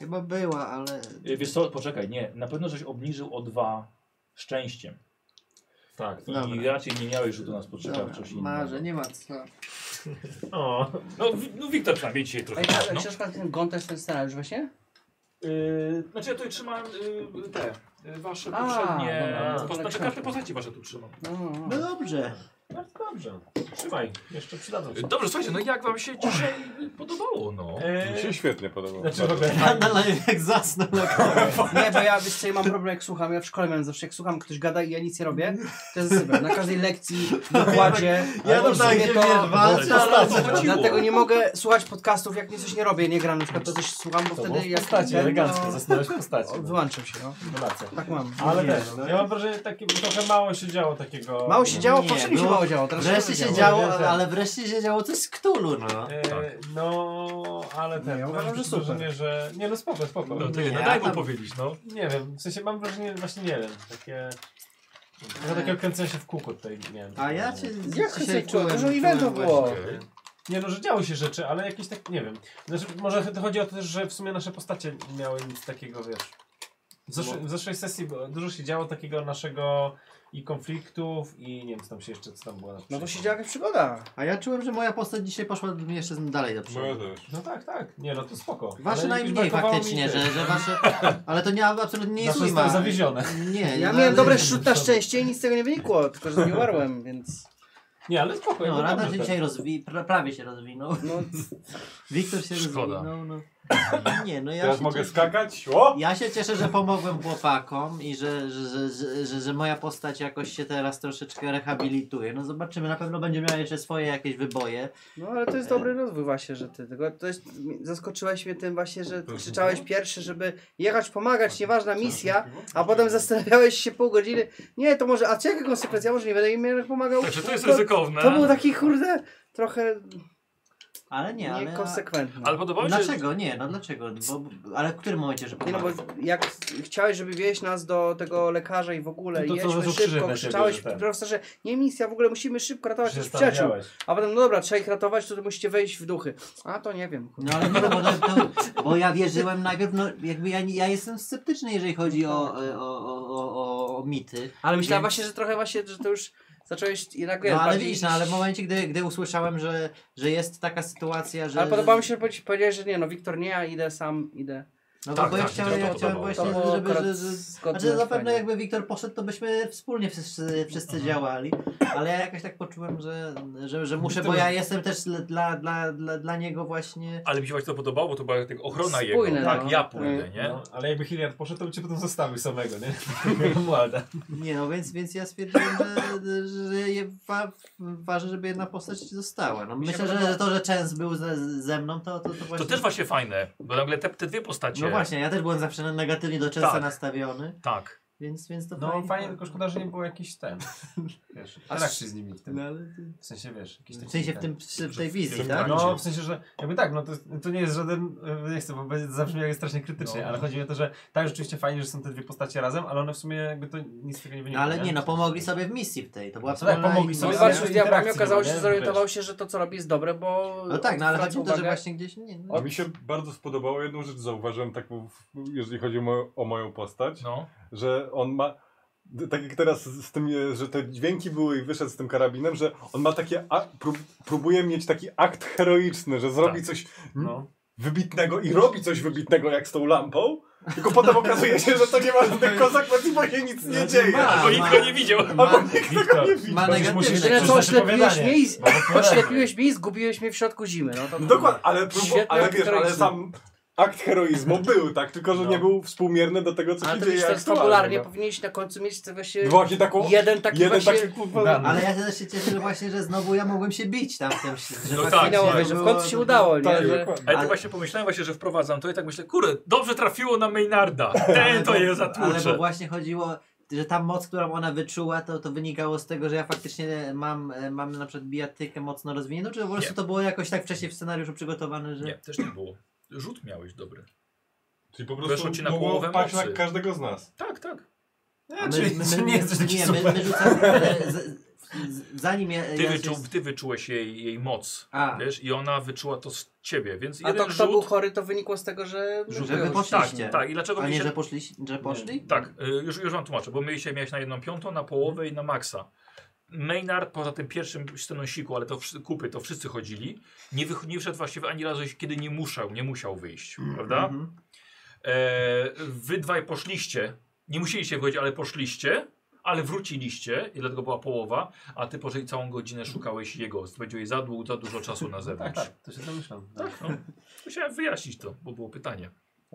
Speaker 5: Chyba była, ale...
Speaker 1: Y, Wiesz co, poczekaj, nie. Na pewno żeś obniżył o dwa szczęściem.
Speaker 2: Tak.
Speaker 1: I
Speaker 5: Dobra.
Speaker 1: raczej nie miałeś rzutu na
Speaker 5: Dobra,
Speaker 1: spostrzegawczość. innego.
Speaker 5: marzę, nie ma co.
Speaker 2: O,
Speaker 1: No, wi- no Wiktor przynajmniej dzisiaj trochę.
Speaker 3: Ej, ta
Speaker 1: no.
Speaker 3: książka, ten gon to jest ten scenariusz właśnie?
Speaker 1: Yy, znaczy ja tutaj trzymam yy, te yy, wasze
Speaker 3: A,
Speaker 1: poprzednie.
Speaker 3: dobra,
Speaker 1: po,
Speaker 3: dobra,
Speaker 1: znaczy
Speaker 3: książki.
Speaker 1: każde postaci wasze tu trzymam.
Speaker 3: No, no,
Speaker 5: No
Speaker 3: no.
Speaker 5: dobrze.
Speaker 1: No,
Speaker 2: Bardzo dobrze. Trzymaj, jeszcze przydadzą się.
Speaker 1: Dobrze, słuchajcie, no jak wam się dzisiaj podobało, no?
Speaker 3: E,
Speaker 4: Mi się świetnie podobało.
Speaker 2: E, Znaczy w ogóle.
Speaker 7: Tak,
Speaker 5: Nadal Tak, jak zasnął na koniec.
Speaker 3: Nie, bo ja wiesz co, ja mam problem jak słucham, ja w szkole miałem zawsze jak słucham, ktoś gada i ja nic nie robię, to jest zyber. Na każdej lekcji, wykładzie,
Speaker 5: Ja
Speaker 3: to
Speaker 5: to tak,
Speaker 3: sobie
Speaker 5: nie
Speaker 3: to-
Speaker 5: wiesz, walczę, ale...
Speaker 3: Dlatego nie mogę słuchać podcastów, jak nie coś nie robię, nie gram, na przykład to coś słucham, bo wtedy jak
Speaker 2: postaci,
Speaker 3: ten, no,
Speaker 2: elegancko,
Speaker 3: to-
Speaker 2: zasnąłeś w postaci.
Speaker 3: o, Wyłączam się, no.
Speaker 2: Relacja.
Speaker 3: Tak mam.
Speaker 2: Ale też, no, ja mam wrażenie, że takie, trochę mało się działo takiego...
Speaker 3: Mało się działo,
Speaker 5: Nie,
Speaker 3: poprzednio się
Speaker 5: no,
Speaker 3: mało działo, teraz
Speaker 5: Wreszcie się działo, ale wreszcie się działo coś z Ktulu, no.
Speaker 2: E,
Speaker 1: Tak.
Speaker 2: No, ale ten,
Speaker 3: ja
Speaker 2: mam
Speaker 3: uważam, że
Speaker 2: takie
Speaker 3: super.
Speaker 2: wrażenie, że... Nie no, spoko, spoko.
Speaker 1: No to
Speaker 5: Nie,
Speaker 1: nie, no daj mu
Speaker 5: tam-
Speaker 1: powiedzieć, no.
Speaker 2: Nie wiem, w sensie mam wrażenie, właśnie nie wiem, takie... Trochę takiego kręcenia się w kółko tutaj miałem.
Speaker 5: A ja cię
Speaker 3: Jak
Speaker 5: dzisiaj
Speaker 3: się
Speaker 5: czułem-
Speaker 3: Dużo
Speaker 5: czułem
Speaker 3: eventów
Speaker 5: właśnie.
Speaker 3: było.
Speaker 1: Okej.
Speaker 2: Nie no, że działy się rzeczy, ale jakieś tak, nie wiem. Znaczy, może to chodzi o to też, że w sumie nasze postacie nie miały nic takiego, wiesz. W, zesz
Speaker 5: No.
Speaker 2: w zeszłej sesji było- dużo się działo takiego naszego i konfliktów i nie wiem, co tam się jeszcze, co tam było. na
Speaker 3: No to się
Speaker 2: przykład.
Speaker 3: działa jakaś przygoda.
Speaker 5: A ja czułem, że moja postać dzisiaj poszła jeszcze dalej do
Speaker 4: Moja
Speaker 5: przodu.
Speaker 4: też.
Speaker 2: No tak, tak. Nie no, to spoko.
Speaker 5: Wasze
Speaker 2: Ale
Speaker 5: najmniej
Speaker 2: brakowało mi
Speaker 5: faktycznie,
Speaker 2: tych.
Speaker 5: że, że wasze... Ale to nie, absolutnie nie
Speaker 2: Nasze
Speaker 5: jest ujma.
Speaker 2: zostały zawiezione.
Speaker 5: Nie,
Speaker 3: Ja
Speaker 5: no,
Speaker 3: miałem
Speaker 5: ale-
Speaker 3: dobre szut na szczęście i nic z tego nie wynikło, tylko że nie umarłem, więc...
Speaker 2: Nie, ale spoko.
Speaker 5: No,
Speaker 2: jakby
Speaker 5: Radar
Speaker 2: dobrze
Speaker 5: się dzisiaj rozwi... pra- prawie się rozwinął.
Speaker 3: No,
Speaker 5: Wiktor się
Speaker 1: Szkoda.
Speaker 5: rozwinął, no. Nie, no ja
Speaker 4: Teraz
Speaker 5: się
Speaker 4: mogę
Speaker 5: cieszę.
Speaker 4: skakać. O!
Speaker 5: Ja się cieszę, że pomogłem chłopakom i że, że, że, że, że, że moja postać jakoś się teraz troszeczkę rehabilituje. No zobaczymy, na pewno będzie miała jeszcze swoje jakieś wyboje.
Speaker 3: no ale to jest dobry rozwój właśnie, że ty tylko to jest, zaskoczyłeś mnie tym właśnie, że krzyczałeś pierwszy, żeby jechać pomagać, nieważna misja, a potem zastanawiałeś się pół godziny, nie, to może, a co jaka konsekwencja, może nie będę im jednak pomagał.
Speaker 1: Także Znaczy, to jest
Speaker 3: To, tak-
Speaker 1: ryzykowne.
Speaker 3: to był taki kurde, trochę
Speaker 5: Ale nie, ale...
Speaker 3: niekonsekwentny.
Speaker 1: Ale podobało mi się...
Speaker 5: Dlaczego? Nie, no dlaczego? Bo, ale w którym momencie, że
Speaker 3: Nie no, bo
Speaker 5: pomagam?
Speaker 3: jak chciałeś, żeby wieźć nas do tego lekarza i w ogóle,
Speaker 2: No to co,
Speaker 3: jedźmy
Speaker 2: że to krzyżyk
Speaker 3: szybko,
Speaker 2: na
Speaker 3: krzyczałeś
Speaker 2: ciebie, że ten.
Speaker 3: profesorze, nie misja, w ogóle musimy szybko ratować
Speaker 2: Się
Speaker 3: naszych przyjaciół.
Speaker 2: stawiałeś.
Speaker 3: A potem, no dobra, trzeba ich ratować, to musicie wejść w duchy. A to nie wiem.
Speaker 5: No ale nie, no, bo, to, to, bo ja wierzyłem najpierw, no jakby ja, nie- ja jestem sceptyczny, jeżeli chodzi o, o, o, o, o, o mity.
Speaker 3: Ale myślałem
Speaker 5: Więc-
Speaker 3: właśnie, że trochę właśnie, że to już zacząłeś jednak,
Speaker 5: No ale
Speaker 3: bardziej
Speaker 5: widzisz, no ale w
Speaker 3: iść-
Speaker 5: momencie, gdy, gdy usłyszałem, że, że jest taka sytuacja, że...
Speaker 3: Ale podobało mi się, że powiedz- powiedziałeś, że nie, no Wiktor nie, ja idę sam, idę.
Speaker 5: No
Speaker 1: Tak,
Speaker 5: bo ja
Speaker 1: tak, mi
Speaker 5: chciałem,
Speaker 1: się
Speaker 5: ja
Speaker 1: to
Speaker 5: chciałem
Speaker 1: podobało,
Speaker 5: właśnie,
Speaker 3: tak.
Speaker 5: żeby... Że, że,
Speaker 3: Zgodnie
Speaker 5: znaczy zapewne
Speaker 3: fajnie.
Speaker 5: jakby Wiktor poszedł, to byśmy wspólnie wszyscy, wszyscy działali, ale ja jakoś tak poczułem, że, że, że muszę, bo ja jestem też dla, dla, dla, dla niego właśnie...
Speaker 1: Ale mi się właśnie to podobało, bo to była tak ochrona
Speaker 3: Spójne,
Speaker 1: jego. Tak,
Speaker 3: no.
Speaker 1: ja pójdę, nie?
Speaker 2: No, ale jakby Hilliard poszedł, to by cię potem zostawił samego, nie? Jako Młada.
Speaker 5: Nie no, więc, więc ja stwierdziłem, że, że je wa ważne, żeby jedna postać została. No,
Speaker 3: Mi się
Speaker 5: myślę, że,
Speaker 3: podoba-
Speaker 5: że to, że Chance był ze, ze mną, to, to, to właśnie...
Speaker 1: To też właśnie fajne, bo nagle te, te dwie postacie...
Speaker 5: No właśnie, ja też byłem zawsze negatywnie do Chance'a
Speaker 1: Tak.
Speaker 5: nastawiony,
Speaker 1: Tak.
Speaker 5: więc, więc to
Speaker 2: No
Speaker 5: fajnie.
Speaker 2: fajnie, tylko szkoda, że nie było jakiś ten. Wiesz, interakcji z nimi w tym.
Speaker 5: No, ale ty-
Speaker 2: W sensie wiesz, jakiś taki.
Speaker 5: W sensie w,
Speaker 2: ten-
Speaker 5: tym, w tej wizji,
Speaker 1: tym
Speaker 5: tak?
Speaker 2: No,
Speaker 1: Trakcie.
Speaker 2: w sensie, że jakby tak, no to, jest- to nie jest żaden, e, nie chcę, bo będzie zabrzmiał jak strasznie krytycznie,
Speaker 1: No.
Speaker 2: ale chodzi mi o to, że tak, rzeczywiście fajnie, że są te dwie postacie razem, ale one w sumie jakby to nic z tego nie
Speaker 5: No,
Speaker 2: wynika.
Speaker 5: ale nie no, pomogli sobie w misji w tej, to była
Speaker 2: No tak,
Speaker 5: wspólna
Speaker 2: pomogli
Speaker 5: im-
Speaker 2: sobie.
Speaker 3: No i
Speaker 2: ja
Speaker 3: walczył z
Speaker 2: miałem
Speaker 3: diabłami,
Speaker 2: interakcję,
Speaker 3: okazało
Speaker 2: no
Speaker 3: się,
Speaker 2: nie?
Speaker 3: że zorientował się, że to co robi jest dobre, bo...
Speaker 5: No tak, no ale
Speaker 3: zwraca
Speaker 5: chodzi o to, że
Speaker 3: uwagę.
Speaker 5: właśnie gdzieś nie... no, nie.
Speaker 4: A mi się bardzo spodobało jedną rzecz, zauważyłem taką, w- jeżeli chodzi o moją, o moją postać,
Speaker 1: No.
Speaker 4: że on ma, d- tak jak teraz z z tym, e, że te dźwięki były i wyszedł z tym karabinem, że on ma takie, a, prób, próbuje mieć taki akt heroiczny, że zrobi
Speaker 1: Tak.
Speaker 4: coś m,
Speaker 2: No.
Speaker 4: wybitnego i robi coś wybitnego jak z tą lampą, tylko potem okazuje się, że to nie ma żadnych konsekwencji, bo się nic No, nie dzieje.
Speaker 5: ma.
Speaker 1: Bo nikt go nie widział.
Speaker 5: Ma,
Speaker 2: Wiktor,
Speaker 5: ma
Speaker 2: musisz-
Speaker 5: negatywne...
Speaker 3: Tyle co
Speaker 2: Przecież
Speaker 3: oślepiłeś
Speaker 2: opowiadanie.
Speaker 3: mnie
Speaker 5: No,
Speaker 3: i...
Speaker 2: Bo opowiadanie.
Speaker 3: Oślepiłeś mnie i zgubiłeś mnie w środku zimy, no to...
Speaker 4: No Dokładnie, ale, próbu,
Speaker 3: Świetny
Speaker 4: ale
Speaker 3: akt
Speaker 4: wiesz, ale
Speaker 3: heroizmu.
Speaker 4: sam akt heroizmu był, tak? Tylko, że
Speaker 2: No.
Speaker 4: nie był współmierny do tego, co
Speaker 3: Ale
Speaker 4: się
Speaker 3: to
Speaker 4: dzieje
Speaker 3: wiesz, to jest
Speaker 4: aktualnie,
Speaker 3: fabularnie,
Speaker 4: no.
Speaker 3: powinieneś na końcu mieć to właśnie...
Speaker 4: Właśnie taką,
Speaker 3: Jeden taki
Speaker 4: jeden
Speaker 3: właśnie...
Speaker 4: taki kurwa...
Speaker 2: Dan.
Speaker 5: No, Ale ja też się cieszę że właśnie, że znowu ja mogłem się bić tam w tym... Że
Speaker 1: No tak,
Speaker 5: faktycznie
Speaker 3: Finałowy, że w końcu się udało, nie?
Speaker 4: Tak,
Speaker 3: Że...
Speaker 4: dokładnie.
Speaker 1: Ale to
Speaker 5: Ale-
Speaker 1: właśnie pomyślałem właśnie, że wprowadzam to i tak myślę, kurde, dobrze trafiło na Maynarda. Ten to
Speaker 5: bo-
Speaker 1: je
Speaker 5: Ale bo
Speaker 1: zatłucze.
Speaker 5: właśnie chodziło, że ta moc, którą ona wyczuła, to, to wynikało z tego, że ja faktycznie mam, e, mam na przykład bijatykę mocno rozwiniętą, czy po prostu
Speaker 1: Nie.
Speaker 5: to było jakoś tak wcześniej w scenariuszu przygotowane, że...
Speaker 1: Nie, też nie było. Rzut miałeś dobry.
Speaker 4: Czyli po
Speaker 1: Weszło ci na
Speaker 4: prostu mogło
Speaker 1: połowę
Speaker 4: paść na
Speaker 1: mocy.
Speaker 4: każdego z nas.
Speaker 1: Tak, tak.
Speaker 5: A
Speaker 2: Znaczy, to nie jest taki
Speaker 5: nie, my,
Speaker 2: super.
Speaker 5: my rzucamy, ale z, z, zanim ja,
Speaker 1: Ty,
Speaker 5: ja się-
Speaker 1: wyczu, ty wyczułeś jej, jej moc.
Speaker 5: A,
Speaker 1: Wiesz, i ona wyczuła to z ciebie, więc
Speaker 3: A
Speaker 1: jeden
Speaker 3: to kto był
Speaker 1: rzut.
Speaker 3: chory, to wynikło z tego, że...
Speaker 1: rzut
Speaker 5: Żeby
Speaker 1: był-
Speaker 5: poszliście.
Speaker 1: Tak, tak. I dlaczego
Speaker 5: a
Speaker 1: mi
Speaker 5: nie,
Speaker 1: się
Speaker 5: że poszli? Że poszli?
Speaker 1: Tak, y, już, już wam tłumaczę, bo my się miałeś na jedną piątą, na połowę i na maksa. Maynard poza tym pierwszym stenosiku, ale to wszyscy, kupy, to wszyscy chodzili, nie, wych, nie wszedł właściwie ani razu, kiedy nie musiał, nie musiał wyjść, prawda?
Speaker 5: Mhm.
Speaker 1: E, wy dwaj poszliście, nie musieliście wychodzić, ale poszliście ale wróciliście i dlatego była połowa, a ty po całą godzinę szukałeś jego. Spędziłeś za, dłu- za dużo czasu na
Speaker 7: Tak,
Speaker 1: zewnątrz.
Speaker 7: tak, to się domyślam.
Speaker 1: Tak, no. Musiałem wyjaśnić to, bo było pytanie.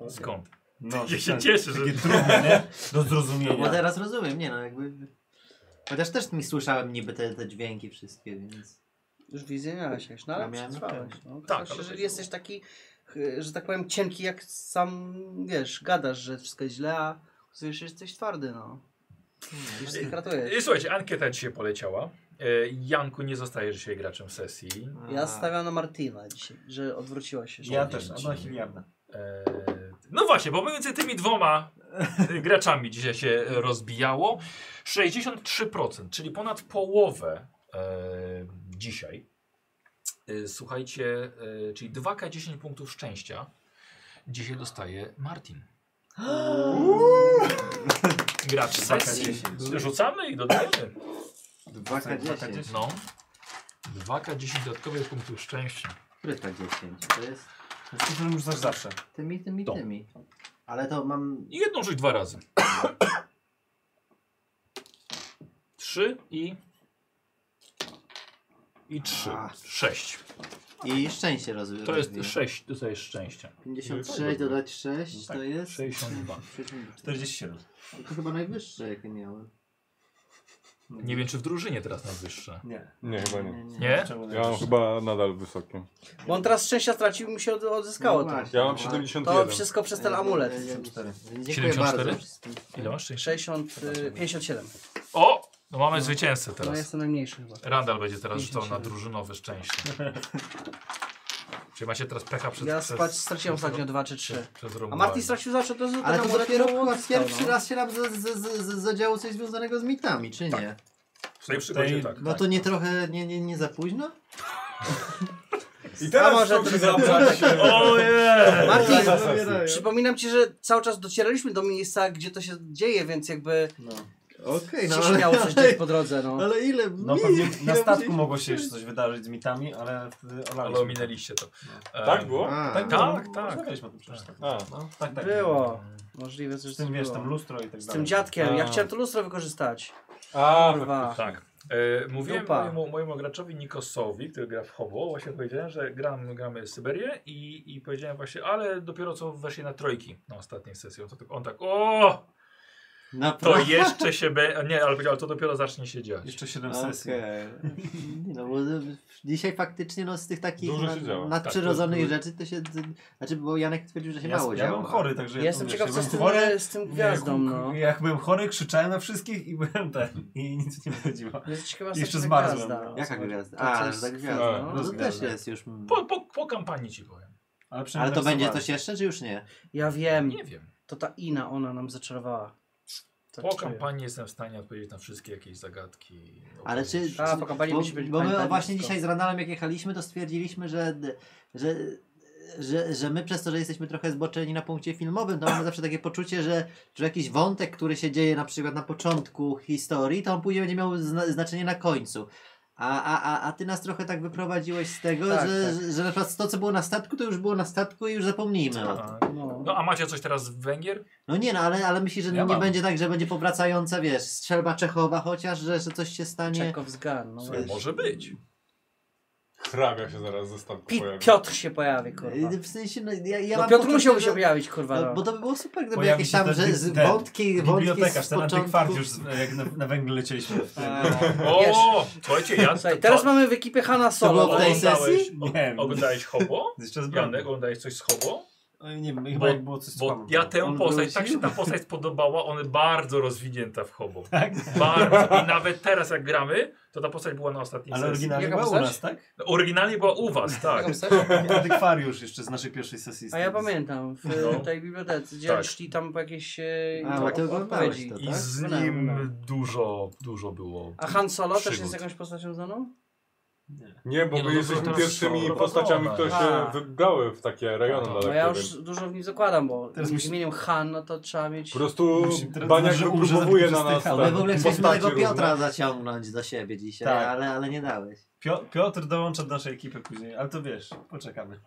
Speaker 1: Skąd?
Speaker 2: No,
Speaker 1: Ja się cieszę, że...
Speaker 2: Takie trudne, nie? Do
Speaker 5: No bo
Speaker 2: zrozumienia.
Speaker 5: teraz rozumiem, nie no, jakby... Chociaż też mi słyszałem niby te, te dźwięki wszystkie, więc...
Speaker 3: Już więzieniałeś, jakś, no
Speaker 5: Ja
Speaker 3: ale
Speaker 5: miałem
Speaker 3: przetrwałeś.
Speaker 5: tak.
Speaker 3: No.
Speaker 1: Tak,
Speaker 3: Tak,
Speaker 1: ale
Speaker 3: że
Speaker 1: tak
Speaker 3: jesteś taki, y, że tak powiem, cienki jak sam, wiesz, gadasz, że wszystko jest źle, a słyszysz, że jesteś twardy, no.
Speaker 5: Hmm.
Speaker 3: Już się
Speaker 1: Y,
Speaker 3: kratujesz.
Speaker 1: Słuchajcie, ankieta dzisiaj poleciała. Y, Janku, nie zostajesz dzisiaj graczem sesji.
Speaker 5: Tak.
Speaker 3: Ja stawiam na Martina dzisiaj, że odwróciła się. że-
Speaker 2: Ja też, a była hiliarda.
Speaker 1: E, No właśnie, bo między tymi dwoma e, graczami dzisiaj się e, rozbijało. 63%, czyli ponad połowę e, dzisiaj. E, słuchajcie, e, czyli 2K10 punktów szczęścia dzisiaj dostaje Martin. Gracz sesji.
Speaker 2: 2K10.
Speaker 1: Rzucamy i dodajemy.
Speaker 5: 2K10.
Speaker 1: No. 2K10 dodatkowych punktów szczęścia.
Speaker 5: Który to 10? To jest
Speaker 2: To już zaś zawsze.
Speaker 5: tymi, tymi,
Speaker 1: To.
Speaker 5: tymi. Ale to mam...
Speaker 1: I jedną rzuć dwa razy. Trzy i... I trzy.
Speaker 5: A.
Speaker 1: Sześć.
Speaker 5: I szczęście rozumiem.
Speaker 1: To jest sześć, to jest szczęście.
Speaker 5: 56 dodać 6
Speaker 1: Tak,
Speaker 5: to jest...
Speaker 1: 62.
Speaker 2: 47.
Speaker 5: To chyba najwyższe jakie miałem.
Speaker 1: Nie wiem, czy w drużynie teraz najwyższe.
Speaker 2: Nie.
Speaker 4: Nie, chyba nie.
Speaker 1: Nie?
Speaker 2: Czemu
Speaker 4: Ja mam
Speaker 2: najwyższe?
Speaker 4: chyba nadal wysokie.
Speaker 3: Bo on teraz szczęścia stracił i mu się od- odzyskało
Speaker 5: No
Speaker 3: to.
Speaker 5: właśnie.
Speaker 4: Ja mam
Speaker 3: To
Speaker 4: 71.
Speaker 3: wszystko przez ten amulet.
Speaker 5: Ja- ja- ja- Dziękuję
Speaker 1: 74?
Speaker 5: bardzo. wszystkim.
Speaker 1: Ile masz szczęścia?
Speaker 3: 60, y, 57.
Speaker 1: O! No mamy zwycięzcę
Speaker 3: No
Speaker 1: teraz.
Speaker 3: jestem najmniejszy chyba.
Speaker 1: Randall będzie teraz rzucał na
Speaker 3: 57.
Speaker 1: drużynowe szczęście. Czyli macie teraz pecha przez...
Speaker 3: Ja
Speaker 1: przez,
Speaker 3: spać straciłem
Speaker 1: przez-
Speaker 3: ostatnio dwa czy trzy.
Speaker 1: Przez
Speaker 3: A
Speaker 1: Romualda.
Speaker 3: Martin stracił zawsze to złote
Speaker 5: Ale
Speaker 3: na
Speaker 5: to
Speaker 3: amulet,
Speaker 5: dopiero
Speaker 3: no,
Speaker 5: chyba
Speaker 3: odzyskał,
Speaker 5: pierwszy
Speaker 3: no.
Speaker 5: raz się nam z- z- z- z- zadziało coś związanego z mitami, czy nie?
Speaker 1: W tej przygodzie
Speaker 2: Tej-
Speaker 1: tak.
Speaker 5: No to nie trochę, nie, nie, nie za późno?
Speaker 4: I
Speaker 3: A
Speaker 4: teraz
Speaker 3: może
Speaker 4: to się
Speaker 3: to-
Speaker 4: zabrać. Tak,
Speaker 1: Ojej!
Speaker 3: no. Martin,
Speaker 2: Za sesję.
Speaker 3: przypominam ci, że cały czas docieraliśmy do miejsca, gdzie to się dzieje, więc jakby
Speaker 5: Okej,
Speaker 3: No. się
Speaker 5: no ale,
Speaker 3: śmiało coś
Speaker 5: ale,
Speaker 3: gdzieś po drodze, no.
Speaker 5: ale ile?
Speaker 2: No
Speaker 5: mi-
Speaker 2: pewnie
Speaker 5: ile
Speaker 2: na statku
Speaker 5: musieli-
Speaker 2: mogło się jeszcze coś wydarzyć z mitami, ale wtedy
Speaker 1: Ale ominęliście to. E,
Speaker 4: Tak było?
Speaker 5: A,
Speaker 2: Tak,
Speaker 5: no.
Speaker 2: tak.
Speaker 1: tak.
Speaker 2: tak. Rozmawialiśmy o tym przecież. Tak,
Speaker 4: A.
Speaker 2: No, tak, tak.
Speaker 3: Było. Możliwe, że
Speaker 2: Z tym,
Speaker 3: to
Speaker 2: wiesz,
Speaker 3: było.
Speaker 2: tam lustro i tak dalej.
Speaker 3: Z tym dziadkiem. Ja
Speaker 4: A.
Speaker 3: chciałem to lustro wykorzystać.
Speaker 4: A,
Speaker 3: Kurwa.
Speaker 1: Tak. E, mówiłem
Speaker 3: Dupa.
Speaker 1: mojemu, mojemu graczowi Nikosowi, który gra w Hobo, właśnie powiedziałem, że gram, gramy Syberię i, i powiedziałem właśnie, ale dopiero co weszli na trojki na ostatniej sesji. On, to, tak- on tak, o, to
Speaker 5: Naprawdę?
Speaker 1: jeszcze się be... Nie, ale powiedział, ale to dopiero zacznie się dziać.
Speaker 2: Jeszcze 7 sesji.
Speaker 5: Okej. Nie No bo dzisiaj faktycznie no, z tych takich
Speaker 4: Dużo się
Speaker 5: na-
Speaker 4: działo.
Speaker 5: nadprzyrodzonych rzeczy to się... Znaczy, bo Janek twierdził, że się
Speaker 2: Ja,
Speaker 5: mało
Speaker 2: ja
Speaker 5: działo.
Speaker 2: byłem chory, także
Speaker 3: Ja
Speaker 2: ja
Speaker 3: jestem
Speaker 2: wiesz,
Speaker 3: ciekaw,
Speaker 2: ja
Speaker 3: co z
Speaker 2: byłem
Speaker 3: tym,
Speaker 2: chory.
Speaker 3: z tym
Speaker 2: Nie,
Speaker 3: gwiazdą,
Speaker 2: jak-
Speaker 3: no.
Speaker 2: Jak byłem chory, krzyczałem na wszystkich i byłem ten. I nic nie wychodziło.
Speaker 3: Jest ciekawa
Speaker 2: Jeszcze
Speaker 3: straszna
Speaker 2: zmarzłem,
Speaker 3: gwiazda.
Speaker 2: no.
Speaker 5: Jaka gwiazda?
Speaker 3: To
Speaker 5: A,
Speaker 3: coś-
Speaker 5: że ta gwiazda. No, to
Speaker 2: rozgwiazda.
Speaker 5: też jest już... mm.
Speaker 1: Po, po, po kampanii ci powiem.
Speaker 2: Ale,
Speaker 5: Ale
Speaker 2: przynajmniej tak
Speaker 5: to będzie
Speaker 2: rysowałem.
Speaker 5: coś jeszcze, czy już nie?
Speaker 3: Ja wiem.
Speaker 1: Nie wiem.
Speaker 3: To ta Ina, ona nam zaczarowała. Tak
Speaker 1: Po
Speaker 3: czuję.
Speaker 1: kampanii jestem w stanie odpowiedzieć na wszystkie jakieś zagadki.
Speaker 5: Ale czy...
Speaker 3: A, po kampanii
Speaker 5: bo,
Speaker 3: musi być
Speaker 5: bo my
Speaker 3: pamiętanie
Speaker 5: właśnie
Speaker 3: wszystko.
Speaker 5: dzisiaj z Ranalem jak jechaliśmy, to stwierdziliśmy, że, że, że, że my przez to, że jesteśmy trochę zboczeni na punkcie filmowym, to mamy zawsze takie poczucie, że, że jakiś wątek, który się dzieje na przykład na początku historii, to on później będzie miał zna znaczenie na końcu. A, a, a, a ty nas trochę tak wyprowadziłeś z tego,
Speaker 3: Tak,
Speaker 5: że,
Speaker 3: tak.
Speaker 5: Że, że na przykład to, co było na statku, to już było na statku i już zapomnijmy o tym.
Speaker 1: A,
Speaker 3: No.
Speaker 1: No a macie coś teraz z Węgier?
Speaker 5: No nie, no ale, ale myślisz, że
Speaker 2: Ja
Speaker 5: nie
Speaker 2: mam.
Speaker 5: będzie tak, że będzie powracająca, wiesz, strzelba Czechowa chociaż, że, że coś się stanie.
Speaker 3: Czekow's gun, no
Speaker 5: Słuchaj,
Speaker 3: właśnie.
Speaker 1: Może być.
Speaker 4: Hrabia się zaraz ze statku
Speaker 3: Pi-
Speaker 4: pojawi.
Speaker 3: Piotr się pojawi, kurwa.
Speaker 5: Y, W sensie, no ja, ja
Speaker 3: No
Speaker 5: mam
Speaker 3: Piotr
Speaker 5: poczucie,
Speaker 3: musiałby się
Speaker 5: że-
Speaker 3: pojawić, kurwa.
Speaker 5: No,
Speaker 3: No,
Speaker 5: bo to by było super, gdyby
Speaker 2: Pojawi
Speaker 5: jakieś
Speaker 2: się
Speaker 5: tam,
Speaker 2: ten
Speaker 5: że z
Speaker 2: ten
Speaker 5: wątki, wątki
Speaker 2: Bibliotekarz,
Speaker 5: z
Speaker 2: ten antykwariusz,
Speaker 5: początku.
Speaker 2: już z- jak na, na węgle lecieliśmy.
Speaker 3: Tak.
Speaker 5: E,
Speaker 1: O, słuchajcie, ja...
Speaker 3: E, Słuchaj, teraz mamy w ekipie Hanna
Speaker 5: było
Speaker 3: Solo. no.
Speaker 5: w tej
Speaker 3: Oglądałeś?
Speaker 5: sesji?
Speaker 2: Nie,
Speaker 1: Oglądałeś Hobo?
Speaker 2: jeszcze z
Speaker 1: Janek,
Speaker 2: Janek.
Speaker 1: oglądałeś coś z Hobo?
Speaker 2: Nie wiem,
Speaker 1: Bo-
Speaker 2: chyba jak było coś z
Speaker 1: Bo
Speaker 2: Panem
Speaker 1: ja
Speaker 2: było.
Speaker 1: tę
Speaker 5: On
Speaker 1: postać,
Speaker 5: wrócił?
Speaker 1: tak się ta postać podobała, ona bardzo rozwinięta w hobo.
Speaker 2: Tak.
Speaker 1: Bardzo. I nawet teraz jak gramy, to ta postać była na ostatniej
Speaker 2: Ale
Speaker 1: sesji.
Speaker 2: oryginalnie
Speaker 3: Jaka
Speaker 2: była u
Speaker 3: postać?
Speaker 2: nas, tak?
Speaker 1: No, Oryginalnie była u was, tak.
Speaker 3: Jaką chcesz?
Speaker 2: Antykwariusz jeszcze z naszej pierwszej sesji.
Speaker 3: A ja pamiętam, w
Speaker 1: No.
Speaker 3: tej bibliotece, gdzie
Speaker 1: Tak.
Speaker 3: szli tam po jakieś e,
Speaker 5: A, bo ty
Speaker 3: od-
Speaker 5: oglądałeś
Speaker 3: odpowiedzi.
Speaker 5: to,
Speaker 1: I
Speaker 5: tak?
Speaker 1: z
Speaker 3: Oglądałem,
Speaker 1: nim
Speaker 3: oglądałem.
Speaker 1: dużo, dużo było.
Speaker 3: A Han Solo też
Speaker 1: Przygód.
Speaker 3: jest jakąś postacią znaną?
Speaker 4: Nie, bo
Speaker 1: Nie, no to
Speaker 4: my jesteśmy
Speaker 1: teraz
Speaker 4: pierwszymi
Speaker 1: są
Speaker 4: postaciami,
Speaker 1: robotowe.
Speaker 4: które się
Speaker 3: A.
Speaker 4: wybrały w takie rejony
Speaker 1: No
Speaker 5: Tak,
Speaker 4: daleko.
Speaker 3: No ja już dużo w nim zakładam, bo
Speaker 2: Teraz
Speaker 3: Teraz
Speaker 2: musi-
Speaker 3: imieniem Han, no to trzeba mieć...
Speaker 4: Po prostu
Speaker 2: Musimy teraz
Speaker 4: Baniak
Speaker 2: znać, że umrze
Speaker 4: wypróbowuje
Speaker 2: za
Speaker 4: na nas
Speaker 2: wykorzystych
Speaker 5: No, My w
Speaker 4: ten,
Speaker 5: ogóle chcieliśmy
Speaker 4: postaci
Speaker 5: tego Piotra
Speaker 4: różne.
Speaker 5: zaciągnąć do siebie dzisiaj,
Speaker 2: no. Tak.
Speaker 5: ale, ale nie dałeś.
Speaker 2: Pio- Piotr dołącza do naszej ekipy później, ale to wiesz, poczekamy.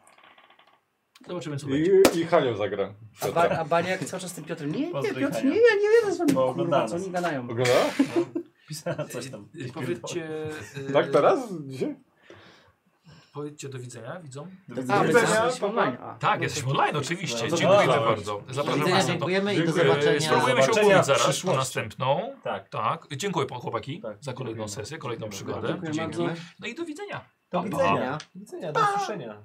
Speaker 1: Zobaczymy, co będzie.
Speaker 4: I, i Hanią zagra.
Speaker 3: A, Bar, a Baniak cały czas z tym Piotrem. Nie, nie,
Speaker 10: Pozdrów,
Speaker 3: Piotr,
Speaker 10: Hania.
Speaker 3: nie, ja nie wiem, z wami
Speaker 10: Bo
Speaker 3: kurwa,
Speaker 10: oglądała
Speaker 3: co oni gadają.
Speaker 4: Oglądała?
Speaker 10: Pisała coś tam.
Speaker 1: Y, Powiedzcie. y,
Speaker 4: Tak teraz? Dzisiaj?
Speaker 1: Powiedzcie do widzenia, widzą.
Speaker 3: A, my
Speaker 4: widzenia,
Speaker 3: jesteśmy
Speaker 4: papa.
Speaker 3: online. A,
Speaker 1: Tak,
Speaker 3: no
Speaker 1: jesteśmy
Speaker 3: to-
Speaker 1: online, oczywiście.
Speaker 10: No to
Speaker 1: Dziękujemy
Speaker 10: dobra.
Speaker 1: bardzo.
Speaker 5: Do
Speaker 1: Zapraszam
Speaker 5: widzenia,
Speaker 1: Was na to.
Speaker 5: dziękujemy No i do
Speaker 4: Dziękuję.
Speaker 1: Y,
Speaker 5: zobaczenia.
Speaker 1: Spróbujemy się
Speaker 10: Zobaczenia
Speaker 1: umówić
Speaker 10: w
Speaker 1: zaraz na
Speaker 10: przyszłości.
Speaker 1: następną.
Speaker 10: Tak.
Speaker 1: Tak. Dziękuję panu chłopaki
Speaker 2: Tak,
Speaker 1: za kolejną
Speaker 2: dziękujemy.
Speaker 1: sesję, kolejną
Speaker 2: Dziękujemy.
Speaker 1: przygodę.
Speaker 3: Dziękuję
Speaker 1: Dzięki.
Speaker 3: bardzo.
Speaker 1: No i do widzenia.
Speaker 5: Do
Speaker 1: Pa, pa.
Speaker 5: widzenia.
Speaker 2: Do widzenia, do usłyszenia.